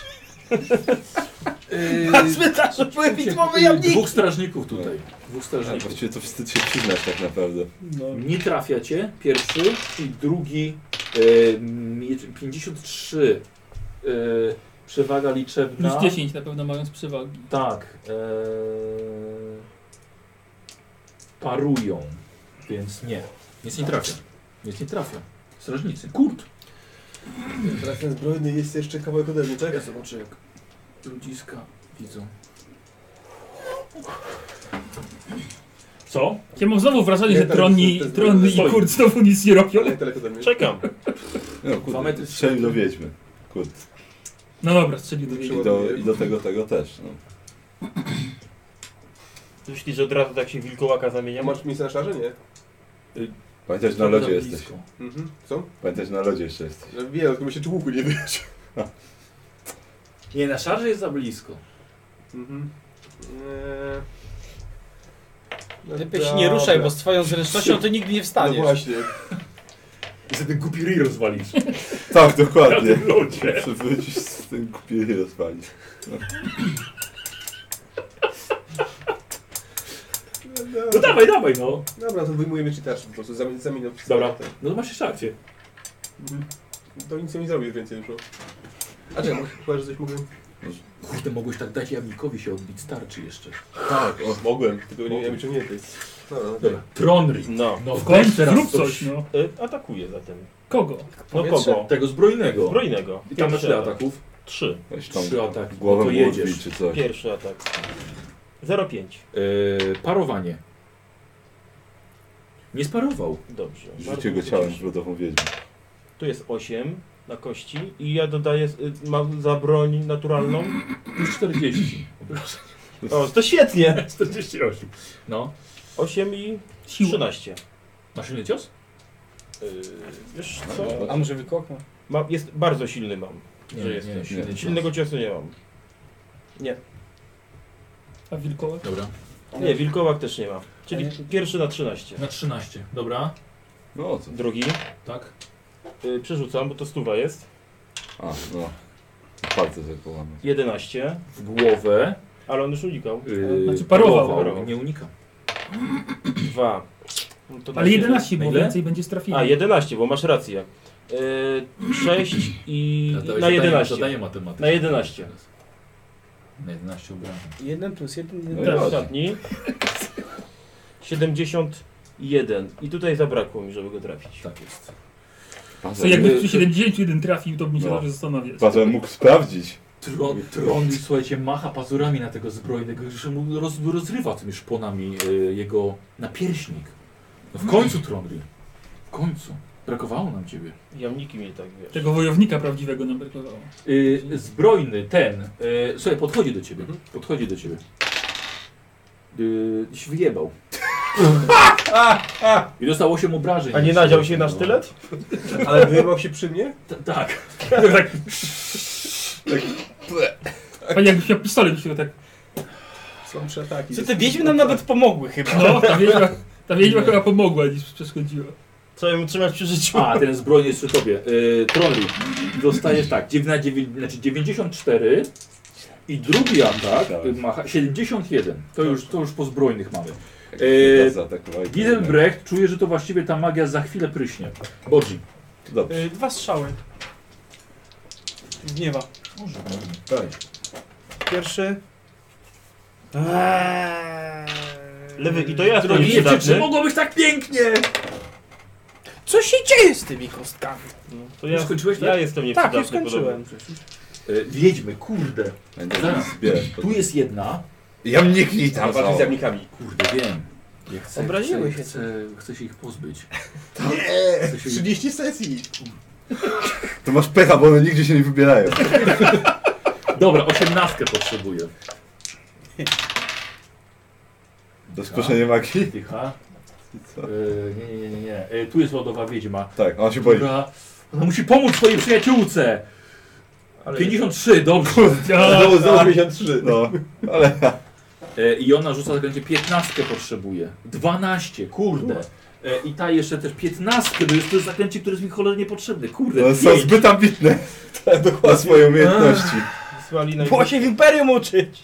[SPEAKER 4] Yy,
[SPEAKER 2] Na cmentarzu były widmowe jamniki.
[SPEAKER 4] Dwóch strażników tutaj, dwóch
[SPEAKER 1] A,
[SPEAKER 4] strażników.
[SPEAKER 1] Właściwie to wstyd się przyznać tak naprawdę.
[SPEAKER 4] Nie trafia cię, pierwszy i drugi e, em, je- 53. e, Przewaga liczebna.
[SPEAKER 3] Plus 10 na pewno mając przewagi.
[SPEAKER 4] Tak. e, Parują, więc nie. Nic nie trafia. Nic nie trafia. Tak. Strażnicy. Kurt.
[SPEAKER 12] Teraz ten zbrojny jest jeszcze kawałek ode mnie, tak?
[SPEAKER 4] Ja zobaczę jak ludziska widzą. Co?
[SPEAKER 3] Ja mam znowu wrażenie,
[SPEAKER 4] Nie,
[SPEAKER 3] że
[SPEAKER 4] tak,
[SPEAKER 3] tronni,
[SPEAKER 4] to jest-
[SPEAKER 3] tronni i
[SPEAKER 4] stoi.
[SPEAKER 3] kurt znowu nic nie robią.
[SPEAKER 5] Czekam.
[SPEAKER 1] No
[SPEAKER 4] Dwa
[SPEAKER 1] kurde,
[SPEAKER 4] metry.
[SPEAKER 1] strzelił do wiedźmy. Kurde.
[SPEAKER 3] No dobra, strzelił do
[SPEAKER 1] I
[SPEAKER 3] wiedźmy.
[SPEAKER 1] do, I do tego tego też. No.
[SPEAKER 5] Myślisz, że od razu tak się w wilkołaka zamienia?
[SPEAKER 12] Masz mi strażarze, nie?
[SPEAKER 1] Pamiętaj, że na
[SPEAKER 4] Dobra,
[SPEAKER 1] lodzie jesteś.
[SPEAKER 4] blisko.
[SPEAKER 12] Mhm. Co?
[SPEAKER 1] Pamiętaj, że na lodzie jeszcze
[SPEAKER 4] No
[SPEAKER 1] jesteś.
[SPEAKER 12] Że Wiem, tylko mi się czy łuku nie wyjdzie.
[SPEAKER 4] Nie, na szarze jest za blisko.
[SPEAKER 12] Mhm. Eee... No
[SPEAKER 2] Lepiej się
[SPEAKER 12] dobra.
[SPEAKER 2] nie ruszaj, bo z twoją zręcznością ty nigdy nie wstaniesz.
[SPEAKER 12] No właśnie.
[SPEAKER 4] I sobie ten głupi ryj rozwalisz.
[SPEAKER 1] Tak, dokładnie.
[SPEAKER 4] Na tym lodzie.
[SPEAKER 1] Muszę wrócić z tym kupienie rozpalić. No.
[SPEAKER 4] *laughs* No dawaj, dawaj, no.
[SPEAKER 12] Dobra, to wyjmujemy czytasz po prostu, zamieniam. zamieniam
[SPEAKER 4] Dobra. No to masz jeszcze akcję.
[SPEAKER 12] Mhm. To nic nie zrobisz więcej już. no. A czekaj, chyba, że coś mogłem...
[SPEAKER 4] Kurde, mogłeś tak dać jamnikowi się odbić starczy jeszcze.
[SPEAKER 12] Tak, o, mogłem, tylko nie miałem wyciągniętej. Dobra,
[SPEAKER 4] *laughs*
[SPEAKER 12] okej.
[SPEAKER 4] Dobra. Tronry.
[SPEAKER 5] No.
[SPEAKER 4] No
[SPEAKER 3] W końcu
[SPEAKER 4] teraz
[SPEAKER 3] zrób coś, no.
[SPEAKER 5] Y, Atakuje zatem.
[SPEAKER 3] Kogo?
[SPEAKER 5] No
[SPEAKER 4] Powietrze.
[SPEAKER 5] kogo?
[SPEAKER 4] Tego zbrojnego.
[SPEAKER 5] Zbrojnego.
[SPEAKER 4] I tam masz
[SPEAKER 5] Pierwszy
[SPEAKER 4] ile
[SPEAKER 5] atak.
[SPEAKER 4] ataków?
[SPEAKER 5] Trzy.
[SPEAKER 1] Weź tą
[SPEAKER 4] Trzy ataki.
[SPEAKER 1] głowę
[SPEAKER 4] No to
[SPEAKER 1] mu
[SPEAKER 4] jedziesz.
[SPEAKER 1] odbić czy coś.
[SPEAKER 5] Pierwszy atak. 0,5.
[SPEAKER 4] Yy, parowanie. Nie sparował.
[SPEAKER 5] Dobrze.
[SPEAKER 1] Rzucie go
[SPEAKER 5] Bardzo
[SPEAKER 1] ciałem
[SPEAKER 5] dobrze.
[SPEAKER 1] w lodową wiedźmę.
[SPEAKER 5] Tu jest 8 na kości i ja dodaję, y, mam za broń naturalną.
[SPEAKER 4] Już 40.
[SPEAKER 5] O, to świetnie!
[SPEAKER 4] 48. No.
[SPEAKER 5] 8 i
[SPEAKER 3] Siła.
[SPEAKER 5] 13.
[SPEAKER 4] Na silny cios?
[SPEAKER 5] Yy, wiesz co?
[SPEAKER 2] A może wykoknę?
[SPEAKER 5] Ma, jest, bardzo silny mam.
[SPEAKER 4] Nie,
[SPEAKER 5] że
[SPEAKER 4] nie,
[SPEAKER 5] jestem.
[SPEAKER 4] silny cios.
[SPEAKER 5] Silnego ciosu nie mam. Nie.
[SPEAKER 3] A wilkołak?
[SPEAKER 4] Dobra.
[SPEAKER 5] Nie, wilkołak też nie ma. Czyli
[SPEAKER 2] A nie?
[SPEAKER 5] pierwszy na 13.
[SPEAKER 4] Na 13. Dobra.
[SPEAKER 1] No co?
[SPEAKER 5] Drugi.
[SPEAKER 4] Tak.
[SPEAKER 5] Yy, przerzucam, bo to stuwa jest.
[SPEAKER 1] A, no. Palce sobie połamy.
[SPEAKER 5] 11.
[SPEAKER 4] W głowę.
[SPEAKER 5] Ale on już unikał.
[SPEAKER 4] Yy,
[SPEAKER 3] Znaczy parował.
[SPEAKER 4] Nie unika.
[SPEAKER 5] Dwa. No to na
[SPEAKER 3] Ale
[SPEAKER 5] siedem.
[SPEAKER 3] 11, bo
[SPEAKER 4] Na ile?
[SPEAKER 3] więcej będzie strafili.
[SPEAKER 5] A, 11, bo masz rację. Yy, 6 i
[SPEAKER 8] No
[SPEAKER 5] na 11.
[SPEAKER 4] Zadaję matematykę.
[SPEAKER 5] Na 11.
[SPEAKER 4] Na 11 obrażeń.
[SPEAKER 2] 1 plus 1,
[SPEAKER 1] No
[SPEAKER 2] 1
[SPEAKER 1] i
[SPEAKER 5] Ten
[SPEAKER 1] ładnie.
[SPEAKER 5] ostatni. 71. I tutaj zabrakło mi, żeby go trafić.
[SPEAKER 4] Tak jest.
[SPEAKER 3] Co, jakby przy 71 trafił, to bym się
[SPEAKER 1] No.
[SPEAKER 3] dobrze zastanawiał.
[SPEAKER 1] Patrz, mógł sprawdzić.
[SPEAKER 4] Tron, tron słuchajcie, macha pazurami na tego zbrojnego, że mu roz, rozrywa tymi szponami e, jego napierśnik. No w końcu, Tronry. W końcu. Brakowało nam ciebie.
[SPEAKER 5] Jamniki mnie tak wiesz.
[SPEAKER 3] Tego wojownika prawdziwego nam brakowało.
[SPEAKER 4] E, zbrojny, ten. E, słuchaj, podchodzi do ciebie. Podchodzi do ciebie. Yy, się *laughs* wyjebał. I dostał 8 obrażeń.
[SPEAKER 5] A nie nadział się na sztylet?
[SPEAKER 12] Ale wyjebał się przy mnie?
[SPEAKER 4] T- tak.
[SPEAKER 3] Panie, jakbyś miał pistolet, byś miał tak...
[SPEAKER 12] Są trzy ataki.
[SPEAKER 2] Co te wiedźmy nam nawet pomogły chyba.
[SPEAKER 3] No, ta wiedźma, ta wiedźma
[SPEAKER 4] Nie.
[SPEAKER 3] chyba pomogła, niż przeszkodziła.
[SPEAKER 5] Trzeba ją trzymać przy życiu.
[SPEAKER 4] A, ten zbrojny jest przy tobie. Yy, Trolli. Dostajesz tak, 9, 9, znaczy 94 i drugi atak y, ma 71. To już, to już po zbrojnych mamy. Yy,
[SPEAKER 1] Zaatakowali.
[SPEAKER 4] Gizelbrecht czuje, że to właściwie ta magia za chwilę pryśnie. Bodzi.
[SPEAKER 1] To Dobrze.
[SPEAKER 2] Y, Dwa strzały. Gniewa.
[SPEAKER 4] Może.
[SPEAKER 2] Pierwszy. Eee.
[SPEAKER 5] Lewy i to ja
[SPEAKER 4] Drogi,
[SPEAKER 5] jestem
[SPEAKER 4] czy
[SPEAKER 5] przydatny.
[SPEAKER 4] mogło być tak pięknie?
[SPEAKER 2] Co się dzieje z tymi kostkami?
[SPEAKER 5] No, To ja, ja jestem
[SPEAKER 2] Tak,
[SPEAKER 5] nieprzydatny
[SPEAKER 2] już skończyłem.
[SPEAKER 4] E, Wiedźmy, kurde.
[SPEAKER 8] Będę
[SPEAKER 4] Zaraz,
[SPEAKER 8] zbierać.
[SPEAKER 4] tu jest jedna.
[SPEAKER 8] Ja mnie kwitam.
[SPEAKER 4] Walczy
[SPEAKER 8] za-
[SPEAKER 4] z jamnikami. Kurde, wiem. Ja chcę,
[SPEAKER 2] Obraziłeś
[SPEAKER 4] chcę,
[SPEAKER 2] się.
[SPEAKER 4] Chcę, chcę się ich *laughs* pozbyć.
[SPEAKER 1] Nie!
[SPEAKER 4] Chcę się-
[SPEAKER 1] 30 sesji!
[SPEAKER 8] To masz pecha, bo one nigdzie się nie wybierają.
[SPEAKER 4] Dobra, osiemnastkę potrzebuję.
[SPEAKER 8] Do skoszenia magii?
[SPEAKER 4] Cicha. E, nie, nie, nie, nie, nie. E, tu jest lodowa wiedźma.
[SPEAKER 8] Tak, ona się boi.
[SPEAKER 4] Która, ona musi pomóc swojej przyjaciółce.
[SPEAKER 8] Ale-
[SPEAKER 4] 53, dobrze.
[SPEAKER 8] *laughs* Znowu,
[SPEAKER 12] Tak.
[SPEAKER 8] znowu 53, no. Ale...
[SPEAKER 4] E, I ona rzuca zaklęcie 15 potrzebuje. 12, kurde. E, I ta jeszcze też 15, bo jest to jest zaklęcie, które jest mi cholernie potrzebne. Kurde.
[SPEAKER 8] One są
[SPEAKER 4] pięć.
[SPEAKER 8] zbyt ambitne. Tak, dokładnie. Na swoje umiejętności.
[SPEAKER 5] Słali
[SPEAKER 2] Bo się w Imperium uczyć.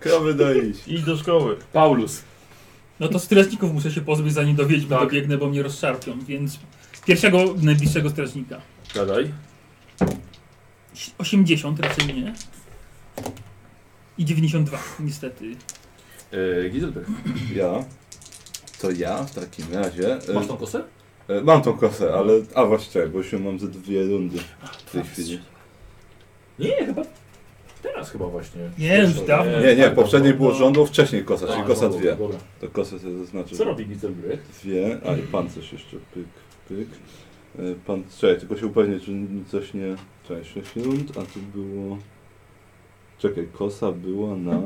[SPEAKER 8] Krowy dojść.
[SPEAKER 5] Idź do szkoły.
[SPEAKER 4] Paulus.
[SPEAKER 3] No to strażników muszę się pozbyć, zanim do
[SPEAKER 2] Tak.
[SPEAKER 3] wiedźmy dobiegnę, bo mnie rozszarpią, więc pierwszego najbliższego strażnika.
[SPEAKER 4] Gadaj.
[SPEAKER 3] 80 raczej nie. I 92, niestety.
[SPEAKER 4] E, Gizelberg.
[SPEAKER 8] Ja? To ja w takim razie... e,
[SPEAKER 4] Masz tą kosę?
[SPEAKER 8] e, Mam tą kosę, ale... A właściwie, bo już ją mam ze dwie rundy w tej chwili.
[SPEAKER 4] Nie, chyba. Teraz chyba właśnie.
[SPEAKER 3] Nie, już dawno.
[SPEAKER 8] Nie, nie,
[SPEAKER 4] tak,
[SPEAKER 8] poprzednie
[SPEAKER 4] dobra.
[SPEAKER 8] było rządu, wcześniej kosa, czyli
[SPEAKER 4] A,
[SPEAKER 8] kosa
[SPEAKER 4] dobra,
[SPEAKER 8] dwie.
[SPEAKER 4] dobra.
[SPEAKER 8] To kosę sobie zaznaczę.
[SPEAKER 4] Co robi Gizelberg?
[SPEAKER 8] Dwie, a i pancerz jeszcze, pyk, pyk. E, Pan, czekaj, tylko się upewnię, czy coś nie... Czekaj, 6 rund, a tu było... Czekaj, kosa była na...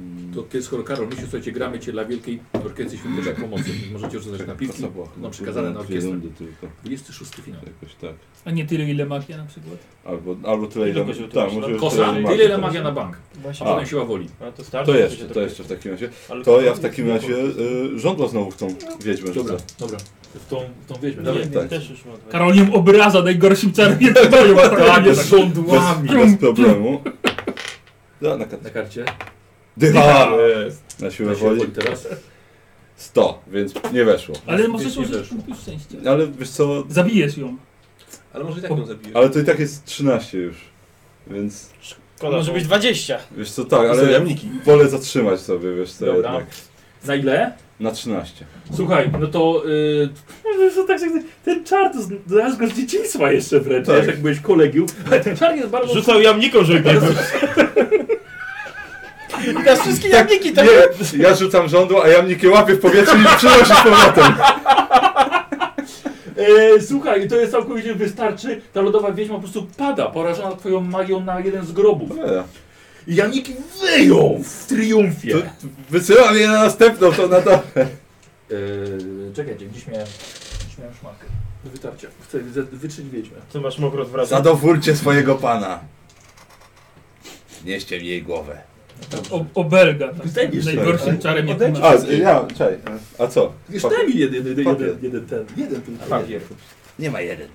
[SPEAKER 8] Mm,
[SPEAKER 4] To ty, skoro Karol, myślisz, słuchajcie, gramy cię dla Wielkiej Orkiestry Świątecznej Pomocy. Możecie otrzymać napiwki,
[SPEAKER 8] kosa była chyba
[SPEAKER 4] no przekazane na
[SPEAKER 8] dwie
[SPEAKER 4] orkiestrę.
[SPEAKER 8] rundy tylko.
[SPEAKER 4] 26 finał.
[SPEAKER 8] Jakoś tak.
[SPEAKER 3] A nie tyle, ile magia na przykład.
[SPEAKER 8] Albo, albo tyle, ile...
[SPEAKER 5] kościół
[SPEAKER 8] Tak,
[SPEAKER 5] masz,
[SPEAKER 8] może
[SPEAKER 5] tak?
[SPEAKER 8] już
[SPEAKER 4] Kosa,
[SPEAKER 8] tyle, ile
[SPEAKER 4] tyle ile
[SPEAKER 8] masz.
[SPEAKER 4] magia na bank.
[SPEAKER 2] Właśnie.
[SPEAKER 8] A.
[SPEAKER 4] Potem siła woli.
[SPEAKER 5] A to starczy.
[SPEAKER 8] To
[SPEAKER 5] żeby
[SPEAKER 8] jeszcze,
[SPEAKER 5] się
[SPEAKER 8] to
[SPEAKER 5] dopiero-
[SPEAKER 8] jeszcze w takim razie.
[SPEAKER 5] Ale
[SPEAKER 8] To
[SPEAKER 5] kto
[SPEAKER 8] ja w
[SPEAKER 5] to
[SPEAKER 8] takim
[SPEAKER 5] jest?
[SPEAKER 8] razie y, żądła znowu w tą wiedźmę
[SPEAKER 4] Dobra,
[SPEAKER 8] rzucę.
[SPEAKER 4] dobra. W tą, w tą wiedźmę.
[SPEAKER 5] Nie,
[SPEAKER 8] Dobra,
[SPEAKER 5] nie,
[SPEAKER 8] tak.
[SPEAKER 5] też już mam dwa.
[SPEAKER 3] Karol ją obraza najgorszym
[SPEAKER 2] *laughs*
[SPEAKER 3] czarnie
[SPEAKER 4] Tak, z żądłami.
[SPEAKER 8] Bez, bez problemu. *laughs* Da, na kartę.
[SPEAKER 4] Na karcie.
[SPEAKER 8] Dycha!
[SPEAKER 12] Tak.
[SPEAKER 4] Jest.
[SPEAKER 8] Na siłę
[SPEAKER 4] Na siłę
[SPEAKER 8] woli.
[SPEAKER 4] woli teraz.
[SPEAKER 8] 100, więc nie weszło.
[SPEAKER 3] Ale
[SPEAKER 4] Gdzieś
[SPEAKER 3] możesz
[SPEAKER 4] nie
[SPEAKER 3] użyć
[SPEAKER 4] weszło.
[SPEAKER 3] punktu szczęścia.
[SPEAKER 2] No.
[SPEAKER 8] Ale wiesz co,
[SPEAKER 3] Zabijesz ją.
[SPEAKER 1] Ale może i tak ją zabijesz.
[SPEAKER 8] ale to i tak jest 13 już. Więc
[SPEAKER 5] Szkoda,
[SPEAKER 2] Może
[SPEAKER 5] bo-
[SPEAKER 2] być 20.
[SPEAKER 8] *laughs* wiesz co, tak,
[SPEAKER 1] Są
[SPEAKER 8] ale
[SPEAKER 1] jamniki.
[SPEAKER 8] wolę zatrzymać sobie, wiesz *laughs* co,
[SPEAKER 4] Dobra.
[SPEAKER 8] jednak.
[SPEAKER 4] Za ile?
[SPEAKER 8] Na 13.
[SPEAKER 4] Słuchaj, no to y, *laughs* to tak, jak- ten czar to z- znasz go z dzieciństwa jeszcze wręcz,
[SPEAKER 8] Tak.
[SPEAKER 4] wiesz, jak byłeś
[SPEAKER 8] *laughs*
[SPEAKER 4] kolegium, ale ten czar jest bardzo...
[SPEAKER 5] Rzucał jamniką, żeby nie był.
[SPEAKER 2] Teraz wszystkie jamniki tak...
[SPEAKER 8] Nie, ja rzucam żądło, a ja mnie łapię w powietrzu i przynosi z powrotem.
[SPEAKER 4] E, słuchaj, to jest całkowicie wystarczy, ta lodowa wieźma po prostu pada, porażona twoją magią na jeden z grobów.
[SPEAKER 8] Cholera.
[SPEAKER 4] I Janiki wyją w triumfie.
[SPEAKER 8] To wysyła mnie na następną, to na to.
[SPEAKER 4] E, czekajcie, gdzieś miałem, gdzieś miałem szmatkę do wytarcia, chcę wy- wytrzeć wiedźmę.
[SPEAKER 5] Ty masz mokro zwracać.
[SPEAKER 8] Zadowólcie swojego pana. Nieście mi jej głowę.
[SPEAKER 3] O, obelga. Tak.
[SPEAKER 4] Zdejmiesz sobie.
[SPEAKER 3] Najgorszym czarem jak
[SPEAKER 2] Odejdź.
[SPEAKER 3] masz.
[SPEAKER 8] A, z- ja, czekaj. A co?
[SPEAKER 4] Wiesz,
[SPEAKER 8] Papier.
[SPEAKER 4] daj mi jeden, jeden,
[SPEAKER 8] Papier.
[SPEAKER 4] jeden, jeden ten, jeden ten.
[SPEAKER 5] Papier.
[SPEAKER 8] Nie ma jeden.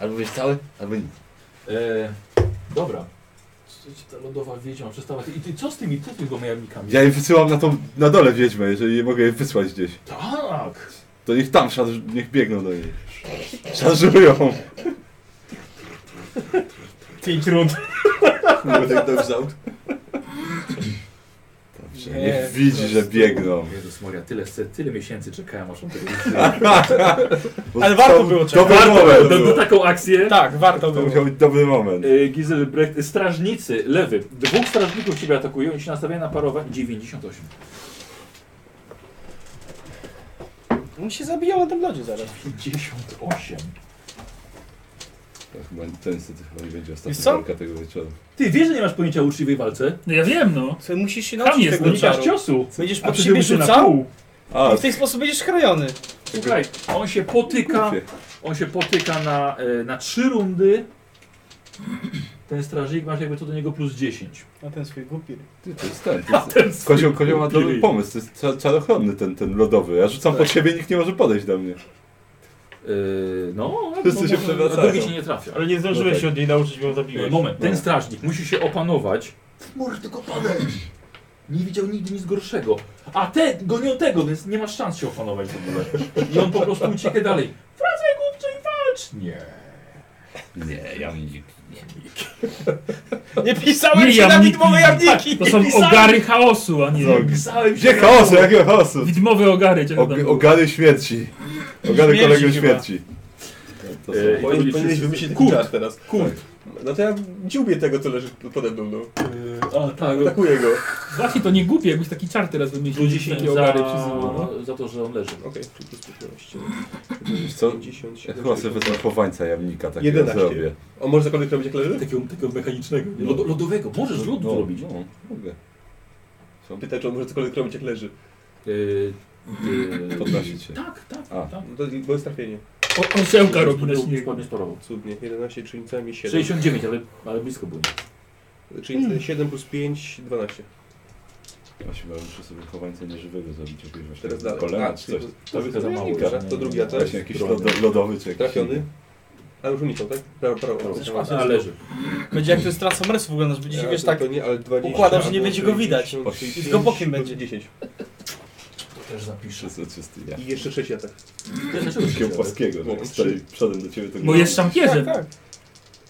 [SPEAKER 8] Albo jest cały, albo nic.
[SPEAKER 4] E, dobra. Co ci Ta lodowa wiedźma przestała. I ty co z tymi co z tymi gomajamnikami?
[SPEAKER 8] Ja je wysyłam na tą, na dole wiedźmę, jeżeli je mogę je wysłać gdzieś.
[SPEAKER 4] Tak!
[SPEAKER 8] To niech tam, szarż, niech biegną do niej. Szarżują.
[SPEAKER 5] Pięć rund.
[SPEAKER 1] Mówię tak dobrze out.
[SPEAKER 8] Dobrze, niech widzi, że biegną.
[SPEAKER 4] Jezus Maria, tyle, se- tyle miesięcy czekałem aż on tego
[SPEAKER 8] Bo
[SPEAKER 2] Ale warto
[SPEAKER 8] to-
[SPEAKER 2] było
[SPEAKER 8] Dobry
[SPEAKER 2] czekać.
[SPEAKER 8] moment.
[SPEAKER 4] Warto,
[SPEAKER 8] był.
[SPEAKER 4] na taką akcję.
[SPEAKER 2] Tak, warto
[SPEAKER 8] To
[SPEAKER 2] było.
[SPEAKER 8] musiał być dobry moment.
[SPEAKER 4] E, Giselbrecht, strażnicy, lewy. Dwóch strażników ciebie atakują i się nastawiają na parowanie 98.
[SPEAKER 2] On się zabijał na tym lodzie zaraz.
[SPEAKER 4] 58.
[SPEAKER 8] To chyba- To niestety chyba nie będzie
[SPEAKER 2] Wiesz
[SPEAKER 8] ostatnia
[SPEAKER 2] co?
[SPEAKER 8] walka tego wieczoru.
[SPEAKER 4] Ty wiesz, że nie masz pojęcia o uczciwej walce?
[SPEAKER 3] No ja wiem, no.
[SPEAKER 2] Słuchaj, musisz się
[SPEAKER 3] Tam
[SPEAKER 2] nauczyć
[SPEAKER 3] jest
[SPEAKER 2] tego
[SPEAKER 3] ten
[SPEAKER 4] Unikasz
[SPEAKER 2] czaru.
[SPEAKER 4] ciosu.
[SPEAKER 2] Będziesz
[SPEAKER 4] A
[SPEAKER 2] po
[SPEAKER 4] ty
[SPEAKER 2] siebie
[SPEAKER 4] byłeś na
[SPEAKER 2] rzucał
[SPEAKER 4] pół.
[SPEAKER 8] A,
[SPEAKER 2] i w ten sposób będziesz chroniony.
[SPEAKER 4] Słuchaj, on się potyka.
[SPEAKER 8] kurczę.
[SPEAKER 4] On się potyka na, e, na trzy rundy. Ten strażnik masz jakby to do niego plus 10.
[SPEAKER 2] Na ten swój głupi.
[SPEAKER 8] Ty, to jest ten. To jest... Kozioł, kozioł ma dobry pomysł, to jest cza- czarochronny ten, ten lodowy. Ja rzucam
[SPEAKER 5] Tak.
[SPEAKER 8] pod siebie, nikt nie może podejść do mnie.
[SPEAKER 4] Yy, no,
[SPEAKER 8] Wszyscy
[SPEAKER 4] no,
[SPEAKER 8] się
[SPEAKER 4] no,
[SPEAKER 8] przewracają.
[SPEAKER 4] a drugi się nie trafia.
[SPEAKER 5] Ale nie
[SPEAKER 4] No
[SPEAKER 5] zdążyłeś
[SPEAKER 4] tak.
[SPEAKER 5] się od niej nauczyć, bo ją
[SPEAKER 4] Yy,
[SPEAKER 5] zabiłeś.
[SPEAKER 4] Moment, ten
[SPEAKER 8] No.
[SPEAKER 4] strażnik musi się opanować. Może tylko padać. Nie widział nigdy nic gorszego. A te gonią tego, więc nie masz szans się opanować w ogóle. I on po prostu ucieka dalej. Wracaj głupcze i walcz! Nie.
[SPEAKER 8] Nie, ja mnie
[SPEAKER 2] Nie pisałem się na widmowe jawniki!
[SPEAKER 3] Tak, To są
[SPEAKER 2] Nie pisałem.
[SPEAKER 3] ogary chaosu, a nie...
[SPEAKER 1] Co? Gdzie chaosu? Jakiego chaosu?
[SPEAKER 3] Widmowe ogary, cię
[SPEAKER 1] Og ogary śmierci. Ogary
[SPEAKER 3] Śmierci
[SPEAKER 1] kolegium
[SPEAKER 3] chyba.
[SPEAKER 1] śmierci. To są-
[SPEAKER 12] Bo oni powinieneś wymyślić taki czas teraz.
[SPEAKER 4] Kurt.
[SPEAKER 12] No to ja dziubię tego, co leży pode mną. No.
[SPEAKER 4] A, tak.
[SPEAKER 12] Atakuję go.
[SPEAKER 3] Właśnie to nie głupie, jakbyś taki czar teraz wymyślił.
[SPEAKER 4] Ludzi się nie
[SPEAKER 3] Za-
[SPEAKER 4] ogary
[SPEAKER 2] no.
[SPEAKER 4] przyzywa. Za to, że on leży.
[SPEAKER 12] Okej, czyli plus 15.
[SPEAKER 1] Wiesz co? Ja chyba sobie wezmę chowańca jamnika takiego
[SPEAKER 12] 11.
[SPEAKER 1] zrobię.
[SPEAKER 12] O, może cokolwiek robić jak leży?
[SPEAKER 4] Takiego, takiego mechanicznego. nie? Lod, lodowego. Możesz lód
[SPEAKER 1] No,
[SPEAKER 4] zrobić.
[SPEAKER 1] No, mogę.
[SPEAKER 12] Pytaj, czy on może cokolwiek robić jak leży.
[SPEAKER 4] Yy,
[SPEAKER 1] Podnosi cię.
[SPEAKER 4] Tak, tak,
[SPEAKER 1] A.
[SPEAKER 4] tak.
[SPEAKER 12] No to bo jest trafienie.
[SPEAKER 3] O- Osiołka robi na śniegu.
[SPEAKER 4] Ładnie sparował.
[SPEAKER 12] Cudnie, 11 czynnicami 7.
[SPEAKER 4] 69, ale, ale blisko było.
[SPEAKER 12] Czyli 7 plus 5, 12.
[SPEAKER 1] Właśnie, bo ja muszę sobie chowańca nieżywego zrobić jakiegoś właśnie
[SPEAKER 12] Teraz dalej.
[SPEAKER 1] kolana
[SPEAKER 12] A,
[SPEAKER 1] czy
[SPEAKER 12] czyli
[SPEAKER 1] coś.
[SPEAKER 12] to-
[SPEAKER 4] To tylko za mało.
[SPEAKER 12] Dobra,
[SPEAKER 4] że-
[SPEAKER 12] to drugi atak.
[SPEAKER 1] Właśnie jakiś lodo- lodowy czy jakiś
[SPEAKER 12] Trafiony. A już unikał, tak? Prawo, prawo. prawo.
[SPEAKER 4] Ale leży.
[SPEAKER 2] Będzie jak to jest Transformers wyglądasz, będzie się
[SPEAKER 12] Ja
[SPEAKER 2] wiesz
[SPEAKER 12] to-
[SPEAKER 2] tak...
[SPEAKER 12] to nie, ale 20,
[SPEAKER 2] układam, że nie
[SPEAKER 12] albo
[SPEAKER 2] będzie go widać.
[SPEAKER 12] 60,
[SPEAKER 2] Tylko bokiem będzie.
[SPEAKER 12] 10.
[SPEAKER 4] To też zapiszę.
[SPEAKER 1] Przez oczystynia.
[SPEAKER 12] I jeszcze 6 atak.
[SPEAKER 1] Takiego płaskiego,
[SPEAKER 12] O,
[SPEAKER 1] tak stoi przodem do ciebie. to
[SPEAKER 3] Bo jest szampierzem.
[SPEAKER 2] Tak, tak.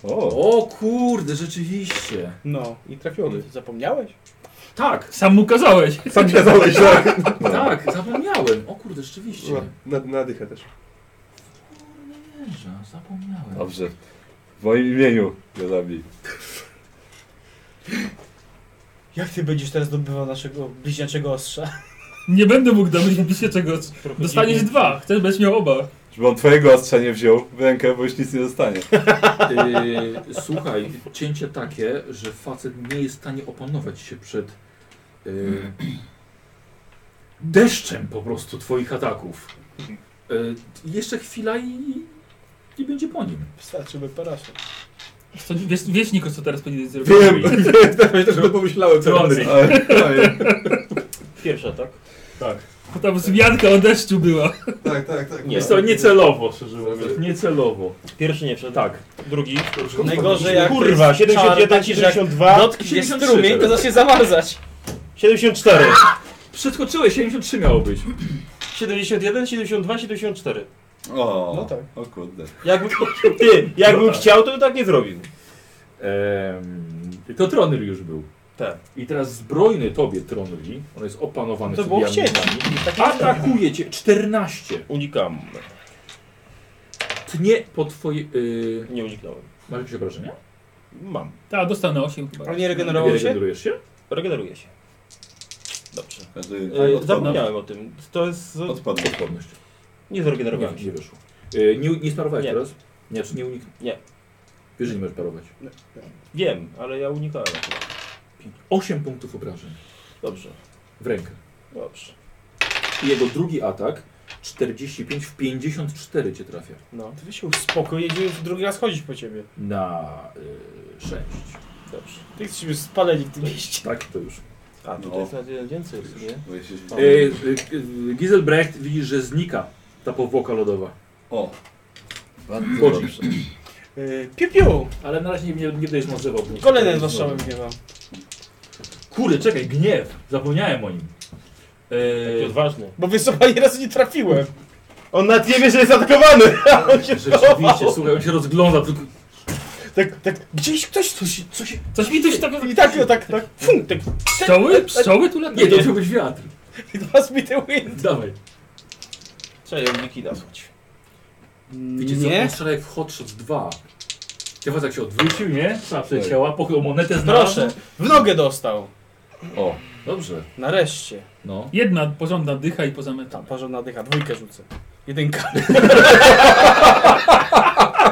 [SPEAKER 1] O,
[SPEAKER 4] O kurde, rzeczywiście.
[SPEAKER 2] No.
[SPEAKER 12] I trafiony.
[SPEAKER 2] Zapomniałeś?
[SPEAKER 4] Tak,
[SPEAKER 3] Sam
[SPEAKER 2] *laughs*
[SPEAKER 3] mu kazałeś.
[SPEAKER 1] sam kazałeś, tak? No.
[SPEAKER 4] tak, zapomniałem. O kurde, rzeczywiście.
[SPEAKER 12] Na, No, na, na dychę też.
[SPEAKER 4] Jeże, zapomniałem.
[SPEAKER 1] Dobrze. W moim imieniu go zabij.
[SPEAKER 2] Jak ty będziesz teraz dobywał naszego bliźniaczego ostrza?
[SPEAKER 3] Nie będę mógł dowiedzieć się czego. Dostaniesz dwa. Chcesz, będziesz miał oba.
[SPEAKER 1] Żeby on twojego ostrza nie wziął w rękę, bo już nic nie zostanie.
[SPEAKER 4] Yy, słuchaj, cięcie takie, że facet nie jest w stanie opanować się przed yy, deszczem po prostu twoich ataków. Yy, jeszcze chwila i, i będzie po nim.
[SPEAKER 2] Wystarczyłby parasza.
[SPEAKER 3] Co, wiesz, wiesz Niko, co teraz powinieneś zrobić?
[SPEAKER 1] Wiem!
[SPEAKER 12] Ja też to pomyślałem, co
[SPEAKER 4] Trolli.
[SPEAKER 1] Ale, ale,
[SPEAKER 5] Pierwsza, tak?
[SPEAKER 3] Bo tam zmianka o deszczu była.
[SPEAKER 12] Tak, tak, tak.
[SPEAKER 5] Nie.
[SPEAKER 11] Jest to niecelowo, szczerze mówiąc. Niecelowo.
[SPEAKER 5] Pierwszy nie wszedł. Tak. Drugi.
[SPEAKER 2] Najgorzej jak
[SPEAKER 5] Kurwa, 71, 72,
[SPEAKER 2] dotknie
[SPEAKER 4] 73
[SPEAKER 2] strumień, to
[SPEAKER 4] teraz.
[SPEAKER 2] zacznie zamarzać.
[SPEAKER 5] 74.
[SPEAKER 2] *laughs*
[SPEAKER 4] Przeskoczyłeś, 73 miało być.
[SPEAKER 5] 71, 72, 74.
[SPEAKER 1] o,
[SPEAKER 2] No tak.
[SPEAKER 1] o kurde.
[SPEAKER 5] Jakby, ty, jakbym
[SPEAKER 4] No tak.
[SPEAKER 5] chciał, to by tak nie zrobił.
[SPEAKER 4] Ehm, to Tronyl już był.
[SPEAKER 5] Tak.
[SPEAKER 4] I teraz zbrojny tobie Tronyli, on jest opanowany
[SPEAKER 2] No To było Tak
[SPEAKER 4] cybianami. Atakuje cię, 14.
[SPEAKER 5] Tak, Unikam.
[SPEAKER 4] Tnie po twojej... Yy,
[SPEAKER 5] Nie uniknąłem.
[SPEAKER 4] masz jakieś obrażenia?
[SPEAKER 5] Mam.
[SPEAKER 3] Tak, dostał na 8 chyba.
[SPEAKER 2] Ale nie regenerował
[SPEAKER 4] Nie
[SPEAKER 2] się?
[SPEAKER 4] regenerujesz się?
[SPEAKER 5] Regeneruję się. Dobrze.
[SPEAKER 2] Tak,
[SPEAKER 1] Każdy
[SPEAKER 5] E,
[SPEAKER 1] odpadł.
[SPEAKER 5] zapomniałem o tym. To jest...
[SPEAKER 1] Odpadł.
[SPEAKER 4] Odporność.
[SPEAKER 5] Nie
[SPEAKER 4] Nie,
[SPEAKER 5] zregenerowałem się.
[SPEAKER 4] nie wyszło. Yy, nie, nie sparowałeś
[SPEAKER 5] Nie.
[SPEAKER 4] teraz? Nie, czy nie uniknął?
[SPEAKER 5] Nie.
[SPEAKER 4] Wiesz, że nie możesz parować.
[SPEAKER 5] Wiem, ale ja unikałem. akurat.
[SPEAKER 4] 8 punktów obrażeń
[SPEAKER 5] Dobrze.
[SPEAKER 4] w rękę.
[SPEAKER 5] Dobrze.
[SPEAKER 4] I jego drugi atak, 45 w 54 cię trafia.
[SPEAKER 5] No.
[SPEAKER 2] Ty E, się uspokój, jedziemy już drugi raz chodzić po ciebie.
[SPEAKER 4] Na yy, 6.
[SPEAKER 5] Dobrze.
[SPEAKER 2] Ty jesteśmy spaleni w tym mieście.
[SPEAKER 4] Tak, to już.
[SPEAKER 5] A, tutaj
[SPEAKER 1] No.
[SPEAKER 5] jest nawet jeden więcej. Nie?
[SPEAKER 1] Bo jeśli-
[SPEAKER 4] E, e, Giselbrecht widzisz, że znika ta powłoka lodowa.
[SPEAKER 1] O. Bardzo
[SPEAKER 4] Chodzi.
[SPEAKER 1] dobrze.
[SPEAKER 2] Yy, piu piu!
[SPEAKER 4] Ale na razie nie, nie będziesz nazywał.
[SPEAKER 2] Kolejny z waszym gniewam.
[SPEAKER 4] Kurde, czekaj, gniew. Zapomniałem o nim. E,
[SPEAKER 5] Taki odważny.
[SPEAKER 2] Bo wysoko ani razu nie trafiłem.
[SPEAKER 5] On nawet nie wie, że jest atakowany! a on się
[SPEAKER 4] rzeczywiście, słuchaj, on się rozgląda. Tylko...
[SPEAKER 2] Tak, tak, gdzieś ktoś tu się...
[SPEAKER 4] Co się...
[SPEAKER 3] Coś mi coś takiego...
[SPEAKER 2] I tak, no tak, tak, fum, tak,
[SPEAKER 3] Pszczoły? Pszczoły tu
[SPEAKER 4] Nie,
[SPEAKER 3] latają?
[SPEAKER 4] to musiał być wiatr.
[SPEAKER 2] dwa zbite win.
[SPEAKER 4] Dawaj.
[SPEAKER 5] Trzeba ją uniki nasłać.
[SPEAKER 4] Wiecie co, on strzela jak w Hot Shots 2. Ty facet jak się odwrócił, nie? Trzeba przecięła, pochył monetę, znalazł.
[SPEAKER 2] Proszę, w nogę dostał.
[SPEAKER 1] O.
[SPEAKER 4] Dobrze,
[SPEAKER 2] Nareszcie.
[SPEAKER 4] no. *laughs*
[SPEAKER 3] Jedna porządna dycha i poza
[SPEAKER 2] Tam,
[SPEAKER 3] metam.
[SPEAKER 2] porządna dycha, dwójkę rzucę. Jedynka.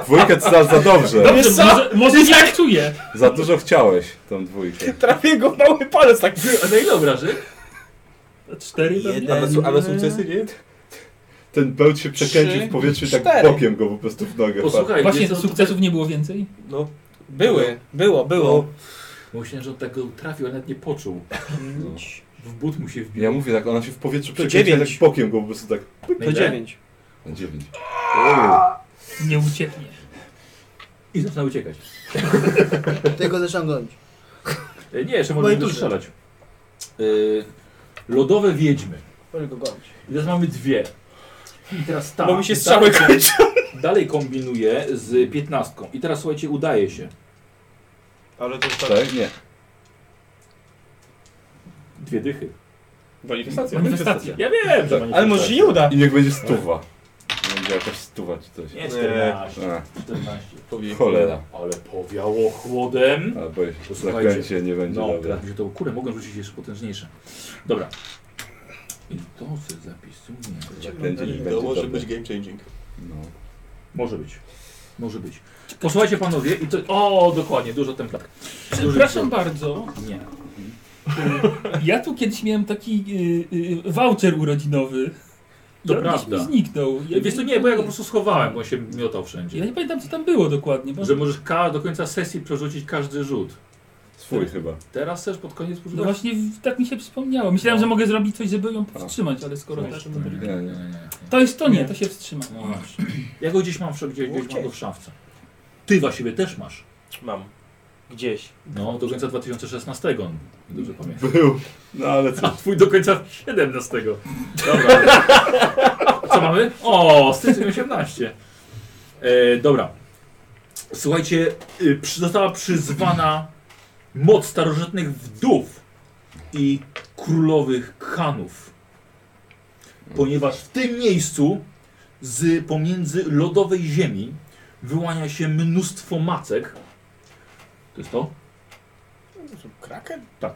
[SPEAKER 1] Dwójkę ty znasz za dobrze.
[SPEAKER 3] Dobrze,
[SPEAKER 2] Wiesz co?
[SPEAKER 3] może, może nie tak czuję.
[SPEAKER 1] Za dużo chciałeś tą dwójkę.
[SPEAKER 2] Trafię go w mały palec, tak.
[SPEAKER 4] A na ile obrażeń?
[SPEAKER 3] Cztery pewnie.
[SPEAKER 12] A na, su- a na sukcesy nie?
[SPEAKER 1] Ten bełt się przekręcił
[SPEAKER 2] Trzy,
[SPEAKER 1] w powietrzu i tak
[SPEAKER 2] cztery.
[SPEAKER 1] bokiem go po prostu w nogę.
[SPEAKER 4] Posłuchaj,
[SPEAKER 3] Właśnie
[SPEAKER 4] wiesz co,
[SPEAKER 3] sukcesów nie było więcej?
[SPEAKER 12] No.
[SPEAKER 2] Były, było, było.
[SPEAKER 4] Bo Myślałem, że on tak go trafił, a nawet nie poczuł. W but mu się wbił. No
[SPEAKER 1] Ja mówię tak, ona się w powietrzu
[SPEAKER 2] To
[SPEAKER 1] przekręciła tak
[SPEAKER 2] dziewięć.
[SPEAKER 1] bokiem go po prostu tak.
[SPEAKER 2] To dziewięć.
[SPEAKER 1] Na dziewięć.
[SPEAKER 3] Nie ucieknie.
[SPEAKER 4] I zaczyna uciekać.
[SPEAKER 1] No.
[SPEAKER 15] Tego zaciągnąć.
[SPEAKER 4] E, Nie, jeszcze
[SPEAKER 2] No i
[SPEAKER 4] możemy
[SPEAKER 2] tu
[SPEAKER 4] tu strzelać. Y, lodowe wiedźmy.
[SPEAKER 2] Może go gonić.
[SPEAKER 4] I teraz mamy dwie. I teraz ta.
[SPEAKER 2] Bo mi się
[SPEAKER 4] dalej-
[SPEAKER 2] strzały kończą.
[SPEAKER 4] Dalej kombinuję z piętnastką. I teraz słuchajcie, udaje się.
[SPEAKER 7] Ale to już tak...
[SPEAKER 1] Tak? Nie.
[SPEAKER 4] Dwie dychy.
[SPEAKER 7] Manifestacja.
[SPEAKER 4] Manifestacja. Ja wiem, że
[SPEAKER 7] Ale może się nie uda.
[SPEAKER 1] I niech będzie stuwa. Będzie jakaś stuwa czy coś.
[SPEAKER 4] Nie, 14.
[SPEAKER 1] Nie.
[SPEAKER 4] 14.
[SPEAKER 1] A. Cholera.
[SPEAKER 4] Ale powiało chłodem.
[SPEAKER 1] A, bo
[SPEAKER 4] To słuchajcie.
[SPEAKER 1] zaklęcie nie będzie
[SPEAKER 4] No,
[SPEAKER 1] dobre.
[SPEAKER 4] teraz mi się to kurde, mogę rzucić jeszcze potężniejsze. Dobra. I to sobie zapisuję.
[SPEAKER 1] Zaklęcie nie Tak, będzie
[SPEAKER 12] To może
[SPEAKER 1] dobre.
[SPEAKER 12] być game changing.
[SPEAKER 1] No.
[SPEAKER 4] Może być. Może być. Posłuchajcie panowie i to... O, dokładnie, dużo templatek. Dużo
[SPEAKER 3] Przepraszam
[SPEAKER 4] templatek.
[SPEAKER 3] bardzo.
[SPEAKER 4] Nie.
[SPEAKER 3] Ja tu kiedyś miałem taki y, y, voucher urodzinowy.
[SPEAKER 4] To
[SPEAKER 3] Ja gdzieś
[SPEAKER 4] prawda.
[SPEAKER 3] mi zniknął. Ja
[SPEAKER 4] Wiesz co, nie, bo ja go po prostu schowałem, bo on się miotał wszędzie.
[SPEAKER 3] Ja nie pamiętam co tam było dokładnie. Bo...
[SPEAKER 4] Że możesz ka- do końca sesji przerzucić każdy rzut.
[SPEAKER 1] Swój chyba.
[SPEAKER 4] Teraz też pod koniec używasz?
[SPEAKER 3] No właśnie w- tak mi się przypomniało. Myślałem,
[SPEAKER 4] No.
[SPEAKER 3] że mogę zrobić coś, żeby ją powstrzymać, ale skoro tak, to,
[SPEAKER 4] Nie, nie, nie, nie.
[SPEAKER 3] to jest to nie, to się wstrzyma.
[SPEAKER 4] No właśnie. Ja go gdzieś mam, w- gdzieś, gdzieś mam go w szafce. Ty właściwie też masz.
[SPEAKER 7] Mam. Gdzieś.
[SPEAKER 4] No, do końca 2016, on dobrze pamiętam.
[SPEAKER 1] Był. No ale co?
[SPEAKER 4] A twój do końca 17. Dobra. Co mamy? O, styczeń 18. E, dobra. Słuchajcie, y, przy, została przyzwana moc starożytnych wdów i królowych kanów. Ponieważ w tym miejscu z pomiędzy lodowej ziemi wyłania się mnóstwo macek. To jest to?
[SPEAKER 2] Kraken?
[SPEAKER 4] Tak.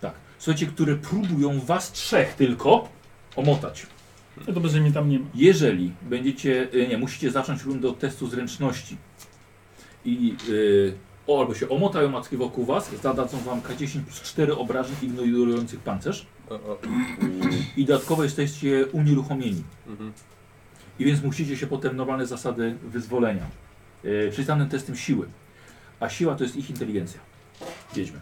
[SPEAKER 4] Tak. Słuchajcie, które próbują was trzech tylko omotać.
[SPEAKER 3] No dobrze, że mnie tam nie ma.
[SPEAKER 4] Jeżeli będziecie, y, nie, musicie zacząć rundę od testu zręczności. I y, o, albo się omotają macki wokół was, zadadzą wam K10 plus 4 obrażeń ignorujących pancerz. I dodatkowo jesteście unieruchomieni.
[SPEAKER 1] Mhm.
[SPEAKER 4] I więc musicie się potem normalne zasady wyzwolenia. Yy, przyznanym testem siły. A siła to jest ich inteligencja. Jedźmy.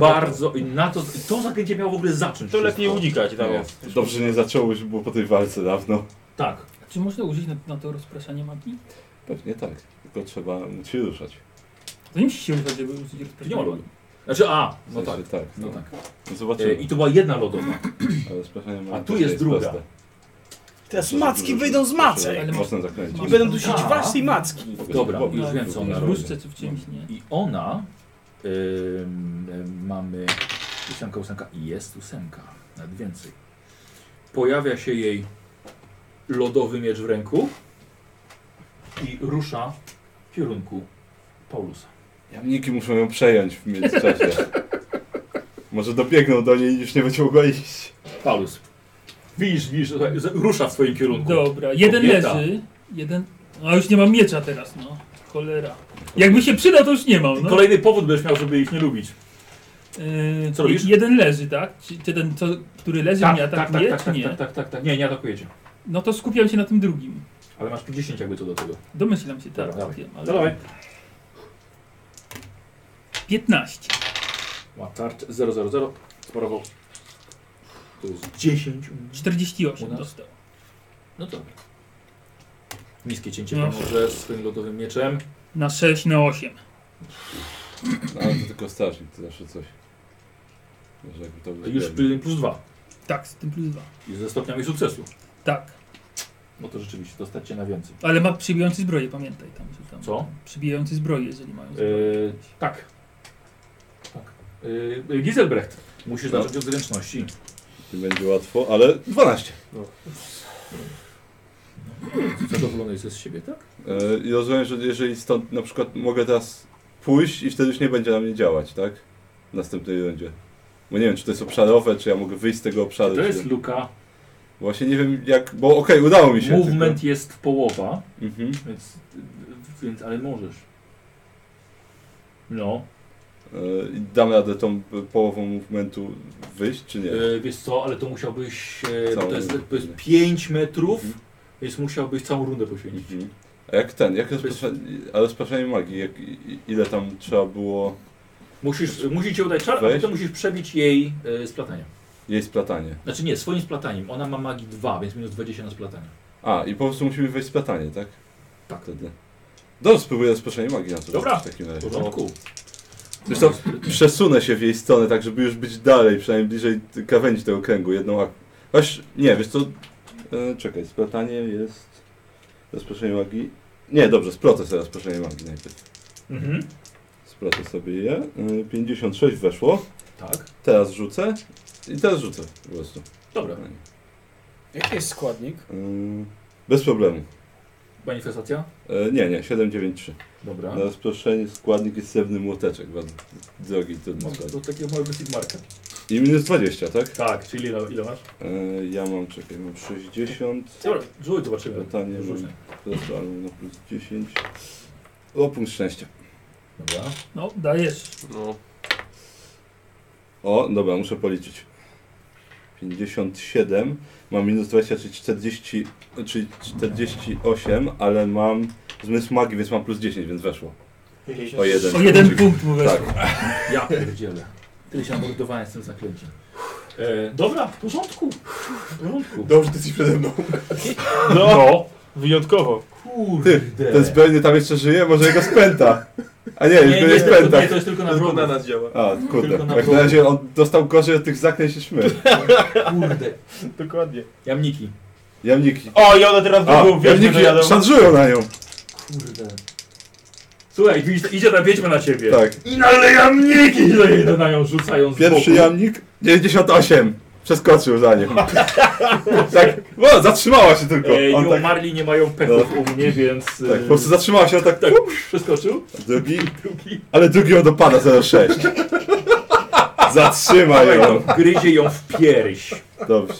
[SPEAKER 4] Bardzo. I na to, to zakręcie miało w ogóle zacząć.
[SPEAKER 7] To
[SPEAKER 4] wszystko.
[SPEAKER 7] lepiej unikać
[SPEAKER 8] no.
[SPEAKER 7] zamiast.
[SPEAKER 1] Nie. Dobrze, że nie zaczęło już było po tej walce dawno.
[SPEAKER 4] Tak.
[SPEAKER 3] Czy można użyć na, na to rozpraszanie magii?
[SPEAKER 1] Pewnie tak. Tylko trzeba móc się ruszać.
[SPEAKER 3] To nie musi się używać, żeby użyć
[SPEAKER 4] To
[SPEAKER 3] rozpraszania
[SPEAKER 4] nie ma
[SPEAKER 3] magii.
[SPEAKER 4] lodu. Znaczy, a,
[SPEAKER 1] W
[SPEAKER 4] no tak.
[SPEAKER 1] sensie tak.
[SPEAKER 4] No tak.
[SPEAKER 1] No zobaczymy.
[SPEAKER 4] E, I to była jedna lodowa.
[SPEAKER 1] Ale spraszanie
[SPEAKER 4] A
[SPEAKER 1] mam
[SPEAKER 4] tu
[SPEAKER 1] takie
[SPEAKER 4] jest druga.
[SPEAKER 1] proste.
[SPEAKER 2] Teraz
[SPEAKER 1] Może
[SPEAKER 2] macki
[SPEAKER 1] dużo-
[SPEAKER 2] wyjdą z macek.
[SPEAKER 1] proszę,
[SPEAKER 2] Ale
[SPEAKER 1] Mocno
[SPEAKER 4] *laughs*
[SPEAKER 1] zakręcić.
[SPEAKER 2] I będą dusić
[SPEAKER 3] Tak.
[SPEAKER 2] was i macki.
[SPEAKER 4] Dobra,
[SPEAKER 1] Mogę
[SPEAKER 4] już
[SPEAKER 1] się
[SPEAKER 4] wiem co
[SPEAKER 1] pobawić.
[SPEAKER 4] ona
[SPEAKER 3] W
[SPEAKER 4] robi.
[SPEAKER 3] różce czy w czymś, nie?
[SPEAKER 4] No. I ona ym, ym, mamy ósemka, ósemka i jest ósemka, nawet więcej. Pojawia się jej lodowy miecz w ręku i rusza w kierunku Paulusa.
[SPEAKER 1] Jamniki muszą ją przejąć w międzyczasie. Może dobiegną do niej i już nie będzie mogła iść.
[SPEAKER 4] Paulus. Widzisz, widzisz, słuchaj, z- rusza w swoim kierunku.
[SPEAKER 3] Dobra, jeden
[SPEAKER 4] Kobieta.
[SPEAKER 3] leży, jeden... A już nie mam miecza teraz, no. Cholera. Jakby się przydał, to już nie mam, no.
[SPEAKER 4] Kolejny powód będziesz miał, żeby ich nie lubić.
[SPEAKER 3] Yy,
[SPEAKER 4] Co robisz?
[SPEAKER 3] Jeden leży, tak? Czy, czy ten, co, który leży, mnie
[SPEAKER 4] tak,
[SPEAKER 3] atakuje,
[SPEAKER 4] tak, tak,
[SPEAKER 3] czy nie?
[SPEAKER 4] tak, tak, tak, tak. Nie, nie atakujecie.
[SPEAKER 3] No to skupiam się na tym drugim.
[SPEAKER 4] Ale masz tu 10 jakby co do tego.
[SPEAKER 3] Domyślam się, tak.
[SPEAKER 4] Dobra, dawaj.
[SPEAKER 3] Wiem,
[SPEAKER 4] No dawaj.
[SPEAKER 3] 15.
[SPEAKER 4] Ma tarcz 000. Sparował. To jest 10.
[SPEAKER 3] 48
[SPEAKER 4] U nas?
[SPEAKER 3] dostał.
[SPEAKER 4] No dobra. Niskie cięcie
[SPEAKER 3] No.
[SPEAKER 4] pomoże swoim lodowym mieczem.
[SPEAKER 3] Na 6, na 8.
[SPEAKER 1] No ale to tylko strażnik, to zawsze coś. Może jakby to
[SPEAKER 4] Już pl- plus 2.
[SPEAKER 3] Tak, z tym plus 2.
[SPEAKER 4] I ze stopniami sukcesu.
[SPEAKER 3] Tak.
[SPEAKER 4] No to rzeczywiście dostać się na więcej.
[SPEAKER 3] Ale ma przybijający zbroję, pamiętaj tam. Że tam
[SPEAKER 4] Co?
[SPEAKER 3] Przybijający zbroję, jeżeli mają zbroję.
[SPEAKER 4] Yy, tak. Tak. Yy, Giselbrecht. Musisz
[SPEAKER 1] No.
[SPEAKER 4] zacząć od zręczności.
[SPEAKER 1] Nie będzie łatwo, ale 12.
[SPEAKER 4] Zadowolony jesteś z siebie, tak?
[SPEAKER 1] E, I rozumiem, że jeżeli stąd na przykład mogę teraz pójść i wtedy już nie będzie na mnie działać, tak? W następnej rundzie. Bo nie wiem, czy to jest obszarowe, czy ja mogę wyjść z tego obszaru.
[SPEAKER 4] To jest
[SPEAKER 1] czy...
[SPEAKER 4] luka.
[SPEAKER 1] Właśnie nie wiem jak, bo okej, udało mi się.
[SPEAKER 4] Movement jest połowa,
[SPEAKER 1] Tylko... Mhm.
[SPEAKER 4] więc, więc ale możesz. No.
[SPEAKER 1] E, i Dam radę tą połową movementu wyjść, czy nie?
[SPEAKER 4] Yy, wiesz co, ale to musiałbyś. Yy,
[SPEAKER 1] Całą
[SPEAKER 4] to jest, to jest
[SPEAKER 1] rundę.
[SPEAKER 4] 5 metrów,
[SPEAKER 1] Mhm.
[SPEAKER 4] więc musiałbyś całą rundę poświęcić.
[SPEAKER 1] Mhm. A jak ten, jak rozpraszanie, a rozpraszanie magii, jak, i- ile tam trzeba było
[SPEAKER 4] Musisz, musi cię udać czar, a
[SPEAKER 1] Weź.
[SPEAKER 4] potem musisz przebić jej y, splatanie.
[SPEAKER 1] jej splatanie?
[SPEAKER 4] Znaczy nie, swoim splataniem. Ona ma magii 2, więc minus 20 na splatanie.
[SPEAKER 1] A, i po prostu musimy wejść splatanie, tak?
[SPEAKER 4] Tak.
[SPEAKER 1] Wtedy. Dobrze, spróbuję rozproszenie magii na to
[SPEAKER 4] Dobra.
[SPEAKER 1] w takim
[SPEAKER 4] W
[SPEAKER 1] razie.
[SPEAKER 4] porządku.
[SPEAKER 1] Zresztą przesunę się w jej stronę, tak żeby już być dalej, przynajmniej bliżej t- krawędzi tego kręgu, jedną ak... Choć, nie, wiesz co... E, czekaj, splatanie jest... Rozproszenie magii... Nie, dobrze, splotę sobie rozproszenie magii najpierw.
[SPEAKER 4] Mhm.
[SPEAKER 8] Sprawdzę sobie je.
[SPEAKER 1] E,
[SPEAKER 8] Y, 56 weszło.
[SPEAKER 4] Tak.
[SPEAKER 8] Teraz rzucę. I teraz rzucę po prostu.
[SPEAKER 4] Dobra.
[SPEAKER 2] Jaki jest składnik?
[SPEAKER 8] Y, Bez problemu.
[SPEAKER 4] Manifestacja?
[SPEAKER 8] E, Nie, nie, 793.
[SPEAKER 4] Dobra.
[SPEAKER 8] Na rozproszenie składnik jest srebrny młoteczek, bardzo drogi trudny
[SPEAKER 4] Mam do
[SPEAKER 8] składnik.
[SPEAKER 4] takiego małego Sigmarka.
[SPEAKER 8] I minus 20, tak?
[SPEAKER 4] Tak, czyli ile, ile masz?
[SPEAKER 8] E, Ja
[SPEAKER 1] No,
[SPEAKER 8] mam, czekaj, mam 60.
[SPEAKER 4] Dobra, rzuć, zobaczymy.
[SPEAKER 8] Pytanie, mam
[SPEAKER 4] Rzuć.
[SPEAKER 8] prosto, ale
[SPEAKER 1] no,
[SPEAKER 8] na plus 10. O, punkt szczęścia.
[SPEAKER 4] Dobra.
[SPEAKER 3] No, dajesz.
[SPEAKER 8] No. O, dobra, muszę policzyć. 57, mam minus 20, czyli 40, czyli 48, ale mam zmysł magii, więc mam plus 10, więc weszło. O jeden.
[SPEAKER 3] O jeden punkt mu weszło.
[SPEAKER 4] Ja pierdzielę. Tyle się abordowałem z tym zaklęciem. E, dobra, w porządku. W porządku.
[SPEAKER 1] Dobrze, ty jesteś przede mną.
[SPEAKER 4] No.
[SPEAKER 5] Wyjątkowo.
[SPEAKER 4] Kurde.
[SPEAKER 8] Ten spelny tam jeszcze żyje, może go spęta. A nie, już
[SPEAKER 4] Nie,
[SPEAKER 8] go
[SPEAKER 4] nie,
[SPEAKER 8] nie spęta.
[SPEAKER 4] nie,
[SPEAKER 1] Tak.
[SPEAKER 4] to jest tylko na wrogów.
[SPEAKER 8] A,
[SPEAKER 4] Tylko
[SPEAKER 8] kurde.
[SPEAKER 4] na
[SPEAKER 8] Jak na
[SPEAKER 4] wrogów.
[SPEAKER 8] razie on dostał gorzej od tych zaklęć niż my.
[SPEAKER 4] Kurde.
[SPEAKER 5] Dokładnie.
[SPEAKER 4] Jamniki.
[SPEAKER 8] Jamniki.
[SPEAKER 5] O, i one teraz
[SPEAKER 8] A,
[SPEAKER 5] drugą wiedźmę
[SPEAKER 8] Jamniki
[SPEAKER 5] dojadą.
[SPEAKER 8] szanżują na nią.
[SPEAKER 4] Kurde. Słuchaj, widzisz, idzie ta wiedźma na ciebie.
[SPEAKER 8] Tak.
[SPEAKER 4] I naleje jamniki! Ile na nią rzucają z
[SPEAKER 8] Pierwszy
[SPEAKER 4] boku.
[SPEAKER 8] jamnik 98. Przeskoczył za nią. *laughs* tak, o, zatrzymała się tylko.
[SPEAKER 4] E,
[SPEAKER 8] On
[SPEAKER 4] nie
[SPEAKER 8] tak,
[SPEAKER 4] umarli, nie mają pechów u mnie, więc... y,
[SPEAKER 8] tak, po prostu zatrzymała się, on tak, tak.
[SPEAKER 4] Przeskoczył?
[SPEAKER 8] Drugi, ale drugi ją dopada 06. Zatrzymaj ją.
[SPEAKER 4] Gryzie ją w pierś.
[SPEAKER 8] Dobrze.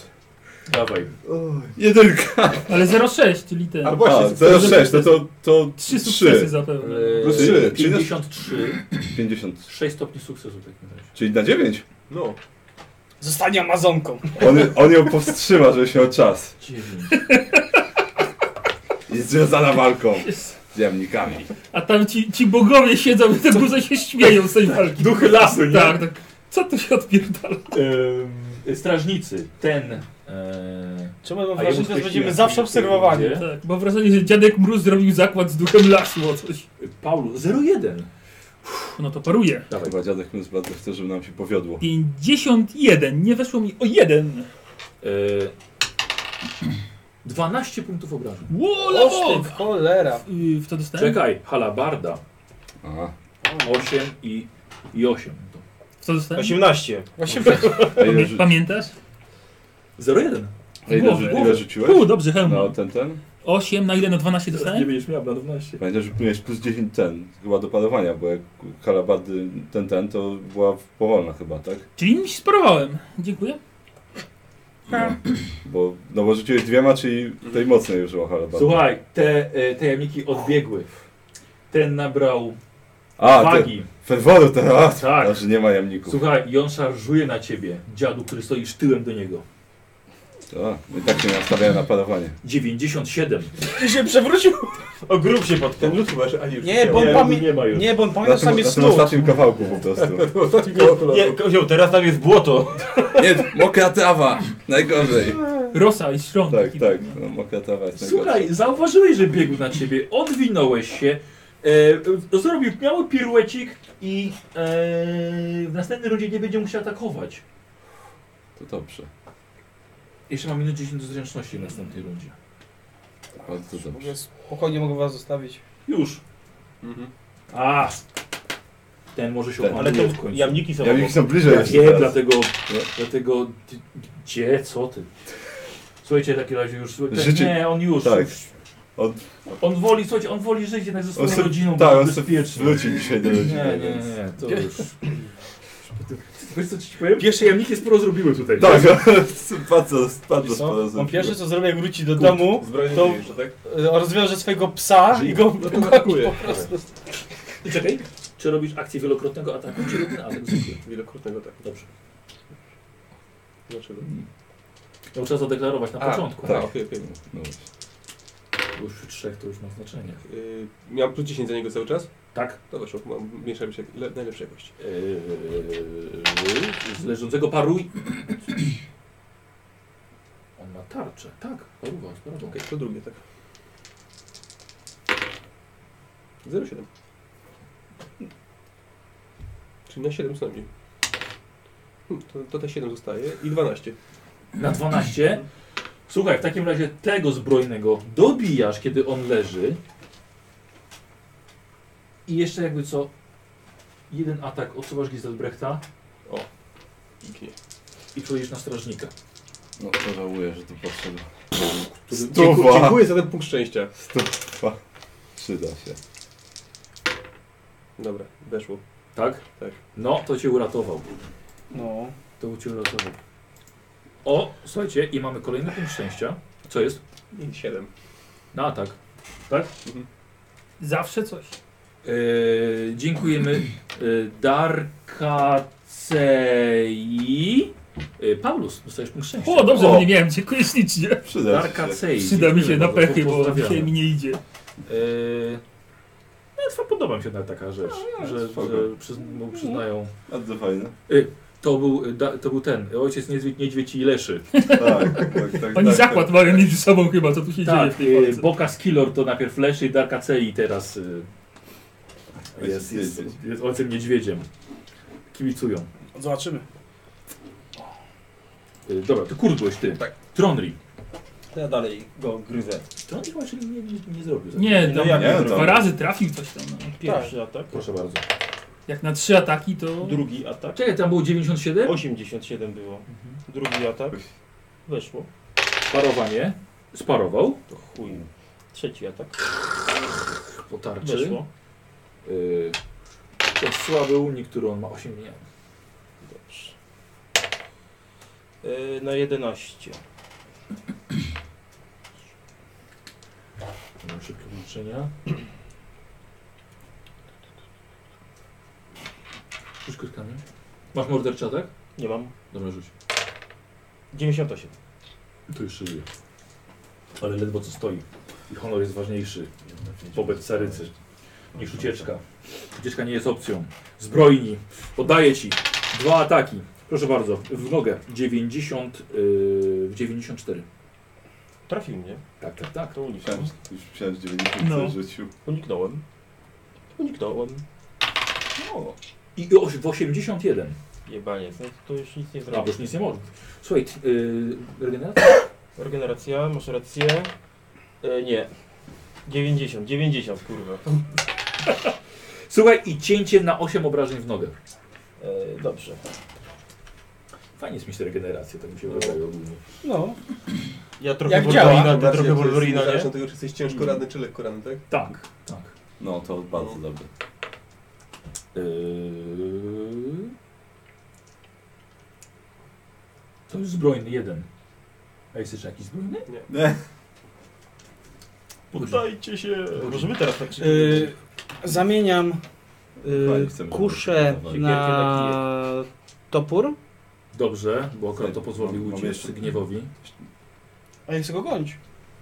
[SPEAKER 4] Dawaj.
[SPEAKER 8] Jedynka.
[SPEAKER 4] Tak.
[SPEAKER 3] Ale 06, czyli ten.
[SPEAKER 8] A właśnie, 06, no to, to
[SPEAKER 3] Trzy
[SPEAKER 8] 3.
[SPEAKER 3] sukcesy zapewne.
[SPEAKER 8] Plus
[SPEAKER 4] Eee,
[SPEAKER 8] 3,
[SPEAKER 4] 53.
[SPEAKER 8] 50.
[SPEAKER 4] 6 stopni sukcesu w takim razie.
[SPEAKER 8] Czyli na 9.
[SPEAKER 16] No.
[SPEAKER 2] Zostanie Amazonką.
[SPEAKER 8] On, on ją powstrzyma, żeby się o czas.
[SPEAKER 4] 9.
[SPEAKER 8] Jest związana walką z jamnikami.
[SPEAKER 3] A tam ci, ci bogowie siedzą i te guzy się śmieją z tej
[SPEAKER 8] Tak,
[SPEAKER 3] walki.
[SPEAKER 4] Duchy lasu, nie?
[SPEAKER 3] Tak, tak. Co tu się odpierdala?
[SPEAKER 4] Ehm, strażnicy, ten. Eee,
[SPEAKER 2] Czemu mam
[SPEAKER 4] a
[SPEAKER 2] wrażenie,
[SPEAKER 4] jemu
[SPEAKER 2] że będziemy
[SPEAKER 4] streściłem,
[SPEAKER 2] zawsze
[SPEAKER 4] który
[SPEAKER 2] obserwowani?
[SPEAKER 4] będzie.
[SPEAKER 3] Tak, mam wrażenie, że dziadek Mróz zrobił zakład z duchem lasu o coś.
[SPEAKER 4] Paulu, 01.
[SPEAKER 3] No to paruje.
[SPEAKER 8] Dawaj. Chyba dziadek Mus bardzo chce, żeby nam się powiodło.
[SPEAKER 3] 51, nie weszło mi o jeden.
[SPEAKER 4] Eee, 12 punktów obrażeń.
[SPEAKER 3] Wola
[SPEAKER 2] Oż
[SPEAKER 3] bok!
[SPEAKER 2] ty, cholera.
[SPEAKER 3] Y, W to dostałem?
[SPEAKER 4] Czekaj, halabarda. 8 i, i 8.
[SPEAKER 3] W to dostałem?
[SPEAKER 5] 18.
[SPEAKER 2] 18.
[SPEAKER 8] Ile
[SPEAKER 3] Pamię-
[SPEAKER 8] rzu-
[SPEAKER 3] Pamiętasz?
[SPEAKER 4] 01.
[SPEAKER 8] A ile,
[SPEAKER 3] Głowę.
[SPEAKER 8] rzu- ile rzuciłeś?
[SPEAKER 3] U, dobrze, hełm.
[SPEAKER 8] No, ten, ten?
[SPEAKER 3] 8, na ile? Na 12
[SPEAKER 4] Nie
[SPEAKER 3] dostałem?
[SPEAKER 4] będziesz miał na 12.
[SPEAKER 8] Pamiętaj, że miałeś plus 10 ten, chyba do parowania, bo jak Kalabady ten, ten, to była w- powolna chyba, tak?
[SPEAKER 3] Czyli mi się sparowałem. Dziękuję.
[SPEAKER 5] Tak.
[SPEAKER 8] Bo, no bo rzuciłeś dwiema, czyli tej mocnej użyła Kalabady.
[SPEAKER 4] Słuchaj, te, e, te jamniki odbiegły. Ten nabrał
[SPEAKER 8] A, te,
[SPEAKER 4] wagi.
[SPEAKER 8] ferworu to, a,
[SPEAKER 4] Tak.
[SPEAKER 8] Znaczy nie ma jamników.
[SPEAKER 4] Słuchaj, i on szarżuje na ciebie, dziadu, który stoisz tyłem do niego.
[SPEAKER 8] A, i tak się nastawiają na parowanie.
[SPEAKER 4] 97.
[SPEAKER 2] I *laughs* się przewrócił.
[SPEAKER 5] O grób się pod
[SPEAKER 1] Ten rzucił aż ani już
[SPEAKER 2] Nie, bo on
[SPEAKER 4] Nie,
[SPEAKER 2] pamię-
[SPEAKER 4] nie ma już.
[SPEAKER 2] Nie, bo on
[SPEAKER 8] Na
[SPEAKER 2] pamięta
[SPEAKER 8] tym,
[SPEAKER 2] sobie
[SPEAKER 8] na tym
[SPEAKER 2] snu.
[SPEAKER 8] ostatnim kawałku po prostu.
[SPEAKER 5] Nie, kozioł, teraz tam jest błoto.
[SPEAKER 8] Nie, mokra trawa, najgorzej.
[SPEAKER 3] Rosa i szron.
[SPEAKER 8] Tak, tak, no, mokra trawa jest najgorzej.
[SPEAKER 4] Słuchaj, zauważyłeś, że biegł na ciebie, odwinąłeś się, e, zrobił mały piruecik i e, w następnej rundzie nie będzie musiał atakować.
[SPEAKER 8] To dobrze,
[SPEAKER 4] Jeszcze mam minut 10 do zręczności w następnej rundzie.
[SPEAKER 8] bardzo dobrze.
[SPEAKER 2] Mogę Spokojnie mogę was zostawić.
[SPEAKER 4] Już. A, ten może się
[SPEAKER 8] Mhm. Ten.
[SPEAKER 5] Ale to
[SPEAKER 4] opanuje w końcu.
[SPEAKER 5] jamniki są
[SPEAKER 8] Jamniki są bliżej
[SPEAKER 4] Ja
[SPEAKER 8] jeszcze
[SPEAKER 4] wiem,
[SPEAKER 8] teraz.
[SPEAKER 4] dlatego, dlatego, ty- gdzie, co ty? Słuchajcie, w takim razie już, ten,
[SPEAKER 8] Życie-
[SPEAKER 4] nie, on już,
[SPEAKER 8] tak.
[SPEAKER 4] już,
[SPEAKER 8] On,
[SPEAKER 4] on woli, słuchajcie, on woli żyć jednak ze swoją
[SPEAKER 8] se-
[SPEAKER 4] rodziną,
[SPEAKER 8] tak,
[SPEAKER 4] bo
[SPEAKER 8] on
[SPEAKER 4] jest
[SPEAKER 8] se
[SPEAKER 4] bezpiecznie.
[SPEAKER 8] wróci dzisiaj do rodziny,
[SPEAKER 4] Nie, nie,
[SPEAKER 8] więc-
[SPEAKER 4] nie, to już. Wiesz co ci powiem? Pierwsze jamniki sporo zrobiły tutaj.
[SPEAKER 8] tak, bardzo, bardzo sporo
[SPEAKER 2] Co? On
[SPEAKER 8] zrobił.
[SPEAKER 2] pierwsze co zrobi jak wróci do domu, to
[SPEAKER 1] tak?
[SPEAKER 2] *laughs* e, rozwiąże swojego psa i
[SPEAKER 4] No
[SPEAKER 2] go *laughs*
[SPEAKER 1] atakuje.
[SPEAKER 2] po prostu.
[SPEAKER 4] I czekaj, czy robisz akcję wielokrotnego ataku, czy jeden atak zwykły?
[SPEAKER 1] Wielokrotnego tak.
[SPEAKER 4] Dobrze.
[SPEAKER 1] Dlaczego?
[SPEAKER 4] No trzeba zadeklarować na
[SPEAKER 1] A,
[SPEAKER 4] początku.
[SPEAKER 1] Tak, okej, okej.
[SPEAKER 8] No właśnie.
[SPEAKER 4] Bo Już przy trzech to już ma znaczenie.
[SPEAKER 1] Yy, Miałem plus 10 za niego cały czas?
[SPEAKER 4] Tak.
[SPEAKER 1] To weszło, mam mniejsza mi się, le, najlepsza jakość.
[SPEAKER 4] Yy, z leżącego paruj. On ma tarczę. Tak, paruwa, paruwa.
[SPEAKER 1] Okej, to drugie, tak. 0,7. Czyli na 7 co najmniej. Hmm, to, to te 7 zostaje i 12.
[SPEAKER 4] Na 12. Słuchaj, w takim razie tego zbrojnego dobijasz, kiedy on leży. I jeszcze jakby co, jeden atak odsuwasz Giselbrechta.
[SPEAKER 8] O,
[SPEAKER 4] pięknie. I czujesz na strażnika.
[SPEAKER 1] No to żałuję, że tu podszedł.
[SPEAKER 8] Dziękuję, dziękuję za ten punkt szczęścia.
[SPEAKER 1] Stuwa. Przyda się.
[SPEAKER 8] Dobra, weszło.
[SPEAKER 4] Tak?
[SPEAKER 8] Tak.
[SPEAKER 4] No, to cię uratował.
[SPEAKER 2] No.
[SPEAKER 4] To cię uratował. O, słuchajcie, i mamy kolejny punkt szczęścia. Co jest?
[SPEAKER 8] 7.
[SPEAKER 4] Na atak. Tak?
[SPEAKER 3] Zawsze coś.
[SPEAKER 4] Yy, dziękujemy yy, Darkacei. Yy, Paulus, dostajesz punkt szczęścia.
[SPEAKER 3] O, dobrze, że nie miałem, dziękuję ślicznie.
[SPEAKER 4] Przyda Darkacei.
[SPEAKER 3] Przyda mi się na pechy, bo
[SPEAKER 4] Pozdrawiamy.
[SPEAKER 3] dzisiaj mi nie idzie.
[SPEAKER 1] Tak,
[SPEAKER 4] Yy, no, to podoba mi się nawet taka rzecz, że, że
[SPEAKER 1] spoko.
[SPEAKER 4] przyzn-
[SPEAKER 3] no,
[SPEAKER 4] mu przyznają.
[SPEAKER 1] Bardzo fajne.
[SPEAKER 4] Y, to, był, y, da, to był ten, ojciec niedźwiedź, niedźwiedź i
[SPEAKER 3] *laughs*
[SPEAKER 4] leszy.
[SPEAKER 1] Tak, tak, tak,
[SPEAKER 3] Oni
[SPEAKER 1] tak,
[SPEAKER 3] zakład
[SPEAKER 1] tak.
[SPEAKER 3] mają między sobą chyba, co tu się dzieje w
[SPEAKER 4] Tak,
[SPEAKER 3] tej
[SPEAKER 4] y,
[SPEAKER 3] Polsce.
[SPEAKER 4] Boka Skillor to najpierw leszy i Darkacei teraz y,
[SPEAKER 1] Ojciec
[SPEAKER 4] jest, jest,
[SPEAKER 1] niedźwiedź.
[SPEAKER 4] jest ojcem niedźwiedziem. Kibicują.
[SPEAKER 2] Zobaczymy.
[SPEAKER 4] Y, dobra, to kurt byłeś ty. Tak. Tronri.
[SPEAKER 2] Ja dalej go gryzę.
[SPEAKER 5] Tak.
[SPEAKER 4] Tronri właśnie nie, nie, nie zrobił.
[SPEAKER 3] Nie, no,
[SPEAKER 4] ja
[SPEAKER 3] nie, dwa razy trafił coś tam. No.
[SPEAKER 5] Pierwszy atak.
[SPEAKER 4] Proszę bardzo.
[SPEAKER 3] Jak na trzy ataki to...
[SPEAKER 5] Drugi atak.
[SPEAKER 4] Czekaj, tam było 97?
[SPEAKER 5] 87 było. Drugi atak. Weszło.
[SPEAKER 4] Parowanie. Sparował.
[SPEAKER 5] To chuj. Trzeci atak.
[SPEAKER 4] Po tarczy.
[SPEAKER 5] Weszło.
[SPEAKER 4] Y, to słaby unik, który on ma 8 dni.
[SPEAKER 5] Dobrze. Yy, na 11.
[SPEAKER 4] Mam szybkie włączenia. Rzuć kostkami. Masz morderczy atak?
[SPEAKER 5] Nie mam.
[SPEAKER 4] Dobra, rzuć.
[SPEAKER 5] 98.
[SPEAKER 4] Tu już żyje. Ale ledwo co stoi. I honor jest ważniejszy wobec carycy niż ucieczka. Ucieczka nie jest opcją. Zbrojni. Oddaję ci. Dwa ataki. Proszę bardzo. W nogę. 90, yy, 94.
[SPEAKER 5] Trafił mnie.
[SPEAKER 4] Tak, tak, tak.
[SPEAKER 5] To uniknął.
[SPEAKER 1] Myślałem, że- Już myślałem, że 90
[SPEAKER 5] No.
[SPEAKER 1] rzucił.
[SPEAKER 5] Uniknąłem. Uniknąłem.
[SPEAKER 4] O. I oś- w 81.
[SPEAKER 5] Jebanie, no to już nic nie
[SPEAKER 4] A, bo
[SPEAKER 5] zrobię.
[SPEAKER 4] już nic nie może. Słuchaj, t- yy, regeneracja?
[SPEAKER 5] Regeneracja, masz rację. E, nie. 90, 90 kurwa.
[SPEAKER 4] Słuchaj, i cięcie na 8 obrażeń w nogę.
[SPEAKER 5] E, dobrze.
[SPEAKER 4] Fajnie jest mieć te regeneracje, tak mi się wydaje ogólnie.
[SPEAKER 2] No.
[SPEAKER 5] Ja
[SPEAKER 2] trochę Jak działa? Wolverina,
[SPEAKER 12] Zobaczcie,
[SPEAKER 2] trochę
[SPEAKER 12] to jest
[SPEAKER 2] Wolverina,
[SPEAKER 12] zależne
[SPEAKER 2] nie?
[SPEAKER 12] od tego, czy jesteś
[SPEAKER 1] Mm.
[SPEAKER 12] ciężko ranny, czy lekko ranny, tak?
[SPEAKER 4] Tak, tak.
[SPEAKER 1] No to bardzo dobre.
[SPEAKER 4] Yy... To jest zbrojny jeden. A jest jeszcze jakiś zbrojny?
[SPEAKER 1] Nie.
[SPEAKER 5] Poddajcie się. Możemy teraz tak się...
[SPEAKER 2] Y, zamieniam
[SPEAKER 1] Fajnie,
[SPEAKER 2] y,
[SPEAKER 1] chcemy
[SPEAKER 2] kuszę
[SPEAKER 1] robić.
[SPEAKER 2] na topór.
[SPEAKER 4] Dobrze, bo akurat to pozwolił
[SPEAKER 1] Mam- mam
[SPEAKER 4] uciec
[SPEAKER 1] jeszcze-
[SPEAKER 4] gniewowi.
[SPEAKER 2] A jak go gonić?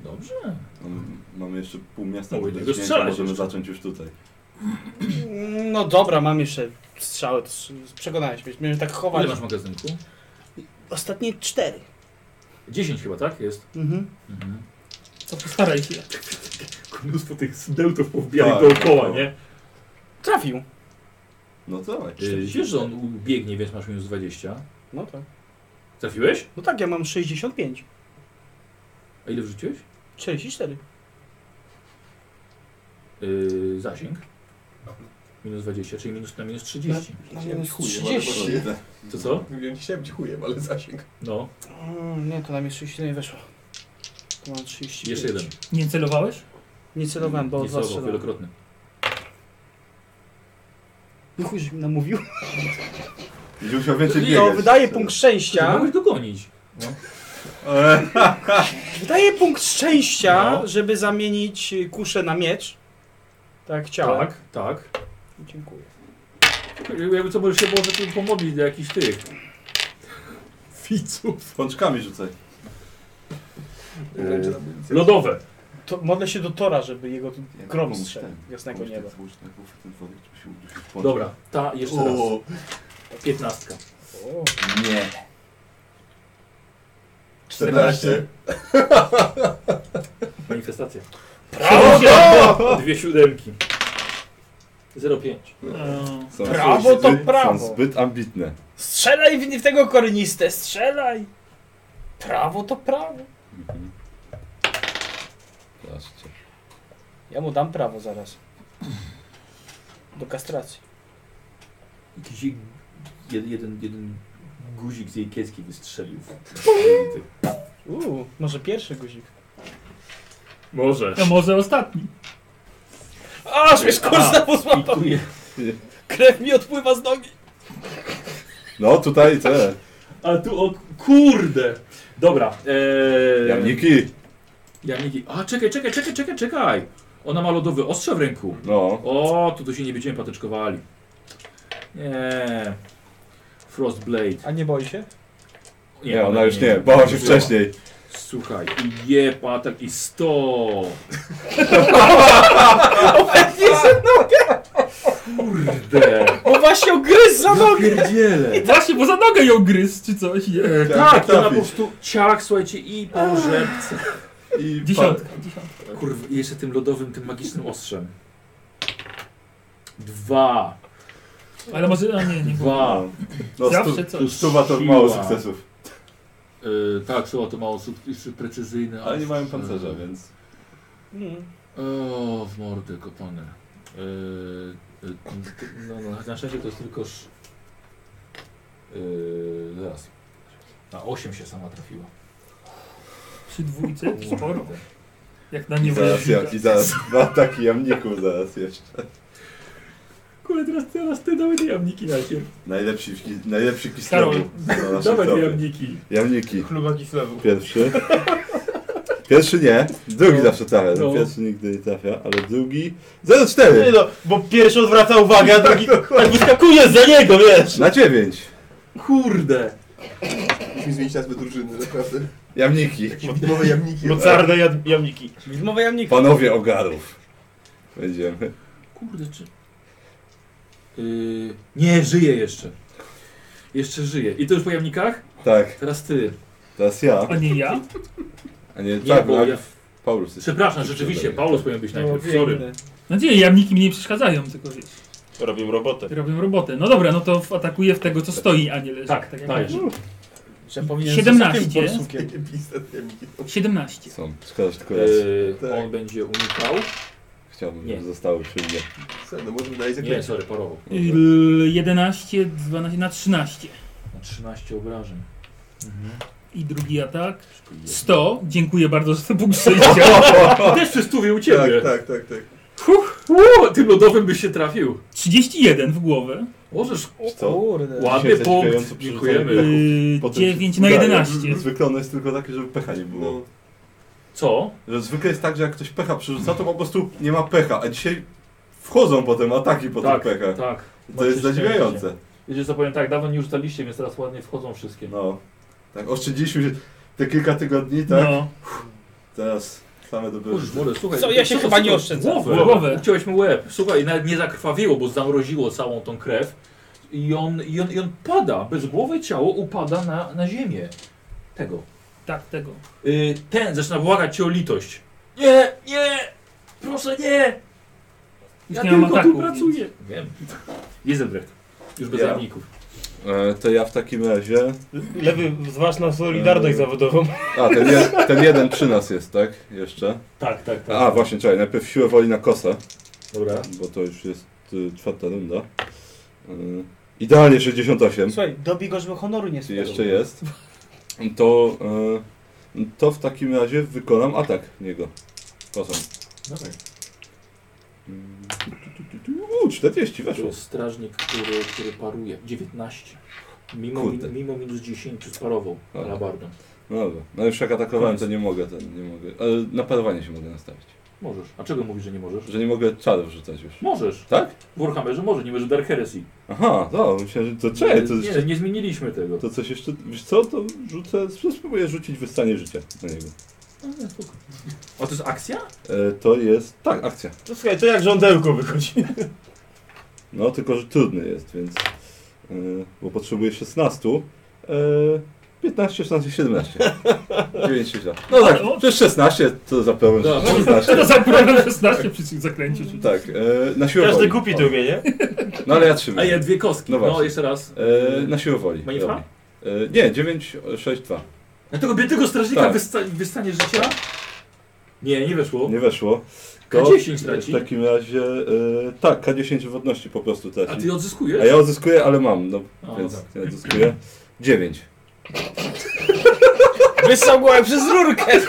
[SPEAKER 4] Dobrze.
[SPEAKER 1] Mam, mam jeszcze pół miasta
[SPEAKER 4] Mogę
[SPEAKER 1] do
[SPEAKER 4] tego
[SPEAKER 1] dotknięcia,
[SPEAKER 4] strzelać
[SPEAKER 1] Możemy
[SPEAKER 4] jeszcze.
[SPEAKER 1] zacząć już tutaj.
[SPEAKER 2] No dobra, mam jeszcze strzały. to s- Przekonałeś mnie. Będziemy tak chować.
[SPEAKER 4] Ile masz magazynku?
[SPEAKER 2] Ostatnie cztery.
[SPEAKER 4] 10 chyba, tak? Jest.
[SPEAKER 2] Mhm.
[SPEAKER 4] Mhm.
[SPEAKER 3] To postaraj się.
[SPEAKER 4] Mnóstwo tych dełtów powbijanych
[SPEAKER 1] Tak,
[SPEAKER 4] dookoła,
[SPEAKER 1] no.
[SPEAKER 4] nie?
[SPEAKER 2] Trafił.
[SPEAKER 1] No to
[SPEAKER 4] Yy, wiesz, że on biegnie, więc masz minus 20.
[SPEAKER 2] No tak.
[SPEAKER 4] Trafiłeś?
[SPEAKER 2] No tak, ja mam 65.
[SPEAKER 4] A ile wrzuciłeś?
[SPEAKER 2] 44.
[SPEAKER 4] Yy, zasięg. Minus 20, czyli minus na minus 30.
[SPEAKER 2] No,
[SPEAKER 12] Chciałem
[SPEAKER 2] minus
[SPEAKER 12] ci chujem,
[SPEAKER 2] 30.
[SPEAKER 12] ale-
[SPEAKER 2] Tak.
[SPEAKER 4] To co?
[SPEAKER 12] Mówiłem, chciałem ci chujem, ale zasięg.
[SPEAKER 4] No,
[SPEAKER 2] Mm, nie, to na mnie 37 weszło. To mam 30.
[SPEAKER 4] jeszcze jeden.
[SPEAKER 3] Nie celowałeś?
[SPEAKER 2] Nie celowałem, bo
[SPEAKER 4] Nie
[SPEAKER 2] dwa
[SPEAKER 4] słabo,
[SPEAKER 2] strzelałem.
[SPEAKER 4] wielokrotny.
[SPEAKER 2] No chuj, żeś mi namówił.
[SPEAKER 1] Będzie musiał więcej
[SPEAKER 2] To
[SPEAKER 1] biegać.
[SPEAKER 2] *laughs* wydaje punkt
[SPEAKER 4] Ja?
[SPEAKER 2] szczęścia.
[SPEAKER 4] Mogłeś dogonić.
[SPEAKER 2] Wydaje punkt szczęścia,
[SPEAKER 4] No.
[SPEAKER 2] żeby zamienić y, kuszę na miecz. Tak chciałem.
[SPEAKER 4] Tak, tak.
[SPEAKER 2] Dziękuję.
[SPEAKER 4] Jakby co, możesz się może tu pomodlić do jakichś tych. Ficów.
[SPEAKER 1] Pączkami rzucaj.
[SPEAKER 4] Yy, lodowe.
[SPEAKER 2] To modlę się do Tora, żeby jego tu grom
[SPEAKER 1] pomóż
[SPEAKER 2] strzelił.
[SPEAKER 1] ten,
[SPEAKER 2] Jasnego
[SPEAKER 1] pomóż ten,
[SPEAKER 2] nieba.
[SPEAKER 1] pomóż ten, pomóż ten wodnik, żeby się udusił w pączku.
[SPEAKER 4] Dobra, ta jeszcze raz.
[SPEAKER 1] O,
[SPEAKER 4] Piętnastka.
[SPEAKER 2] O,
[SPEAKER 1] Nie.
[SPEAKER 4] 14. Manifestacja. Dwie siódemki. 05.
[SPEAKER 3] Eee,
[SPEAKER 1] Są-
[SPEAKER 2] Prawo
[SPEAKER 1] są
[SPEAKER 2] to
[SPEAKER 1] zbyt-
[SPEAKER 2] prawo.
[SPEAKER 1] Są zbyt ambitne.
[SPEAKER 2] Strzelaj w, w tego kornistę, strzelaj! Prawo to prawo.
[SPEAKER 1] Mhm. Zobaczcie.
[SPEAKER 2] Ja mu dam prawo zaraz. Do kastracji.
[SPEAKER 4] Jakiś jed, jeden, jeden guzik z jej kieski wystrzelił.
[SPEAKER 2] Uuu, może pierwszy guzik.
[SPEAKER 4] Może.
[SPEAKER 3] A może ostatni.
[SPEAKER 2] Aż mnie skurza pozłapał!
[SPEAKER 4] Dziękuję.
[SPEAKER 2] Krew mi odpływa z nogi!
[SPEAKER 8] No tutaj te.
[SPEAKER 4] A tu o kurde! Dobra. Eee...
[SPEAKER 8] Jamniki.
[SPEAKER 4] Jamniki. A czekaj, czekaj, czekaj, czekaj, czekaj. Ona ma lodowe ostrze w ręku.
[SPEAKER 8] No.
[SPEAKER 4] O, tu to się nie będziemy patyczkowali. Nie. Frostblade.
[SPEAKER 2] A nie boi się?
[SPEAKER 8] Nie, ona już nie. Bała się
[SPEAKER 4] wzięła.
[SPEAKER 8] wcześniej.
[SPEAKER 4] Słuchaj, i jeb atak i 100.
[SPEAKER 2] Opętnie za nogę!
[SPEAKER 4] Kurde.
[SPEAKER 2] Bo właśnie ugryzł
[SPEAKER 1] No.
[SPEAKER 2] za nogę!
[SPEAKER 4] Pierdziele.
[SPEAKER 3] Właśnie, bo za nogę ją gryzł, czy coś, nie?
[SPEAKER 4] E, tak, ona po prostu ciach, słuchajcie, i po rzepce.
[SPEAKER 8] I
[SPEAKER 3] Dziesiątka,
[SPEAKER 4] Kurwa, i jeszcze tym lodowym, tym magicznym ostrzem. Dwa.
[SPEAKER 3] Ale może, a nie, nie
[SPEAKER 4] Dwa.
[SPEAKER 8] No,
[SPEAKER 3] Zawsze
[SPEAKER 8] stu-
[SPEAKER 3] coś.
[SPEAKER 8] stuwa to mało
[SPEAKER 4] Siła.
[SPEAKER 8] sukcesów.
[SPEAKER 4] Yy, tak, słowa to mało sukcesów, y. precyzyjne.
[SPEAKER 8] Ale nie mają
[SPEAKER 4] ostrze.
[SPEAKER 8] pancerza,
[SPEAKER 5] *laughs*
[SPEAKER 8] więc.
[SPEAKER 4] O, w mordę kopane. Yy, yy, t- no, no, na szczęście to jest tylko... Sz... Yy, zaraz. Na 8 się sama trafiła.
[SPEAKER 3] Przy dwójce? Sporo. Jak na
[SPEAKER 8] I
[SPEAKER 3] nie
[SPEAKER 8] zaraz, ja, I zaraz dwa ataki jamników zaraz jeszcze.
[SPEAKER 4] Kurde, teraz, teraz ty dawaj te jamniki najpierw.
[SPEAKER 8] Najlepsi, w ki- najlepszy
[SPEAKER 4] Karol,
[SPEAKER 8] kislewu. na
[SPEAKER 1] no,
[SPEAKER 8] naszym
[SPEAKER 4] dawaj te
[SPEAKER 8] topie.
[SPEAKER 4] jamniki.
[SPEAKER 8] Jamniki.
[SPEAKER 5] Chluba kislewu.
[SPEAKER 8] Pierwszy. Pierwszy nie, drugi
[SPEAKER 5] No.
[SPEAKER 8] zawsze trafia.
[SPEAKER 5] No.
[SPEAKER 8] Pierwszy nigdy nie trafia, ale drugi. 0,4!
[SPEAKER 5] Nie no, bo pierwszy odwraca uwagę, a
[SPEAKER 2] *laughs*
[SPEAKER 5] drugi tak wyskakuje za niego, wiesz!
[SPEAKER 8] Na 9!
[SPEAKER 4] Kurde!
[SPEAKER 1] Musimy zmienić nazwę drużyny, naprawdę.
[SPEAKER 8] Jamniki.
[SPEAKER 1] Jakieś widmowe jamniki.
[SPEAKER 5] Mocarne jad- jamniki.
[SPEAKER 2] Widmowe jamniki.
[SPEAKER 8] Panowie ogarów. Będziemy.
[SPEAKER 4] Kurde, czy... Yy, nie, żyje jeszcze. Jeszcze żyje. I to już po jamnikach?
[SPEAKER 8] Tak.
[SPEAKER 4] Teraz ty.
[SPEAKER 8] Teraz ja.
[SPEAKER 3] A nie ja?
[SPEAKER 8] A nie,
[SPEAKER 4] Nie,
[SPEAKER 8] tak,
[SPEAKER 4] bo
[SPEAKER 8] bo
[SPEAKER 4] ja-
[SPEAKER 8] Paulus jest.
[SPEAKER 4] Przepraszam, rzeczywiście, Paulus powinien
[SPEAKER 5] Tak,
[SPEAKER 4] być najpierw. Sorry.
[SPEAKER 3] No nie, jamniki mi nie przeszkadzają, tylko wiesz.
[SPEAKER 5] Robią robotę.
[SPEAKER 3] Robią robotę. No dobra, no to w- atakuję w tego, co stoi, a nie leży.
[SPEAKER 4] Tak,
[SPEAKER 3] jak
[SPEAKER 4] tak.
[SPEAKER 3] mówisz.
[SPEAKER 2] Że powinien
[SPEAKER 3] 17.
[SPEAKER 2] zostać tym borsukiem.
[SPEAKER 3] 17.
[SPEAKER 8] Są. Szkoda, że tylko raz.
[SPEAKER 4] Yy, On będzie unikał.
[SPEAKER 8] Chciałbym,
[SPEAKER 4] nie.
[SPEAKER 8] żeby zostały przy mnie.
[SPEAKER 1] Co, no możemy znaleźć
[SPEAKER 4] Nie, sorry, parował.
[SPEAKER 3] L- 11, 12 na 13.
[SPEAKER 4] Na 13 obrażeń.
[SPEAKER 3] I drugi atak. 100. Dziękuję bardzo za ten punkt szczęścia.
[SPEAKER 8] *laughs*
[SPEAKER 4] Też przy stówie u ciebie.
[SPEAKER 1] Tak, tak, tak. tak.
[SPEAKER 3] Huh.
[SPEAKER 4] Uuu, tym lodowym byś się trafił.
[SPEAKER 3] 31 w głowę.
[SPEAKER 4] Możesz.
[SPEAKER 8] Co?
[SPEAKER 2] Kurde.
[SPEAKER 4] Ładny
[SPEAKER 8] Dzisiaj zadziwiająco
[SPEAKER 4] punkt.
[SPEAKER 8] przerzucanie
[SPEAKER 4] Dziękujemy.
[SPEAKER 8] pleców.
[SPEAKER 3] Yy,
[SPEAKER 8] Potem się
[SPEAKER 3] 9 na
[SPEAKER 8] udaje.
[SPEAKER 3] 11.
[SPEAKER 8] Zwykle ono Tak, jest tylko takie, żeby pecha nie było.
[SPEAKER 1] No,
[SPEAKER 4] Co?
[SPEAKER 8] No. Że zwykle jest tak, że jak ktoś pecha przerzuca, to po prostu nie ma pecha, a dzisiaj wchodzą potem ataki po
[SPEAKER 4] Tak,
[SPEAKER 8] tym pechach.
[SPEAKER 4] tak.
[SPEAKER 8] I To
[SPEAKER 4] Macie
[SPEAKER 8] jest zadziwiające.
[SPEAKER 4] szczęście. Wiecie co powiem tak, dawno nie rzucaliście, więc teraz ładnie wchodzą wszystkie.
[SPEAKER 8] No. Tak, oszczędziliśmy się te kilka tygodni, tak?
[SPEAKER 3] No.
[SPEAKER 8] Teraz same dobre
[SPEAKER 4] Kurz,
[SPEAKER 8] rzeczy.
[SPEAKER 4] mole, słuchaj.
[SPEAKER 2] Co, ja się
[SPEAKER 4] co-
[SPEAKER 2] chyba
[SPEAKER 4] co-
[SPEAKER 2] nie oszczędzam.
[SPEAKER 4] Głowę.
[SPEAKER 3] Głowę.
[SPEAKER 4] Uciąłeś mu łeb. Słuchaj, nawet nie zakrwawiło, bo zamroziło całą tą krew. I on, i on, i on pada, bezgłowe ciało upada na, na ziemię. Tego.
[SPEAKER 3] Tak, tego.
[SPEAKER 4] Y, ten zaczyna błagać cię o litość. Nie, nie, proszę nie.
[SPEAKER 3] Już
[SPEAKER 4] Ja
[SPEAKER 3] nie mam
[SPEAKER 4] tylko
[SPEAKER 3] ataku.
[SPEAKER 4] tu pracuję. Wiem. Jezelbrecht. Już bez
[SPEAKER 8] Ja?
[SPEAKER 4] jamników.
[SPEAKER 8] E, to ja w takim razie...
[SPEAKER 5] Lewy, zważ na
[SPEAKER 8] Eee.
[SPEAKER 5] solidarność zawodową.
[SPEAKER 8] A, ten, je, *laughs* ten jeden przy nas jest, tak? Jeszcze?
[SPEAKER 4] Tak, tak, tak.
[SPEAKER 8] A, właśnie, czekaj, najpierw siłę woli na kosę.
[SPEAKER 4] Dobra.
[SPEAKER 8] Bo to już jest y, czwarta runda. Y, idealnie 68.
[SPEAKER 2] Słuchaj, dobij go, żeby honoru nie
[SPEAKER 8] Czy
[SPEAKER 2] spadł.
[SPEAKER 8] jeszcze jest? To, y, to w takim razie wykonam atak w niego. Kosą.
[SPEAKER 4] Dawaj.
[SPEAKER 8] Mm, tu, tu, tu, tu. Uuu, 40
[SPEAKER 4] To
[SPEAKER 8] weszło.
[SPEAKER 4] jest strażnik, który, który paruje. 19. Mimo,
[SPEAKER 8] Kurde.
[SPEAKER 4] mimo minus 10 sparował
[SPEAKER 8] Dobra.
[SPEAKER 4] alabardą.
[SPEAKER 8] No dobra. No już jak atakowałem, to nie mogę, ten, nie mogę. Ale na parowanie się mogę nastawić.
[SPEAKER 4] Możesz. A czego mówisz, że nie możesz?
[SPEAKER 8] Że nie mogę czarów rzucać już.
[SPEAKER 4] Możesz.
[SPEAKER 8] Tak?
[SPEAKER 4] W Warhammerze może, nie możesz Dark Heresy.
[SPEAKER 8] Aha, no, myślałem, że to czekaj, to,
[SPEAKER 4] nie, nie, nie zmieniliśmy tego.
[SPEAKER 8] to coś jeszcze. Wiesz co, to rzucę. Spróbuję rzucić wystanie życia na niego.
[SPEAKER 4] No, nie, spoko. A to jest akcja?
[SPEAKER 8] E, to jest. Tak, akcja.
[SPEAKER 5] To słuchaj, to jak żądełko wychodzi.
[SPEAKER 8] No, tylko że trudny jest, więc. e, bo potrzebuję 16. e, 15,
[SPEAKER 4] *laughs*
[SPEAKER 8] 16, 17. 9 się źle. No tak, przecież 16 to za pełen
[SPEAKER 4] No,
[SPEAKER 8] 16.
[SPEAKER 3] To zabrałem 16 przy tych zaklęciu.
[SPEAKER 8] Tak, e, na siłę
[SPEAKER 5] Każdy
[SPEAKER 8] woli.
[SPEAKER 5] kupi
[SPEAKER 8] O,
[SPEAKER 5] to umie, nie?
[SPEAKER 8] No ale ja trzymam.
[SPEAKER 4] A ja dwie kostki.
[SPEAKER 8] No
[SPEAKER 4] No,
[SPEAKER 8] właśnie.
[SPEAKER 4] jeszcze raz.
[SPEAKER 8] E, na siłę woli.
[SPEAKER 4] Manifra?
[SPEAKER 8] Robi. E, nie, 9, 6, 2.
[SPEAKER 4] Na tego biednego strażnika
[SPEAKER 8] Tak.
[SPEAKER 4] wysta wystanie życia? Nie, nie weszło.
[SPEAKER 1] Nie weszło.
[SPEAKER 4] K10 traci?
[SPEAKER 1] W takim razie, e, tak, K10 wodności po prostu traci.
[SPEAKER 4] A ty odzyskujesz?
[SPEAKER 1] A ja odzyskuję, ale mam, no,
[SPEAKER 4] A,
[SPEAKER 1] więc
[SPEAKER 4] tak.
[SPEAKER 1] ja odzyskuję. 9.
[SPEAKER 2] Wysogłem przez rurkę!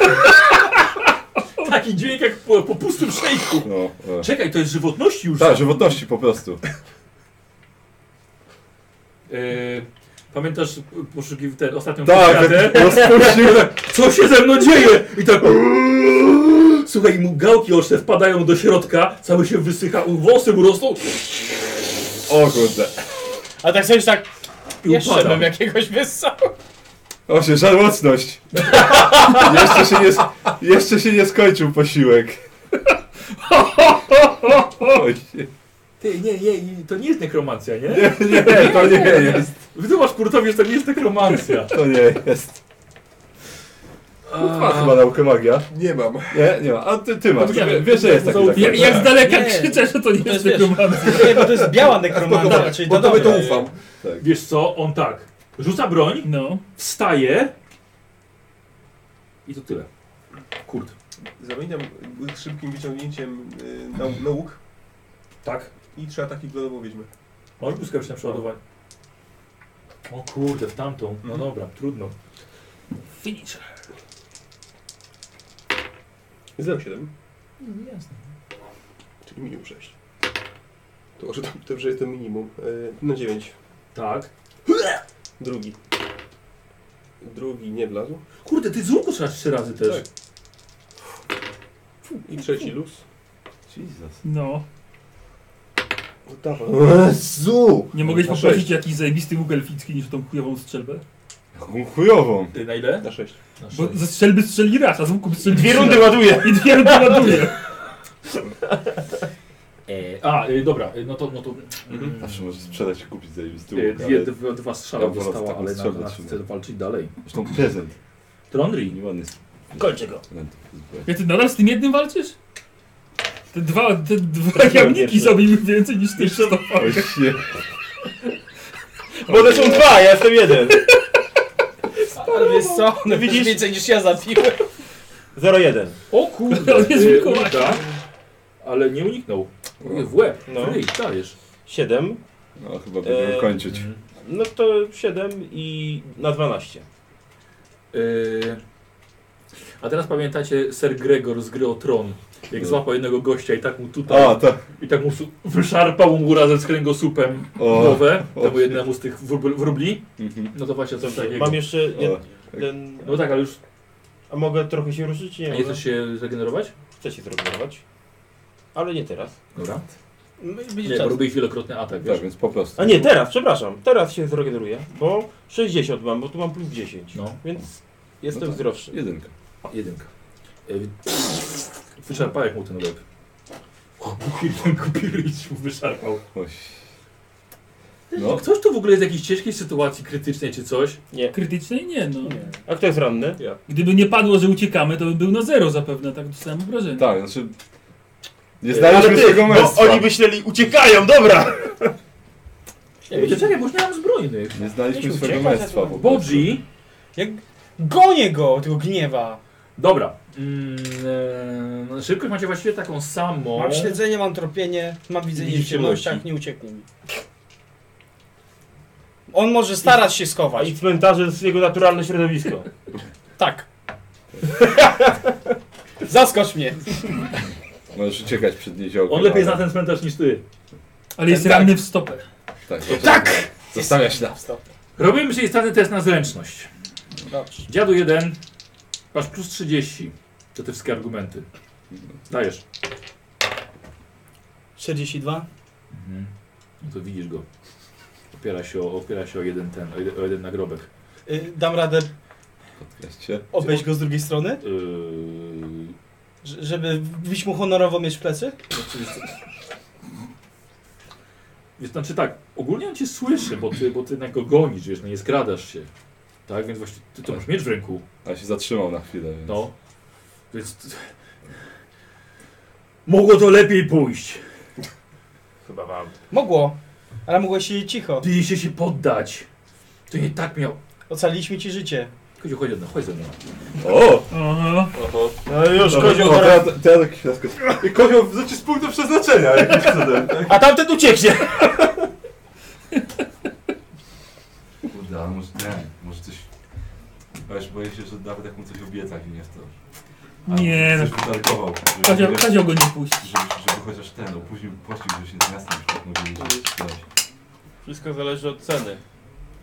[SPEAKER 4] Taki dźwięk jak po, po pustym szejku.
[SPEAKER 1] No, e.
[SPEAKER 4] Czekaj, to jest żywotności już.
[SPEAKER 1] Tak, żywotności po prostu.
[SPEAKER 4] E, pamiętasz poszukiw tę ostatnią
[SPEAKER 1] Tak,
[SPEAKER 4] olimpiadę?
[SPEAKER 1] rozpuścił-
[SPEAKER 4] *laughs* Co się ze mną dzieje? I tak... Słuchaj, mu gałki oczne wpadają do środka, cały się wysycha, u- włosy mu rosną.
[SPEAKER 1] O kurde.
[SPEAKER 2] A tak sobie już tak.
[SPEAKER 4] I
[SPEAKER 2] Jeszcze
[SPEAKER 4] upadam.
[SPEAKER 2] mam jakiegoś wyssału.
[SPEAKER 4] *laughs*
[SPEAKER 1] Właśnie, żarłocność. jeszcze, się nie, s- jeszcze się nie skończył posiłek. Oj,
[SPEAKER 4] Ty, nie, nie, to nie jest nekromancja, nie?
[SPEAKER 1] Nie, nie, to nie jest.
[SPEAKER 4] Wytłumacz kurtowi, że to nie jest nekromancja.
[SPEAKER 8] Tak.
[SPEAKER 1] To nie jest. Ma chyba naukę magia.
[SPEAKER 12] Nie mam.
[SPEAKER 1] Nie, nie ma. A ty, ty masz.
[SPEAKER 3] Nie wiem.
[SPEAKER 1] Wiesz, że jest taki
[SPEAKER 8] Tak,
[SPEAKER 3] Jak-
[SPEAKER 1] zakład.
[SPEAKER 3] jak z daleka
[SPEAKER 2] Nie.
[SPEAKER 3] krzyczę, że to nie
[SPEAKER 2] To jest,
[SPEAKER 3] jest
[SPEAKER 2] wiesz,
[SPEAKER 3] nekromancja.
[SPEAKER 2] nie, bo to jest
[SPEAKER 8] *laughs*
[SPEAKER 2] biała nekromancja, czyli to dobra.
[SPEAKER 4] Wiesz co, on tak, rzuca broń,
[SPEAKER 3] No.
[SPEAKER 4] wstaje i to tyle. Kurt.
[SPEAKER 12] Zamieniam szybkim wyciągnięciem y, na, na łuk.
[SPEAKER 4] Tak.
[SPEAKER 12] I trzy ataki glodową wiedźmy.
[SPEAKER 4] Możesz błyskawiczne przeładowanie. O kurde, w tamtą. No dobra, trudno. Finish.
[SPEAKER 12] 0,7.
[SPEAKER 2] No,
[SPEAKER 4] Jasne.
[SPEAKER 12] Czyli minimum 6. To może tam, to, że jest to minimum. Y, na 9.
[SPEAKER 4] Tak.
[SPEAKER 12] Drugi. Drugi nie wlazł.
[SPEAKER 4] Kurde, ty z łuku strzelasz trzy razy też.
[SPEAKER 12] Tak. I trzeci luz.
[SPEAKER 1] Jesus.
[SPEAKER 3] No.
[SPEAKER 12] Jezu!
[SPEAKER 3] Nie mogłeś
[SPEAKER 8] No,
[SPEAKER 12] Na
[SPEAKER 3] poprosić
[SPEAKER 12] sześć.
[SPEAKER 3] jakiś zajebisty łuk elficki niż tą chujową strzelbę?
[SPEAKER 1] Jaką chujową.
[SPEAKER 4] Ty na ile?
[SPEAKER 12] Na 6.
[SPEAKER 3] Bo ze strzelby strzeli raz, a z łuku strzeli
[SPEAKER 4] Dwie
[SPEAKER 3] trzy
[SPEAKER 4] rundy
[SPEAKER 3] razy.
[SPEAKER 4] ładuje.
[SPEAKER 3] I dwie rundy ładuje.
[SPEAKER 4] E, a, y, dobra, y, no to... No to mm,
[SPEAKER 1] Zawsze możesz sprzedać i kupić zajebisty
[SPEAKER 4] y,
[SPEAKER 1] łuk.
[SPEAKER 4] dwie,
[SPEAKER 1] ale-
[SPEAKER 4] dwa, dwa
[SPEAKER 1] Ja
[SPEAKER 4] strzała
[SPEAKER 1] wolę tak
[SPEAKER 4] dostała,
[SPEAKER 1] taką
[SPEAKER 4] ale na,
[SPEAKER 1] strzelbę
[SPEAKER 4] na
[SPEAKER 1] trzymać.
[SPEAKER 4] chce walczyć dalej.
[SPEAKER 1] Zresztą prezent.
[SPEAKER 4] Trondri.
[SPEAKER 1] Nie ładny jest.
[SPEAKER 3] Kończę go.
[SPEAKER 1] prezent.
[SPEAKER 3] Ja ty nadal z tym jednym walczysz? Te dwa, te dwa jamniki zrobiły więcej niż ty
[SPEAKER 1] Oj,
[SPEAKER 3] Krzysztof.
[SPEAKER 1] nie.
[SPEAKER 5] Bo to są dwa, ja jestem jeden.
[SPEAKER 2] Ale wiesz co, no widzisz więcej niż ja zapiłem.
[SPEAKER 5] 0,1.
[SPEAKER 4] O kurde,
[SPEAKER 5] On jest
[SPEAKER 4] y,
[SPEAKER 5] Mikołaj.
[SPEAKER 4] uda, ale nie uniknął. Kurde, W łeb,
[SPEAKER 5] No.
[SPEAKER 4] no. dajesz.
[SPEAKER 5] 7.
[SPEAKER 1] No, chyba będziemy
[SPEAKER 5] E,
[SPEAKER 1] kończyć.
[SPEAKER 4] Mhm.
[SPEAKER 5] No to 7 i na 12.
[SPEAKER 4] Y, A teraz pamiętacie Ser Gregor z gry o Tron, jak
[SPEAKER 1] No.
[SPEAKER 4] złapał jednego gościa i tak mu tutaj,
[SPEAKER 1] A, tak.
[SPEAKER 4] i tak mu su- wyszarpał mu razem z kręgosłupem
[SPEAKER 1] O,
[SPEAKER 4] głowę,
[SPEAKER 1] o.
[SPEAKER 4] temu jednemu z tych wróbl- wróbli,
[SPEAKER 12] Tak,
[SPEAKER 1] Mhm.
[SPEAKER 4] no to właśnie coś takiego.
[SPEAKER 5] Mam jeszcze jed, ten...
[SPEAKER 4] No tak, ale już...
[SPEAKER 5] A mogę trochę się ruszyć? czy
[SPEAKER 4] A
[SPEAKER 5] Nie, no.
[SPEAKER 4] nie chcesz się zregenerować?
[SPEAKER 5] Chcę się zregenerować. Ale nie teraz.
[SPEAKER 4] Dobra.
[SPEAKER 5] No i
[SPEAKER 4] Nie, bo robi wielokrotny atak, wiesz?
[SPEAKER 1] Tak, więc po prostu.
[SPEAKER 5] A nie, teraz, przepraszam. Teraz się zregeneruję, bo 60 mam, bo tu mam plus 10.
[SPEAKER 4] No.
[SPEAKER 5] Więc jestem
[SPEAKER 1] tak.
[SPEAKER 5] zdrowszy.
[SPEAKER 1] Jedynka.
[SPEAKER 4] Jedynka. Y, Wyczerpałeś mu ten łeb. Kupiryć mu wyszarpał.
[SPEAKER 1] Oj.
[SPEAKER 4] No. Ktoś tu w ogóle jest w jakiejś ciężkiej sytuacji krytycznej czy coś?
[SPEAKER 5] Nie.
[SPEAKER 3] Krytycznej nie, no.
[SPEAKER 5] A kto jest ranny?
[SPEAKER 12] Ja.
[SPEAKER 3] Gdyby nie padło, że uciekamy, to by był na zero zapewne, tak dostałem wrażenie.
[SPEAKER 1] Tak, znaczy...
[SPEAKER 12] E,
[SPEAKER 1] Nie
[SPEAKER 5] Ale
[SPEAKER 1] znaleźliśmy
[SPEAKER 5] ty,
[SPEAKER 1] tego
[SPEAKER 4] No,
[SPEAKER 5] bo
[SPEAKER 1] męstwa.
[SPEAKER 5] oni myśleli, uciekają, dobra!
[SPEAKER 4] Ej, bo czekaj, bo już nie mam zbrojnych.
[SPEAKER 1] Nie znaleźliśmy
[SPEAKER 2] Mieliśmy
[SPEAKER 1] swego
[SPEAKER 2] uciekać,
[SPEAKER 1] męstwa. po prostu.
[SPEAKER 4] Bodzi.
[SPEAKER 2] Jak gonię go, tego gniewa.
[SPEAKER 4] Dobra. Mm, e, szybkość macie właściwie taką samą.
[SPEAKER 2] Mam śledzenie, mam tropienie, mam widzenie
[SPEAKER 4] Widzisz
[SPEAKER 2] w ciemnościach,
[SPEAKER 4] ciemności.
[SPEAKER 2] nie ucieknie mi. On może starać się
[SPEAKER 5] A
[SPEAKER 2] schować.
[SPEAKER 5] i cmentarze to jest jego naturalne środowisko.
[SPEAKER 2] Tak.
[SPEAKER 5] *laughs*
[SPEAKER 2] Zaskocz mnie.
[SPEAKER 1] Możesz uciekać przed nieziołkiem.
[SPEAKER 4] On lepiej
[SPEAKER 1] ale-
[SPEAKER 4] zna ten cmentarz niż ty.
[SPEAKER 3] Ale jest
[SPEAKER 2] Tak.
[SPEAKER 3] ranny w stopę.
[SPEAKER 1] Tak! to-
[SPEAKER 2] Tak!
[SPEAKER 1] Zostawia się na...
[SPEAKER 2] Stop.
[SPEAKER 4] Robimy sobie staty test na zręczność.
[SPEAKER 2] Dobrze.
[SPEAKER 4] Dziadu 1. Masz plus 30. To te wszystkie argumenty. Dajesz.
[SPEAKER 2] 42?
[SPEAKER 4] Mhm. No to widzisz go. Opiera się o, opiera się o jeden ten, o jeden, o jeden nagrobek.
[SPEAKER 2] Y, dam radę
[SPEAKER 1] Wiecie?
[SPEAKER 2] obejść go z drugiej strony?
[SPEAKER 4] Yy,
[SPEAKER 2] Ż- żeby wbić mu honorowo mieć w plecy?
[SPEAKER 4] Więc znaczy tak, ogólnie on cię słyszy, bo ty, bo ty na go gonisz, wiesz, no nie skradasz się. Tak, więc właśnie ty to masz miecz w ręku.
[SPEAKER 1] A się zatrzymał na chwilę, więc...
[SPEAKER 4] No. Więc. t- Mogło to lepiej pójść.
[SPEAKER 5] Chyba wam.
[SPEAKER 2] Mogło, ale mogłeś się cicho.
[SPEAKER 4] Ty się się poddać. To nie tak miał.
[SPEAKER 2] Ocaliliśmy ci życie.
[SPEAKER 4] Koziu, chodź ze mną, chodź ze mną.
[SPEAKER 1] O!
[SPEAKER 3] Aha.
[SPEAKER 1] Oho.
[SPEAKER 4] No już, kozioł,
[SPEAKER 1] O,
[SPEAKER 4] teraz-
[SPEAKER 1] teraz- teraz jakiś laskot. I kozioł
[SPEAKER 12] znaczy,
[SPEAKER 1] wrzuci z punktu przeznaczenia jakimś cudem.
[SPEAKER 5] A tamten ucieknie!
[SPEAKER 1] Kurde, ale może nie, może coś... Weź, boję się, że nawet jak mu coś obiecać i nie w to. Albo
[SPEAKER 3] Nie,
[SPEAKER 1] Coś
[SPEAKER 3] no.
[SPEAKER 1] wytargował. żeby-
[SPEAKER 3] Kozioł- kozioł go nie puści.
[SPEAKER 1] Żeby, żeby chociaż ten, opóźnił, płacił, żeby się z miastem już tak mówili, że coś.
[SPEAKER 5] Wszystko zależy od ceny.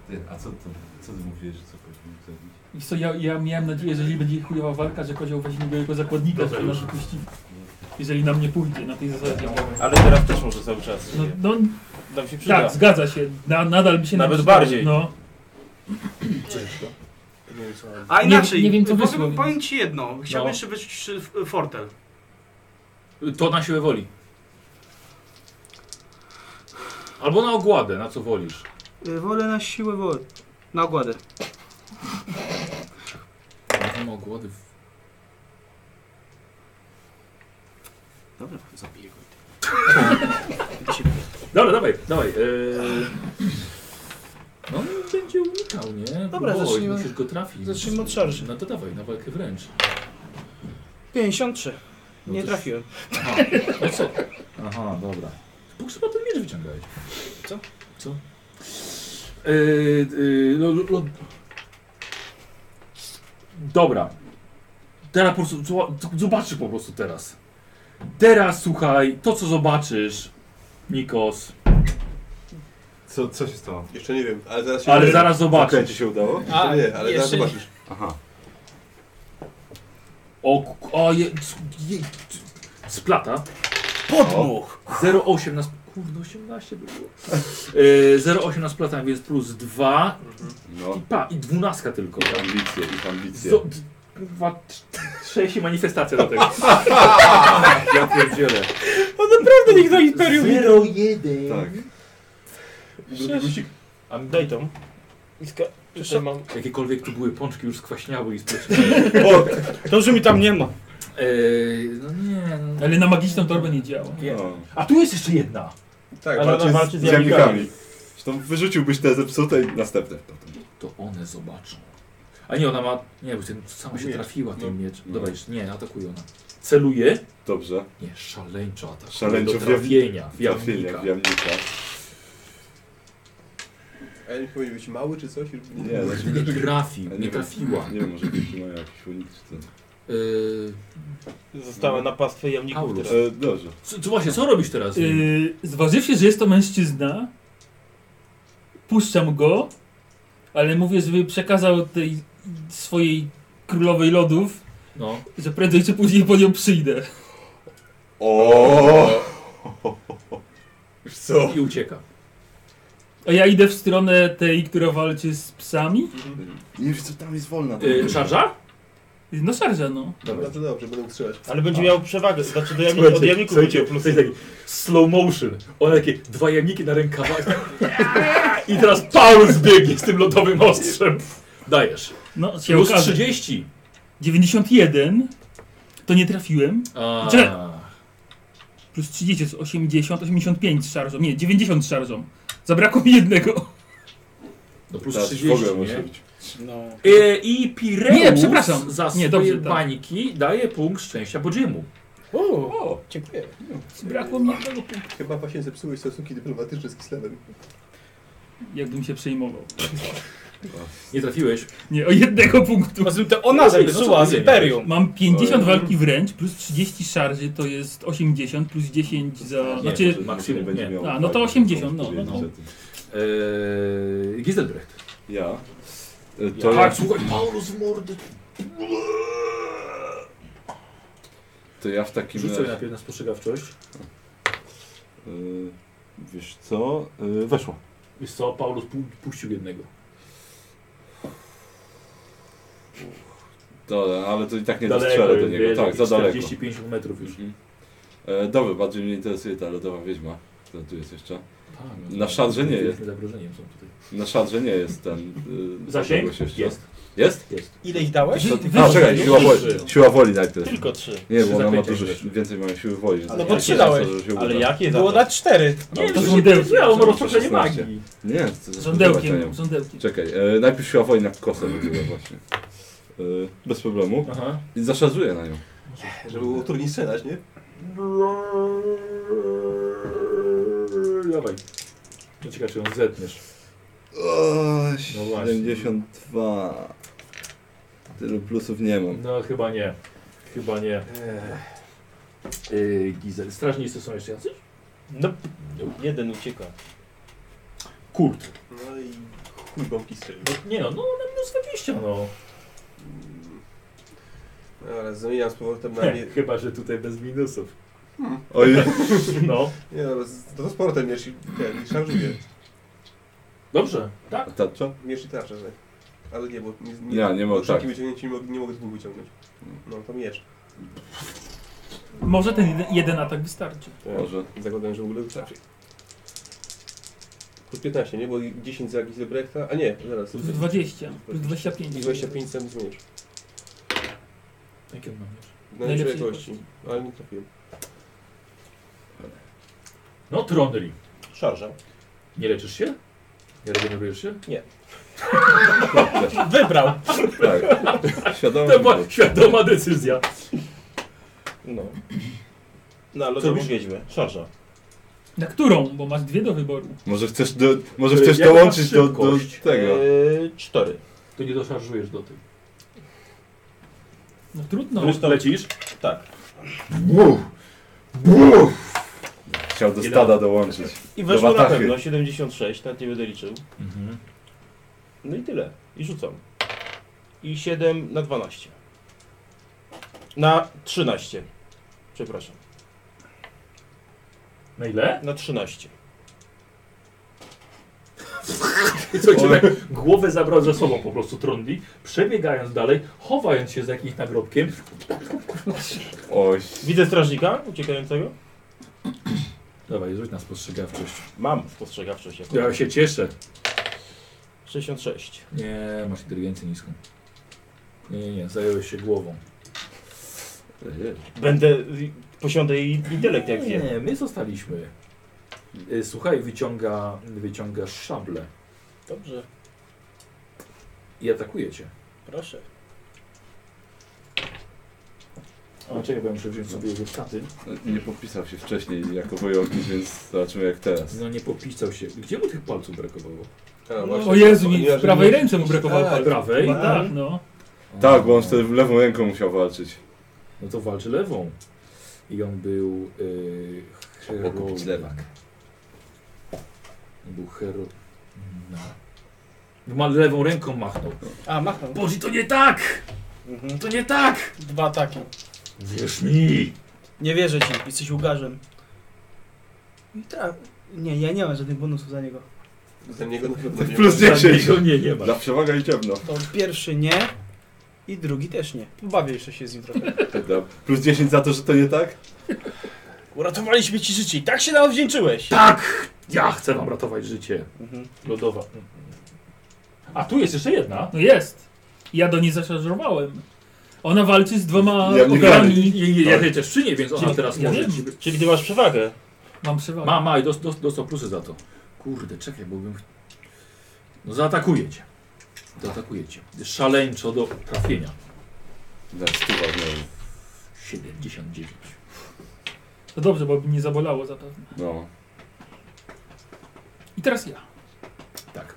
[SPEAKER 1] Ty, a co, to, co ty mówiłeś, że co powinien zrobić?
[SPEAKER 3] I co, ja, ja miałem nadzieję, że jeżeli będzie chujowa walka, że kozioł weźmie go jako zakładnika, to nas wypuści. Jeżeli nam nie pójdzie na tej zasadzie.
[SPEAKER 5] Ale teraz też może cały czas.
[SPEAKER 3] No, no,
[SPEAKER 5] Nam się Tak. przyda.
[SPEAKER 3] Tak, zgadza się. Na, nadal mi się
[SPEAKER 5] Nawet
[SPEAKER 3] nam przyda.
[SPEAKER 5] bardziej.
[SPEAKER 3] No.
[SPEAKER 17] A
[SPEAKER 3] Nie-
[SPEAKER 17] inaczej,
[SPEAKER 3] nie wiem, co
[SPEAKER 17] powiem,
[SPEAKER 3] wyszło, więc-
[SPEAKER 17] powiem ci jedno. Chciałbym
[SPEAKER 4] No.
[SPEAKER 17] jeszcze wyczuć y, fortel.
[SPEAKER 4] To na siłę woli. Albo na ogładę, na co wolisz.
[SPEAKER 17] Y, Wolę na siłę woli. Na ogładę.
[SPEAKER 4] Nie ma ogłady.
[SPEAKER 17] Dobra, zabiję go.
[SPEAKER 4] *laughs* Dobra, dawaj, dawaj. Eee... No on będzie unikał, nie?
[SPEAKER 2] Dobra,
[SPEAKER 4] Próbować,
[SPEAKER 2] zacznijmy-
[SPEAKER 4] Musisz go trafić.
[SPEAKER 2] zacznijmy od szarży.
[SPEAKER 4] No to dawaj, na walkę wręcz.
[SPEAKER 2] 53.
[SPEAKER 4] No
[SPEAKER 2] Nie
[SPEAKER 4] to-
[SPEAKER 2] trafiłem.
[SPEAKER 4] Aha, no co? Aha, dobra. Bóg chyba ten miecz wyciągałeś.
[SPEAKER 2] Co?
[SPEAKER 4] Co? Eee, eee, no, no, Dobra. Teraz po prostu zoba- zobaczysz po prostu teraz. Teraz słuchaj, to co zobaczysz, Nikos.
[SPEAKER 1] Co, co się stało?
[SPEAKER 12] Jeszcze nie wiem, ale zaraz się No,
[SPEAKER 4] Ale zaraz zobaczysz.
[SPEAKER 1] Okej, ci się udało?
[SPEAKER 12] Jeszcze nie, ale zaraz
[SPEAKER 4] jeszcze nie.
[SPEAKER 12] zobaczysz.
[SPEAKER 1] Aha.
[SPEAKER 4] O, k- o je, je, splata. Podmuch! 0,8 na... sp- Kurno, 18 by było. Yy, 0,8 na splatach, więc plus 2.
[SPEAKER 1] No.
[SPEAKER 4] I pa, i 12 tylko.
[SPEAKER 1] I ambicje, i ambicje.
[SPEAKER 4] Zo- d- Kurwa, 6 manifestacja do tego.
[SPEAKER 1] ja pierdzielę.
[SPEAKER 2] On naprawdę nikt do Imperium nie...
[SPEAKER 1] Zero, jeden. Tak.
[SPEAKER 5] A daj tą. Iska. Jeszcze mam.
[SPEAKER 4] *laughs* Jakiekolwiek tu były pączki już skwaśniały i spleśniały.
[SPEAKER 5] O, to, że mi tam nie ma.
[SPEAKER 4] Eee, no nie, no.
[SPEAKER 3] Ale na magiczną torbę nie działa.
[SPEAKER 4] A tu jest jeszcze jedna.
[SPEAKER 1] Tak,
[SPEAKER 3] Ale
[SPEAKER 1] walczy
[SPEAKER 3] ona
[SPEAKER 1] z,
[SPEAKER 3] walczy
[SPEAKER 1] z
[SPEAKER 3] z
[SPEAKER 1] jamnikami.
[SPEAKER 3] jamnikami.
[SPEAKER 1] Zresztą wyrzuciłbyś te zepsute i następne.
[SPEAKER 4] To one zobaczą. A nie, ona ma... Nie, bo ten, sama się
[SPEAKER 1] Miecz.
[SPEAKER 4] trafiła tym mieczem.
[SPEAKER 1] No.
[SPEAKER 4] Dobra, jeszcze nie, atakuje ona. Celuje.
[SPEAKER 1] Dobrze.
[SPEAKER 4] Nie, szaleńczo atakuje.
[SPEAKER 1] Szaleńczo
[SPEAKER 4] do
[SPEAKER 1] w jam-
[SPEAKER 4] trafienia. W
[SPEAKER 1] trafienia,
[SPEAKER 4] jamnika.
[SPEAKER 1] w jamnika.
[SPEAKER 4] no-
[SPEAKER 12] A ja nie powinien być mały czy coś? Żeby...
[SPEAKER 1] Nie, znaczy,
[SPEAKER 4] Nie trafi,
[SPEAKER 1] Ja
[SPEAKER 4] nie
[SPEAKER 1] wiem,
[SPEAKER 4] trafiła. E,
[SPEAKER 1] Nie wiem, może jakiś mają jakiś unik czy ten.
[SPEAKER 5] Została na pastwę jamników
[SPEAKER 4] Paulus.
[SPEAKER 5] teraz.
[SPEAKER 1] E, dobrze.
[SPEAKER 4] Co, co właśnie, co robisz teraz?
[SPEAKER 3] Yy, zważywszy, że jest to mężczyzna, puszczam go, ale mówię, żeby przekazał tej swojej królowej lodów,
[SPEAKER 4] No.
[SPEAKER 3] że prędzej czy później po nią przyjdę.
[SPEAKER 1] O! Już co?
[SPEAKER 4] I ucieka.
[SPEAKER 3] A ja idę w stronę tej, która walczy z psami.
[SPEAKER 1] Nie wiesz co, tam jest wolna.
[SPEAKER 3] Yy,
[SPEAKER 4] E, szarża?
[SPEAKER 3] No szarża, no.
[SPEAKER 12] Dobrze, dobrze, będę strzelać.
[SPEAKER 5] Ale będzie miał przewagę, znaczy do jamników,
[SPEAKER 4] Słuchajcie,
[SPEAKER 5] od jamników
[SPEAKER 4] słuchajcie,
[SPEAKER 5] będzie plus.
[SPEAKER 4] to jest taki slow motion. One takie dwa jamniki na rękawach. I teraz Paul zbiegnie z tym lodowym ostrzem. Dajesz.
[SPEAKER 3] No, się
[SPEAKER 4] Plus
[SPEAKER 3] okaże.
[SPEAKER 4] 30.
[SPEAKER 3] 91 to nie trafiłem.
[SPEAKER 4] A.
[SPEAKER 3] Czy... Plus 30 jest 80, 85 z szarżą. Nie, 90 z szarżą. Zabrakło mi jednego.
[SPEAKER 4] No plus
[SPEAKER 1] Teraz
[SPEAKER 4] 30,
[SPEAKER 1] w ogóle
[SPEAKER 4] nie?
[SPEAKER 1] może być.
[SPEAKER 2] No.
[SPEAKER 4] Yy, I Pireus
[SPEAKER 3] Nie, przepraszam.
[SPEAKER 4] za
[SPEAKER 3] Nie,
[SPEAKER 4] swoje
[SPEAKER 3] dobrze, tak.
[SPEAKER 4] bańki daje punkt szczęścia Bodziemu.
[SPEAKER 2] O, dziękuję.
[SPEAKER 3] Brakło mi jednego punktu.
[SPEAKER 12] Chyba właśnie zepsułeś stosunki dyplomatyczne z Kislewem.
[SPEAKER 3] Jakbym się przejmował.
[SPEAKER 4] Nie trafiłeś.
[SPEAKER 3] Nie, o jednego punktu.
[SPEAKER 2] Poza tym to
[SPEAKER 5] tak,
[SPEAKER 2] ona zepsuła z Imperium.
[SPEAKER 3] Mam 50 walki wręcz, plus 30 szarży to jest 80, plus 10 za...
[SPEAKER 4] Nie,
[SPEAKER 3] Znaczy,
[SPEAKER 4] może maksimum
[SPEAKER 1] nie będzie
[SPEAKER 4] nie.
[SPEAKER 1] miał
[SPEAKER 3] A, no to
[SPEAKER 1] walki,
[SPEAKER 3] 80, no,
[SPEAKER 1] żeby
[SPEAKER 3] no, no.
[SPEAKER 1] powiedzieć o tym.
[SPEAKER 4] Eee, Gizelbrecht.
[SPEAKER 1] Ja. E,
[SPEAKER 4] To
[SPEAKER 1] To ja,
[SPEAKER 4] tak, słuchaj, Paulus w mordy.
[SPEAKER 1] to ja w takim
[SPEAKER 4] Rzuć
[SPEAKER 1] razie...
[SPEAKER 4] sobie najpierw na spostrzegawczość.
[SPEAKER 1] E, wiesz co? E, weszło.
[SPEAKER 4] Wiesz co, Paulus pu puścił jednego.
[SPEAKER 1] Dobra, ale to i tak nie
[SPEAKER 4] Daleko,
[SPEAKER 1] dostrzelę do niego.
[SPEAKER 4] wiesz,
[SPEAKER 1] Tak, za
[SPEAKER 4] jakieś
[SPEAKER 1] daleko.
[SPEAKER 4] 45 metrów już.
[SPEAKER 1] Mhm. E, dobra, bardziej mnie interesuje ta lodowa wiedźma. która tu jest jeszcze.
[SPEAKER 4] Tak,
[SPEAKER 1] Na szadrze nie
[SPEAKER 4] Wielkim
[SPEAKER 1] jest.
[SPEAKER 4] Zagrożeniem są tutaj.
[SPEAKER 1] Na szadrze nie jest ten. y,
[SPEAKER 4] Zasięg?
[SPEAKER 1] odległość jeszcze.
[SPEAKER 4] Jest.
[SPEAKER 8] Jest?
[SPEAKER 4] Jest.
[SPEAKER 5] Ile ich dałeś?
[SPEAKER 3] No,
[SPEAKER 8] A, czekaj, siła woli, siła woli najpierw.
[SPEAKER 5] Tylko trzy.
[SPEAKER 8] Nie,
[SPEAKER 5] Trzy
[SPEAKER 8] bo ona ma
[SPEAKER 5] zaklęcia
[SPEAKER 8] dużo, więcej mają siły woli. że
[SPEAKER 5] No bo
[SPEAKER 8] zaklęcie
[SPEAKER 5] trzy
[SPEAKER 8] jest to,
[SPEAKER 5] dałeś.
[SPEAKER 8] że się
[SPEAKER 5] Ale
[SPEAKER 8] uda.
[SPEAKER 5] jakie Było na cztery.
[SPEAKER 8] Nie,
[SPEAKER 5] to
[SPEAKER 8] to
[SPEAKER 5] się
[SPEAKER 8] żądełki.
[SPEAKER 5] nie
[SPEAKER 8] Żądełki.
[SPEAKER 5] rozproszenie magii.
[SPEAKER 8] Nie, to to-
[SPEAKER 3] Żądełkiem,
[SPEAKER 8] to- to- to-
[SPEAKER 3] żądełkiem.
[SPEAKER 8] Czekaj, e, najpierw siła woli na kosę wybiła właśnie. E, bez problemu.
[SPEAKER 4] Aha.
[SPEAKER 8] I zaszarżuję na nią.
[SPEAKER 1] Żeby było trudniej strzelać, nie?
[SPEAKER 4] Dawaj. To ciekawe, czy ją zetniesz.
[SPEAKER 8] Oj,
[SPEAKER 4] No właśnie.
[SPEAKER 8] 72. Tylu plusów nie mam.
[SPEAKER 4] No chyba nie. Chyba nie. Yy, Gizel. Strażnicy są jeszcze jacyś?
[SPEAKER 18] No, jeden ucieka.
[SPEAKER 4] Kurt.
[SPEAKER 1] No i chuj bombki strzelił.
[SPEAKER 4] Nie no, no na minus 20 no.
[SPEAKER 12] Mm. No,
[SPEAKER 1] Ale zmieniam z powrotem na...
[SPEAKER 4] Nie,
[SPEAKER 1] No, Nie,
[SPEAKER 4] *laughs* chyba, że tutaj bez minusów.
[SPEAKER 1] Hmm.
[SPEAKER 8] Ojej.
[SPEAKER 4] *laughs* No.
[SPEAKER 1] nie no, z- to z powrotem mierz i, ten, i szarżuję.
[SPEAKER 4] Dobrze, tak?
[SPEAKER 8] A tarcza?
[SPEAKER 1] Mierz i tarczę, że. Ale nie, bo... Nie,
[SPEAKER 8] Ja nie mogę,
[SPEAKER 1] szybki
[SPEAKER 8] tak.
[SPEAKER 1] wyciągnięcie nie mogę, nie mogę z dwóch wyciągnąć. No, to mierz.
[SPEAKER 3] Może ten jeden, jeden atak wystarczy.
[SPEAKER 8] Może.
[SPEAKER 1] Zakładam, że w ogóle wystarczy. Plus 15, nie? Bo 10 za Gizelbrechta, a nie, zaraz.
[SPEAKER 3] Plus 20, plus 25.
[SPEAKER 1] I 25 sam zmienisz.
[SPEAKER 4] Jakie mam
[SPEAKER 1] Najlepszej gości, ale nie trafiłem.
[SPEAKER 4] No Trondri.
[SPEAKER 5] Szarża.
[SPEAKER 4] Nie leczysz się? Nie regenerujesz się?
[SPEAKER 5] Nie.
[SPEAKER 4] *laughs* Wybrał.
[SPEAKER 8] Tak. Świadoma
[SPEAKER 4] to była
[SPEAKER 8] wybór.
[SPEAKER 4] świadoma decyzja.
[SPEAKER 5] No. No,
[SPEAKER 4] Co
[SPEAKER 5] lodowisz
[SPEAKER 4] robisz?
[SPEAKER 5] wiedźmy. Szarża.
[SPEAKER 3] Na którą? Bo masz dwie do wyboru.
[SPEAKER 8] Może chcesz, do, może
[SPEAKER 4] Yy,
[SPEAKER 8] chcesz
[SPEAKER 4] jak masz
[SPEAKER 8] dołączyć do, do
[SPEAKER 4] szybkość?
[SPEAKER 8] tego.
[SPEAKER 5] Eee, cztery.
[SPEAKER 4] To nie doszarżujesz do tych.
[SPEAKER 3] No trudno.
[SPEAKER 4] Zresztą lecisz?
[SPEAKER 5] Tak.
[SPEAKER 8] Buf! Buf! Chciał do stada dołączyć.
[SPEAKER 5] I
[SPEAKER 8] Do
[SPEAKER 5] weszło na
[SPEAKER 8] watachy.
[SPEAKER 5] pewno 76, nawet nie będę liczył.
[SPEAKER 4] Mhm.
[SPEAKER 5] No i tyle. I rzucam. I 7 na 12. Na 13. Przepraszam.
[SPEAKER 4] Na ile?
[SPEAKER 5] Na 13.
[SPEAKER 4] *laughs* I co, cię tak głowę zabrał ze sobą po prostu Trondli, przebiegając dalej, chowając się za jakimś nagrobkiem.
[SPEAKER 8] Oj.
[SPEAKER 5] Widzę strażnika uciekającego?
[SPEAKER 4] Dawaj, rzuć na spostrzegawczość.
[SPEAKER 5] Mam spostrzegawczość. jako-
[SPEAKER 4] Ja się cieszę.
[SPEAKER 5] 66.
[SPEAKER 4] Nie, masz inteligencję niską. Nie, nie, nie, zająłeś się głową.
[SPEAKER 5] Będę... y, Posiądę i intelekt jak wiem.
[SPEAKER 4] Nie, my zostaliśmy. Y, Słuchaj, wyciąga, wyciąga szablę
[SPEAKER 5] Dobrze,
[SPEAKER 4] i atakuje cię.
[SPEAKER 5] proszę.
[SPEAKER 4] A czekaj, bo ja muszę wziąć sobie jego katy.
[SPEAKER 8] E, Nie popisał się wcześniej jako wojownik, więc zobaczymy jak teraz.
[SPEAKER 4] No nie popisał się. Gdzie mu tych palców brakowało?
[SPEAKER 1] A,
[SPEAKER 3] O Jezu, mi w prawej ręce mu brakowało
[SPEAKER 4] Tak,
[SPEAKER 3] palca.
[SPEAKER 4] prawej,
[SPEAKER 3] Tak, no.
[SPEAKER 8] Tak, bo on wtedy lewą ręką musiał walczyć.
[SPEAKER 4] No to walczy lewą. I on był yy,
[SPEAKER 8] Okupić
[SPEAKER 4] heroem.
[SPEAKER 8] lewak.
[SPEAKER 4] On Był hero... No. Ma lewą ręką machnął.
[SPEAKER 5] A, machnął.
[SPEAKER 4] Boże, to nie tak! To nie tak!
[SPEAKER 5] Dwa ataki.
[SPEAKER 4] Wierz mi!
[SPEAKER 2] Nie wierzę ci, jesteś łgarzem. I tak. Nie, ja nie mam żadnych bonusów za niego.
[SPEAKER 1] Za niego na pewno nie
[SPEAKER 8] Plus
[SPEAKER 1] ma.
[SPEAKER 8] 10.
[SPEAKER 4] niego nie, nie ma.
[SPEAKER 8] Dla przewaga i ciemno.
[SPEAKER 2] To pierwszy nie i drugi też nie. Bawię jeszcze się z nim trochę.
[SPEAKER 8] Dobra. Plus 10 za to, że to nie tak?
[SPEAKER 5] Uratowaliśmy ci życie i tak się nam odwdzięczyłeś.
[SPEAKER 4] Tak! Ja chcę wam ratować życie. Lodowa. A tu jest jeszcze jedna.
[SPEAKER 3] No jest. Ja do niej zaszarżowałem. Ona walczy z dwoma
[SPEAKER 8] Ja nie
[SPEAKER 3] ogrami.
[SPEAKER 4] I, i, ja też przy niej, więc ona
[SPEAKER 3] Czyli-
[SPEAKER 4] teraz
[SPEAKER 3] ja
[SPEAKER 4] może
[SPEAKER 3] wiem.
[SPEAKER 4] ci...
[SPEAKER 5] Czyli ty masz przewagę.
[SPEAKER 3] Mam przewagę.
[SPEAKER 4] Ma, ma i dos- dos- dostał plusy za to. Kurde, czekaj, bo bym... ch- No zaatakuje cię. Zaatakuje cię. Szaleńczo do trafienia.
[SPEAKER 8] Zaraz tu znowu.
[SPEAKER 4] 79.
[SPEAKER 3] To No dobrze, bo by mnie zabolało zapewne.
[SPEAKER 8] No.
[SPEAKER 3] I teraz ja.
[SPEAKER 4] Tak.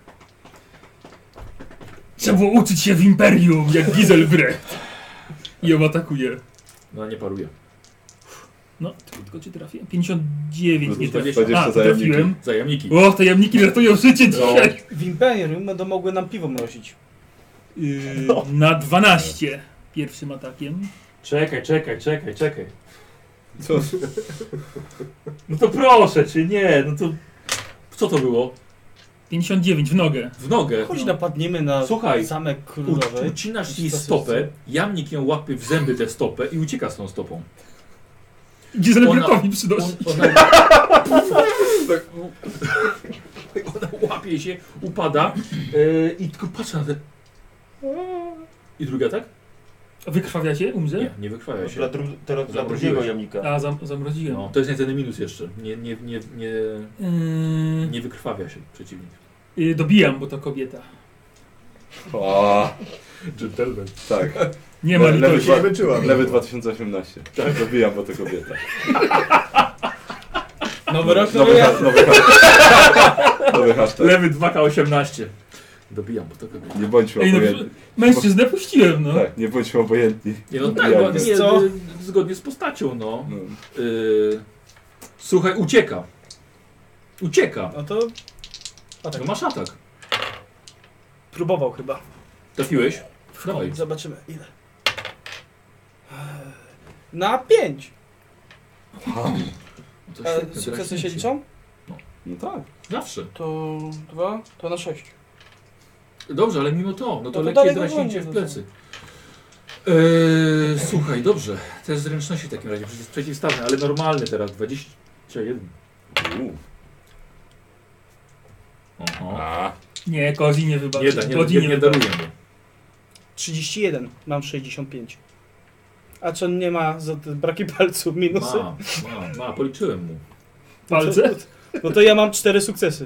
[SPEAKER 3] Trzeba było uczyć się w Imperium, jak Giselbrecht. I ją atakuje.
[SPEAKER 4] No nie paruje.
[SPEAKER 3] No, tylko, tylko cię trafię. 59, nie
[SPEAKER 8] Plus
[SPEAKER 3] trafiłem.
[SPEAKER 8] 20
[SPEAKER 3] A, trafiłem.
[SPEAKER 8] zajemniki.
[SPEAKER 4] Zajemniki.
[SPEAKER 3] O, tajemniki ratują
[SPEAKER 4] No.
[SPEAKER 3] życie dzisiaj.
[SPEAKER 2] W Imperium będą mogły nam piwo mrozić.
[SPEAKER 3] Yy,
[SPEAKER 4] No.
[SPEAKER 3] Na 12 pierwszym atakiem.
[SPEAKER 4] Czekaj, czekaj, czekaj, czekaj.
[SPEAKER 8] Co?
[SPEAKER 4] No to proszę cię, nie, no to... Co to było?
[SPEAKER 3] 59 w nogę.
[SPEAKER 4] W nogę.
[SPEAKER 2] Chodź napadniemy na
[SPEAKER 4] Słuchaj,
[SPEAKER 2] zamek
[SPEAKER 4] U,
[SPEAKER 2] królowej.
[SPEAKER 4] ucinasz jej
[SPEAKER 2] To jest-
[SPEAKER 4] stopę, jamnik ją łapie w zęby tę stopę i ucieka z tą stopą.
[SPEAKER 3] Giselbrechtowi przynosi.
[SPEAKER 4] Ona, e, ona łapie się, upada yy, i tylko patrzy na te... I drugi atak?
[SPEAKER 3] Wykrwawiacie? Umrze?
[SPEAKER 4] Nie, nie wykrwawia się.
[SPEAKER 3] Dla dru- teraz dla drugiego jamnika. A, zam- zamroziłem.
[SPEAKER 4] No, to jest niestety minus jeszcze. Nie, nie, nie, nie, nie wykrwawia się przeciwnik.
[SPEAKER 3] Yy, Y, dobijam, bo to kobieta.
[SPEAKER 1] O,
[SPEAKER 4] Gentleman.
[SPEAKER 1] Tak.
[SPEAKER 3] Nie ma
[SPEAKER 1] Le-
[SPEAKER 3] litości.
[SPEAKER 1] dwa-
[SPEAKER 3] Się męczyła.
[SPEAKER 1] Lewy 2018. Tak. Zabijam, bo to kobieta.
[SPEAKER 4] Nowy rok, nowy
[SPEAKER 1] nowy ha-
[SPEAKER 4] ja.
[SPEAKER 1] nowy hashtag. Nowy hashtag.
[SPEAKER 4] Lewy 2K18. Dobijam, bo to kobieta.
[SPEAKER 1] Nie bądźmy
[SPEAKER 3] Ej, no,
[SPEAKER 1] obojętni.
[SPEAKER 3] mężczyznę puściłem, no.
[SPEAKER 1] Tak, nie bądźmy obojętni.
[SPEAKER 4] Nie, no tak,
[SPEAKER 1] Zabijamy.
[SPEAKER 4] bo, nie, y, zgodnie z postacią, no. Y, słuchaj, ucieka. Ucieka.
[SPEAKER 2] No to...
[SPEAKER 4] No masz atak.
[SPEAKER 2] Próbował chyba.
[SPEAKER 4] Trafiłeś? Dawaj.
[SPEAKER 2] Zobaczymy ile. Na 5.
[SPEAKER 4] No to świetne,
[SPEAKER 2] E, sukcesy się
[SPEAKER 4] draśnięcie.
[SPEAKER 2] liczą?
[SPEAKER 1] No tak.
[SPEAKER 4] Zawsze.
[SPEAKER 2] To 2, to na 6.
[SPEAKER 4] Dobrze, ale mimo to, no
[SPEAKER 2] No
[SPEAKER 4] to
[SPEAKER 2] to
[SPEAKER 4] lekkie
[SPEAKER 2] dalej go
[SPEAKER 4] draśnięcie w
[SPEAKER 2] gonię,
[SPEAKER 4] plecy. Eee, słuchaj, dobrze. To jest zręczności w takim razie, przecież przeciwstawny, ale normalny teraz, 21. Oho.
[SPEAKER 3] Nie, Kozi nie wybaczy.
[SPEAKER 4] Nie da, nie,
[SPEAKER 3] Kozi
[SPEAKER 4] nie, nie
[SPEAKER 3] wybaczy.
[SPEAKER 4] daruję mu.
[SPEAKER 2] 31, mam 65. A czy on nie ma za te braki palców minusy?
[SPEAKER 4] Ma, ma, ma, policzyłem mu.
[SPEAKER 2] No to, no to ja mam 4 sukcesy.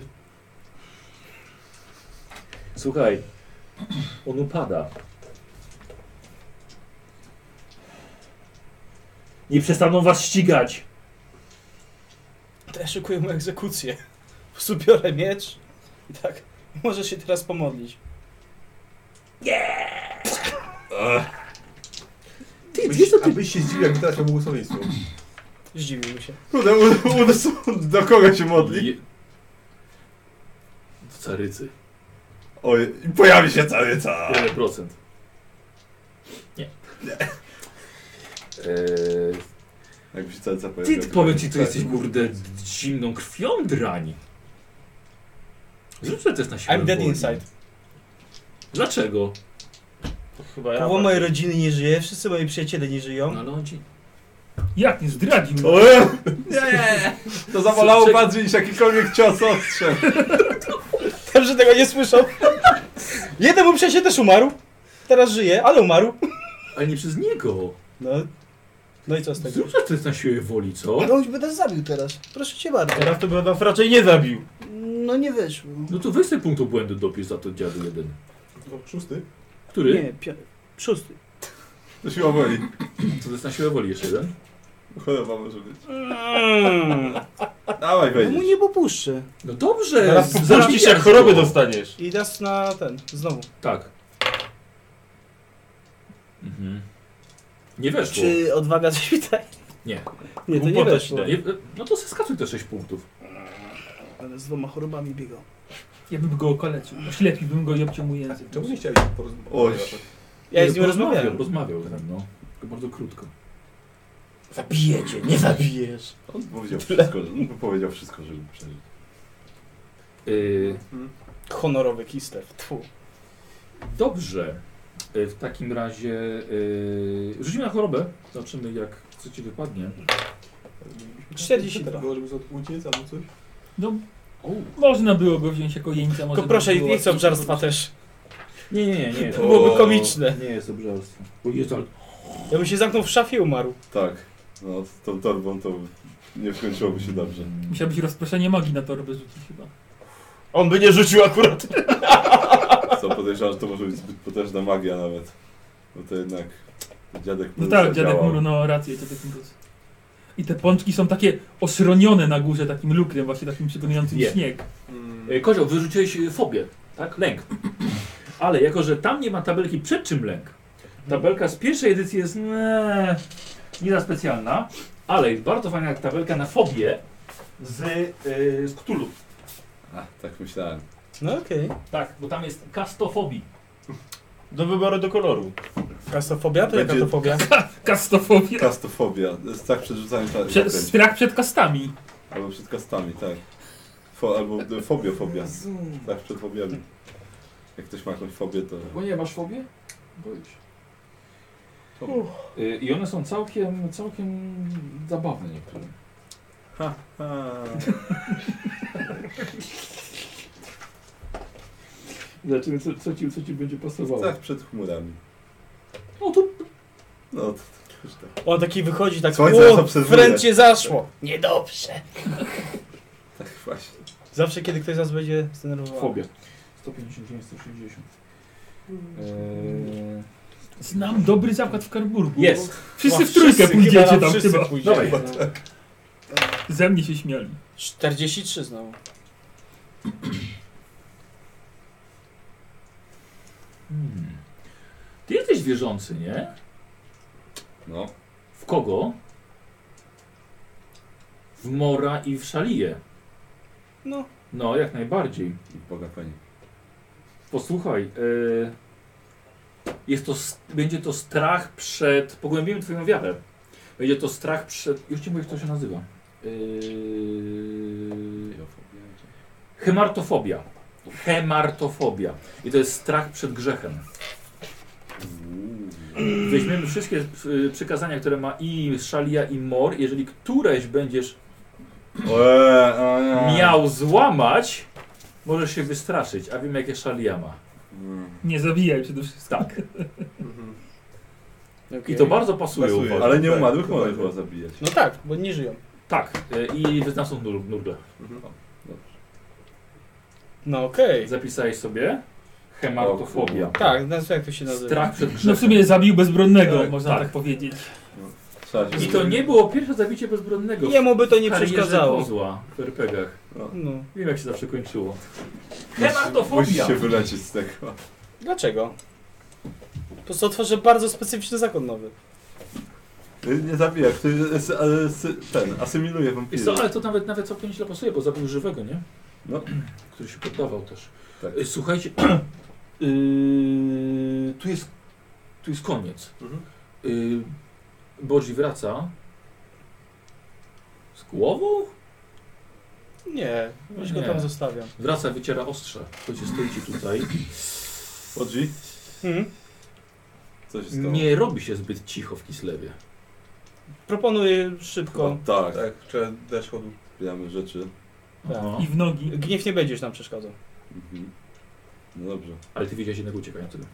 [SPEAKER 4] Słuchaj, on upada.
[SPEAKER 11] Nie przestaną was ścigać.
[SPEAKER 2] To ja szykuję mu egzekucję. Po prostu biorę miecz i tak. Możesz się teraz pomodlić.
[SPEAKER 4] Ty,
[SPEAKER 12] byś, ty... Abyś się zdziwił, jak teraz miał błogosławieństwo.
[SPEAKER 2] Zdziwił się.
[SPEAKER 1] Kurde, u- u nas- Do kogo się modli?
[SPEAKER 4] W carycy.
[SPEAKER 1] Oj, i pojawi się caryca.
[SPEAKER 4] Ile procent? Nie. Eee,
[SPEAKER 1] Jakby się caryca pojawiła.
[SPEAKER 4] Ty powiem ci, ty jesteś kurde zimną krwią drań. Zrób sobie test na siłę
[SPEAKER 2] I'm dead
[SPEAKER 4] woli.
[SPEAKER 2] inside.
[SPEAKER 4] Dlaczego?
[SPEAKER 2] Chyba tak. Połowa mojej rodziny nie żyje, wszyscy moi przyjaciele nie żyją.
[SPEAKER 4] No, no on ci...
[SPEAKER 3] Jak nie zdradził?
[SPEAKER 1] O, nie! To zawalało bardziej niż jakikolwiek cios ostrzem.
[SPEAKER 2] Wiem, że tego nie słyszał. Jeden mój przyjaciel też umarł. Teraz żyje, ale umarł.
[SPEAKER 4] Ale nie przez niego.
[SPEAKER 2] No, no i co z tego?
[SPEAKER 4] Zrób sobie test na siłę woli, co?
[SPEAKER 15] No już by nas zabił teraz. Proszę cię bardzo.
[SPEAKER 5] Teraz to by nas raczej nie zabił.
[SPEAKER 15] No nie wyszło.
[SPEAKER 4] No to weź sobie punktu błędu dopisz za to dziadu jeden.
[SPEAKER 1] No,
[SPEAKER 12] Szósty?
[SPEAKER 4] Który?
[SPEAKER 2] Nie, pio... szósty.
[SPEAKER 1] To siła woli.
[SPEAKER 4] To jest na siłę woli jeszcze jeden?
[SPEAKER 1] Choroba może być.
[SPEAKER 2] Mm.
[SPEAKER 1] Dawaj,
[SPEAKER 2] No
[SPEAKER 1] wejdziesz.
[SPEAKER 2] mu nie popuszczę.
[SPEAKER 4] No dobrze.
[SPEAKER 5] Zaraz
[SPEAKER 4] z-
[SPEAKER 5] popuścisz,
[SPEAKER 4] zabijesz
[SPEAKER 5] jak
[SPEAKER 4] go.
[SPEAKER 5] choroby dostaniesz.
[SPEAKER 2] I teraz na ten, znowu.
[SPEAKER 4] Tak. Mhm. Nie weszło.
[SPEAKER 2] Czy odwaga coś widać?
[SPEAKER 4] Nie.
[SPEAKER 2] Nie, to nie
[SPEAKER 4] Głupota ci
[SPEAKER 2] weszło.
[SPEAKER 4] daje. No to skacuj te 6 punktów.
[SPEAKER 2] Ale z dwoma chorobami biegał.
[SPEAKER 3] Ja bym go okalecił. Oślepiłbym go i obciął mu język.
[SPEAKER 12] Czemu nie chciałeś porozmawiać?
[SPEAKER 1] Oj.
[SPEAKER 2] Ja z nim
[SPEAKER 4] Rozmawiał,
[SPEAKER 2] rozmawiałem.
[SPEAKER 4] rozmawiał E, ze mną. no. Tylko bardzo krótko.
[SPEAKER 2] Zabiję cię, nie zabijesz.
[SPEAKER 1] On powiedział wszystko, że, no, powiedział wszystko, żeby przeżyć.
[SPEAKER 4] Yy,
[SPEAKER 2] Honorowy kistew, tfu.
[SPEAKER 4] dobrze. Yy, w takim razie yy, rzucimy na chorobę. Zobaczymy jak co ci wypadnie.
[SPEAKER 2] 42.
[SPEAKER 1] Tak
[SPEAKER 12] Tego, żeby stąd uciec albo coś?
[SPEAKER 3] No, można było go wziąć jako jeńca. może
[SPEAKER 2] Tylko proszę,
[SPEAKER 3] by było
[SPEAKER 2] nie chcę
[SPEAKER 3] łatwiej.
[SPEAKER 2] obżarstwa też.
[SPEAKER 4] Nie, nie, nie.
[SPEAKER 2] To byłoby komiczne.
[SPEAKER 4] Nie jest obżarstwo. Bo Jest, ale...
[SPEAKER 2] Ja bym się zamknął w szafie i umarł.
[SPEAKER 1] Tak, no z tą torbą to nie skończyłoby się dobrze.
[SPEAKER 3] Musiałbyś rozproszenie magii na torbę rzucić chyba.
[SPEAKER 5] On by nie rzucił akurat.
[SPEAKER 1] Co podejrzewam, że to może być zbyt potężna magia nawet. Bo to jednak dziadek
[SPEAKER 3] No
[SPEAKER 1] Mróz
[SPEAKER 3] tak, dziadek
[SPEAKER 1] zadziałał.
[SPEAKER 3] Muru, no rację, dziadek Mróz. I te pączki są takie osronione na górze takim lukrem, właśnie takim przypominającym
[SPEAKER 4] Nie.
[SPEAKER 3] śnieg.
[SPEAKER 1] Mm.
[SPEAKER 4] Yy, Kozioł, wyrzuciłeś yy, fobię, tak? Lęk. Ale jako, że tam nie ma tabelki przed czym lęk, tabelka z pierwszej edycji jest nie, nie za specjalna, ale jest bardzo fajna tabelka na fobię z, yy, z Cthulhu.
[SPEAKER 1] A, tak myślałem.
[SPEAKER 2] No okej.
[SPEAKER 4] Tak, bo tam jest kastofobii.
[SPEAKER 5] Do wyboru do koloru.
[SPEAKER 2] Kastofobia to jaka
[SPEAKER 1] Będzie-
[SPEAKER 2] to fobia?
[SPEAKER 3] Kastofobia.
[SPEAKER 1] Kastofobia, to jest tak przed rzucaniem ta-
[SPEAKER 3] Prze
[SPEAKER 1] zaklęć.
[SPEAKER 3] strach przed kastami.
[SPEAKER 1] Albo przed kastami, tak. Fo albo e, fobiofobia. Tak, przed fobiami. Jak ktoś ma jakąś fobię, to...
[SPEAKER 4] Bo nie, masz fobię? Boisz. Yy, I one są całkiem, całkiem zabawne niektóre.
[SPEAKER 10] Ha, ha.
[SPEAKER 4] Zobaczymy, Znaczy, co, co, ci, co ci będzie pasowało.
[SPEAKER 1] Tak, przed chmurami.
[SPEAKER 4] No to...
[SPEAKER 1] No to, to już tak.
[SPEAKER 2] On taki wychodzi tak,
[SPEAKER 1] Słońce nas
[SPEAKER 2] o,
[SPEAKER 1] obserwuje.
[SPEAKER 2] wręcie zaszło. Niedobrze.
[SPEAKER 1] Tak właśnie.
[SPEAKER 2] Zawsze kiedy ktoś z nas będzie zdenerwowany.
[SPEAKER 4] Fobia. 159, 160. Eee...
[SPEAKER 3] Znam dobry zakład w Karburgu.
[SPEAKER 4] Jest.
[SPEAKER 3] Wszyscy
[SPEAKER 4] Ła,
[SPEAKER 3] w trójkę
[SPEAKER 4] wszyscy,
[SPEAKER 3] pójdziecie
[SPEAKER 4] chyba
[SPEAKER 2] no,
[SPEAKER 4] nam
[SPEAKER 3] tam
[SPEAKER 4] wszyscy
[SPEAKER 3] chyba.
[SPEAKER 4] pójdziemy. Dawaj.
[SPEAKER 3] No. Ze mnie się śmiali.
[SPEAKER 2] 43 znowu.
[SPEAKER 4] Hmm. Ty jesteś wierzący, nie?
[SPEAKER 1] No.
[SPEAKER 4] W kogo? W Mora i w Szaliję.
[SPEAKER 2] No.
[SPEAKER 4] No, jak najbardziej.
[SPEAKER 1] I Boga Panie.
[SPEAKER 4] Posłuchaj, y, jest to, s- będzie to strach przed. Pogłębimy Twoją wiarę. Będzie to strach przed. Już ci mówię, jak to się nazywa. E, Yy, hemartofobia. Hemartofobia. I to jest strach przed grzechem. Weźmiemy wszystkie y, przykazania, które ma i Szalia, i Mor. Jeżeli któreś będziesz
[SPEAKER 1] Eee, o nie.
[SPEAKER 4] miał złamać, możesz się wystraszyć. A wiem, jakie Szalia ma.
[SPEAKER 3] Nie zabijaj przede wszystkim.
[SPEAKER 4] Tak. I
[SPEAKER 2] Okej.
[SPEAKER 4] to bardzo pasuje.
[SPEAKER 1] Mhm. Pasuje, Tak,
[SPEAKER 4] uważam.
[SPEAKER 1] ale nie umarłych można chyba zabijać.
[SPEAKER 2] No tak, bo nie żyją.
[SPEAKER 4] Tak, y, i wyznawcą nur- nurgle.
[SPEAKER 2] No okej.
[SPEAKER 4] Zapisałeś sobie? Hematofobia.
[SPEAKER 2] Tak, znaczy jak to się nazywa?
[SPEAKER 4] Strach przed
[SPEAKER 3] No
[SPEAKER 4] grzechem.
[SPEAKER 3] w sumie zabił bezbronnego,
[SPEAKER 4] Tak,
[SPEAKER 3] można
[SPEAKER 4] tak.
[SPEAKER 3] tak, powiedzieć.
[SPEAKER 4] I to nie było pierwsze zabicie bezbronnego.
[SPEAKER 2] Jemu by to nie
[SPEAKER 4] w karierze
[SPEAKER 2] przeszkadzało.
[SPEAKER 4] Kozła w RPGach.
[SPEAKER 2] No.
[SPEAKER 4] Wiem jak się zawsze kończyło.
[SPEAKER 1] Musisz
[SPEAKER 4] Hematofobia.
[SPEAKER 1] się wylecieć z tego.
[SPEAKER 2] Dlaczego? Po prostu otworzę bardzo specyficzny zakon nowy.
[SPEAKER 1] Nie zabijak, to jest, ale sy- ten, asymiluje
[SPEAKER 4] Wiesz
[SPEAKER 1] wampiry.
[SPEAKER 4] co, ale to nawet nawet całkiem źle pasuje, bo zabił żywego, nie?
[SPEAKER 1] No.
[SPEAKER 4] *clears throat* Który się poddawał też.
[SPEAKER 1] Tak.
[SPEAKER 4] Y, Słuchajcie, *clears throat* yy, tu jest tu jest koniec. Yy, Bodzi wraca z głową?
[SPEAKER 2] Nie, już go
[SPEAKER 4] Nie.
[SPEAKER 2] tam zostawiam.
[SPEAKER 4] Wraca, wyciera ostrze. Chodźcie, stójcie tutaj.
[SPEAKER 1] Bodzi?
[SPEAKER 2] Hmm.
[SPEAKER 12] Mhm.
[SPEAKER 1] Coś
[SPEAKER 5] No.
[SPEAKER 1] stało.
[SPEAKER 4] Nie robi się zbyt cicho w Kislewie.
[SPEAKER 2] Proponuję szybko.
[SPEAKER 1] Tak,
[SPEAKER 12] Tak, trzeba dać chodu.
[SPEAKER 1] zbieramy rzeczy.
[SPEAKER 5] No.
[SPEAKER 4] Aha.
[SPEAKER 3] I w nogi.
[SPEAKER 2] Gniew nie będziesz nam przeszkadzał.
[SPEAKER 1] Mhm. No dobrze.
[SPEAKER 4] Ale ty widziałeś jednego uciekającego.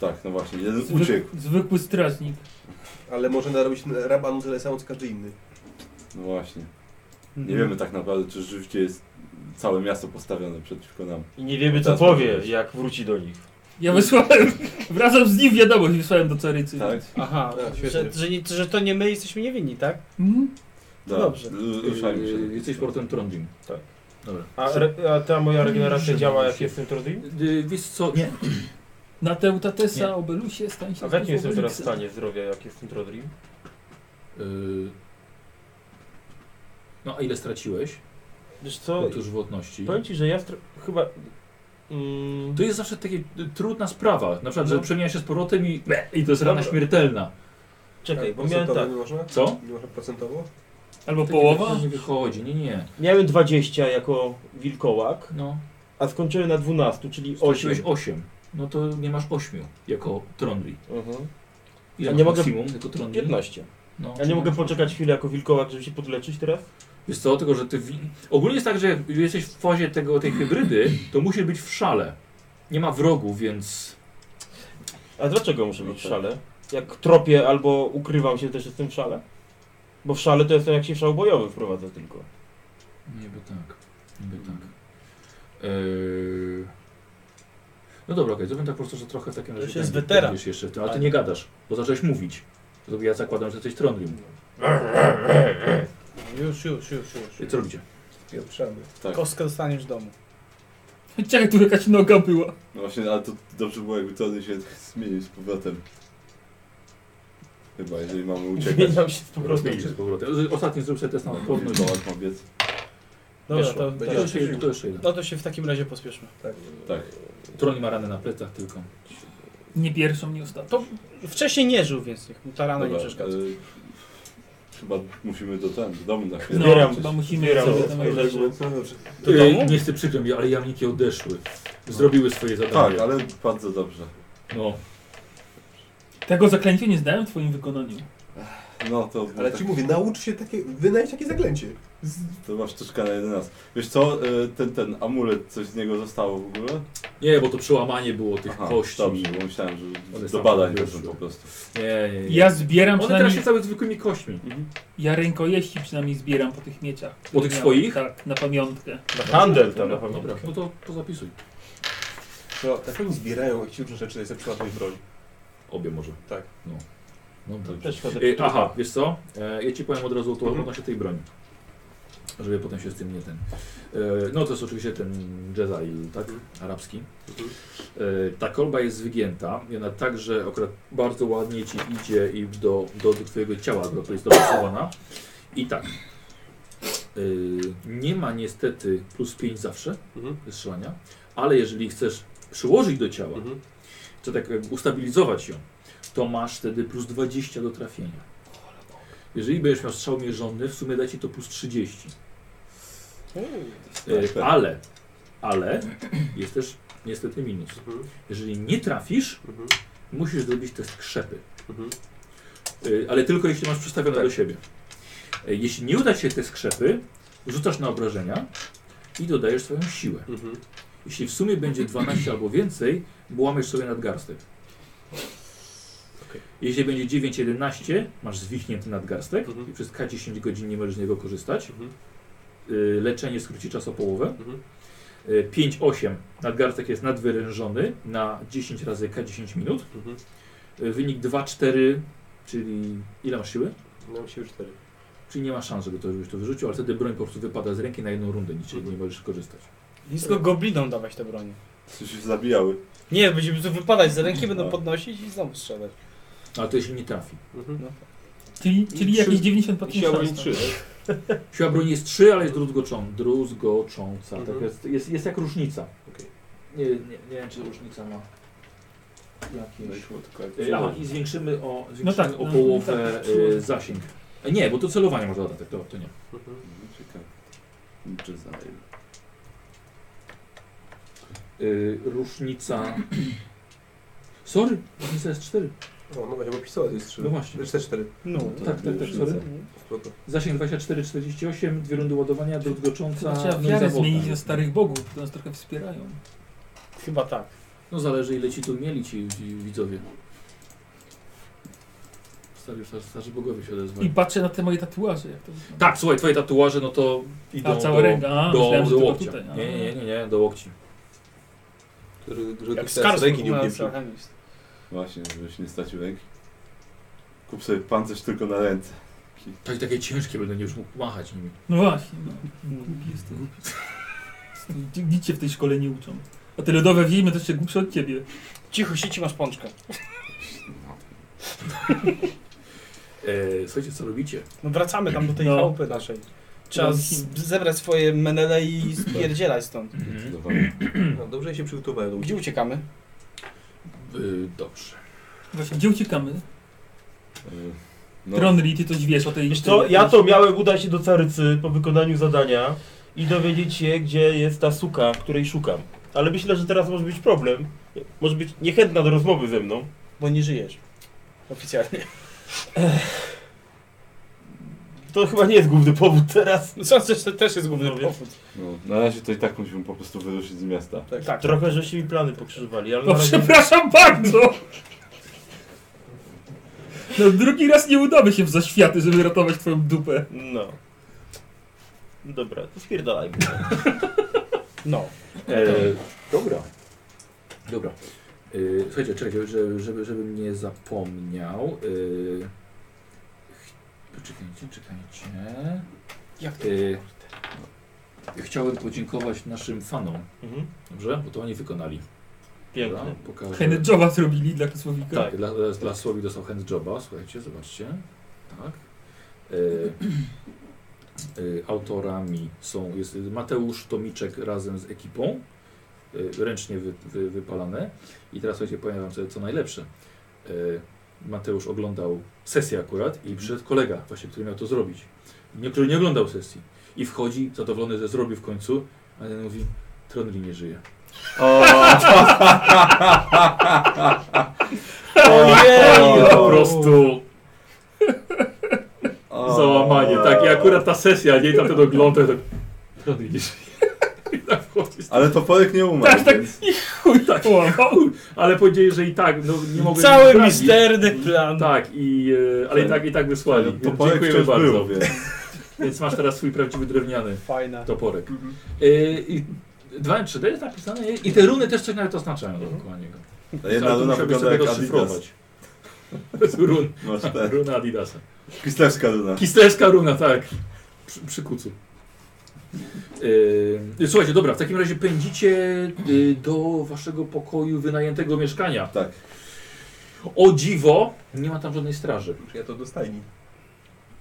[SPEAKER 1] Tak, no właśnie, jeden
[SPEAKER 3] Zwyk-
[SPEAKER 1] uciekł.
[SPEAKER 3] Zwykły strażnik.
[SPEAKER 12] Ale może narobić rabanu tyle samo co każdy inny.
[SPEAKER 1] No właśnie. Nie
[SPEAKER 12] Mhm.
[SPEAKER 1] wiemy tak naprawdę, czy rzeczywiście jest całe miasto postawione przeciwko nam.
[SPEAKER 5] I nie wiemy co
[SPEAKER 1] Teraz
[SPEAKER 5] powie,
[SPEAKER 1] powiedzieć.
[SPEAKER 5] jak wróci do nich.
[SPEAKER 3] Ja wysłałem, *laughs* razem z nim wiadomość wysłałem do Carycy.
[SPEAKER 1] Tak?
[SPEAKER 2] Aha,
[SPEAKER 12] Tak,
[SPEAKER 2] że,
[SPEAKER 12] świetnie.
[SPEAKER 2] że, nie- że to nie my jesteśmy niewinni, tak?
[SPEAKER 3] Mhm.
[SPEAKER 1] Tak.
[SPEAKER 2] No dobrze.
[SPEAKER 5] Y,
[SPEAKER 1] L- Ruszajmy się.
[SPEAKER 4] Yy, Jesteś portem Trondheim.
[SPEAKER 5] Tak.
[SPEAKER 4] Dobra.
[SPEAKER 5] A, re, a ta moja regeneracja
[SPEAKER 4] Trzymaj
[SPEAKER 5] działa
[SPEAKER 4] się.
[SPEAKER 5] jak jestem trudny?
[SPEAKER 4] Yy, wiesz co, nie.
[SPEAKER 3] Na Teutatesa,
[SPEAKER 4] Nie.
[SPEAKER 3] Obelusie, stań się
[SPEAKER 5] A w jakim jestem
[SPEAKER 3] Obelixa.
[SPEAKER 5] teraz stanie zdrowia, jak jestem trudny?
[SPEAKER 4] Yy, No a ile straciłeś?
[SPEAKER 5] Wiesz co,
[SPEAKER 4] Otóż żywotności.
[SPEAKER 5] powiem ci, że ja str- chyba... Mm,
[SPEAKER 4] To jest zawsze taka trudna sprawa. Na przykład, że
[SPEAKER 5] No.
[SPEAKER 4] przemienia się z powrotem i, i to jest
[SPEAKER 5] Dobra.
[SPEAKER 4] rana śmiertelna.
[SPEAKER 5] czekaj, bo miałem
[SPEAKER 12] Procentowo
[SPEAKER 5] tak.
[SPEAKER 12] nie można?
[SPEAKER 4] Co?
[SPEAKER 12] Nie można procentowo?
[SPEAKER 3] Albo
[SPEAKER 4] Takie
[SPEAKER 3] połowa? *laughs*
[SPEAKER 4] rzeczy Nie wychodzi, nie, nie.
[SPEAKER 5] tak. Miałem 20 jako wilkołak,
[SPEAKER 4] No.
[SPEAKER 5] a skończyłem na 12, czyli 8.
[SPEAKER 4] Straciłeś 8. No to nie masz 8 jako Trondri.
[SPEAKER 5] Mhm.
[SPEAKER 4] Ile
[SPEAKER 5] A
[SPEAKER 4] masz
[SPEAKER 5] nie mogę-
[SPEAKER 4] maksimum jako Trondri?
[SPEAKER 5] 15.
[SPEAKER 4] No,
[SPEAKER 5] Ja
[SPEAKER 4] czyli
[SPEAKER 5] nie mogę
[SPEAKER 4] masz-
[SPEAKER 5] poczekać chwilę jako wilkołak, żeby się podleczyć teraz?
[SPEAKER 4] Wiesz co, tylko że ty... Wi... Ogólnie jest tak, że jak jesteś w fazie tego, tej hybrydy, to musisz być w szale. Nie ma wrogów, więc...
[SPEAKER 5] A dlaczego muszę być w szale? Jak tropię albo ukrywam się, też jestem w szale? Bo w szale to jest to jak się w szał bojowy wprowadza tylko.
[SPEAKER 4] Niby tak. Niby tak. Yy... No dobra, okej, to bym tak po prostu, że trochę w takim
[SPEAKER 2] To
[SPEAKER 4] razie...
[SPEAKER 2] już jest
[SPEAKER 4] będziesz-
[SPEAKER 2] weteran.
[SPEAKER 4] będziesz jeszcze w tym, ale ty nie gadasz, bo zacząłeś mówić. To ja zakładam, że jesteś Trondrim.
[SPEAKER 2] Już, już, już, już.
[SPEAKER 4] I co robicie?
[SPEAKER 12] Pieprzamy.
[SPEAKER 1] Tak.
[SPEAKER 2] Kostkę dostaniesz w domu.
[SPEAKER 3] Czekaj, tu jakaś noga była.
[SPEAKER 1] No właśnie, ale to dobrze było, jakby Tony się zmienił z powrotem. Chyba, jeżeli mamy uciekać.
[SPEAKER 5] Zmieniam się z powrotem.
[SPEAKER 4] Rozmienisz z powrotem. Ostatni zrób sobie test na odporność.
[SPEAKER 1] Kołak ma biec.
[SPEAKER 2] Dobra,
[SPEAKER 4] Weszło.
[SPEAKER 2] to,
[SPEAKER 4] To
[SPEAKER 2] to,
[SPEAKER 4] jeszcze jeden, to jeszcze jeden.
[SPEAKER 2] no to się w takim razie pospieszmy.
[SPEAKER 1] Tak.
[SPEAKER 4] Troni ma ranę na plecach tylko.
[SPEAKER 3] Nie pierwszą, nie ostatnią.
[SPEAKER 2] To wcześniej nie żył, więc niech mu ta rana No nie
[SPEAKER 1] Dobra,
[SPEAKER 2] przeszkadza.
[SPEAKER 1] y, Chyba musimy do, ten, do domu na chwilę.
[SPEAKER 3] No,
[SPEAKER 5] Zbieram.
[SPEAKER 3] chyba musimy
[SPEAKER 5] Zbieram.
[SPEAKER 3] sobie tam
[SPEAKER 5] Zbieram.
[SPEAKER 3] rzeczy.
[SPEAKER 12] No dobrze.
[SPEAKER 2] Do
[SPEAKER 4] Ej,
[SPEAKER 2] domu?
[SPEAKER 4] Nie chcę przykro mi, ale jamniki odeszły. Zrobiły swoje zadanie.
[SPEAKER 1] Tak, ale bardzo dobrze.
[SPEAKER 4] No.
[SPEAKER 3] Tego zaklęcia nie znałem w twoim wykonaniu.
[SPEAKER 1] No to...
[SPEAKER 12] Ale ci mówię, naucz się takie, wynajdź takie zaklęcie.
[SPEAKER 1] To masz troszkę na 11. Wiesz co, y, ten, ten amulet, coś z niego zostało w ogóle?
[SPEAKER 4] Nie, bo to przełamanie było tych
[SPEAKER 1] Aha,
[SPEAKER 4] kości.
[SPEAKER 1] Dobrze, bo myślałem, że
[SPEAKER 4] One
[SPEAKER 1] do
[SPEAKER 4] same
[SPEAKER 1] badań
[SPEAKER 4] wyszły.
[SPEAKER 1] weszły po prostu.
[SPEAKER 4] Nie, nie, nie.
[SPEAKER 3] Ja zbieram
[SPEAKER 4] One teraz
[SPEAKER 3] przynajmniej-
[SPEAKER 4] się cały zwykłymi kośćmi.
[SPEAKER 3] Ja rękojeści przynajmniej zbieram po tych mieciach.
[SPEAKER 4] Po
[SPEAKER 3] które
[SPEAKER 4] tych
[SPEAKER 3] miałem.
[SPEAKER 4] swoich?
[SPEAKER 3] Tak, na pamiątkę.
[SPEAKER 1] tak,
[SPEAKER 4] Dobra, No to, to zapisuj.
[SPEAKER 12] No, jak oni zbierają jakieś różne rzeczy, to jest na przykład moja broń.
[SPEAKER 4] Obie może.
[SPEAKER 12] Tak.
[SPEAKER 4] No. No dobrze.
[SPEAKER 12] Też szkoda.
[SPEAKER 4] E, aha, wiesz co? E, ja ci powiem od razu to
[SPEAKER 12] Mhm.
[SPEAKER 4] odnośnie tej broni. Żeby potem się z tym nie ten. E, no to jest oczywiście ten Jezail, tak?
[SPEAKER 12] Mhm.
[SPEAKER 4] Arabski. E, ta kolba jest wygięta i ona także akurat bardzo ładnie ci idzie i do, do, do twojego ciała, do której jest dopasowana. I tak. E, nie ma niestety plus 5 zawsze
[SPEAKER 12] Mhm.
[SPEAKER 4] do strzelania, ale jeżeli chcesz przyłożyć do ciała,
[SPEAKER 12] Mhm.
[SPEAKER 4] to tak jakby ustabilizować ją, to masz wtedy plus 20 do trafienia. Jeżeli będziesz miał strzał mierzony, w sumie da ci to plus 30. E, Ale, ale jest też niestety minus. Jeżeli nie trafisz, musisz zrobić test krzepy. E, Ale tylko jeśli masz przestawione do siebie. E, Jeśli nie uda ci się test krzepy, rzucasz na obrażenia i dodajesz swoją siłę. Jeśli w sumie będzie 12 albo więcej, bo łamiesz sobie nadgarstek. Jeśli będzie 9-11, masz zwichnięty nadgarstek i przez K10 godzin nie możesz z niego korzystać. Y, Leczenie skróci czas o połowę. Y, 5-8, nadgarstek jest nadwyrężony na 10 razy K10 minut. Y, Wynik 2-4, czyli ile masz siły?
[SPEAKER 12] Mam siły 4.
[SPEAKER 4] Czyli nie ma szans, żeby to, żebyś to wyrzucił, ale wtedy broń po prostu wypada z ręki na jedną rundę, niczego nie możesz korzystać.
[SPEAKER 2] Blisko goblinom dawać te bronie.
[SPEAKER 1] Coś się zabijały.
[SPEAKER 2] Nie, będziemy tu wypadać z ręki, będą
[SPEAKER 4] No.
[SPEAKER 2] podnosić i znowu strzelać.
[SPEAKER 4] Ale to jeśli nie trafi.
[SPEAKER 2] No.
[SPEAKER 3] Czyli, czyli jakieś 90%
[SPEAKER 4] Siła broni
[SPEAKER 3] szans,
[SPEAKER 4] 3.
[SPEAKER 3] tak?
[SPEAKER 4] Siła broni jest 3, ale jest druzgoczą, druzgocząca. Tak jest, jest, jest jak różnica. Nie, nie, nie wiem, czy różnica ma
[SPEAKER 1] No
[SPEAKER 5] No
[SPEAKER 4] jakieś... E, Aha, i zwiększymy o, zwiększymy
[SPEAKER 3] tak,
[SPEAKER 4] o
[SPEAKER 3] no,
[SPEAKER 4] połowę
[SPEAKER 3] tak,
[SPEAKER 4] e, zasięg. E, Nie, bo to celowanie można dodatek, to, to nie.
[SPEAKER 12] Mhm.
[SPEAKER 1] Czy no, za
[SPEAKER 4] Y, różnica... *clears throat* Sorry, różnica jest 4.
[SPEAKER 12] O, no właśnie, bo pistolet jest 3.
[SPEAKER 4] No właśnie.
[SPEAKER 12] Znaczy 4.
[SPEAKER 4] No, tak, tak, tak, sorry.
[SPEAKER 12] Spoko.
[SPEAKER 4] Zasięg 24-48, dwie rundy ładowania, druzgocząca,
[SPEAKER 3] Chyba trzeba
[SPEAKER 4] no i
[SPEAKER 3] wiarę
[SPEAKER 4] zawodna.
[SPEAKER 3] zmienić ze starych bogów, które nas trochę wspierają.
[SPEAKER 2] Chyba tak.
[SPEAKER 4] No zależy ile ci tu mieli ci, ci widzowie. Stary, starzy, starzy bogowie się odezwali.
[SPEAKER 3] I patrzę na te moje tatuaże, jak to wygląda.
[SPEAKER 4] No Tak, słuchaj, twoje tatuaże no to idą
[SPEAKER 3] A, cała
[SPEAKER 4] do,
[SPEAKER 3] ręka. A,
[SPEAKER 4] do,
[SPEAKER 3] myślałem, że
[SPEAKER 4] do
[SPEAKER 3] tylko
[SPEAKER 4] łokcia.
[SPEAKER 3] tutaj. no. A.
[SPEAKER 4] Nie, nie, nie, nie, do łokci.
[SPEAKER 12] Który, że
[SPEAKER 1] Jak
[SPEAKER 12] tu teraz
[SPEAKER 1] Skarsgård
[SPEAKER 12] ręki nie
[SPEAKER 1] na
[SPEAKER 12] upieprzył.
[SPEAKER 1] Alchemist. Właśnie, żebyś nie stracił ręki. Kup sobie pancerz tylko na ręce.
[SPEAKER 4] Tak, takie ciężkie będę nie już mógł machać nimi.
[SPEAKER 3] No właśnie, no. Głupi jesteś. Nic cię w tej szkole nie uczą. A te lodowe wiemy to jeszcze głupsze od ciebie.
[SPEAKER 2] Cicho sieci masz pączkę.
[SPEAKER 4] E, słuchajcie, co robicie?
[SPEAKER 2] No wracamy tam do tej
[SPEAKER 4] No.
[SPEAKER 2] chałupy naszej. Trzeba
[SPEAKER 4] No.
[SPEAKER 2] z- zebrać swoje menele i spierdzielać stąd.
[SPEAKER 4] Mhm.
[SPEAKER 12] No, dobrze, że się przygotowałem. do
[SPEAKER 2] Gdzie uciekamy?
[SPEAKER 4] Y, dobrze.
[SPEAKER 3] Właśnie, gdzie uciekamy?
[SPEAKER 1] No.
[SPEAKER 3] Tronri, ty coś wiesz o tej...
[SPEAKER 5] Wiesz co, ja to miałem udać się do Carycy po wykonaniu zadania i dowiedzieć się, gdzie jest ta suka, której szukam. Ale myślę, że teraz może być problem. Może być niechętna do rozmowy ze mną.
[SPEAKER 2] Bo nie żyjesz. Oficjalnie.
[SPEAKER 5] To chyba nie jest główny powód teraz.
[SPEAKER 2] Sądzę, że też jest główny powód.
[SPEAKER 1] No, na razie to i tak musimy po prostu wyruszyć z miasta.
[SPEAKER 5] Tak, trochę żeście mi plany pokrzyżowali, ale
[SPEAKER 3] No
[SPEAKER 5] na razie...
[SPEAKER 3] przepraszam bardzo! No drugi raz nie udamy się w zaświaty, żeby ratować twoją dupę.
[SPEAKER 5] No. Dobra, to spierdalajmy.
[SPEAKER 2] No.
[SPEAKER 4] E, dobra. Dobra. E, słuchajcie, czekajcie, żeby, żeby, żebym nie zapomniał. E, ch- czekajcie, czekajcie.
[SPEAKER 2] Jak
[SPEAKER 4] to? chciałem podziękować naszym fanom.
[SPEAKER 5] Mhm.
[SPEAKER 4] Dobrze? Bo to oni wykonali.
[SPEAKER 5] Pięknie.
[SPEAKER 4] Dobra, pokażę.
[SPEAKER 3] Hand joba zrobili dla Słowika.
[SPEAKER 4] Tak, dla, dla- dla Słowi dostał hand joba. Słuchajcie, zobaczcie. Tak. E, e, autorami są jest Mateusz Tomiczek razem z ekipą. E, ręcznie wy, wy, wypalane. I teraz słuchajcie, powiem wam co, co najlepsze. E, Mateusz oglądał sesję akurat i przyszedł kolega właśnie, który miał to zrobić. Nie, który nie oglądał sesji. I wchodzi zadowolony, że zrobił w końcu, a ten mówi, Tronri nie żyje.
[SPEAKER 5] Ojej!
[SPEAKER 3] *laughs* No,
[SPEAKER 4] po prostu załamanie, tak. I akurat ta sesja, nie tam ten oglądek, tak... No widzisz.
[SPEAKER 1] Ale to Polek nie umarł.
[SPEAKER 4] Tak, tak, i chuj, tak, chuj. Ale powiedzieli, że i tak, no nie
[SPEAKER 2] *laughs*
[SPEAKER 4] mogę...
[SPEAKER 1] Cały
[SPEAKER 4] misterny plan. Tak, i, e, ale i tak, i tak wysłali.
[SPEAKER 1] To Polek
[SPEAKER 4] Dziękujemy
[SPEAKER 1] wciąż
[SPEAKER 4] bardzo.
[SPEAKER 1] był, więc.
[SPEAKER 4] Więc masz teraz swój prawdziwy drewniany
[SPEAKER 2] Fajna.
[SPEAKER 4] toporek.
[SPEAKER 1] Mhm.
[SPEAKER 4] Y, I 2 3D jest napisane i te runy też coś nawet oznaczają
[SPEAKER 1] Mhm.
[SPEAKER 4] dookoła niego.
[SPEAKER 1] Ta jedna
[SPEAKER 4] Ale to
[SPEAKER 1] runa
[SPEAKER 4] musiałbyś
[SPEAKER 1] wygląda
[SPEAKER 4] sobie
[SPEAKER 1] jak Tak.
[SPEAKER 4] rozszyfrować. To jest
[SPEAKER 1] *laughs*
[SPEAKER 4] Run.
[SPEAKER 1] Masz te.
[SPEAKER 4] Runa Adidasa.
[SPEAKER 1] Kislewska runa.
[SPEAKER 4] Kislewska runa, tak. Przy, przy kucu. Yy, słuchajcie, dobra, w takim razie pędzicie yy, do waszego pokoju wynajętego mieszkania.
[SPEAKER 1] Tak.
[SPEAKER 4] O dziwo, nie ma tam żadnej straży.
[SPEAKER 12] Ja to dostajni.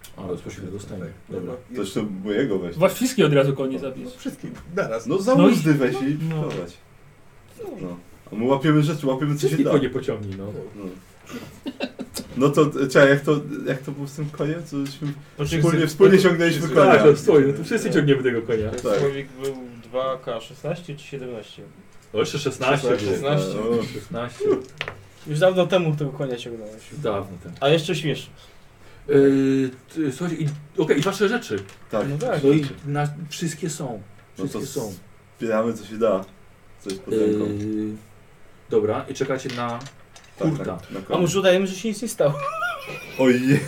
[SPEAKER 12] Tak, no,
[SPEAKER 4] A,
[SPEAKER 1] Tak,
[SPEAKER 4] bezpośrednio do stajni. Dobra.
[SPEAKER 1] To jeszcze mojego weź.
[SPEAKER 3] Właśnie wszystkie od razu konie zabierz.
[SPEAKER 12] Wszystkie, no, naraz.
[SPEAKER 1] No za
[SPEAKER 3] No i-
[SPEAKER 1] uzdy weź i
[SPEAKER 3] no.
[SPEAKER 1] prowadź. No. A my łapiemy rzeczy, łapiemy co się da.
[SPEAKER 4] Tylko nie pociągnij, no.
[SPEAKER 1] No. No to, e, czekaj, jak to, jak to było z tym koniem? Co żeśmy
[SPEAKER 7] Znaczy,
[SPEAKER 1] wspólnie,
[SPEAKER 7] z-
[SPEAKER 1] wspólnie ciągnęliśmy konia.
[SPEAKER 4] Tak, to stoi, no to wszyscy ciągniemy tego konia.
[SPEAKER 1] Tak.
[SPEAKER 7] Słowik był 2K16 czy 17?
[SPEAKER 4] O, jeszcze 16 było.
[SPEAKER 7] 16.
[SPEAKER 4] O, 16.
[SPEAKER 2] Już dawno temu tego konia ciągnąłeś.
[SPEAKER 4] Dawno temu.
[SPEAKER 7] A jeszcze śmiesz.
[SPEAKER 4] Yy, ty- słuchajcie, i- okej, i wasze rzeczy.
[SPEAKER 1] Tak. No tak.
[SPEAKER 4] No i na, wszystkie są.
[SPEAKER 1] No
[SPEAKER 4] Wszystkie
[SPEAKER 1] to
[SPEAKER 4] są.
[SPEAKER 1] zbieramy co się da. Coś pod ręką.
[SPEAKER 4] Yy, dobra, i czekacie na kurta.
[SPEAKER 1] na
[SPEAKER 2] A
[SPEAKER 1] koniec.
[SPEAKER 2] może udajemy, że się nic nie stało.
[SPEAKER 1] Ojej.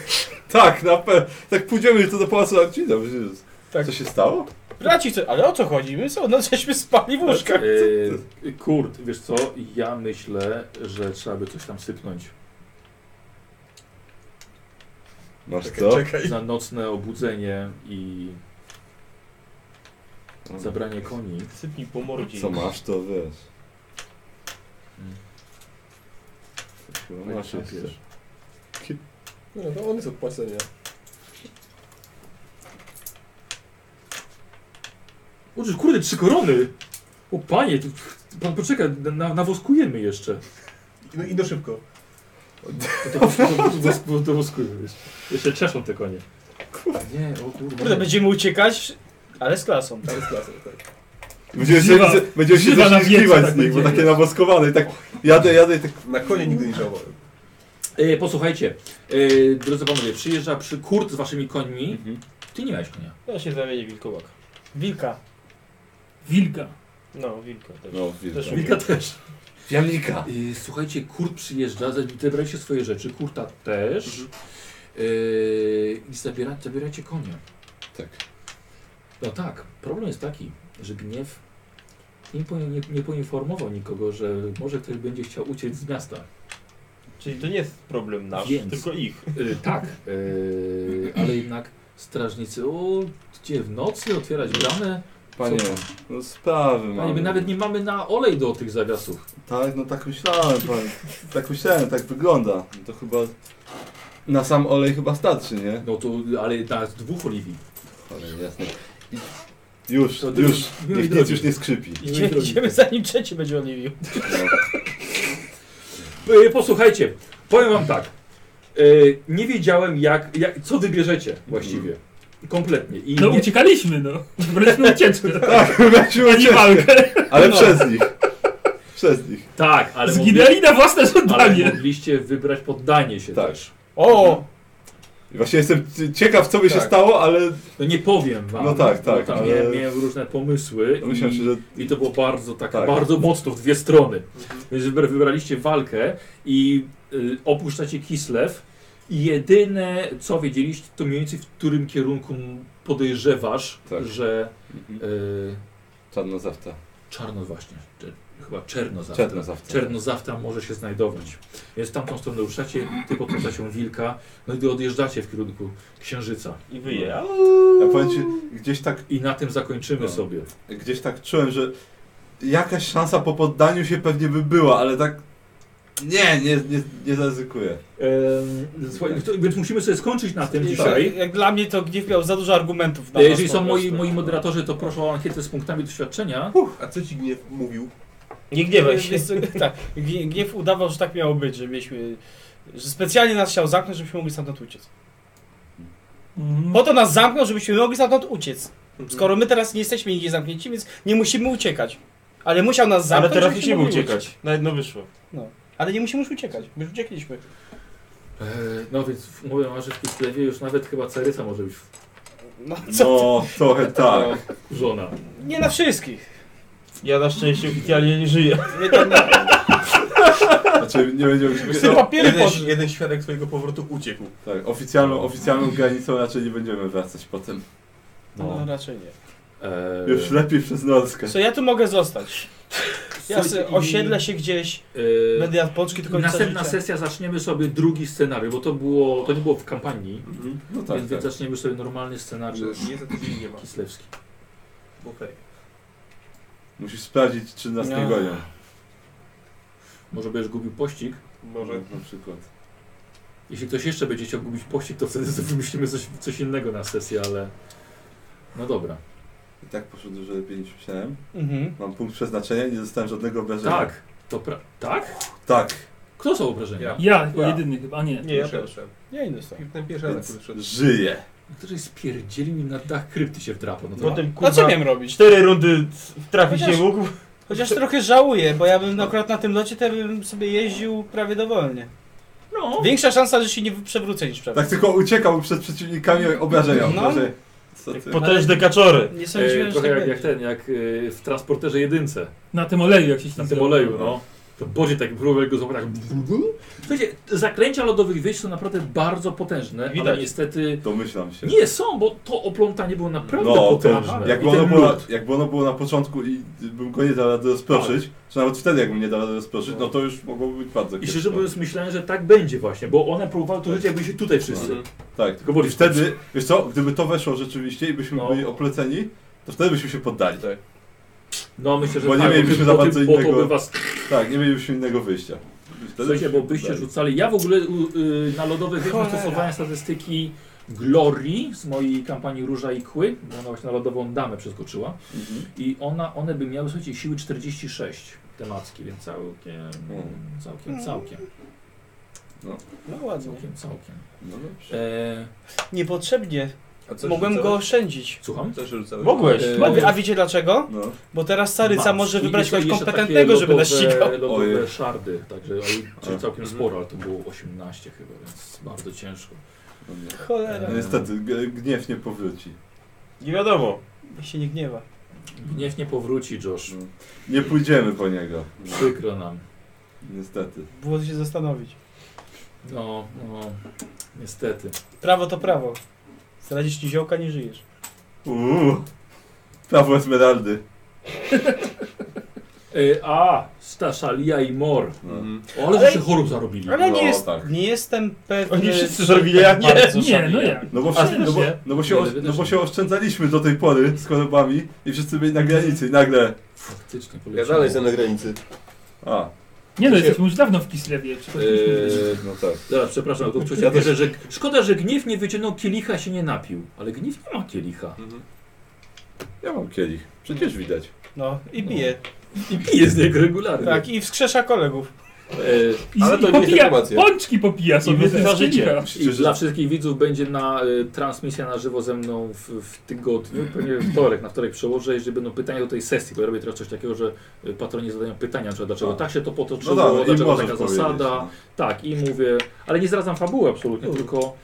[SPEAKER 1] Tak, na pewno. Tak pójdziemy to do pałacu Arcina. Tak. Co się stało?
[SPEAKER 2] Braci, co? ale o co chodzi? My co? No żeśmy spali w łóżkach.
[SPEAKER 4] Yy, kurt, wiesz co, ja myślę, że trzeba by coś tam sypnąć.
[SPEAKER 1] Masz
[SPEAKER 4] Czekaj,
[SPEAKER 1] co?
[SPEAKER 4] czekaj. Za nocne obudzenie i zabranie koni.
[SPEAKER 7] Sypnij po mordzie.
[SPEAKER 1] Co masz, to wiesz. Chyba masz
[SPEAKER 4] Papier.
[SPEAKER 1] jeszcze.
[SPEAKER 12] No to on jest od płacenia.
[SPEAKER 4] O, że kurde, trzy korony! O panie, to, pan poczeka, na, nawoskujemy jeszcze.
[SPEAKER 12] No i no szybko.
[SPEAKER 4] To, to, to, to woskujemy jeszcze. Jeszcze trzeszą te konie. Nie, o kurde.
[SPEAKER 2] Kurde, będziemy uciekać, ale z klasą.
[SPEAKER 12] Ale z klasą, tak.
[SPEAKER 1] Będziemy się,
[SPEAKER 12] Żywa-
[SPEAKER 1] będziemy się
[SPEAKER 12] żywa na
[SPEAKER 1] zaśmiechliwać
[SPEAKER 12] wiece
[SPEAKER 1] z nich,
[SPEAKER 12] tak
[SPEAKER 1] bo
[SPEAKER 12] będzie.
[SPEAKER 1] takie nawoskowane i tak jadę, jadę i tak...
[SPEAKER 12] Na konie nigdy nie żałowałem.
[SPEAKER 4] E, posłuchajcie, e, drodzy panowie, przyjeżdża przy kurt z waszymi końmi.
[SPEAKER 1] Mhm.
[SPEAKER 4] Ty nie miałeś konia.
[SPEAKER 7] Ja się zamienię w wilkołak.
[SPEAKER 2] Wilka.
[SPEAKER 3] Wilka.
[SPEAKER 7] No, wilka też.
[SPEAKER 1] No, wilka.
[SPEAKER 7] Też
[SPEAKER 4] Wilka też. Jamnika. Słuchajcie, Kurt przyjeżdża, zabraliście swoje rzeczy, Kurta też. E, I zabiera, zabieracie konia.
[SPEAKER 1] Tak.
[SPEAKER 4] No tak, problem jest taki, że gniew nie, po- nie, nie poinformował nikogo, że może ktoś będzie chciał uciec z miasta.
[SPEAKER 7] Czyli to nie jest problem nasz,
[SPEAKER 4] Więc.
[SPEAKER 7] tylko ich.
[SPEAKER 4] Y, tak, y, ale jednak strażnicy, o, gdzie w nocy otwierać bramę? Co
[SPEAKER 1] Panie,
[SPEAKER 4] pan?
[SPEAKER 1] no sprawy
[SPEAKER 4] Panie, my
[SPEAKER 1] mamy.
[SPEAKER 4] nawet nie mamy na olej do tych zawiasów.
[SPEAKER 1] Tak, no tak myślałem, panie. Tak myślałem, tak wygląda. No to chyba... Na sam olej chyba starczy, nie?
[SPEAKER 4] No to, ale na dwóch oliwii.
[SPEAKER 1] Ale jasne. I- Już,
[SPEAKER 4] To
[SPEAKER 1] już.
[SPEAKER 4] drodzy-
[SPEAKER 7] no
[SPEAKER 4] miłej
[SPEAKER 1] Niech nic
[SPEAKER 4] drogi.
[SPEAKER 1] już nie
[SPEAKER 7] *laughs*
[SPEAKER 1] skrzypi.
[SPEAKER 2] Idziemy, idziemy zanim trzeci będzie oliwił.
[SPEAKER 4] Y, Posłuchajcie, powiem wam tak. Y, Nie wiedziałem jak, jak co wybierzecie właściwie.
[SPEAKER 1] Mhm.
[SPEAKER 4] Kompletnie. I
[SPEAKER 3] No
[SPEAKER 4] nie,
[SPEAKER 3] uciekaliśmy, no. Wybraliśmy
[SPEAKER 1] *laughs*
[SPEAKER 3] ucieczkę.
[SPEAKER 1] Tak, weźmy
[SPEAKER 3] Ani walkę.
[SPEAKER 1] Ale
[SPEAKER 4] No.
[SPEAKER 1] przez nich. Przez nich.
[SPEAKER 4] tak, ale
[SPEAKER 3] Zginęli
[SPEAKER 4] mogli-
[SPEAKER 3] na własne
[SPEAKER 4] Ale
[SPEAKER 3] żądanie.
[SPEAKER 4] mogliście wybrać poddanie się
[SPEAKER 1] Tak.
[SPEAKER 4] też.
[SPEAKER 2] O!
[SPEAKER 1] I Właśnie jestem c- ciekaw, co by się
[SPEAKER 4] Tak.
[SPEAKER 1] stało, ale
[SPEAKER 4] No nie powiem wam.
[SPEAKER 1] No tak,
[SPEAKER 4] bo
[SPEAKER 1] tak,
[SPEAKER 4] Tam
[SPEAKER 1] ale- No
[SPEAKER 4] miałem, miałem różne pomysły i,
[SPEAKER 1] myślałem, że...
[SPEAKER 4] i to było bardzo tak,
[SPEAKER 1] Tak.
[SPEAKER 4] bardzo mocno w dwie strony. Więc wybra- wybraliście walkę i y, opuszczacie Kislev. I jedyne co wiedzieliście, to mniej więcej w którym kierunku podejrzewasz,
[SPEAKER 1] Tak.
[SPEAKER 4] że y,
[SPEAKER 1] Czarna zawta.
[SPEAKER 12] Tak,
[SPEAKER 4] czarno właśnie, czy, chyba czernozawta.
[SPEAKER 1] Czernozawta.
[SPEAKER 4] Czernozawta może się znajdować. Więc w tamtą stronę ruszacie, ty pod postacią wilka, no i odjeżdżacie w kierunku księżyca.
[SPEAKER 7] I wyje.
[SPEAKER 1] Ja powiem ci, gdzieś tak
[SPEAKER 4] I na tym zakończymy
[SPEAKER 1] No.
[SPEAKER 4] sobie.
[SPEAKER 1] gdzieś tak czułem, że jakaś szansa po poddaniu się pewnie by była, ale tak nie, nie, nie, nie zaryzykuję.
[SPEAKER 4] Ehm, słuchaj, to, więc musimy sobie skończyć na tym
[SPEAKER 2] Jak,
[SPEAKER 4] dzisiaj.
[SPEAKER 2] tak, jak dla mnie to gniew miał za dużo argumentów
[SPEAKER 1] Tak.
[SPEAKER 2] na
[SPEAKER 4] E, Jeżeli
[SPEAKER 2] nas
[SPEAKER 4] są
[SPEAKER 2] po
[SPEAKER 4] moi,
[SPEAKER 2] prostu.
[SPEAKER 4] moi moderatorzy, to proszę o ankietę z punktami doświadczenia.
[SPEAKER 12] A co ci gniew mówił?
[SPEAKER 2] Nie gniewaj się. tak, gnie- gniew udawał, że tak miało być, że mieliśmy... Że specjalnie nas chciał zamknąć, żebyśmy mogli stamtąd uciec.
[SPEAKER 4] Mhm.
[SPEAKER 2] Po to nas zamknął, żebyśmy mogli stamtąd uciec. Skoro my teraz nie jesteśmy nigdzie zamknięci, więc nie musimy uciekać. Ale musiał nas
[SPEAKER 7] Ale
[SPEAKER 2] zamknąć,
[SPEAKER 7] teraz musimy
[SPEAKER 2] żebyśmy
[SPEAKER 5] no
[SPEAKER 2] mogli
[SPEAKER 7] uciekać. Na jedno wyszło.
[SPEAKER 2] No. Ale nie musimy już uciekać, my już uciekliśmy.
[SPEAKER 4] Eee, No więc w- mówię wam, że w Kislewie już nawet chyba Caryca może być. w-
[SPEAKER 2] No,
[SPEAKER 1] No, trochę tak.
[SPEAKER 4] Żona.
[SPEAKER 2] Nie na wszystkich.
[SPEAKER 5] Ja na szczęście oficjalnie nie żyję.
[SPEAKER 1] Znaczy, nie będziemy się
[SPEAKER 2] Są papiery
[SPEAKER 1] Jeden-
[SPEAKER 2] pod-
[SPEAKER 1] jeden świadek swojego powrotu uciekł. Tak, oficjalną, oficjalną granicą raczej nie będziemy wracać potem.
[SPEAKER 2] No, raczej nie.
[SPEAKER 4] Eee,
[SPEAKER 1] Już lepiej przez Norskę.
[SPEAKER 2] Co ja tu mogę zostać? Ja
[SPEAKER 4] Słuchaj,
[SPEAKER 2] se
[SPEAKER 4] i-
[SPEAKER 2] osiedlę się gdzieś,
[SPEAKER 4] Eee,
[SPEAKER 2] będę jadł pączki do końca
[SPEAKER 4] Następna
[SPEAKER 2] życia.
[SPEAKER 4] sesja zaczniemy sobie drugi scenariusz, bo to było, to nie było w kampanii,
[SPEAKER 1] No tak,
[SPEAKER 4] więc, więc
[SPEAKER 1] tak.
[SPEAKER 4] zaczniemy sobie normalny
[SPEAKER 12] Znaczy,
[SPEAKER 4] scenariusz
[SPEAKER 10] Że nie za tydzień nie ma.
[SPEAKER 4] kislewski.
[SPEAKER 10] Okej.
[SPEAKER 1] Musisz sprawdzić, czy nas nie
[SPEAKER 3] No.
[SPEAKER 4] Ja.
[SPEAKER 1] gonią.
[SPEAKER 4] Może będziesz gubił pościg.
[SPEAKER 1] Może. Na przykład.
[SPEAKER 4] Jeśli ktoś jeszcze będzie chciał gubić pościg, to wtedy *laughs* sobie wymyślimy coś, coś innego na sesję, ale... No dobra.
[SPEAKER 1] I tak poszło dużo lepiej niż myślałem.
[SPEAKER 2] Mhm.
[SPEAKER 1] Mam punkt przeznaczenia i nie dostałem żadnego obrażenia.
[SPEAKER 4] Tak, to pra... Tak?
[SPEAKER 1] Tak.
[SPEAKER 4] Kto są obrażenia?
[SPEAKER 3] Ja, ja. jedyny chyba, a nie.
[SPEAKER 2] Nie, ja też. Ja inny sam.
[SPEAKER 10] Ten pierwszy atak
[SPEAKER 1] Więc
[SPEAKER 10] wyszedł.
[SPEAKER 1] żyję.
[SPEAKER 4] Któryś spierdzieli mi na dach krypty się wdrapał. No to...
[SPEAKER 5] Potem
[SPEAKER 2] No co miałem robić?
[SPEAKER 5] Cztery rundy c- trafić
[SPEAKER 2] Chociaż-
[SPEAKER 5] nie mógł.
[SPEAKER 2] Chociaż trochę żałuję, bo ja bym akurat na tym locie to ja bym sobie jeździł prawie dowolnie.
[SPEAKER 4] No.
[SPEAKER 2] Większa szansa, że się nie przewrócę niż przewrócę.
[SPEAKER 1] Tak tylko uciekał przed przeciwnikami obrażenia.
[SPEAKER 2] No.
[SPEAKER 1] Może... Co
[SPEAKER 3] Tak
[SPEAKER 1] ty?
[SPEAKER 5] Potężne kaczory.
[SPEAKER 2] Nie
[SPEAKER 4] E, trochę
[SPEAKER 2] tak
[SPEAKER 4] jak, jak ten, jak e, w transporterze jedynce.
[SPEAKER 3] Na tym oleju jak się
[SPEAKER 4] Na
[SPEAKER 3] tam
[SPEAKER 4] tym
[SPEAKER 3] zrobił.
[SPEAKER 4] oleju, no. To Bodzie tak próbował go złapać. tak. Słuchajcie, zaklęcia lodowych wyjść są naprawdę bardzo potężne, ale
[SPEAKER 1] Widać.
[SPEAKER 4] niestety...
[SPEAKER 1] Domyślam się.
[SPEAKER 4] Nie są, bo to oplątanie było naprawdę
[SPEAKER 1] Tak. No, to,
[SPEAKER 4] potężne.
[SPEAKER 1] jakby,
[SPEAKER 4] I ten
[SPEAKER 1] ono było,
[SPEAKER 4] lód.
[SPEAKER 1] jakby ono było na początku i bym go nie dał rady rozproszyć, czy nawet wtedy jakbym nie dał rady rozproszyć, no to już mogłoby być bardzo
[SPEAKER 4] Tak. I
[SPEAKER 1] kiepsko.
[SPEAKER 4] szczerze mówiąc myślałem, że tak będzie właśnie, bo one próbowały to żyć jakby się tutaj wszyscy.
[SPEAKER 1] Mhm. Tak,
[SPEAKER 4] Tylko No.
[SPEAKER 1] tylko
[SPEAKER 4] boli.
[SPEAKER 1] I wtedy, wiesz co, gdyby to weszło rzeczywiście i byśmy byli opleceni, to wtedy byśmy się poddali.
[SPEAKER 4] No myślę, że
[SPEAKER 1] Bo nie
[SPEAKER 4] tak,
[SPEAKER 1] mielibyśmy
[SPEAKER 4] bo
[SPEAKER 1] za
[SPEAKER 4] ty-
[SPEAKER 1] bardzo
[SPEAKER 4] bo to
[SPEAKER 1] innego.
[SPEAKER 4] by was-
[SPEAKER 1] Tak, nie mielibyśmy innego wyjścia. Wtedy
[SPEAKER 4] Słuchajcie,
[SPEAKER 1] byśmy
[SPEAKER 4] bo
[SPEAKER 1] się
[SPEAKER 4] byście
[SPEAKER 1] poddali.
[SPEAKER 4] rzucali. Ja w ogóle u- y, na lodowych wyspach
[SPEAKER 2] Cholera.
[SPEAKER 4] stosowałem statystyki Glory z mojej kampanii Róża i Kły, bo ona właśnie na lodową damę przeskoczyła.
[SPEAKER 1] Mhm.
[SPEAKER 4] I ona, one by miały, słuchajcie, siły 46 temackie, więc całkiem, całkiem, całkiem.
[SPEAKER 1] No,
[SPEAKER 2] No ładnie.
[SPEAKER 4] Całkiem, całkiem.
[SPEAKER 1] no dobrze.
[SPEAKER 4] E,
[SPEAKER 2] Niepotrzebnie.
[SPEAKER 10] A co
[SPEAKER 2] Mogłem
[SPEAKER 10] rzucałeś?
[SPEAKER 2] go oszczędzić.
[SPEAKER 4] Słucham?
[SPEAKER 10] Też rzucałeś.
[SPEAKER 2] Mogłeś.
[SPEAKER 4] E,
[SPEAKER 2] A wiecie dlaczego?
[SPEAKER 1] No.
[SPEAKER 2] Bo teraz Saryca
[SPEAKER 4] Mac.
[SPEAKER 2] może
[SPEAKER 4] I
[SPEAKER 2] wybrać
[SPEAKER 4] jeszcze-
[SPEAKER 2] kogoś
[SPEAKER 4] jeszcze takie
[SPEAKER 2] kompetentnego, żeby nas
[SPEAKER 4] lodowe-
[SPEAKER 2] ścigał. *laughs*
[SPEAKER 4] Lodowe
[SPEAKER 1] Ojej.
[SPEAKER 4] szardy, także oj, czyli
[SPEAKER 1] A. Mhm.
[SPEAKER 4] całkiem sporo, ale to było 18 chyba, więc bardzo ciężko.
[SPEAKER 1] No nie.
[SPEAKER 2] Cholera.
[SPEAKER 1] No niestety, g- gniew nie powróci.
[SPEAKER 5] Nie wiadomo.
[SPEAKER 2] Niech się nie gniewa.
[SPEAKER 4] Gniew nie powróci, Josh.
[SPEAKER 1] Nie pójdziemy po niego. No,
[SPEAKER 4] Przykro nam.
[SPEAKER 1] Niestety.
[SPEAKER 2] Było się zastanowić.
[SPEAKER 4] No, no, niestety.
[SPEAKER 2] Prawo to prawo. Zdradzisz ci ziołka, nie żyjesz.
[SPEAKER 1] Uuu. Prawo Esmeraldy.
[SPEAKER 4] E, a, Staszalia i Mor.
[SPEAKER 1] No.
[SPEAKER 4] O, ale
[SPEAKER 2] Ale-
[SPEAKER 4] żeście chorób zarobili.
[SPEAKER 2] Ale nie,
[SPEAKER 1] No,
[SPEAKER 2] jest,
[SPEAKER 1] tak.
[SPEAKER 2] nie jestem pewny. tak
[SPEAKER 5] Oni wszyscy zrobili, tak ja nie.
[SPEAKER 2] Bardzo
[SPEAKER 3] Nie, no
[SPEAKER 2] szanuję.
[SPEAKER 3] jak?
[SPEAKER 1] No bo,
[SPEAKER 4] A,
[SPEAKER 1] wszy- no, bo,
[SPEAKER 4] nie?
[SPEAKER 1] no, bo się,
[SPEAKER 4] Nie,
[SPEAKER 1] osz-
[SPEAKER 4] wiesz,
[SPEAKER 1] no bo
[SPEAKER 4] nie.
[SPEAKER 1] się oszczędzaliśmy do tej pory z chorobami i wszyscy byli na granicy i nagle...
[SPEAKER 4] Faktycznie
[SPEAKER 12] Ja
[SPEAKER 4] poleciało.
[SPEAKER 12] dalej jestem na granicy.
[SPEAKER 1] A,
[SPEAKER 3] Nie no,
[SPEAKER 1] Się-
[SPEAKER 3] jesteśmy już dawno w Kislewie. przychodziliśmy.
[SPEAKER 1] Eee, no tak.
[SPEAKER 4] Zaraz, przepraszam,
[SPEAKER 1] *laughs*
[SPEAKER 4] to wcześniej
[SPEAKER 1] Ja też-
[SPEAKER 4] że, że szkoda, że Gniew nie wyciągnął kielicha, się nie napił. Ale Gniew nie ma kielicha.
[SPEAKER 1] Mhm. Ja mam kielich. Przecież widać.
[SPEAKER 2] No i bije.
[SPEAKER 4] I pije z niego regularnie.
[SPEAKER 2] Tak, i wskrzesza kolegów.
[SPEAKER 4] E,
[SPEAKER 3] I,
[SPEAKER 12] ale
[SPEAKER 3] i
[SPEAKER 12] to nie jest
[SPEAKER 3] popija,
[SPEAKER 12] informacja.
[SPEAKER 3] pączki popija sobie.
[SPEAKER 5] wysysa
[SPEAKER 3] ten z
[SPEAKER 5] życie.
[SPEAKER 3] kielicha.
[SPEAKER 4] I
[SPEAKER 1] Przecież
[SPEAKER 4] dla wszystkich widzów będzie na y, transmisja na żywo ze mną w, w tygodniu,
[SPEAKER 1] Mm.
[SPEAKER 4] pewnie we wtorek, na wtorek przełożę, jeżeli będą pytania do tej sesji, bo ja robię teraz coś takiego, że y, patroni zadają pytania, czy dlaczego
[SPEAKER 1] A.
[SPEAKER 4] tak się to
[SPEAKER 1] No
[SPEAKER 4] potoczyło,
[SPEAKER 1] dobra, i
[SPEAKER 4] dlaczego
[SPEAKER 1] możesz
[SPEAKER 4] taka
[SPEAKER 1] powiedzieć.
[SPEAKER 4] zasada.
[SPEAKER 1] no.
[SPEAKER 4] Tak, i mówię, ale nie zdradzam fabuły absolutnie, tylko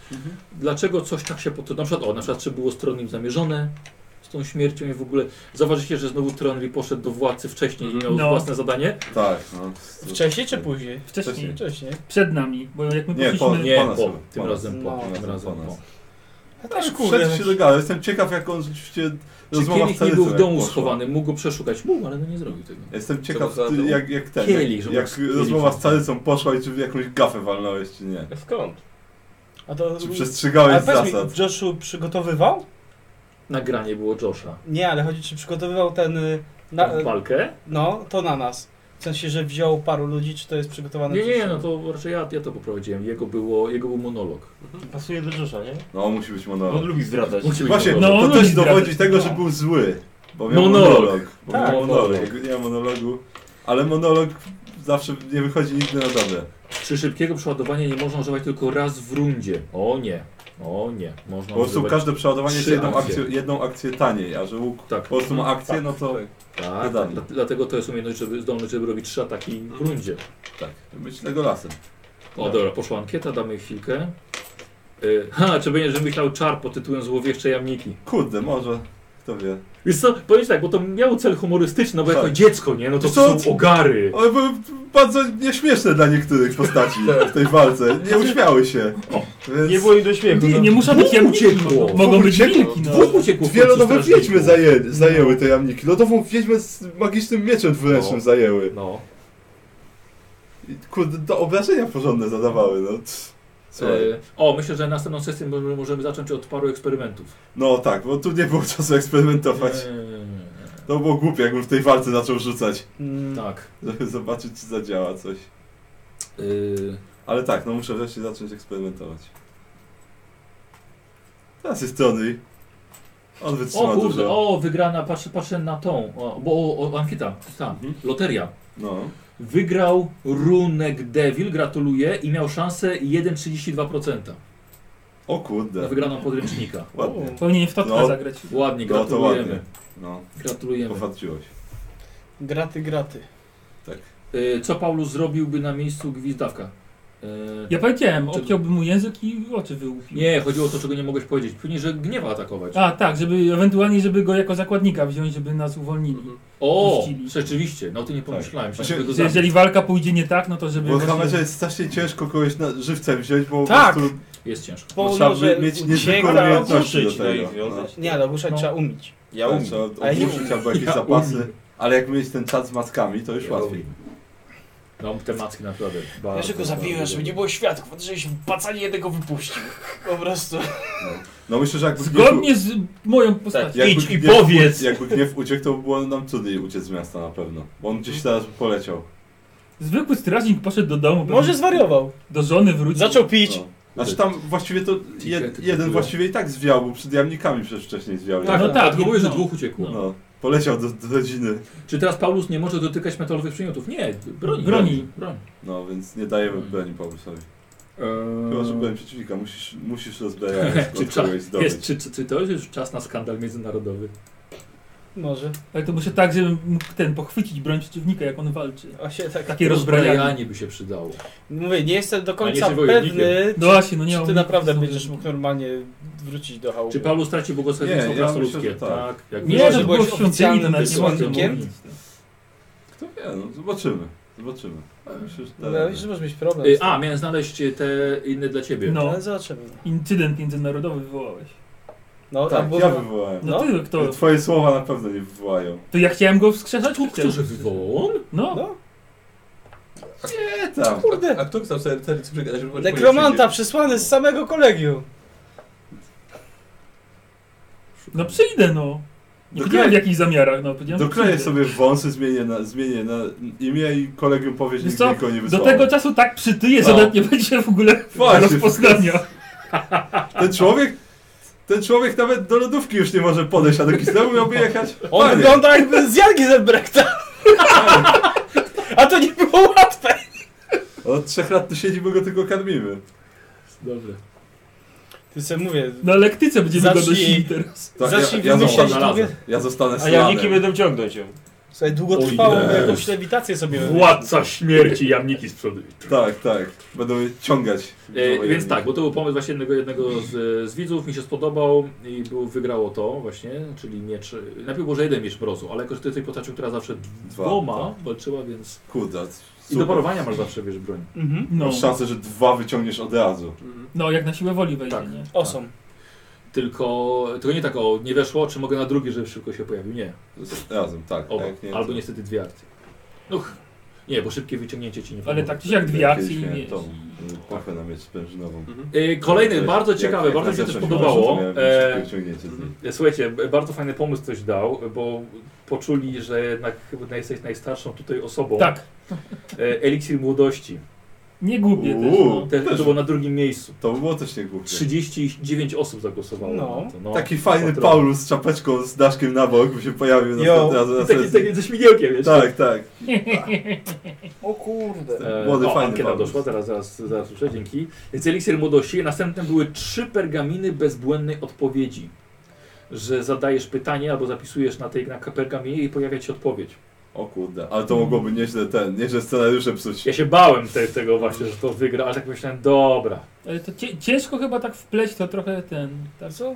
[SPEAKER 4] dlaczego coś tak się potoczyło. Na przykład, o, na przykład, czy było stronnym zamierzone z tą śmiercią i w ogóle. Zauważycie, że znowu Tronry poszedł do władcy wcześniej i miał
[SPEAKER 3] No.
[SPEAKER 4] własne zadanie?
[SPEAKER 1] Tak, no.
[SPEAKER 2] Wcześniej czy później?
[SPEAKER 3] Wcześniej,
[SPEAKER 2] Wcześniej.
[SPEAKER 3] przed nami, bo jak my
[SPEAKER 1] Nie,
[SPEAKER 3] poszliśmy...
[SPEAKER 1] po-
[SPEAKER 4] Nie,
[SPEAKER 1] nas
[SPEAKER 4] po,
[SPEAKER 1] chyba,
[SPEAKER 4] tym
[SPEAKER 1] po nas.
[SPEAKER 4] razem
[SPEAKER 2] No.
[SPEAKER 4] po, tym
[SPEAKER 1] Po
[SPEAKER 4] razem
[SPEAKER 1] nas.
[SPEAKER 4] po.
[SPEAKER 2] A też kurde. no
[SPEAKER 1] Wszedł się dogadał. Jestem ciekaw, jak on rzeczywiście
[SPEAKER 4] Czy
[SPEAKER 1] rozmowa
[SPEAKER 4] kielich
[SPEAKER 1] z
[SPEAKER 4] nie był w
[SPEAKER 1] Tarycem
[SPEAKER 4] domu
[SPEAKER 1] poszła.
[SPEAKER 4] schowany? Mógł go przeszukać? Mógł, ale no nie zrobił tego.
[SPEAKER 1] Jestem
[SPEAKER 10] Co
[SPEAKER 1] ciekaw,
[SPEAKER 10] to za
[SPEAKER 1] ty-
[SPEAKER 10] dom?
[SPEAKER 1] jak, jak ten,
[SPEAKER 4] Kielich,
[SPEAKER 1] jak,
[SPEAKER 4] żeby
[SPEAKER 1] jak
[SPEAKER 4] z kielichem.
[SPEAKER 1] rozmowa z Tarycą poszła i czy w jakąś gafę walnąłeś, czy nie.
[SPEAKER 5] Skąd?
[SPEAKER 2] A to...
[SPEAKER 1] Czy przestrzegałeś
[SPEAKER 2] Ale powiedz
[SPEAKER 1] zasad?
[SPEAKER 2] mi, Joshu przygotowywał?
[SPEAKER 4] Nagranie było Josha.
[SPEAKER 2] Nie, ale chodzi, czy przygotowywał ten... y, Na,
[SPEAKER 1] E,
[SPEAKER 4] Na, walkę?
[SPEAKER 2] no, to na nas. W sensie, że wziął paru ludzi, czy to jest przygotowane?
[SPEAKER 4] Nie,
[SPEAKER 2] przez-
[SPEAKER 4] nie, no to raczej ja, ja to poprowadziłem. Jego, było, jego był monolog.
[SPEAKER 5] Pasuje do Josza, nie?
[SPEAKER 1] No, musi być
[SPEAKER 5] On
[SPEAKER 1] monolog.
[SPEAKER 5] lubi zdradzać.
[SPEAKER 4] Musi być
[SPEAKER 1] Właśnie,
[SPEAKER 4] monolog.
[SPEAKER 3] No,
[SPEAKER 1] to
[SPEAKER 3] on
[SPEAKER 1] też
[SPEAKER 3] lubi
[SPEAKER 1] dowodzi
[SPEAKER 3] zdradzać.
[SPEAKER 1] tego,
[SPEAKER 2] No.
[SPEAKER 1] że był zły. Bo miał
[SPEAKER 4] Monolog.
[SPEAKER 1] monolog. Bo
[SPEAKER 2] Tak.
[SPEAKER 1] miał monolog.
[SPEAKER 4] Monolog.
[SPEAKER 1] Jak nie ma monologu, ale monolog zawsze nie wychodzi nigdy na dobre.
[SPEAKER 4] Przy szybkiego przeładowania nie można używać tylko raz w rundzie. O nie, o nie. Można
[SPEAKER 1] Po prostu
[SPEAKER 4] używać...
[SPEAKER 1] każde przeładowanie jest
[SPEAKER 4] trzy
[SPEAKER 1] jedną
[SPEAKER 4] akcje.
[SPEAKER 1] akcją, jedną akcję taniej, a że łuk
[SPEAKER 4] Tak.
[SPEAKER 1] po prostu ma akcję, no to...
[SPEAKER 4] Tak,
[SPEAKER 1] Zadanie.
[SPEAKER 4] tak. dla- dlatego to jest umiejętność, żeby zdolność, żeby robić trzy ataki w rundzie.
[SPEAKER 1] No. Tak, być tego lasem.
[SPEAKER 4] O, dobra, poszła ankieta, damy chwilkę. Y, Ha, czy będziesz myślał czar pod tytułem Złowieszcze Jamniki?
[SPEAKER 5] Kurde, może. Kto wie.
[SPEAKER 4] Wiesz co, powiedz tak, bo to miało cel humorystyczny, no bo jako
[SPEAKER 5] Tak.
[SPEAKER 4] dziecko, nie? No to,
[SPEAKER 5] Wiesz co,
[SPEAKER 4] to są ogary.
[SPEAKER 5] One były bardzo nieśmieszne dla niektórych
[SPEAKER 4] *laughs*
[SPEAKER 5] postaci w tej walce.
[SPEAKER 4] Znaczy-
[SPEAKER 5] Nie uśmiały się. Więc... Nie
[SPEAKER 19] było im do śmiechu.
[SPEAKER 3] Nie, nie muszą być jamniki. Mogą, mogą być wilki. no.
[SPEAKER 5] Dwóch
[SPEAKER 4] uciekło.
[SPEAKER 5] Dwie lodowe wiedźmy zaję,
[SPEAKER 4] No.
[SPEAKER 5] zajęły te jamniki. Lodową wiedźmę z magicznym mieczem dwuręcznym zajęły.
[SPEAKER 4] No.
[SPEAKER 5] I, kurde, to obrażenia porządne zadawały, no. Tch. Słuchaj.
[SPEAKER 4] Y, O, myślę, że następną sesję możemy- możemy zacząć od paru eksperymentów.
[SPEAKER 5] No tak, bo tu nie było czasu eksperymentować. To było głupie, jakbym w tej walce zaczął rzucać. *laughs*
[SPEAKER 4] Tak.
[SPEAKER 5] Żeby zobaczyć, czy zadziała coś. Ale tak, no muszę wreszcie zacząć eksperymentować. Teraz jest Tony. On
[SPEAKER 4] O
[SPEAKER 5] wytrzyma
[SPEAKER 4] kurde,
[SPEAKER 5] dużo.
[SPEAKER 4] o, wygrana, patrzę, patrzę na tą, o, bo o, o, ankieta, tam,
[SPEAKER 5] Mhm.
[SPEAKER 4] loteria.
[SPEAKER 5] No.
[SPEAKER 4] Wygrał Runek Devil, gratuluję, i miał szansę 1,32%.
[SPEAKER 5] O kurde.
[SPEAKER 4] Na wygraną podręcznika.
[SPEAKER 5] Ładnie.
[SPEAKER 3] Powinien w totka
[SPEAKER 4] No.
[SPEAKER 3] zagrać.
[SPEAKER 4] Ładnie,
[SPEAKER 5] No to
[SPEAKER 4] gratulujemy.
[SPEAKER 5] ładnie. No.
[SPEAKER 4] Gratulujemy.
[SPEAKER 5] Popatrzyłeś.
[SPEAKER 2] Graty, graty.
[SPEAKER 5] Tak.
[SPEAKER 4] Y, Co Paulus zrobiłby na miejscu gwizdawka? Y,
[SPEAKER 3] Ja powiedziałem,
[SPEAKER 4] czego-
[SPEAKER 3] obciąłbym mu język i oczy wyłupił.
[SPEAKER 4] Nie, chodziło o to, czego nie mogłeś powiedzieć. Później, że gniewa atakować.
[SPEAKER 3] A tak, żeby ewentualnie, żeby go jako zakładnika wziąć, żeby nas uwolnili.
[SPEAKER 4] O,
[SPEAKER 3] Puścili.
[SPEAKER 4] rzeczywiście, no ty nie pomyślałem.
[SPEAKER 5] Tak.
[SPEAKER 4] Myślałem, że go
[SPEAKER 3] Że jeżeli
[SPEAKER 4] zabić.
[SPEAKER 3] walka pójdzie nie tak, no to żeby...
[SPEAKER 5] Bo
[SPEAKER 3] właśnie-
[SPEAKER 5] chyba, że jest strasznie ciężko kogoś na żywcem wziąć, bo
[SPEAKER 3] Tak.
[SPEAKER 5] po prostu...
[SPEAKER 4] Jest ciężko.
[SPEAKER 5] Bo
[SPEAKER 2] Bo
[SPEAKER 5] trzeba
[SPEAKER 2] może
[SPEAKER 5] by mieć niezwykłe
[SPEAKER 2] ucieka,
[SPEAKER 5] umiejętności do
[SPEAKER 2] ogłuszyć, no i
[SPEAKER 5] tego. No.
[SPEAKER 2] wiązać. Nie, no ogłuszać trzeba umieć. Ja
[SPEAKER 5] Tak,
[SPEAKER 2] umiem.
[SPEAKER 5] Trzeba
[SPEAKER 2] Ale nie
[SPEAKER 5] ogłuszyć
[SPEAKER 2] umiem.
[SPEAKER 5] albo jakieś
[SPEAKER 2] Ja
[SPEAKER 5] zapasy.
[SPEAKER 2] umiem.
[SPEAKER 5] Ale jak mieć ten czat z matkami, to już łatwiej.
[SPEAKER 4] No, te macki naprawdę.
[SPEAKER 2] Ja się go zabiłem, żeby nie było świadków, żebyś w pacanie jednego wypuścił. Po prostu.
[SPEAKER 5] No myślę, że jakby...
[SPEAKER 3] Zgodnie z moją postacią.
[SPEAKER 5] Jakby
[SPEAKER 3] Idź i
[SPEAKER 5] gniew,
[SPEAKER 3] powiedz!
[SPEAKER 5] Jakby gniew uciekł, to by było nam cudniej uciec z miasta na pewno. Bo on gdzieś teraz by poleciał.
[SPEAKER 3] Zwykły strażnik poszedł do domu.
[SPEAKER 5] Może
[SPEAKER 2] zwariował.
[SPEAKER 3] Do żony wrócił.
[SPEAKER 2] Zaczął pić.
[SPEAKER 5] No. Znaczy tam właściwie to jed, jeden właściwie i tak zwiał, bo przed jamnikami przecież wcześniej zwiał.
[SPEAKER 4] Tak, no tak, odgłowuje, że
[SPEAKER 5] no.
[SPEAKER 4] dwóch uciekło.
[SPEAKER 5] No. Poleciał do, do rodziny.
[SPEAKER 4] Czy teraz Paulus nie może dotykać metalowych przedmiotów? Nie, broni. broni.
[SPEAKER 5] No, więc nie dajemy broni Paulusowi. Eee, Chyba, że byłem przeciwnika, musisz, musisz rozbrajać
[SPEAKER 4] czy,
[SPEAKER 5] od
[SPEAKER 4] cza,
[SPEAKER 5] kogoś zdobyć.
[SPEAKER 4] Eee, jest, czy, czy, czy to jest już czas na skandal międzynarodowy?
[SPEAKER 5] No.
[SPEAKER 2] Może.
[SPEAKER 3] Ale to muszę tak, żebym mógł ten pochwycić broń przeciwnika, jak on walczy.
[SPEAKER 2] A się tak-
[SPEAKER 3] Takie rozbrajanie.
[SPEAKER 4] by się przydało.
[SPEAKER 2] Mówię, nie jestem do
[SPEAKER 4] A nie
[SPEAKER 2] końca
[SPEAKER 4] jestem
[SPEAKER 2] pewny,
[SPEAKER 4] wojownikiem.
[SPEAKER 2] czy,
[SPEAKER 3] No właśnie, no nie
[SPEAKER 2] czy ty
[SPEAKER 3] mam-
[SPEAKER 2] naprawdę będziesz mógł normalnie wrócić do chałupy.
[SPEAKER 4] Czy Paulus straci błogosławieństwo
[SPEAKER 5] Nie, ja
[SPEAKER 4] krasnoludzkie?
[SPEAKER 5] myślę, że tak.
[SPEAKER 4] Jak
[SPEAKER 2] Nie,
[SPEAKER 4] mimo,
[SPEAKER 2] że byłeś
[SPEAKER 3] no świątyni, to
[SPEAKER 2] oficjalnym
[SPEAKER 3] nawet nie można
[SPEAKER 2] wysłannikiem?
[SPEAKER 3] mówić.
[SPEAKER 5] Kto wie, no zobaczymy. Zobaczymy. Ale myślę, że tak.
[SPEAKER 2] No,
[SPEAKER 5] da
[SPEAKER 2] wiesz,
[SPEAKER 5] radę.
[SPEAKER 2] że może być problem.
[SPEAKER 4] Y, A, miałem znaleźć te inne dla ciebie.
[SPEAKER 3] No.
[SPEAKER 2] Ale zobaczymy.
[SPEAKER 3] Incydent międzynarodowy wywołałeś.
[SPEAKER 2] No,
[SPEAKER 5] tak,
[SPEAKER 2] albo-
[SPEAKER 5] ja wywołałem.
[SPEAKER 3] No ty, kto?
[SPEAKER 5] Twoje słowa na pewno nie wywołają.
[SPEAKER 3] To ja chciałem go wskrzeszać? To
[SPEAKER 4] kto, że wywołał on?
[SPEAKER 3] No.
[SPEAKER 5] Nie tam.
[SPEAKER 2] Kurde.
[SPEAKER 1] A, a kto chciał sobie teraz przegadać? żeby może
[SPEAKER 2] Nekromanta przysłany z samego kolegium.
[SPEAKER 3] No przyjdę, no. Nie
[SPEAKER 5] Doklej-
[SPEAKER 3] powiedziałem w jakich zamiarach, no. powiedziałem, że
[SPEAKER 5] Dokleję
[SPEAKER 3] przyjdę.
[SPEAKER 5] sobie wąsy, zmienię na, zmienię na imię i kolegium powie, że
[SPEAKER 3] Wiesz
[SPEAKER 5] nigdy
[SPEAKER 3] co,
[SPEAKER 5] nikogo nie
[SPEAKER 3] do
[SPEAKER 5] wysłał.
[SPEAKER 3] tego czasu tak przytyję,
[SPEAKER 5] No.
[SPEAKER 3] że nawet nie będzie
[SPEAKER 4] *laughs*
[SPEAKER 3] w ogóle
[SPEAKER 5] Właśnie.
[SPEAKER 3] rozpoznania.
[SPEAKER 5] Ten człowiek, ten człowiek nawet do lodówki już nie może podejść, a do Kislewu miałby jechać.
[SPEAKER 2] On
[SPEAKER 5] Panie.
[SPEAKER 2] wygląda jakby z Jargi Zembrechta. *laughs* A to nie było łatwe.
[SPEAKER 5] Od trzech lat tu siedzimy, go tylko karmimy.
[SPEAKER 4] Dobrze.
[SPEAKER 2] Ty sobie mówię.
[SPEAKER 3] Na lektyce będziemy go
[SPEAKER 2] zacznij-
[SPEAKER 3] dosili teraz.
[SPEAKER 5] Tak,
[SPEAKER 2] zacznij
[SPEAKER 5] ja- ja
[SPEAKER 2] wymyślać
[SPEAKER 5] zostanę
[SPEAKER 2] drugie-
[SPEAKER 5] razem. Ja zostanę
[SPEAKER 2] A
[SPEAKER 5] slanem.
[SPEAKER 2] jamniki będą ciągnąć ją. Słuchaj, długo
[SPEAKER 5] Oj,
[SPEAKER 2] trwało, bo
[SPEAKER 5] jest.
[SPEAKER 2] jakąś lewitację sobie
[SPEAKER 4] Władca śmierci, jamniki z przodu.
[SPEAKER 5] Tak, tak. Będą je ciągać.
[SPEAKER 4] E, więc tak, bo to był pomysł właśnie jednego, jednego z, z widzów, mi się spodobał i było, wygrało to właśnie, czyli miecz, najpierw było, że jeden miecz mrozu, ale jako, że ty jesteś postacią, która zawsze
[SPEAKER 5] Dwa, tak.
[SPEAKER 4] dwoma walczyła, więc...
[SPEAKER 5] Kurde.
[SPEAKER 4] I do parowania masz zawsze, wiesz, broń.
[SPEAKER 3] Mhm. No.
[SPEAKER 5] No. Masz szansę, że dwa wyciągniesz od razu.
[SPEAKER 3] No, jak na siłę woli wejdzie, nie?
[SPEAKER 2] Osom.
[SPEAKER 4] Tylko, tylko nie tak, o, nie weszło, czy mogę na drugi, żeby szybko się pojawił, nie.
[SPEAKER 5] Razem, tak.
[SPEAKER 4] Oba.
[SPEAKER 5] tak, nie,
[SPEAKER 4] Albo
[SPEAKER 5] to-
[SPEAKER 4] niestety dwie akcje. No, ch- nie, bo szybkie wyciągnięcie ci nie
[SPEAKER 3] Ale
[SPEAKER 4] pomogło.
[SPEAKER 3] tak czy siak dwie akcje
[SPEAKER 5] Kiedyś
[SPEAKER 3] i
[SPEAKER 5] miałem
[SPEAKER 3] wiesz.
[SPEAKER 5] tą, y, Pochwę na miecz sprężynową.
[SPEAKER 1] Mhm.
[SPEAKER 4] Y, Kolejny,
[SPEAKER 5] Jak-
[SPEAKER 4] bardzo
[SPEAKER 5] jak-
[SPEAKER 4] ciekawy,
[SPEAKER 5] jak
[SPEAKER 4] bardzo mi się
[SPEAKER 5] na
[SPEAKER 4] też
[SPEAKER 5] zacząć
[SPEAKER 4] podobało.
[SPEAKER 5] walczyć, to tak miałem
[SPEAKER 4] E,
[SPEAKER 5] szybkie wyciągnięcie z nim.
[SPEAKER 4] słuchajcie, b- bardzo fajny pomysł ktoś dał, bo poczuli, że jednak chyba jesteś najstarszą tutaj osobą.
[SPEAKER 3] Tak.
[SPEAKER 4] E, Eliksir młodości.
[SPEAKER 3] Nie gubię też,
[SPEAKER 5] Uuu,
[SPEAKER 3] no.
[SPEAKER 4] Te,
[SPEAKER 5] Też.
[SPEAKER 4] To było na drugim miejscu.
[SPEAKER 5] To było też niegłupie.
[SPEAKER 4] 39 osób zagłosowało
[SPEAKER 5] No.
[SPEAKER 4] na to. No,
[SPEAKER 5] Taki fajny
[SPEAKER 4] patrol.
[SPEAKER 5] Paulus z czapeczką z daszkiem na bok by się pojawił na
[SPEAKER 4] Yo.
[SPEAKER 5] raz
[SPEAKER 4] tak- I taki- taki ze śmigiełkiem jeszcze.
[SPEAKER 5] Tak, tak.
[SPEAKER 20] O kurde.
[SPEAKER 4] E,
[SPEAKER 5] Młody,
[SPEAKER 4] o,
[SPEAKER 5] fajny
[SPEAKER 4] ankieta
[SPEAKER 5] pomysł.
[SPEAKER 4] doszła, zaraz, zaraz, zaraz słyszę, dzięki. Więc eliksir młodości. Następne były trzy pergaminy bezbłędnej odpowiedzi. Że zadajesz pytanie albo zapisujesz na tej na pergaminie i pojawia ci odpowiedź.
[SPEAKER 5] O kurde, ale to mogłoby nieźle ten, nieźle scenariusze psuć.
[SPEAKER 4] Ja się bałem te, tego właśnie, że to wygra, ale tak myślałem, dobra.
[SPEAKER 3] Ale to cie, ciężko chyba tak wpleć to trochę ten. Tak? Co?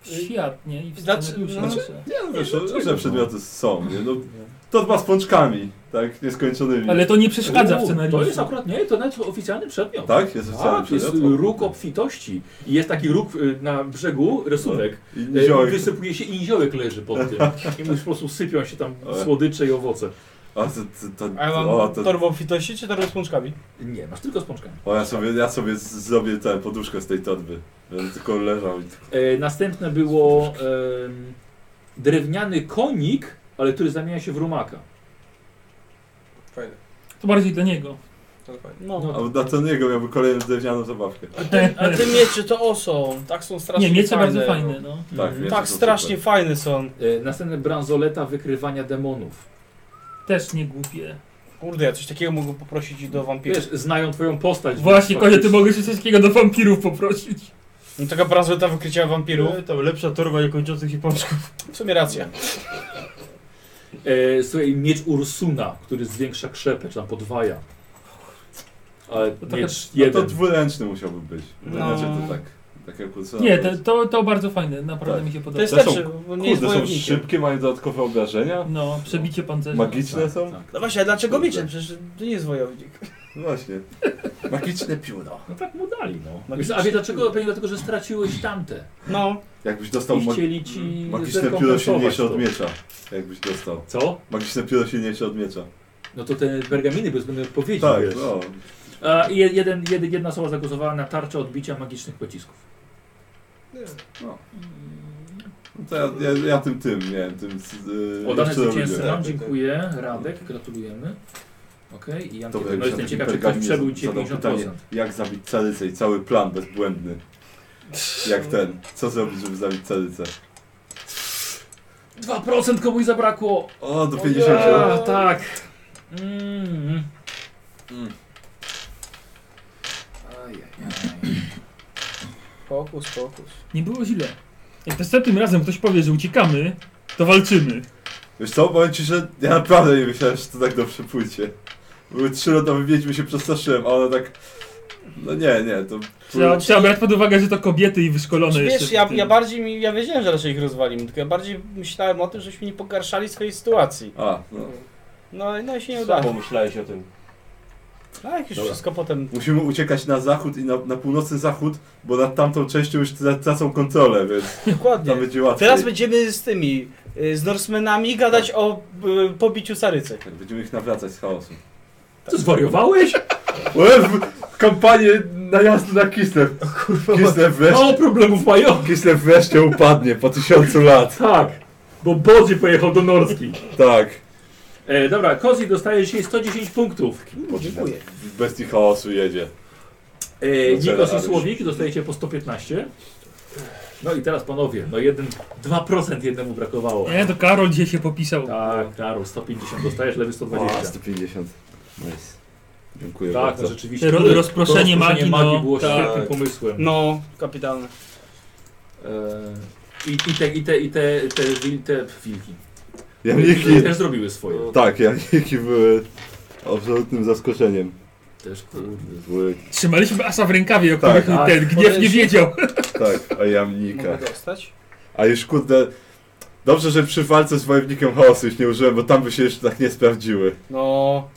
[SPEAKER 3] W świat, nie? I w
[SPEAKER 2] Znaczy-
[SPEAKER 3] scenariusze.
[SPEAKER 2] znaczy-
[SPEAKER 5] Nie, no wiesz, różne przedmioty są, nie? No, torba z pączkami, tak, nieskończonymi.
[SPEAKER 3] Ale to nie przeszkadza w
[SPEAKER 4] U,
[SPEAKER 3] scenariuszu.
[SPEAKER 4] To jest akurat, nie, to nawet oficjalny przedmiot.
[SPEAKER 5] Tak? Jest oficjalny
[SPEAKER 4] tak, jest
[SPEAKER 5] przedmiot?
[SPEAKER 4] róg obfitości. I jest taki róg y, na brzegu, rysunek.
[SPEAKER 5] No, i
[SPEAKER 4] E,
[SPEAKER 5] niziołek.
[SPEAKER 4] Wysypuje się i niziołek leży pod
[SPEAKER 5] *laughs*
[SPEAKER 4] tym. I mu po prostu sypią się tam
[SPEAKER 5] Ale-
[SPEAKER 4] słodycze i owoce.
[SPEAKER 5] A, to, to, to,
[SPEAKER 4] A ja mam
[SPEAKER 5] o, to,
[SPEAKER 2] Torbą obfitości czy torbą z pączkami?
[SPEAKER 4] Nie, masz tylko z pączkami.
[SPEAKER 5] o, ja sobie, ja sobie z- zrobię tę poduszkę z tej torby. Będę tylko leżał i...
[SPEAKER 4] E, następne było em, drewniany konik, ale który zamienia się w rumaka.
[SPEAKER 21] Fajne.
[SPEAKER 3] To bardziej dla niego.
[SPEAKER 2] No.
[SPEAKER 5] A dla Tony'ego miałby kolejną drewnianą zabawkę. Tak,
[SPEAKER 2] A te miecze to oso, tak są strasznie
[SPEAKER 3] Nie, miecze
[SPEAKER 2] fajne.
[SPEAKER 3] bardzo fajne, no.
[SPEAKER 5] Tak,
[SPEAKER 4] Mhm.
[SPEAKER 5] miecze
[SPEAKER 2] Tak
[SPEAKER 5] są
[SPEAKER 2] strasznie fajne są.
[SPEAKER 4] E, następne bransoleta wykrywania demonów.
[SPEAKER 3] Też nie głupie.
[SPEAKER 2] Kurde, ja coś takiego mogę poprosić do wampirów.
[SPEAKER 4] Wiesz, znają twoją postać.
[SPEAKER 3] Właśnie,
[SPEAKER 4] więc
[SPEAKER 3] konie, ty
[SPEAKER 4] faktycznie-
[SPEAKER 3] mogłeś coś takiego do wampirów poprosić.
[SPEAKER 2] No taka bransoleta wykrycia wampirów.
[SPEAKER 1] To lepsza torba niekończących się pączków.
[SPEAKER 2] W sumie racja.
[SPEAKER 4] E, słuchaj, miecz Ursuna, który zwiększa krzepę, czy tam podwaja. Ale
[SPEAKER 5] To
[SPEAKER 4] miecz
[SPEAKER 5] no to
[SPEAKER 4] jeden.
[SPEAKER 5] dwuręczny musiałby być. No.
[SPEAKER 3] No.
[SPEAKER 5] Inaczej to tak. Tak jak u
[SPEAKER 3] Nie, to, to, to bardzo fajne, naprawdę mi się podoba.
[SPEAKER 5] Te są, kurde, są szybkie, mają dodatkowe obrażenia.
[SPEAKER 3] No, przebicie pancerza.
[SPEAKER 5] Magiczne
[SPEAKER 4] tak,
[SPEAKER 5] są?
[SPEAKER 2] No właśnie, a dlaczego mieczem? Przecież to nie jest wojownik.
[SPEAKER 5] No Właśnie. Magiczne pióro.
[SPEAKER 4] No tak mu dali, no. Wiesz,
[SPEAKER 2] Magiczny
[SPEAKER 4] a wie dlaczego? Pewnie dlatego, że straciłeś tamte.
[SPEAKER 2] No.
[SPEAKER 5] Jakbyś dostał
[SPEAKER 4] I
[SPEAKER 5] ma-
[SPEAKER 4] chcieli ci
[SPEAKER 5] magiczne pióro
[SPEAKER 4] zrekompensować
[SPEAKER 5] silniejsze
[SPEAKER 4] to.
[SPEAKER 5] od miecza. Jakbyś dostał.
[SPEAKER 4] Co?
[SPEAKER 5] Magiczne pióro silniejsze od miecza.
[SPEAKER 4] No to te pergaminy bez będą odpowiedzi.
[SPEAKER 5] Tak,
[SPEAKER 4] wiesz.
[SPEAKER 5] no.
[SPEAKER 4] A, i jeden, jeden, jedna osoba zagłosowała na tarczę odbicia magicznych pocisków.
[SPEAKER 5] No.
[SPEAKER 3] Mm.
[SPEAKER 5] No To ja, ja, ja tym tym, nie wiem, tym... z- Yy,
[SPEAKER 4] Oddane
[SPEAKER 5] jeszcze
[SPEAKER 4] zwycięzcy
[SPEAKER 5] robię.
[SPEAKER 4] nam, dziękuję. Radek, gratulujemy. Okej, i Jan
[SPEAKER 5] To
[SPEAKER 4] Kiepy,
[SPEAKER 5] jak
[SPEAKER 4] no jestem
[SPEAKER 5] zadam
[SPEAKER 4] ciekaw, czy ktoś
[SPEAKER 5] pergamin,
[SPEAKER 4] przebył Cię
[SPEAKER 5] zadam
[SPEAKER 4] 50%.
[SPEAKER 5] pytanie, Jak zabić carycę i cały plan bezbłędny. Jak ten. Co zrobić, żeby zabić carycę?
[SPEAKER 4] 2% komuś zabrakło!
[SPEAKER 5] O, do
[SPEAKER 4] O
[SPEAKER 5] 50.
[SPEAKER 4] ja, tak. Mm.
[SPEAKER 5] Mm.
[SPEAKER 22] Fokus, fokus.
[SPEAKER 3] Nie było źle. Jak następnym razem ktoś powie, że uciekamy, to walczymy.
[SPEAKER 5] Wiesz co, powiem ci, że ja naprawdę nie myślałem, że to tak dobrze pójdzie. Były trzy lodowe wiedźmy się przestraszyłem, a ona tak... No nie, nie, to...
[SPEAKER 3] Trzeba, trzeba brać pod uwagę, że to kobiety i wyszkolone jeszcze.
[SPEAKER 2] Wiesz, ja,
[SPEAKER 3] w tym.
[SPEAKER 2] ja bardziej, mi, ja wiedziałem, że raczej ich rozwalimy, tylko ja bardziej myślałem o tym, żeśmy nie pogarszali swojej sytuacji.
[SPEAKER 5] A, no.
[SPEAKER 2] No, i- no i się nie
[SPEAKER 1] Słabo
[SPEAKER 2] udało.
[SPEAKER 1] myślałeś o tym.
[SPEAKER 2] A jak już
[SPEAKER 5] Dobra.
[SPEAKER 2] wszystko potem...
[SPEAKER 5] Musimy uciekać na zachód i na, na północny zachód, bo nad tamtą częścią już tra- tracą kontrolę, więc
[SPEAKER 2] Dokładnie.
[SPEAKER 5] tam będzie łatwiej.
[SPEAKER 2] Teraz będziemy z tymi, y, z Norsemenami gadać o y, pobiciu Sarycy.
[SPEAKER 5] Tak, będziemy ich nawracać z chaosu.
[SPEAKER 4] Co, zwariowałeś?
[SPEAKER 5] Łe, w- Kampanie najazdu na Kislev. Kislev wreszcie,
[SPEAKER 4] Mało problemów mają.
[SPEAKER 5] Kislev wreszcie upadnie po tysiącu lat.
[SPEAKER 4] Tak, bo Bodzi pojechał do Norski.
[SPEAKER 5] Tak.
[SPEAKER 4] E, dobra, Kozi dostaje dzisiaj 110 punktów.
[SPEAKER 5] Dziękuję. W bestii chaosu jedzie.
[SPEAKER 4] E,
[SPEAKER 5] No,
[SPEAKER 4] Nikos i
[SPEAKER 5] ale-
[SPEAKER 4] Słowik dostajecie po 115. No i teraz panowie, no jeden, 2% jednemu brakowało.
[SPEAKER 3] Nie, to Karol dzisiaj się popisał.
[SPEAKER 4] Tak, Karol, 150 dostajesz, lewy 120.
[SPEAKER 5] O, 150. Nice. Dziękuję
[SPEAKER 4] Tak,
[SPEAKER 5] bardzo.
[SPEAKER 4] no rzeczywiście.
[SPEAKER 3] Ro- rozproszenie magii, no,
[SPEAKER 4] było
[SPEAKER 3] tak.
[SPEAKER 4] świetnym pomysłem.
[SPEAKER 2] No, kapitalne.
[SPEAKER 4] E, I, I te, i te, i te, te, wil- te wilki.
[SPEAKER 5] Jamniki.
[SPEAKER 4] Też zrobiły swoje.
[SPEAKER 5] Tak, *laughs* jamniki były absolutnym zaskoczeniem.
[SPEAKER 4] Też kurde.
[SPEAKER 5] Były,
[SPEAKER 3] Trzymaliśmy Asa w rękawie, o
[SPEAKER 5] Tak,
[SPEAKER 3] których
[SPEAKER 5] tak.
[SPEAKER 3] ten gniew nie wiedział.
[SPEAKER 5] tak, o
[SPEAKER 22] Mogę
[SPEAKER 5] jamnikach.
[SPEAKER 22] dostać?
[SPEAKER 5] A już kurde, dobrze, że przy walce z wojownikiem chaosu ich nie użyłem, bo tam by się jeszcze tak nie sprawdziły.
[SPEAKER 2] No,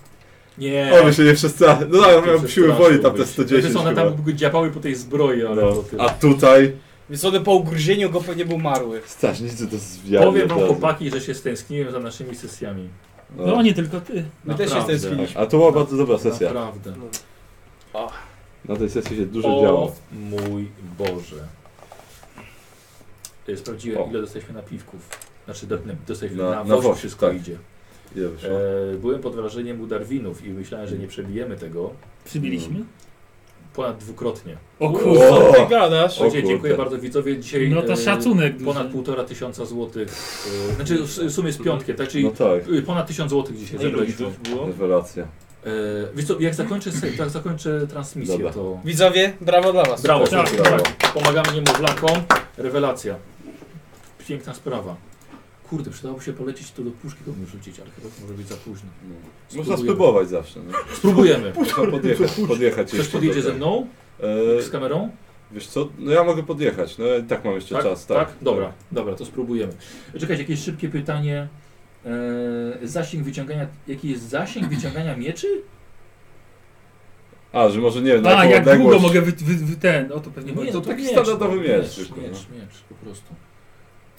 [SPEAKER 4] Nie.
[SPEAKER 5] O, by się nie przestraszyły. No tak, miałem siły
[SPEAKER 4] Przestraszył
[SPEAKER 5] woli tam
[SPEAKER 4] byś.
[SPEAKER 5] te 110
[SPEAKER 4] Wiesz, one
[SPEAKER 5] chyba.
[SPEAKER 4] Znaczy tam działały po tej zbroi, ale
[SPEAKER 5] No.
[SPEAKER 4] to tyle.
[SPEAKER 5] A tutaj
[SPEAKER 2] więc one po ugryzieniu go pewnie był marły.
[SPEAKER 5] strażnicy to zwiały.
[SPEAKER 4] Powiem wam chłopaki, że się stęskniłem za naszymi sesjami.
[SPEAKER 3] No nie tylko ty.
[SPEAKER 2] My też się
[SPEAKER 4] Naprawdę.
[SPEAKER 2] stęskniliśmy.
[SPEAKER 5] A to była bardzo dobra sesja.
[SPEAKER 4] Naprawdę.
[SPEAKER 5] Na tej sesji się dużo
[SPEAKER 4] o
[SPEAKER 5] działo.
[SPEAKER 4] mój Boże. Y, Sprawdziłem ile dostaliśmy napiwków. Znaczy do- na- dostaliśmy
[SPEAKER 5] Na-
[SPEAKER 4] na,
[SPEAKER 5] na
[SPEAKER 4] woś,
[SPEAKER 5] woś,
[SPEAKER 4] wszystko
[SPEAKER 5] tak.
[SPEAKER 4] idzie.
[SPEAKER 5] Ile wyszło?
[SPEAKER 4] E, byłem pod wrażeniem u Darwinów i myślałem, że nie przebijemy tego
[SPEAKER 3] Przybiliśmy?
[SPEAKER 4] ponad dwukrotnie.
[SPEAKER 3] O
[SPEAKER 2] kurde.
[SPEAKER 5] O,
[SPEAKER 2] ty gadasz?
[SPEAKER 4] Słuchajcie,
[SPEAKER 5] O
[SPEAKER 4] dziękuję
[SPEAKER 5] kurde.
[SPEAKER 4] bardzo widzowie. Dzisiaj
[SPEAKER 3] No to
[SPEAKER 4] e,
[SPEAKER 3] szacunek
[SPEAKER 4] ponad
[SPEAKER 3] duży.
[SPEAKER 4] półtora tysiąca złotych. e, Znaczy w w sumie z piątkiem, tak? Czyli
[SPEAKER 5] No tak.
[SPEAKER 4] y, ponad tysiąc złotych dzisiaj zebraliśmy.
[SPEAKER 5] Rewelacja.
[SPEAKER 4] E, Wiesz co, jak zakończę, se- jak zakończę transmisję,
[SPEAKER 5] Dobra.
[SPEAKER 4] to...
[SPEAKER 2] Widzowie, brawo dla was.
[SPEAKER 4] Brawo,
[SPEAKER 5] Tak,
[SPEAKER 4] tak,
[SPEAKER 5] brawo.
[SPEAKER 4] tak. Pomagamy niemowlakom. Rewelacja. Piękna sprawa. Kurde, przydałoby się polecieć to do puszki komuś rzucić, ale chyba to może być za późno.
[SPEAKER 5] No
[SPEAKER 1] Można
[SPEAKER 4] Spróbujemy.
[SPEAKER 1] spróbować zawsze. No.
[SPEAKER 4] Spróbujemy.
[SPEAKER 1] Można podjechać, podjechać
[SPEAKER 4] Ktoś
[SPEAKER 1] jeszcze
[SPEAKER 4] podjedzie
[SPEAKER 1] do
[SPEAKER 4] ze
[SPEAKER 1] tego.
[SPEAKER 4] mną?
[SPEAKER 1] Eee,
[SPEAKER 4] Z kamerą?
[SPEAKER 1] Wiesz co, no ja mogę podjechać, no i tak mam jeszcze
[SPEAKER 4] tak?
[SPEAKER 1] czas,
[SPEAKER 4] tak?
[SPEAKER 1] tak.
[SPEAKER 4] Dobra, dobra, to spróbujemy. Czekajcie, jakieś szybkie pytanie. Eee, zasięg wyciągania, jaki jest zasięg wyciągania mieczy?
[SPEAKER 1] A, że może nie wiem, na
[SPEAKER 3] A,
[SPEAKER 1] jaką
[SPEAKER 3] jak długo
[SPEAKER 1] odległość-
[SPEAKER 3] mogę wy, wy, wy ten, o to pewnie
[SPEAKER 4] Nie,
[SPEAKER 3] chodzi.
[SPEAKER 4] no
[SPEAKER 1] to taki
[SPEAKER 4] miecz,
[SPEAKER 1] standardowy
[SPEAKER 4] no,
[SPEAKER 1] miecz
[SPEAKER 4] miecz,
[SPEAKER 1] zwykły,
[SPEAKER 4] miecz,
[SPEAKER 1] no.
[SPEAKER 4] miecz po prostu.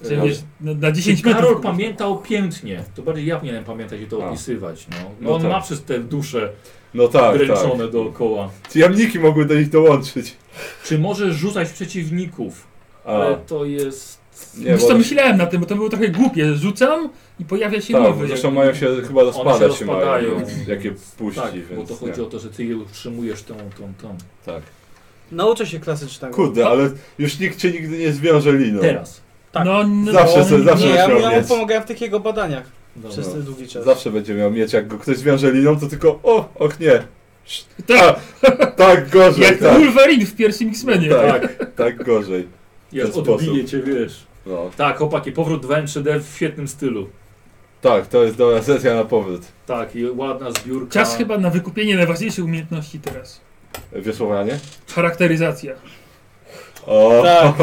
[SPEAKER 3] Czyli wiesz, no, na 10
[SPEAKER 4] Czy Karol
[SPEAKER 3] metrów-
[SPEAKER 4] pamiętał pięknie, to bardziej ja powinienem pamiętać i to
[SPEAKER 1] A.
[SPEAKER 4] opisywać. No, no,
[SPEAKER 1] No
[SPEAKER 4] on
[SPEAKER 1] tak.
[SPEAKER 4] ma przez te dusze
[SPEAKER 1] No tak,
[SPEAKER 4] dręczone
[SPEAKER 1] tak.
[SPEAKER 4] dookoła.
[SPEAKER 1] Czy jamniki mogły do nich dołączyć?
[SPEAKER 4] Czy może rzucać przeciwników?
[SPEAKER 1] A.
[SPEAKER 4] Ale to jest...
[SPEAKER 1] Nie,
[SPEAKER 3] Wiesz
[SPEAKER 1] bo-
[SPEAKER 3] co, myślałem na tym, bo to było trochę głupie. Rzucam i pojawia się
[SPEAKER 1] Tak,
[SPEAKER 3] nowy.
[SPEAKER 1] bo zresztą
[SPEAKER 3] jakby.
[SPEAKER 1] mają się chyba rozpadać
[SPEAKER 4] One się
[SPEAKER 1] się mają,
[SPEAKER 4] rozpadają.
[SPEAKER 1] więc jak je puści,
[SPEAKER 4] tak, bo
[SPEAKER 1] więc
[SPEAKER 4] to chodzi
[SPEAKER 1] nie.
[SPEAKER 4] o to, że ty je utrzymujesz tą, tą, tą.
[SPEAKER 1] Tak.
[SPEAKER 2] Nauczę się klasycznego.
[SPEAKER 1] Kurde, ale już nikt cię nigdy nie zwiąże liną.
[SPEAKER 4] Teraz.
[SPEAKER 2] Tak.
[SPEAKER 3] No,
[SPEAKER 1] Zawsze sobie, zawsze
[SPEAKER 2] nie, ja,
[SPEAKER 1] musiał
[SPEAKER 2] ja mu
[SPEAKER 1] mieć.
[SPEAKER 2] pomagałem w tych jego badaniach
[SPEAKER 4] Dobra.
[SPEAKER 2] przez ten długi czas.
[SPEAKER 1] Zawsze będzie miał mieć, jak go ktoś zwiąże liną, to tylko o, och nie. Tak, tak gorzej.
[SPEAKER 3] Jak
[SPEAKER 1] tak.
[SPEAKER 3] Wolverine w pierwszym X-Menie.
[SPEAKER 1] Tak, tak gorzej. W
[SPEAKER 4] Jak
[SPEAKER 1] ten sposób.
[SPEAKER 4] odbije cię, wiesz.
[SPEAKER 1] No.
[SPEAKER 4] Tak, chłopaki, powrót 2 3D w świetnym stylu.
[SPEAKER 1] Tak, to jest dobra sesja na powrót.
[SPEAKER 4] Tak, i ładna zbiórka.
[SPEAKER 3] Czas chyba na wykupienie najważniejszej umiejętności teraz.
[SPEAKER 1] Wiosłowanie?
[SPEAKER 3] Charakteryzacja.
[SPEAKER 1] O!
[SPEAKER 3] Tak.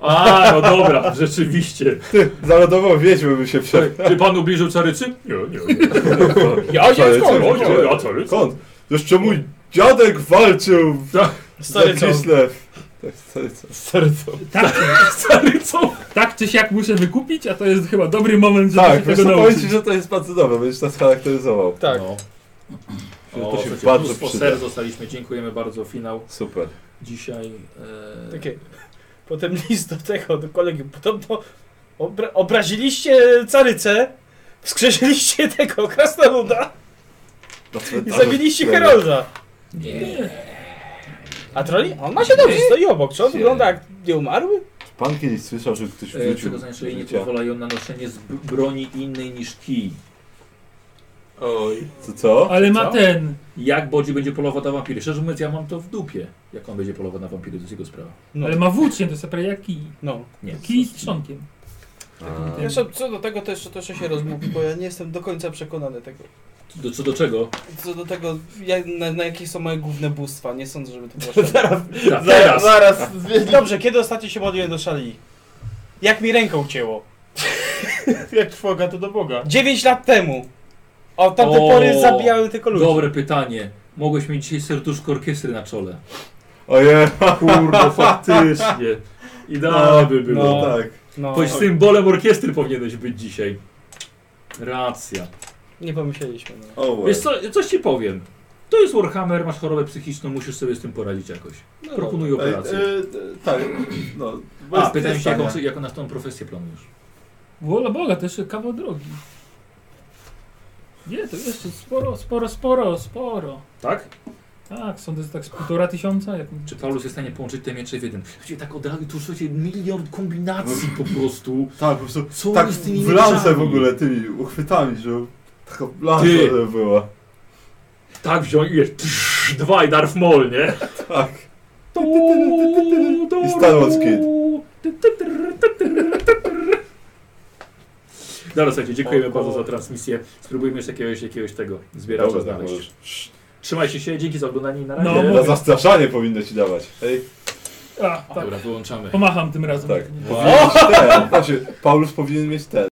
[SPEAKER 4] A, no dobra, *laughs* rzeczywiście.
[SPEAKER 1] Ty, za lodową wiedźmę bym się przed...
[SPEAKER 4] Czy pan ubliżył carycy? Nie, nie.
[SPEAKER 1] *laughs*
[SPEAKER 4] nie.
[SPEAKER 1] Co,
[SPEAKER 4] Ja
[SPEAKER 1] co,
[SPEAKER 4] nie, skąd?
[SPEAKER 1] co,
[SPEAKER 4] O, nie,
[SPEAKER 1] co?
[SPEAKER 4] Ja carycy.
[SPEAKER 1] Skąd? Jeszcze mój dziadek walczył w
[SPEAKER 3] Stary co?
[SPEAKER 1] Zawisle. Tak, stary co? *laughs*
[SPEAKER 3] Tak, stary co? Tak czy siak muszę wykupić, a to jest chyba dobry moment, żeby
[SPEAKER 1] Tak,
[SPEAKER 3] się
[SPEAKER 1] wiesz
[SPEAKER 3] tego
[SPEAKER 1] co, powiem
[SPEAKER 3] nauczyć.
[SPEAKER 1] ci, że to jest bardzo dobre, będziesz nas charakteryzował.
[SPEAKER 2] Tak.
[SPEAKER 4] No.
[SPEAKER 1] Że
[SPEAKER 4] O,
[SPEAKER 1] to się
[SPEAKER 4] słuchajcie,
[SPEAKER 1] bardzo
[SPEAKER 4] mnóstwo
[SPEAKER 1] przyda.
[SPEAKER 4] ser dostaliśmy, dziękujemy bardzo, finał.
[SPEAKER 1] Super.
[SPEAKER 4] Dzisiaj... E...
[SPEAKER 2] Takie. Potem *laughs* list do tego, do kolegi. Podobno obra obraziliście carycę, wskrzeszyliście *laughs* tego krasnoluda i
[SPEAKER 1] Tak.
[SPEAKER 2] zabiliście Herolda.
[SPEAKER 4] Nie.
[SPEAKER 2] A troli? On ma się dobrze, stoi obok. Czy on wygląda jak nie umarły?
[SPEAKER 1] Pan kiedyś słyszał, że ktoś
[SPEAKER 4] E,
[SPEAKER 1] wrzucił
[SPEAKER 4] przekazania szyi nie
[SPEAKER 1] życia.
[SPEAKER 4] pozwalają na noszenie z b- broni innej niż kij.
[SPEAKER 1] Oj. Co, co?
[SPEAKER 3] Ale ma
[SPEAKER 4] Co?
[SPEAKER 3] ten.
[SPEAKER 4] Jak Bodzi będzie polował na wampiry? Szczerze mówiąc, ja mam to w dupie. Jak on będzie polował na wampiry, to jest jego sprawa.
[SPEAKER 3] Ale ma włócznie, to jest prawie jak kij.
[SPEAKER 2] No.
[SPEAKER 4] Nie.
[SPEAKER 3] Kij z trzonkiem.
[SPEAKER 10] Zresztą co do tego to jeszcze to jeszcze się rozmówi, bo ja nie jestem do końca przekonany tego.
[SPEAKER 4] Do, co do
[SPEAKER 2] *laughs*
[SPEAKER 4] czego?
[SPEAKER 10] Co do tego, jak, na, na jakie są moje główne bóstwa, nie sądzę, żeby to było Zaraz,
[SPEAKER 4] Tak, zaraz.
[SPEAKER 2] zaraz. Dobrze, kiedy ostatnio się modliłem do szali? Jak mi ręką cięło? jak trwoga, to do Boga. 9 lat temu. Od tamtej
[SPEAKER 4] O,
[SPEAKER 2] pory zabijałem tylko ludzi.
[SPEAKER 4] Dobre pytanie. Mogłeś mieć dzisiaj serduszko orkiestry na czole.
[SPEAKER 1] Ojej.
[SPEAKER 4] Kurde, faktycznie.
[SPEAKER 1] *laughs*
[SPEAKER 4] Idealnie
[SPEAKER 1] No,
[SPEAKER 4] by było.
[SPEAKER 1] no tak.
[SPEAKER 2] No.
[SPEAKER 4] Choć symbolem orkiestry powinieneś być dzisiaj. Racja.
[SPEAKER 2] Nie pomyśleliśmy. No.
[SPEAKER 1] O,
[SPEAKER 4] Wiesz co, coś ci powiem. To jest Warhammer, masz chorobę psychiczną, musisz sobie z tym poradzić jakoś.
[SPEAKER 1] No
[SPEAKER 4] Proponuję
[SPEAKER 1] dobra.
[SPEAKER 4] operację.
[SPEAKER 1] Ej, e, e, tak, no.
[SPEAKER 4] A,
[SPEAKER 1] bez-
[SPEAKER 4] pytałem
[SPEAKER 1] bez
[SPEAKER 4] się, jaką,
[SPEAKER 1] pytania.
[SPEAKER 4] jaką na tą profesję planujesz.
[SPEAKER 3] Wola Boga, to jeszcze kawał drogi. Nie, to jeszcze sporo, sporo, sporo, sporo.
[SPEAKER 4] Tak?
[SPEAKER 3] Tak, sądzę, że tak z półtora tysiąca. Jak...
[SPEAKER 4] Czy Paulus jest w stanie połączyć te miecze w jeden? Słuchajcie, tak od razu, tu słuchajcie, milion kombinacji po prostu.
[SPEAKER 1] Tak, po prostu
[SPEAKER 4] Co
[SPEAKER 1] tak
[SPEAKER 4] z tymi
[SPEAKER 1] w lance
[SPEAKER 4] mieczami?
[SPEAKER 1] w ogóle tymi uchwytami, że taka lansa
[SPEAKER 4] Ty.
[SPEAKER 1] by była.
[SPEAKER 4] Tak wziąć i jest trz, dwa i Darth Maul, nie?
[SPEAKER 1] Tak.
[SPEAKER 4] I
[SPEAKER 1] Star Wars Kid.
[SPEAKER 4] Dobra, słuchajcie, dziękujemy
[SPEAKER 1] O,
[SPEAKER 4] bardzo za
[SPEAKER 1] kurde.
[SPEAKER 4] transmisję. Spróbujmy jeszcze jakiegoś, jakiegoś tego zbieracza
[SPEAKER 1] Dobra,
[SPEAKER 4] znaleźć.
[SPEAKER 1] możesz.
[SPEAKER 4] Trzymajcie się, dzięki za oglądanie i na razie.
[SPEAKER 3] No,
[SPEAKER 1] Na zastraszanie powinno ci dawać. Ej,
[SPEAKER 3] A, tak.
[SPEAKER 4] Dobra, wyłączamy.
[SPEAKER 3] Pomacham tym razem.
[SPEAKER 1] tak. Powinien mieć ten. Znaczy, Paulus powinien mieć ten.